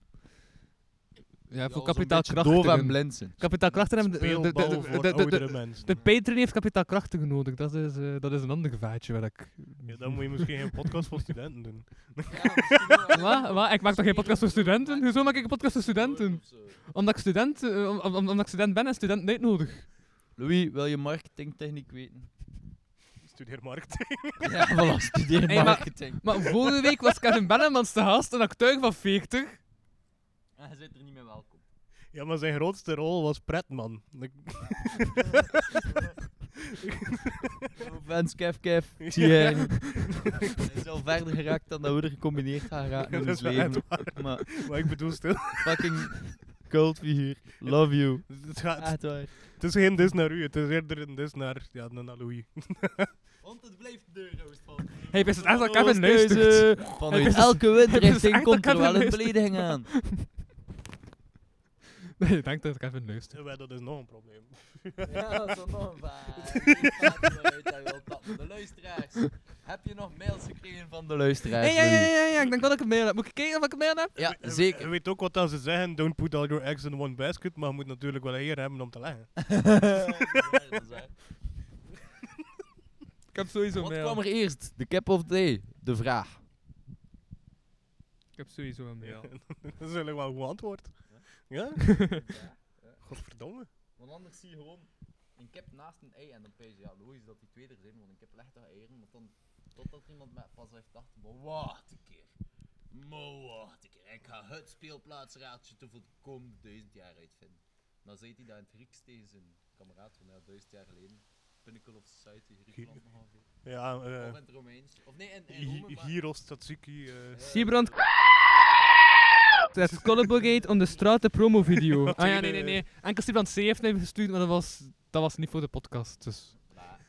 Ja, voor zo'n beetje Doof en kapitaalkrachten. blind zijn. Kapitaalkrachten hebben de- de- de- Speelbal de- voor de- de- de- oudere mensen. De Patreon heeft kapitaalkrachten nodig. Dat is, eh, dat is een ander gevaartje waar ik... Ja, dan moet je misschien een podcast voor studenten [laughs] doen. Wat? Wat? Ik maak toch geen podcast voor studenten? Hoezo maak ik een podcast voor studenten? Omdat ik student, eh, om- om- omdat ik student ben en student niet nodig. Louis, wil je marketingtechniek weten? Studeer marketing. [laughs] Ja, voilà, studeer Hey, maar- marketing. Maar vorige week was Kevin Bennemans te gast, een acteur van 40. En Ah, hij zit er niet meer welkom. [laughs] Ja, maar zijn grootste rol was pretman. Ik- Fans, Kev, Kev. [laughs] Zie jij. Hij is al verder geraakt dan dat we er gecombineerd gaan raken in Dat ons is wel leven. echt waar. Maar Maar ik bedoel stil. fucking cultfiguur. Love you. Het, gaat, Echt waar. het is geen dis naar u, het is eerder een dis naar, ja, naar Louis. Want het blijft deurroost van. Hey, is het echt dat Kevin luistert? Vanuit Het is- [laughs] elke het is windrichting echt komt dat er wel een Kevin belediging aan. [laughs] Nee, ik denk dat Kevin luistert. Eh, wel, dat is nog een probleem. Ja, dat is wel nog een vraag. Ik ga er maar uit dat je wilt tappen. De luisteraars. Heb je nog mails gekregen van de luisteraars? Hey, ja, ja, Louis? ja, ja, ik denk dat ik een mail heb. Moet ik kijken of ik een mail heb? Ja, Eh, Je zeker. weet ook wat dat ze zeggen, don't put all your eggs in one basket, maar je moet natuurlijk wel hier hebben om te leggen. Ik heb sowieso een Wat mail. kwam er eerst? De cap of the day? De vraag. Ik heb sowieso een mail. [laughs] dat is eigenlijk wel een goed antwoord. Ja? Godverdomme. Want anders zie je gewoon een cap naast een ei en dan pijs je, ja, logisch dat die twee er zijn, want een cap legt daar eieren, maar dan, totdat iemand met pas heeft dacht, maar wacht een keer. Maar wacht een keer, ik ga het speelplaatsraadje te voor de komende duizend jaar uitvinden. En dan zei hij dat in het Grieks tegen zijn kameraad van ja, duizend jaar geleden. Pinnacle of Society, Griekenland nog ongeveer. Ja, Of in eh het Romeins. Of nee, in, in Rome, Hi- maar... Hieros Tatsuki. eh Sibrand. Het Collaborate on the Straat promo [laughs] video. Ah ja, nee, nee, nee. Enkel Sibrand C heeft mij gestuurd, maar dat was, dat was niet voor de podcast. Dus.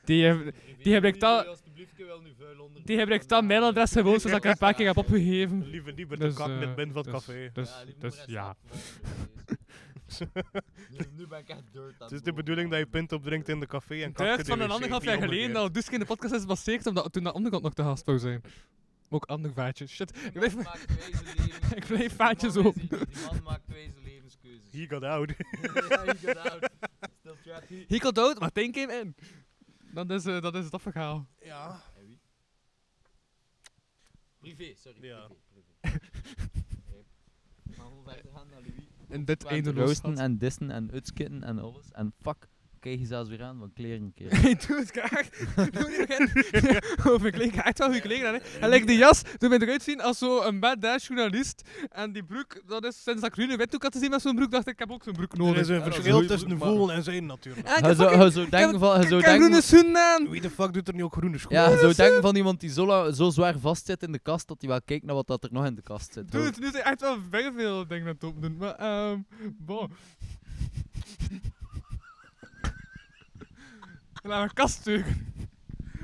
Die, heb- die gebruikt dat, Alsjeblieft, je wil nu vuil onder. die gebruikt dat mailadres gewoon zodat ik er een paar keer heb opgegeven. Lieve niet met de kak eh, met Ben van het dus- café. Dus, Ja, lieve dus, moeder, ja. stop met deze. [laughs] nu, nu ben ik echt dirt aan Het is de bedoeling dat je pint opdrinkt in de café en kak Juist van een anderhalf jaar geleden dat dus in de podcast is gebaseerd, omdat toen de onderkant nog te gast zou zijn. Ook ander vaatje. Shit. Ik blijf, [laughs] ik blijf vaatjes zo. open. Die man maakt wijze levenskeuzes. [laughs] He got out. Ja, he got [laughs] out. Still trapped. He- Hekel dood, maar tank came in. Dat is, eh, dat is dat verhaal. ja. Privé, sorry. [laughs] Ja. Privé, privé. Oké. Maar hoe verder gaan naar Louis? En dit Waar de eindeloos Roosten gaat. en dissen en uitskitten en alles. En fuck, kijk je zelfs weer aan van kleren [laughs] keer. [laughs] Hey, doe het graag. Doe het graag. [laughs] Over kleding. Echt wel goede kleding aan. hè. En like die jas doet mij eruit zien als zo'n badass journalist. En die broek, dat is sinds dat ik Rune Wit ook had gezien met zo'n broek, dacht ik, ik heb ook zo'n broek Er nodig. is een dat is verschil een tussen goeie voelen en zijn natuurlijk. En Hij Ah, ik heb zou, fucking- hij zou denken van... Hij zou ik heb denken groene van schoenen aan. Wie de fuck doet er nu ook groene schoenen? ja, hij zou denken van iemand die zo, la- zo zwaar vastzit in de kast, dat hij wel kijkt naar wat dat er nog in de kast zit. Doe het nu zijn echt wel veel veel dingen dat op doen. Maar, ehm, bon. Laat mijn kast sturen.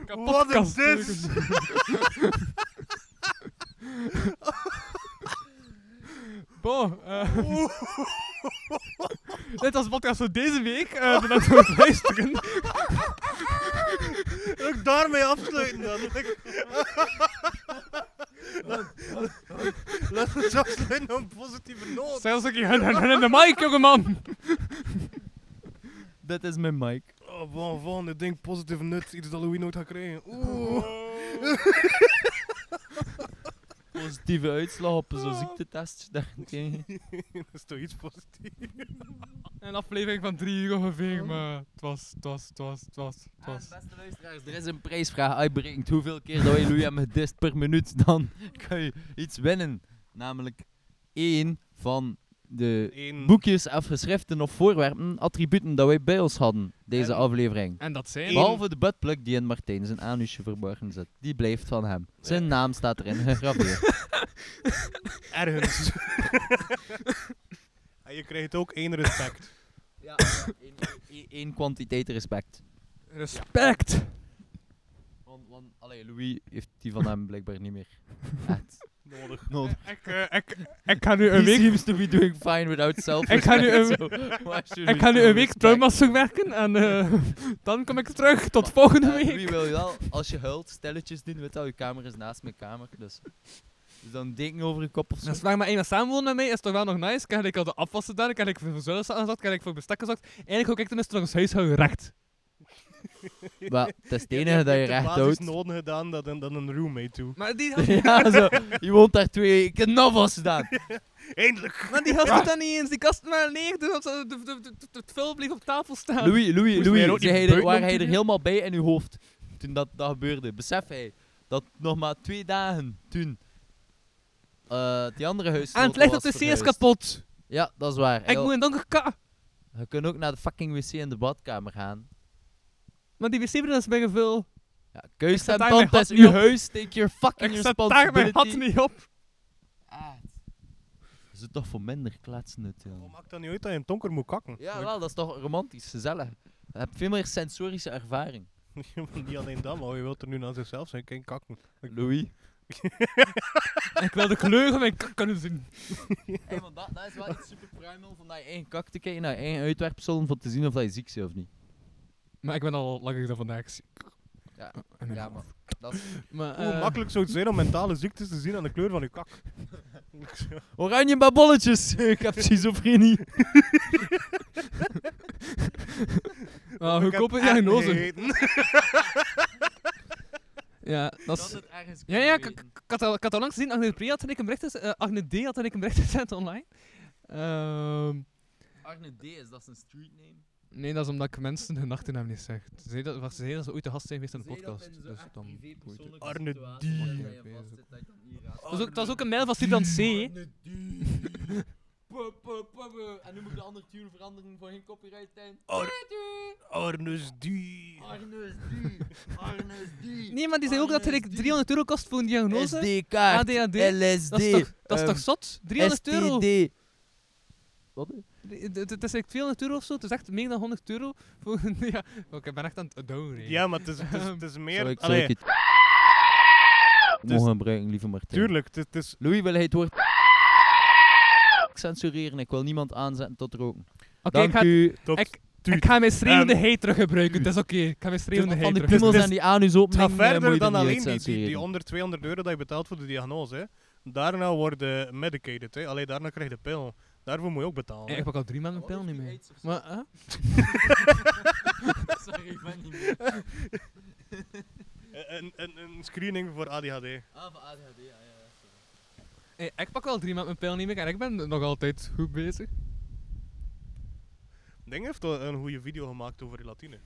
Kapot Wat is kast dit? steugen. Bon, eh, dit was de podcast voor deze week. Eh bedankt voor het luisteren. Ook daarmee afsluiten dan. [laughs] Ik- Laten we het afsluiten op een positieve noot. Zelfs ik in de mic, jongeman. Dit is mijn mic. Oh, van, van, dit ding positieve nut. Iets dat Louis nooit gaat krijgen. Oeh. Positieve uitslag op Ah. zo'n ziektetest. daarentegen. [laughs] dat is toch iets positiefs. Een aflevering van drie uur ongeveer, maar het was, het was, het was, het was, het was. Beste luisteraars, er is een prijsvraag uitberekend. Hoeveel keer dat je Louis hebt gedist per minuut, [laughs] dan kan je iets winnen. Namelijk één van de Eén. boekjes of geschriften of voorwerpen, attributen dat wij bij ons hadden, deze En- aflevering. En dat zijn... Behalve de buttplug die in Martijn zijn anusje verborgen zit. Die blijft van hem. Zijn naam staat erin gegraveerd. [laughs] Ergens. en Ah, je krijgt ook één respect. ja, E- één kwantiteit respect. Respect! Want, want allee, Louis heeft die van hem blijkbaar niet meer. Echt. Nodig. Nodig. Ik, eh, ik, ik ga nu een He week... seems to be doing fine without [laughs] self Ik ga nu [laughs] een- Ik ik ga nu een week [laughs] trauma's werken en eh, [laughs] dan kom ik terug. Tot volgende Louis week. wil wel, als je huilt, stelletjes doen. Weet je wel, je kamer is naast mijn kamer. Dus Dus dan een deken over je kop of zo. Als maar maar één samenwonen met mij is toch wel nog nice. Kan ik al de afwas gedaan, kan ik voor verzuilen zat, kan ik voor bestekken zat. Eigenlijk ook ik ten eerste nog eens huishouden recht. Maar het is het enige dat je recht houdt. Het noden gedaan dat een, dan een roommate toe. Maar die had, [laughs] Ja, zo. Je woont daar twee weken. Ik heb was gedaan. Eindelijk! maar die had het dan niet eens. Die kast maar leeg doen. want ze- de- de- de- de- Het film bleef op tafel staan. Louis, Louis, Moest mij er ook niet Louis, zei hij er- buiten waar om hij te er doen? helemaal bij in uw hoofd toen dat, dat gebeurde. Besef hij dat nog maar twee dagen toen eh die andere huis. en het ligt op de CS kapot. Ja, dat is waar. Ik Heel- moet een donker ka. Je kunt ook naar de fucking wc in de badkamer gaan. Maar die wc-bril is bijna veel. Ja, keus en daar mijn tand is gat uw niet op. huis, take your fucking Ik zet daar mijn responsibility. hat niet op. Is het toch voor minder kletsen het, ja. Hoe maakt dat niet uit dat je een tonker moet kakken? Ja, wel, dat is toch romantisch, gezellig. Je hebt veel meer sensorische ervaring. [laughs] niet alleen dat, maar je wilt er nu naar zichzelf zijn, geen kakken. Louis. Ik wil de kleur van mijn kak kunnen zien. Hey, want dat, dat is wel iets super primal van naar je eigen kak te kijken, naar je eigen uitwerpsel, om te zien of dat je ziek bent of niet. Maar ik ben al langer dan vandaag ziek. Ja, En ik- Ja, maar dat is... Maar, Hoe Ehm. eh, makkelijk zou het zijn om mentale ziektes te zien aan de kleur van je kak? Oranje babolletjes! [laughs] ik heb schizofrenie. maar Ik heb goedkope echt diagnose. gegeten. Ja, dat is... ergens Ja, ja, ik, ik, ik had al, ik had al lang gezien, Agne Pri had ik een bericht gezet, eh, Agne D had ik een bericht [laughs] gezet online. Ehm, Arne D, is dat zijn streetname? nee, dat is omdat ik mensen hun achternaam niet zeg. Ze zei dat, ze zei dat ze ooit de gast zijn geweest in de podcast. dus dan boeit het. Arne Ja, ik weet het ook. Dat is ook- dat is ook een mail van Stefan C. hè. En nu moet ik de andere tune veranderen voor geen copyright zijn. Arnus die. Arne D, Arne D. Nee, maar die zei ook dat ik 300 euro kost voor een diagnose. SDK, ADHD. LSD. Dat is toch, dat is toch ehm, zot? 300 euro? STD. Wat? Het het- het is echt 200 euro of zo, het is echt meer dan 100 euro. Voor, een- ja, [laughs] oké, ik ben echt aan het downraden. Ja, maar het is, het is, het is meer... Zou ik, zou Allee, Dus ik het eh, mogen gebruiken, lieve Martijn? tuurlijk, het, is- het is... Louis wil hij het woord censureren. Ik wil niemand aanzetten tot roken. Oké, Dank ik, ga, u. Tot, ik, ik ga mijn schreeuwende Ehm, heet teruggebruiken, het is oké. Dus- Ik ga mijn schreeuwende heet Van die is- teruggebruiken. piemels en die Dus anus eh, het gaat opnemen. verder dan alleen die, die, die 100, 200 euro dat je betaalt voor de diagnose. hè. Daarna worden medicated, hè. Allee, daarna krijg je de pil. Daarvoor moet je ook betalen. Eh, hè. Ik pak al drie maanden mijn pil niet mee. Maar, eh? Sorry, ik ben niet Eh, Een, een, een screening voor ADHD. Eh, ik pak al drie maanden mijn pil niet meer en ik ben nog altijd goed bezig. Ding heeft al een goede video gemaakt over relatine.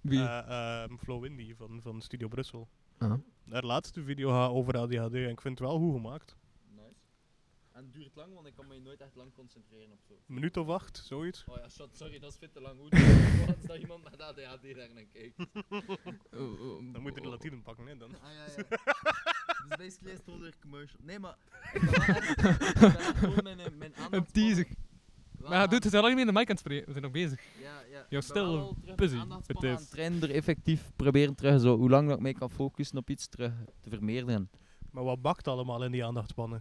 Wie? Eh, ehm, Flo Windy van, van Studio Brussel. Ah. Haar laatste video gaat over ADHD en ik vind het wel goed gemaakt. Nice. [laughs] En het duurt lang, want ik kan me nooit echt lang concentreren op zo. Een minuut of acht, zoiets. Oh ja, shot, sorry, dat is veel te lang. [laughs] Hoe doe dat iemand met ADHD daar naar kijkt? Dan moet je relatine pakken, hè. Dan. Ah ja, ja. [laughs] dus basically is het onder commercial. Nee, maar. [laughs] ik ben wel echt- ik ben echt gewoon mijn, eh, mijn Een aandachtspannen- teaser. wel Maar ja, aan- doet het al lang niet meer in de mic aan het spreken, we zijn nog bezig. Ja, ja. ik Jouw ben wel stille al terug mijn pussy, aandachtspannen het aan is. trainen, er effectief proberen terug, zo, hoe lang dat ik mij kan focussen op iets terug te vermeerderen. Maar wat bakt allemaal in die aandachtspannen?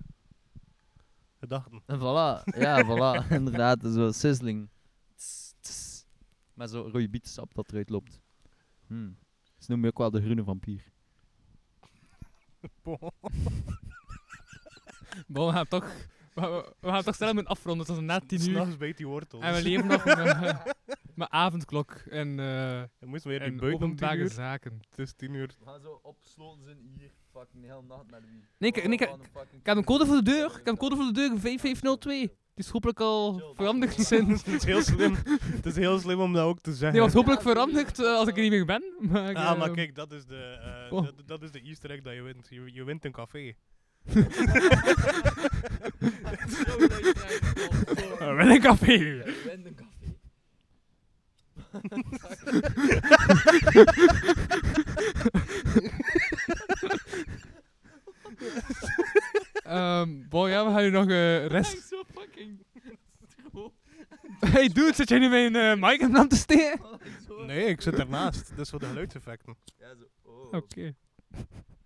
Gedachten. En voilà, ja, voilà, [laughs] inderdaad, zo sizzling. Tss, tss. Met zo'n rode bietensap dat eruit loopt. Hmm. Ze noemen je ook wel de groene vampier. Bon, we gaan toch, we, we gaan toch snel moeten afronden, het is na tien uur. S'nachts bijt die wortel. En we leven nog met, eh, [laughs] met avondklok en, eh Je moest weer die en buik om tien openbare uur. zaken. Het is tien uur. We gaan zo opsloten zijn hier, fucking heel nacht naar wie. Nee, ik, nee, ik, ik heb een code voor de deur. Ik heb een code voor de E deur, V502. Die is hopelijk al veranderd sinds. het is heel [laughs] slim. Het is heel slim om dat ook te Die zeggen. was hopelijk veranderd eh, als ik er niet meer ben. Maar, ik, ah, eh, maar kijk, dat is de, eh, Oh. dat, dat is de easter egg dat je wint. Je, je wint een café. eh, wel een café. [laughs] Random café. Ehm bon, ja, we gaan nu nog eh rest. zo fucking. hey, dude, zit jij nu mijn eh mic in aan te steken? Nee, ik zit ernaast. Dat is voor de geluidseffecten. Ja, zo. Oh. Oké.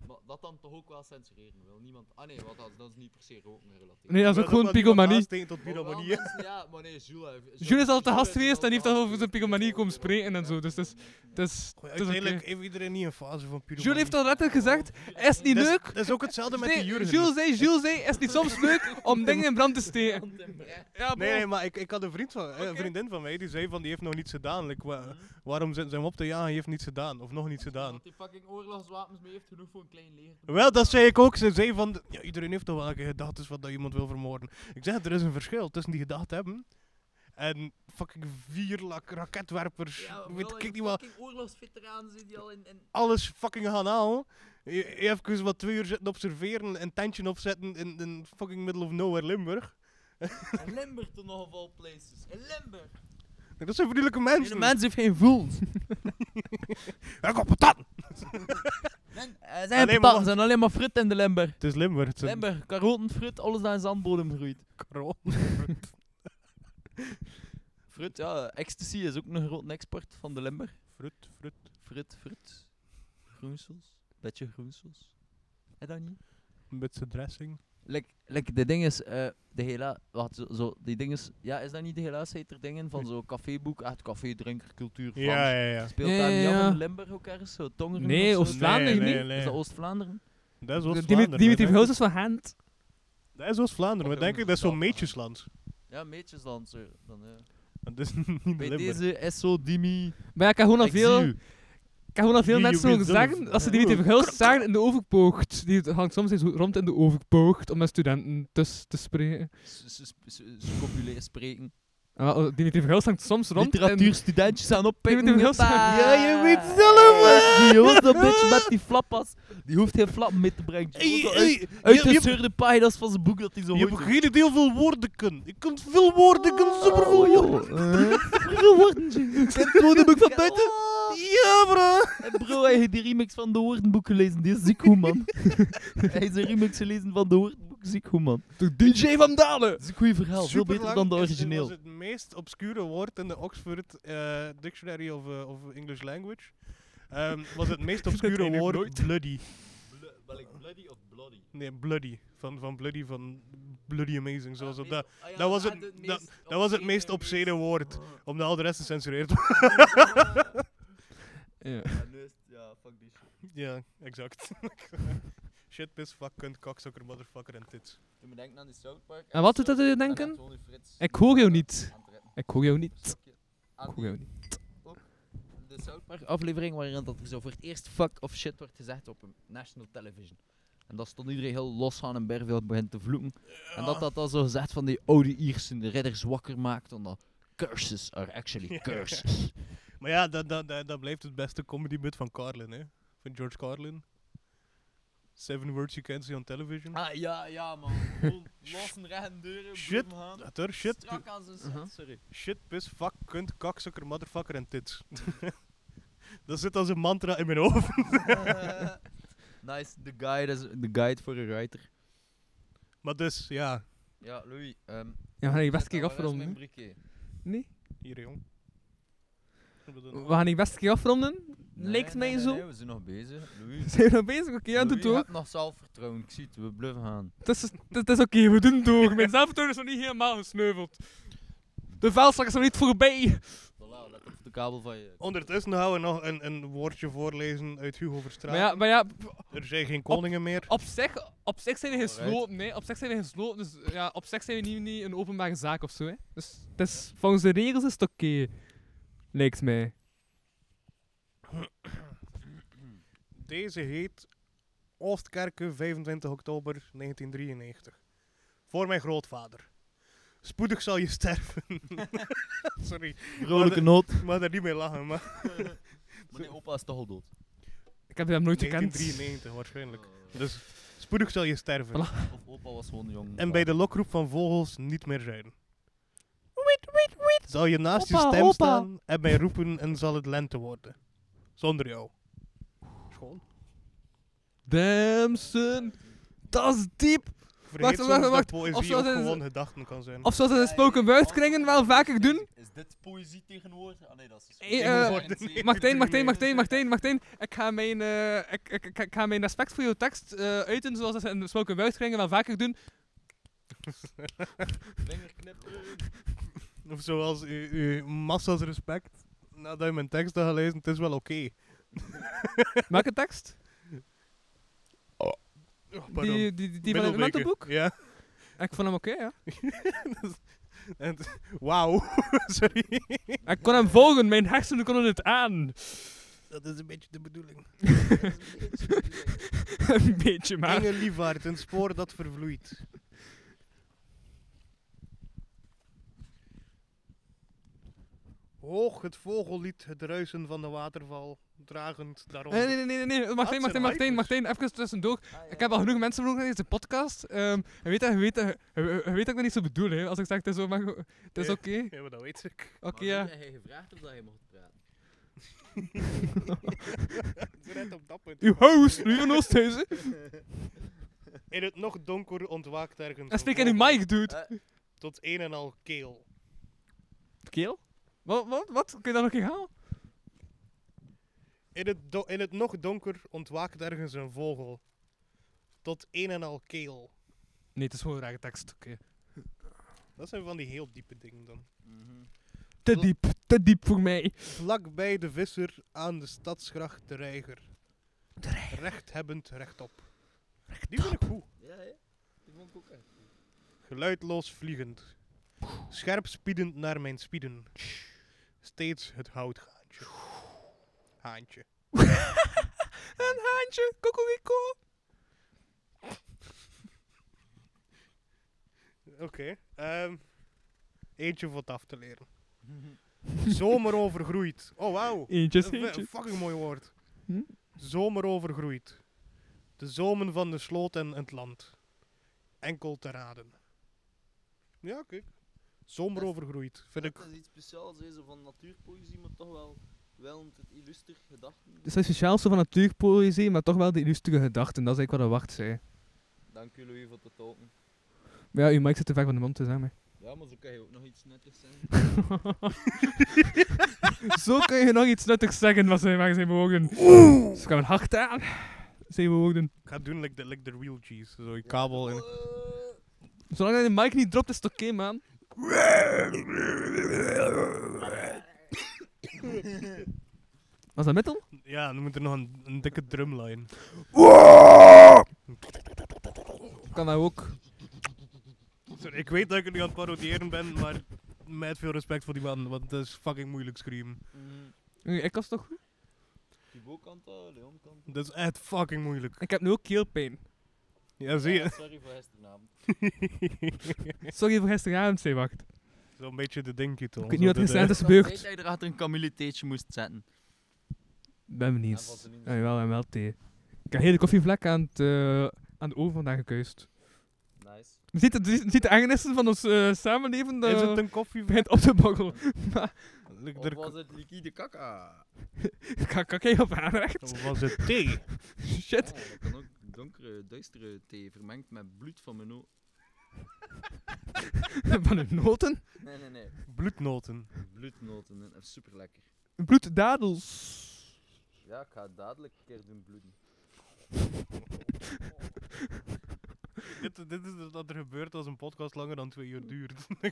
Maar dat dan toch ook wel censureren wil. Niemand. Ah nee, wat dat, dat is niet per se roken gerelateerd. Nee, dat is ook gewoon pigomanie. Oh, Steekt tot Maar wel pyromanie. mensen- Ja, maar nee, Jules. heeft- Jules is al te gast Jules geweest en die heeft al al te over zijn gast pigomanie geweest. komen spreken en zo. Dus het is. Het is, Goh, het is oké. Uiteindelijk heeft iedereen niet een fase van pyromanie. Jules heeft al letterlijk gezegd: is niet Dat is- leuk. Dat is ook hetzelfde met Nee, die Jurgen. Jules zei, Jules zei, is niet soms leuk om dingen in brand te steken. Ja, Nee, bon. nee, maar ik, ik had een, vriend van, eh, een vriendin van mij die zei van die heeft nog niets gedaan. Like, wa- waarom zitten ze hem op te jagen? Je heeft niets gedaan. Of nog niets gedaan. Dat hij fucking oorlogswapens mee heeft, genoeg voor een klein leger. Wel, dat zei ik ook. Ze zei van, ja, iedereen heeft toch wel een keer gedacht is wat dat iemand wil vermoorden. Ik zeg, er is een verschil tussen die gedacht hebben en fucking vier lak, raketwerpers. weet, ik niet wat, fucking oorlogsveteraan zit die al in... in alles fucking gaan halen. E- Even wat twee uur zitten observeren en tentje opzetten in, in fucking middle of nowhere Limburg. in Limburg toen nog of all places. In Limburg! Dat zijn vriendelijke mensen. mensen heeft geen voel. Ja, kom, patat! Eh, zijn maar patatten, wacht. zijn alleen maar frit in de Limburg. Het is Limburg. Het zijn Limburg, karoten, frut, alles dat in zandbodem groeit. Karel. [laughs] Frut, ja, ecstasy is ook een grote export van de Limburg. Frut, frut. Frut, frut. Groensels. Beetje groensels. En dan niet? Een beetje dressing. Like, like de ding is, eh, de hela, wat, zo, zo, die ding is, ja, is dat niet de helaas heter dingen van zo'n caféboek, echt café, drinker, cultuur, Vlaams? Ja, ja, ja. Speelt Ja, daar ja, niet af ja. in Limburg ook ergens, zo Tongeren Nee, of zo? Oost-Vlaanderen nee, niet. Nee, Is nee. dat Oost-Vlaanderen? Dat is Dimitri- Oost-Vlaanderen. Dimitri hè, denk ik. Verhulst is van Gent. Dat is Oost-Vlaanderen. Wat maar denk doen ik, dat is ze zo'n dan? meetjesland. Ja, Meetjesland, zo, dan, ja. Dat is niet Limburg. Bij deze SO Dimi. Maar ja, ik heb gewoon al veel, Exil. ik heb gewoon al veel Die mensen jongen horen is dom. zeggen, als ze Dimitri Verhulst zagen in de overpoogd. Die hangt soms eens rond in de overpoogd om met studenten tussen te spreken. S- s- s- s- Populair spreken. En wel, Dimitri Verhulst hangt soms rond in... Literatuurstudentjes aan oppikken. Dimitri Verhulst. Ja, je weet zelf Die jongen, dat bitch met die flappas, die hoeft geen flap mee te brengen. Die Ey, komt al ey, uit- je- Uit je de hebt- zeurde pagina's van zijn boek dat hij zo je hebt hoort. geen idee hoeveel woorden kun. Je kunt veel woorden, ik kan superveel Oh, woorden. [laughs] joh. Hoeveel woorden? Kent [laughs] het woordenboek van buiten? Ja, bro. En bro, hij heeft die remix van de woordenboek gelezen. Die is ziek goed, [laughs] man. hij heeft een remix gelezen van de woordenboek. Ziek goed, man. De DJ van Dalen! Dat is een goed verhaal. Veel Superlang beter dan de is- is- origineel. was het meest obscure woord in de Oxford eh, Dictionary of, eh, of English Language. Ehm, was het [laughs] meest obscure woord bloody. bloody of bloody? Nee, bloody. Van, van bloody, van bloody amazing. Ah, Zoals op dat. dat was het- dat- Dat was het meest obscene Oh. woord, omdat al de rest gecensureerd wordt. Ja. Ja, fuck die shit. [laughs] ja, [laughs] exact. Shit, piss, fuck, kunt, kakzokker, motherfucker en tits. Toen me denken aan die South Park. En wat doet dat je denken? Ik hoor jou niet. Ik hoor jou niet. Ik hoor jou niet. De South Park aflevering waarin dat er zo voor het eerst fuck of shit wordt gezegd op een national television. En dat stond iedereen heel los aan en Berveld begint te vloeken. En dat dat dan zo gezegd van die oude Iersen de ridders wakker maakt. Omdat curses are [laughs] actually curses. Maar ja, dat, dat, dat, dat blijft het beste comedy bit van Carlin, hè? Van George Carlin. Seven words you can't see on television. ah ja, ja man. Gewoon lossen recht deuren. Shit. boem gaan. Dat er, shit, Strak [laughs] aan zijn set, sorry. shit, piss, fuck, kunt, kakzokker, motherfucker en tits. [laughs] dat zit als een mantra in mijn hoofd. [laughs] [laughs] nice, de guide, is- de guide voor een writer. Maar dus, ja, Ja, Louis. ehm, Ja, we gaan die best keer Mijn afronden. briquet. Nee? hier jong. Wat bedoel je? We gaan die best keer afronden. Nee, Lijkt nee, mij nee, zo. nee, we zijn nog bezig. [laughs] Louis. Zijn we nog bezig? Oké, ja, Louis, doe het Je door. hebt nog zelfvertrouwen, ik zie het, we bluffen gaan. Het is, het is oké, we doen het door. Mijn zelfvertrouwen is nog niet helemaal gesneuveld. De vuilzak is nog niet voorbij. Voilà, let op de kabel van je. Ondertussen gaan we nog een, een woordje voorlezen uit Hugo Verstraat. Maar ja, maar ja Er zijn geen koningen meer. op, zich, op zich zijn we Alright. gesloten. Nee, op zich zijn we gesloten. Dus ja, op zich zijn we niet, niet een openbare zaak of zo. Hè. Dus het is, volgens de regels is het oké. Lijkt mij. Deze heet Oostkerken 25 oktober 1993. Voor mijn grootvader. Spoedig zal je sterven. [laughs] Sorry, Vrolijke noot. ik mag daar niet mee lachen, maar Maar nee, opa is toch al dood. Ik heb hem nooit gekend. 1993 waarschijnlijk. Dus spoedig zal je sterven. Voilà. Of opa was gewoon jong. En bij de lokroep van vogels niet meer zijn. Zal je naast je Opa, stem opa. staan en mij roepen en zal het lente worden. Zonder jou. Schoon. Damson. Dat is diep. vergeet wacht, soms wacht, wacht. dat Of poëzie zoals ook in- gewoon gedachten kan zijn. Of zoals ze de spoken word kringen wel vaker doen. Is dit poëzie tegenwoordig? Ah nee, dat is... Eh, eh, Martijn, Martijn, Martijn, Martijn, Martijn. Ik ga mijn, eh, ik, ik, ik, ik ga mijn respect voor jouw tekst eh, uiten zoals dat ze in de spoken word kringen wel vaker doen. Of zoals u, u massa's respect. Nadat je mijn tekst had gelezen, het is wel oké. Welke tekst? Oh, pardon. Die, die, die, die van het Middelbeke. nottenboek? Ja. Ik vond hem oké, ja. En- Wauw, sorry. Ik kon hem volgen, mijn hersenen konden het aan. [laughs] Dat is een beetje de bedoeling. Een beetje, maar. Inge Lievaart, een spoor dat vervloeit. Hoog het vogellied, het ruisen van de waterval, dragend daaronder. Nee, nee, nee, nee, nee. Martijn, zijn Martijn, Martijn, hypers. Martijn, even tussendoor. Ik heb al genoeg mensen vroegen in deze podcast. Ehm je, weet dat, je, weet dat, je, je weet dat ik dat niet zo bedoel, hè. Als ik zeg, het is, zo, maar, goed, het is Ja. oké. Ja, maar dat weet ik. Oké, ja. Hij gevraagd of dat hij mocht praten. Ze rijdt op dat punt. Uw host, Louis van Oosthuizen. In het nog donker ontwaakt ergens En een spreek in uw vogel mic, dude. Tot een en al keel. Keel? Wat, wat, wat? Kun je dat nog een keer halen? In het, do- in het nog donker ontwaakt ergens een vogel. Tot een en al keel. Nee, het is gewoon een rare tekst, oké. Dat zijn van die heel diepe dingen dan. Te diep, te diep voor mij. Vlakbij de visser aan de stadsgracht de reiger. Rechthebbend rechtop. Die vind ik goed. Ja, hè? Die vond ik ook echt. Geluidloos vliegend. Scherp spiedend naar mijn spieden. Steeds het houtgaantje. Haantje. [laughs] Een haantje, kokoeko. [laughs] Oké. ehm, eentje voor het af te leren. Zomer overgroeid. Oh, wauw. Eentje, Dat is een eentje. fucking mooi woord. Hm? Zomer overgroeid. De zomen van de sloot en het land. Enkel te raden. Ja, kijk. Zomer Dat- overgroeid. Vind ik. Dat is iets speciaals, hè, zo van natuurpoëzie, maar toch wel, wel met het illustre gedachten. Het is speciaal zo van natuurpoëzie, maar toch wel de illustere gedachten. Dat is eigenlijk wat de wacht zei. Dank u, Louis, voor het tolken. Maar ja, uw mic zit te ver van de mond dus, te zijn. [laughs] Ja, maar zo kan je ook nog iets nuttigs zijn. [laughs] Zo kun je nog iets nuttigs zeggen wat zijn, waar zijn bewogen. Ze gaan hard aan. Zijn bewogen. Ik ga doen like de, like de real cheese. Zo je kabel en. Zolang dat de mic niet dropt, is het oké, man. Was dat metal? Ja, dan moet er nog een, een dikke drumline. Kan dat ook. Sorry, ik weet dat ik het nu aan het parodiëren ben, maar met veel respect voor die man, want dat is fucking moeilijk screamen. Nee, Ik was toch Thibaut kan dat, Leon kan dat. Dat is echt fucking moeilijk. Ik heb nu ook keelpijn. Ja, zie je? Sorry voor gisteravond. Sorry voor gisteravond, zei wacht. Zo'n beetje de dinkie toch? Ik weet niet wat Zo er de- recent is Ik weet gebeurd. dat je erachter een kamilletheetje moest zetten. Ben Ja, valt benieuwd. er niet Ja, jawel, en wel thee. Ik heb heel de koffievlek aan, het, eh, aan de oven vandaag gekuist. Nice. Ziet de, ziet de angenissen van ons eh, samenleven dat Is het een [laughs] koffie? begint op te bokkelen. Maar Like Of er- was het liquide kaka? ik kan kan ik op aanrecht. Of was het thee? Shit. Ja, dat kan ook donkere, duistere thee vermengd met bloed van mijn oog. van hun noten. Nee, nee, nee. Bloednoten. [laughs] Bloednoten, hè. dat is super lekker. Bloeddadels. Ja, ik ga het dadelijk een keer doen bloeden. dit, dit is wat er gebeurt als een podcast langer dan twee uur duurt. Ja,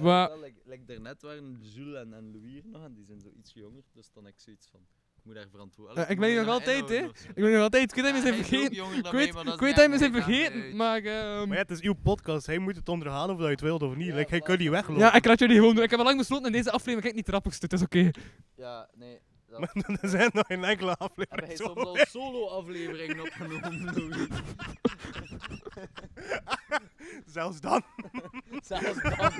Wa- wel, like, like daarnet waren Jules en, en Louis hier nog en die zijn zo iets jonger, dus dan heb ik zoiets van, ik moet daar verantwoordelijk Eh, ik ben hier nog altijd, hè. Ik weet nog altijd, ik weet hem eens even vergeten. Ik weet, ik weet hem eens even vergeten, maar... ehm, [laughs] maar ja, het is uw podcast. Hij moet het onderhalen of dat je het wilt of niet. Like, hij kan niet weglopen. ja, ik laat jullie gewoon doen. Ik heb al lang besloten in deze aflevering, kijk niet de rappigste, het is oké. Ja, nee. Dat Maar [laughs] er zijn nog geen enkele hebben hij aflevering. soms [laughs] al solo-afleveringen [laughs] opgenomen, Louis. Zelfs dan. [laughs] Zelfs dan,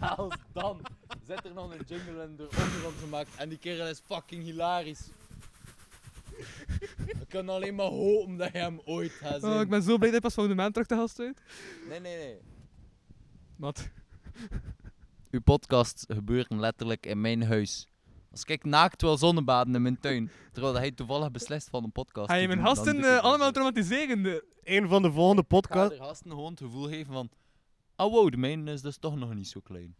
zelfs dan, zet er nog een jingle in de ondergrond gemaakt en die kerel is fucking hilarisch. We kunnen alleen maar hopen dat je hem ooit gaat zien. Oh, ik ben zo blij dat hij pas volgende maand terug te gast uit. Nee, nee, nee. Wat? Uw podcast gebeurt letterlijk in mijn huis. Als ik naakt wil zonnebaden in mijn tuin, terwijl hij toevallig beslist van een podcast. Ga je te mijn doen, dan gasten doe eh, ik dat allemaal ook. traumatiseren? Een van de volgende Ik ga podcasts. de gasten gewoon het gevoel geven van... Ah wow, de mijne is dus toch nog niet zo klein. [laughs]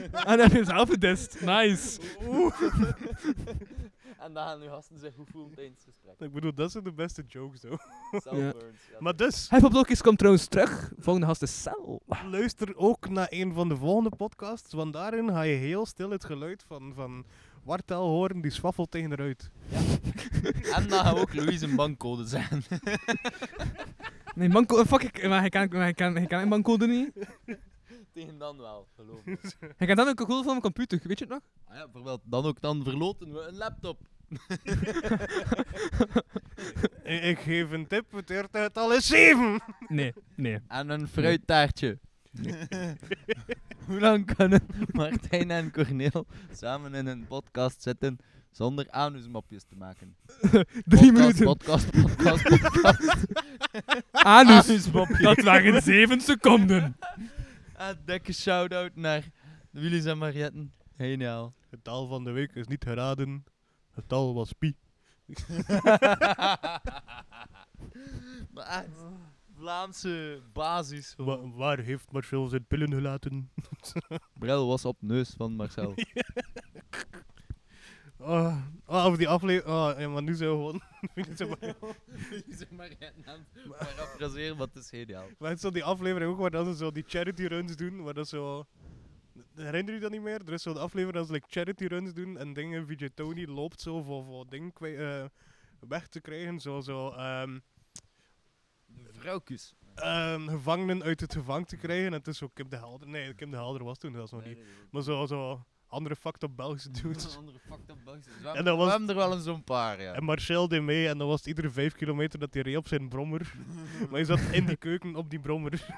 En dan heb je zelf gedist. Nice. [laughs] En dan gaan uw gasten zich goed voelen tijdens het gesprek. Ik bedoel, dat zijn de beste jokes, hoor. Self-burns. Ja. Maar dus, Hij van Blokjes komt trouwens terug. Volgende gast is Cel. luister ook naar een van de volgende podcasts, want daarin ga je heel stil het geluid van, van Wartel horen die swaffelt tegen de ruit. En dan gaan we ook Louise een bankcode zijn. Nee, banco... eh, Fuck, ik... Maar hij kan, maar hij kan, hij kan mijn bankcode niet. Tegen dan wel, geloof me. Hij kan dan ook cool van mijn computer, weet je het nog? Ah ja, bijvoorbeeld, dan ook, dan verloten we een laptop. Ik, ik geef een tip, het eerdertal is 7! Nee, nee. En een fruittaartje. Hoe lang kunnen Martijn en Corneel samen in een podcast zitten zonder anusmapjes te maken? Drie Podcast, minuten. Podcast, podcast, podcast. Anus. Anusmapjes. Dat waren zeven seconden. Een Ah, dikke shout-out naar Willys en Marietten. Geniaal. Het tal van de week is niet geraden. Het tal was Pi. [laughs] maar echt, Vlaamse basis. Wa- waar heeft Marcel zijn pillen gelaten? Brel was op neus van [laughs] Marcel. Oh, oh, over die aflevering. Oh, ja, maar nu zo gewoon. [laughs] nu [laughs] zo maar- Willys en Marietten aan het parafraseren, maar het is geniaal. maar het is zo die aflevering ook waar dat ze zo die charity runs doen. Waar dat zo. Herinner je dat niet meer? Er is zo'n aflevering dat ze like, charity runs doen en dingen. VJ Tony loopt zo voor, voor dingen kwij- eh, weg te krijgen. Zo, zo ehm, Vrouwkus. ehm, gevangenen uit het gevang te krijgen. En het is zo Kim de Helder. Nee, Kim de Helder was toen zelfs nog niet. Maar zo, zo andere fucked up [laughs] Belgische dudes. andere fucked up dus bugs. En dat was- We hebben er wel eens zo'n paar, ja. En Marcel deed mee en dan was het iedere vijf kilometer dat hij reed op zijn [laughs] brommer. maar hij zat in die keuken op die brommer. [laughs]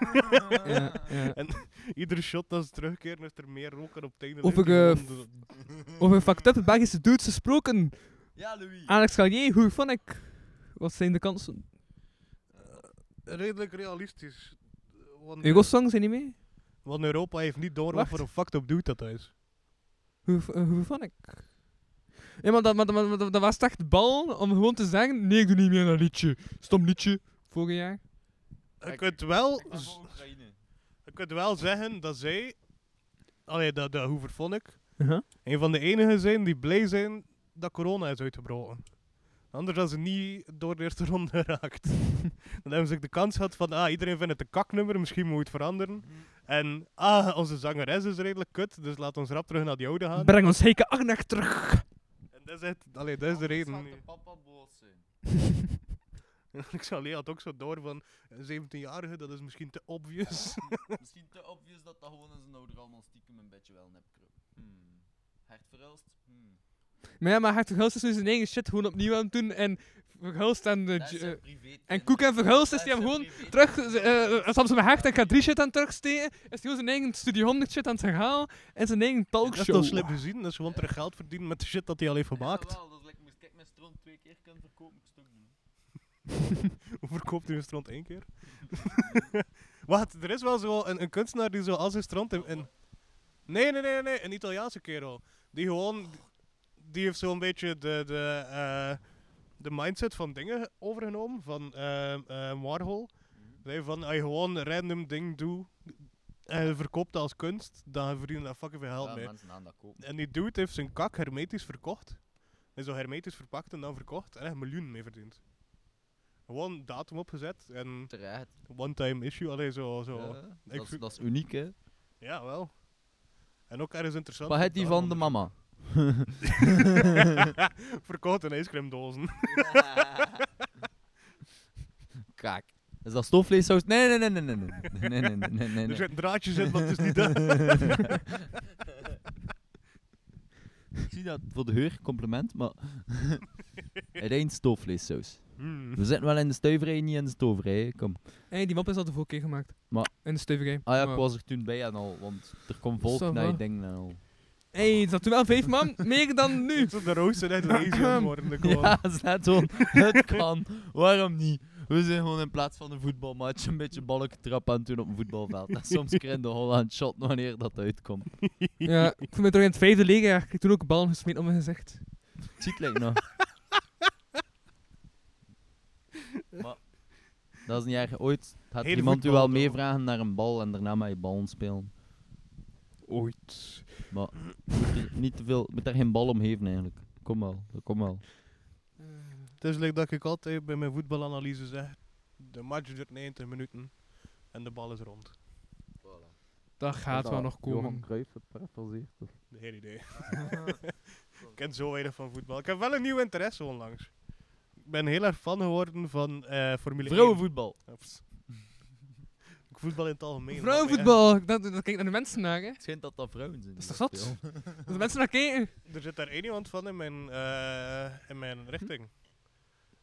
Ja, ja. Iedere shot dat ze terugkeren is er meer rook en op het einde... Of ligt ik, hij eh, gewoon zo- Over fucked-up Belgische dudes gesproken. Ja, Louis. Alex Gallier, hoe vond ik? Wat zijn de kansen? [laughs] Redelijk realistisch. Want, Hugo Song zijn niet mee? want Europa heeft niet door wat Wacht. voor een fucked up dude dat hij is. Hoe, v- eh, hoe vond ik? Ja, maar dat, maar, dat- maar dat- dat was echt bal om gewoon te zeggen: nee, ik doe niet meer aan dat liedje. Stom liedje, vorig jaar. Je Kijk. kunt wel, Maar z- voor Oekraïne. je kunt wel zeggen dat zij... Allee, dat, dat Hoever vond ik. Uh-huh. Een van de enigen zijn die blij zijn dat corona is uitgebroken. Anders hadden ze niet door de eerste [laughs] ronde geraakt. Dan hebben ze ook de kans gehad van, ah, iedereen vindt het een kaknummer, misschien moet je het veranderen. En, ah, onze zangeres is redelijk kut, dus laat ons rap terug naar die oude Ah, gaan. Breng ons Heike Agnach terug. En dat is, het, allee, dat is de Anders reden. gaat de nu. papa boos [laughs] zijn. [laughs] Ik zal Lee had ook zo door van, een 17-jarige, dat is misschien te obvious. Misschien te obvious dat dat gewoon eens een ouder allemaal stiekem een beetje wel nep kruip. Hmm. Hart verhulst? Hmm. Maar ja, maar Hart Verhulst is nu zijn eigen shit gewoon opnieuw aan het doen. En Verhulst en, de Dat is j- een eh, privé- en Koek en Verhulst is die hem Dat is een gewoon privé- terug. eh, Als ze mijn Hart en K3 shit aan het terugsteken, is hij gewoon zijn eigen Studio 100 shit aan het herhalen. En zijn eigen dat is toch talkshow. slim gezien, dat ze gewoon terug geld verdienen met de shit dat hij al heeft gemaakt. Ja, wel, dat is lekker. Moest ik mijn stroom twee keer kunnen verkopen, moet ik het ook doen. [laughs] Hoe verkoopt hij een strand één keer? [laughs] Wat, er is wel zo een, een kunstenaar die zo als een strand in, in- Nee, nee, nee, nee, een Italiaanse kerel. Die gewoon... Die heeft zo'n beetje de, de, eh, de mindset van dingen overgenomen, van ehm eh, Warhol. Nee, van, als je gewoon random ding doet en je verkoopt dat als kunst, dan verdien je daar fucking veel geld Ah, Ja, mee. mensen aan dat kopen. En die dude heeft zijn kak hermetisch verkocht. En zo hermetisch verpakt en dan verkocht. En echt miljoenen mee verdiend. Gewoon datum opgezet en Terecht. one time issue. Allee, zo. zo. Oh, Ja. Ja, ik dat, is, vind- dat is uniek, hè. wel. En ook ergens interessant. Wat heeft die dat van de daarom- mama? Verkocht in ijscreamdozen. Kijk. Is dat stofvleessaus? Nee, nee, nee, nee, nee, nee, nee, nee, nee, nee, Dus Er nee, nee. zit een draadje in, maar het is niet dat. [laughs] Ik zie dat voor de heur, compliment, [laughs] maar... Rein stofvleessaus. Hmm. We zitten wel in de stuiverij, niet in de stoverij, kom. Hey, die mop is al de vorige keer gemaakt. Maar- In de stuiverij. Ah ja, Maar- ik was er toen bij en al, want er komt volk Ça naar va. je ding en [laughs] al. Hey, dat toen wel vijf [laughs] man, meer dan nu. Zo de roos zijn echt lazy aan het worden. gewoon. Ja, is net zo. Het kan, waarom niet? We zijn gewoon in plaats van een voetbalmatch een beetje balkentrap aan het doen op een voetbalveld. En soms krijg de Holland shot wanneer dat uitkomt. Ja, ik voel me terug in het vijfde leger. Ik heb toen ook ballen gesmeed om mijn gezicht. Ziet lijkt nog. [laughs] maar dat is niet erg. Ooit gaat Hele iemand u voetbal, wel toch? meevragen naar een bal en daarna met je ballen spelen. Ooit. Maar moet er niet te veel, moet daar geen bal om geven eigenlijk. Kom wel, dat komt wel. Het is like dat ik altijd bij mijn voetbalanalyse zeg. De match duurt 90 minuten en de bal is rond. Dat gaat wel nog komen. Cruijff het parafraseert. Geen idee. [laughs] ik ken zo weinig van voetbal. Ik heb wel een nieuw interesse onlangs. Ik ben heel erg fan geworden van eh Formule 1. Vrouwenvoetbal. Oeps. [laughs] Ik voetbal in het algemeen. Vrouwenvoetbal, dat, dat kijkt naar de mensen naar, hè. Het schijnt dat dat vrouwen zijn. Dat is die toch zot? Dat de mensen naar [laughs] kijken. maar ja, er zit daar één iemand van in mijn, eh, in mijn richting.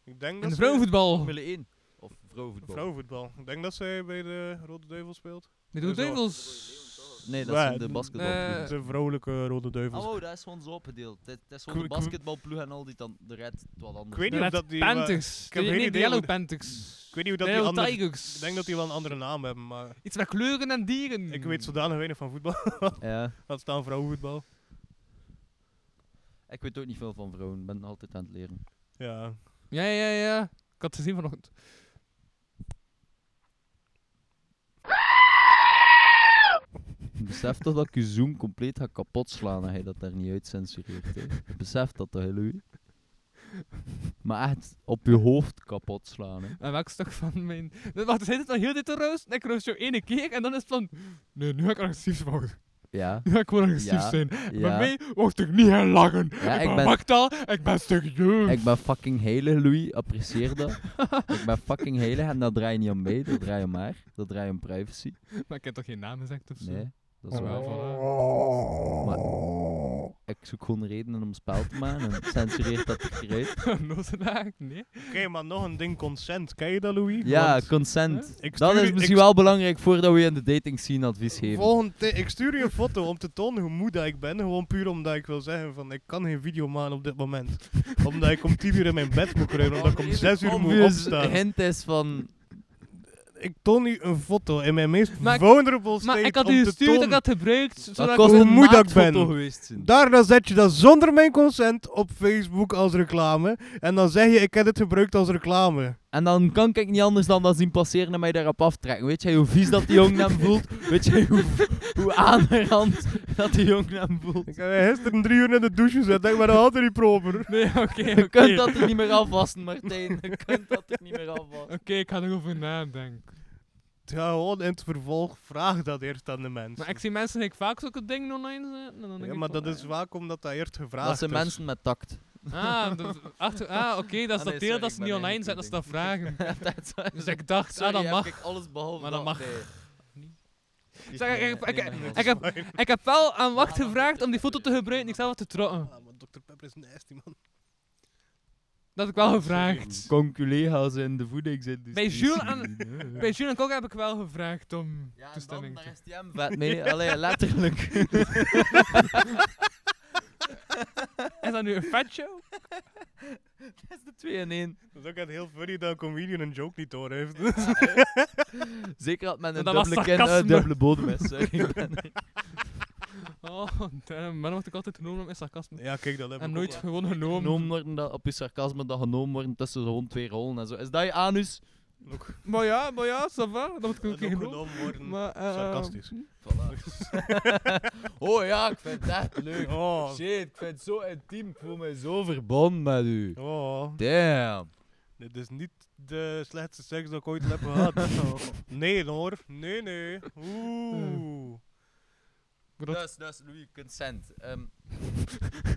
Ik denk En dat de ze- vrouwenvoetbal. Formule 1. Of vrouwenvoetbal. Vrouwenvoetbal. Ik denk dat zij bij de Rode Duivel speelt. De Rode Zo. Duivels. Nee, dat Ja, zijn de d- basketbalploeg. Eh. De vrouwelijke Rode Duivels. Oh, dat is gewoon zo opgedeeld. Het het Ik- is gewoon de ik- basketbalploeg en al die dan de red wat anders. ik weet De niet of Red dat die... eh, Panthers. ik heb De- geen nee, de idee Yellow hoe de- Panthers. ik weet niet of De dat die Yellow andere... Tigers. Ik denk dat die wel een andere naam hebben, maar Iets met kleuren en dieren. ik weet zodanig weinig van voetbal. [laughs] Ja, Dat staan vrouwenvoetbal. ik weet ook niet veel van vrouwen. Ik ben altijd aan het leren. Ja. Ja, ja, ja. Ik had het gezien vanochtend. Besef toch dat ik je zoom compleet ga kapot slaan als hij dat daar niet uit censureert. hè. Besef dat toch, hè, Louis? Maar echt op je hoofd kapot slaan. Hè. En welk stuk van mijn... Nee, Wacht, zei dit al heel dit te roost? Nee, ik roost jou ene keer en dan is het van... Nee, nu ga ik agressief worden. [laughs] [laughs] Ja, Nu ga ik gewoon agressief Ja, zijn. Bij ja. mij mocht ik niet herlachen. Ja, ik, ik ben ben- Magda, ik ben serieus. Ik ben fucking heilig, Louis. Apprecieer dat. ik ben fucking heilig en dat draai je niet om mee. Dat draai je om haar. Dat draai je om privacy. Maar ik heb toch geen naam gezegd of zo? Nee, dat is Oh, waar. voilà. [laughs] Maar ik zoek gewoon redenen om spel te maken en censureert dat eruit. [laughs] Nozelaar? Nee. Oké, [clears throat] maar nog een ding, consent. Ken je dat, Louis? Ja, Want consent. ik Dat stuur is u- misschien ik- wel belangrijk voordat we je in de dating scene advies geven. Volgende, ti- ik stuur je een foto om te tonen hoe moe dat ik ben. Gewoon puur omdat ik wil zeggen van ik kan geen video maken op dit moment. omdat ik om 10 uur in mijn bed moet kruipen. Omdat ik om 6 uur moet Obvious opstaan. hint is van... Ik toon u een foto in mijn meest Maar ik- vulnerable state Maar ik had om u te gestuurd, ik tonen. had gebruikt, zodat Dat ik kost hoe een moe dat ik ben. naaktfoto geweest zijn. Daarna zet je dat zonder mijn consent op Facebook als reclame. En dan zeg je ik heb dit gebruikt als reclame. En dan kan ik niet anders dan dat zien passeren en mij daarop aftrekken. Weet jij hoe vies dat die jongen hem voelt? Weet jij hoe, hoe aangerand dat die jongen hem voelt? Ik heb mij gisteren drie uur in de douche gezet. Ik ben nog altijd niet proper. [laughs] Nee, oké, oké. [laughs] Je kunt dat er niet meer afwassen, Martijn. Je kunt dat er niet meer afwassen. Oké, ik ga erover nadenken. Ja, gewoon in het vervolg vraag dat eerst aan de mensen. Maar ik zie mensen die ik vaak zulke dingen online zetten. en dan denk Ja, ik maar van, dat is ah, vaak omdat dat eerst gevraagd Dat zijn dus. is. mensen met tact. Ah, dat- achter- ah, oké, dat is Ah, nee, dat sorry, deel dat ik ze ben niet eigenlijk online zetten als ze dat vragen. Dus ik dacht, Sorry, ah, dat heb mag. Ik alles behalve Maar dat dat- mag. nee. Zeg, ik, ik, ik, Nee, ik heb, ik heb wel aan Wacht gevraagd om die foto te gebruiken. Ik zelf had te trotten. Ah, maar Dr. Pepper is nasty, man. Dat heb ik wel gevraagd. Conculega's in de voedingsindustrie. Bij Jules en- Bij Jules en Kok heb ik wel gevraagd om Ja, en dan, toestemming. daar is die hem vet mee. Allee, letterlijk. [laughs] Is dat nu een fat show? Dat is de 2 in 1. [laughs] Dat is ook echt heel funny dat een comedian een joke niet door heeft. Zeker had men een Maar dat was dubbele kin, sarcasme. een dubbele bodem is. sorry, [laughs] ik ben- Oh, damn. Maar dan word ik altijd genomen op mijn sarcasme. ja, kijk, dat heb ik En nooit ook gewoon genomen. Genomen worden dat, op je sarcasme dat genomen worden tussen gewoon twee rollen en zo. Is dat je anus? Maar ja, maar ja, ça va. Dat moet ik wel. En ook ook genomen. genomen worden. Maar, eh, [laughs] Sarcastisch. [laughs] Voilà. oh ja, ik vind het echt leuk. Oh. Shit, ik vind het zo intiem. Ik voel me zo verbonden met u. Oh. Damn. Dit is niet de slechtste seks dat ik ooit [laughs] heb gehad. Oh. Nee hoor. Nee, nee. Oeh. Dat- Dus, dus, Louis, consent. Ehm, Eh.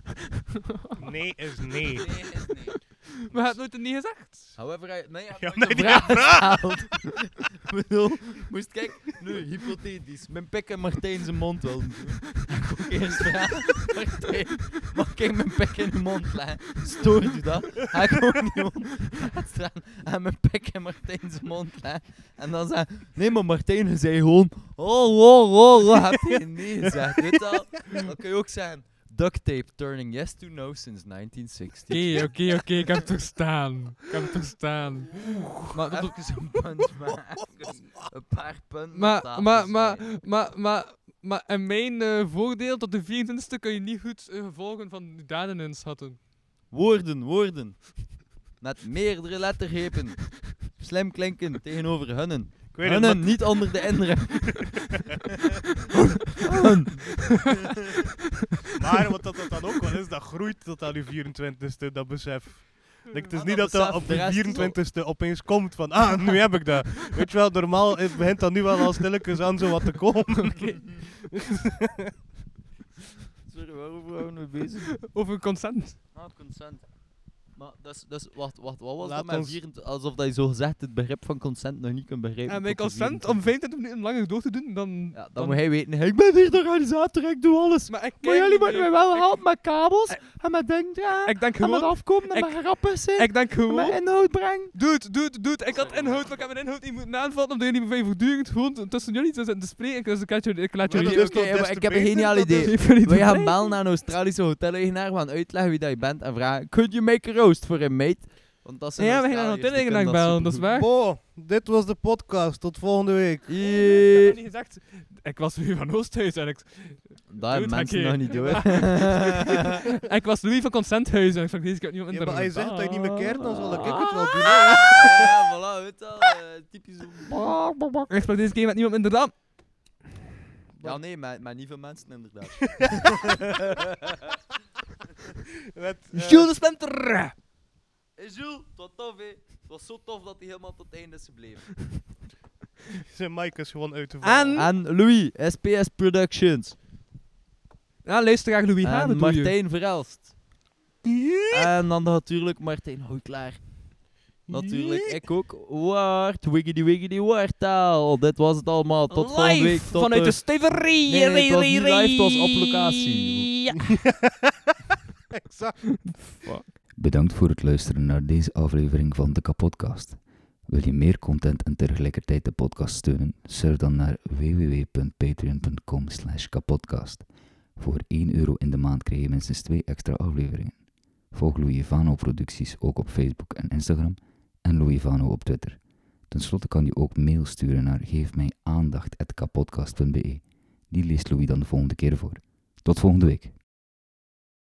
Nee is [laughs] nee. [laughs] nee is nee. Maar het nooit het niet gezegd. However, I, nee, je hebt Ja, nee, nooit de die vraag gesteld. [laughs] Ik bedoel, moest kijk, nu, hypothetisch. Mijn pik en Martijn zijn mond wel. doen. Ik ook eerst vragen, Martijn, mag ik mijn pik in de mond leggen? Stoort u dat? Hij gewoon die mond laat staan en mijn pik in Martijn zijn mond leggen. En dan zei nee maar Martijn, je zei gewoon, oh, oh, oh, oh, heb je nee gezegd. Weet je wel? Dat kun je ook zeggen. Duct tape turning yes to no since Oké, 1960. oké, oké, ik heb [laughs] het verstaan. Ik heb het verstaan. Maar even een punt [laughs] maken. Een paar punten. op Maar, tafel maar, maar, smijten. maar, maar, maar, en mijn eh, voordeel, tot de 24e kun je niet goed eh, gevolgen van de daden inschatten. Woorden, woorden. Met meerdere lettergrepen. Slim klinken tegenover hunnen. Ik weet het, Hunnen maar- niet onder de [laughs] indruk. [laughs] maar wat dat, dat dan ook wel is, dat groeit tot aan die 24ste, dat besef. Like, het is Ah, niet dat dat dat op besef, de rest is al- de 24ste opeens komt van, ah, nu heb ik [laughs] dat. Weet je wel, normaal het begint dan nu wel al stilletjes aan zo wat te komen. [laughs] Sorry, waarover houden we bezig? Over consent. Ah, consent. Maar dat is, dat is, wacht, wacht, wat was Laat dat met ons- 24? Alsof dat je zo gezegd het begrip van consent nog niet kunt begrijpen. En mijn tot de consent 24e. om 25 minuten langer door te doen dan... Ja, dan moet hij weten, ik ben hier de organisator, ik doe alles. Maar, ik Maar kijk jullie niet moeten mee. mij wel Ik- helpen met kabels en met denkraad Ik denk en met gewoon... afkomen en ik- met grappen zijn Ik denk en gewoon... met inhoud brengen. Doe het, doe het, doe het. Ik had inhoud, maar ik heb mijn inhoud niet moeten aanvatten, omdat jullie mij voortdurend gewoon tussen jullie zitten te spreken. Dus ik laat jullie... Ik laat Maar jullie... dat is toch des te ik heb een beter geniaal dat idee. Ik vind het Wij gaan leuk. bellen naar een Australische hoteleigenaar, gaan uitleggen wie dat je bent en vragen, could you make a roast for him, mate? Want dat zijn Ja, we gaan naar Australiërs, hotel die in kunnen bellen, dat is supergoed. waar. [laughs] Bo, dit was de podcast. Tot volgende week. Eh, Ik Jee. heb niet gezegd... Ik was Louis van Oosthuis en ik... Dat hebben Doe het mensen een nog keer. niet [laughs] doen. ik was Louis van Consenthuis en ik zag deze keer niet op Ja, internet. maar hij zegt dat je niet meer keert, Ah. dan zal ik het wel doen. hè. ja, voilà, weet je wel, eh, typisch. Ik sprak deze keer met niemand minder dan. Ja, nee, maar, maar niet veel mensen inderdaad. Met, eh, Jules de Splinter! [laughs] Hey, Jules, het was tof, hè. Het was zo tof dat hij helemaal tot het einde is gebleven. zijn mic is gewoon uit te Ah, vallen. En, En Louis, SPS Productions. ja, luister graag Louis Haan, en bedoel je? Martijn Verelst. En dan natuurlijk Martijn Hoeklaar. Natuurlijk, ik ook. Wart, wiggity wiggity wartaal. Dit was het allemaal. Tot volgende week. Tot vanuit de de... steverie. Nee, nee, het was niet live, het was op locatie. Ja. Bedankt voor het luisteren naar deze aflevering van de Kapodcast. Wil je meer content en tegelijkertijd de podcast steunen? Surf dan naar www.patreon.com kapodcast. Voor 1 euro in de maand krijg je minstens 2 extra afleveringen. Volg Louis Vano producties ook op Facebook en Instagram en Louis Vano op Twitter. Ten slotte kan je ook mail sturen naar geefmijaandacht.kapodcast.be. Die leest Louis dan de volgende keer voor. Tot volgende week.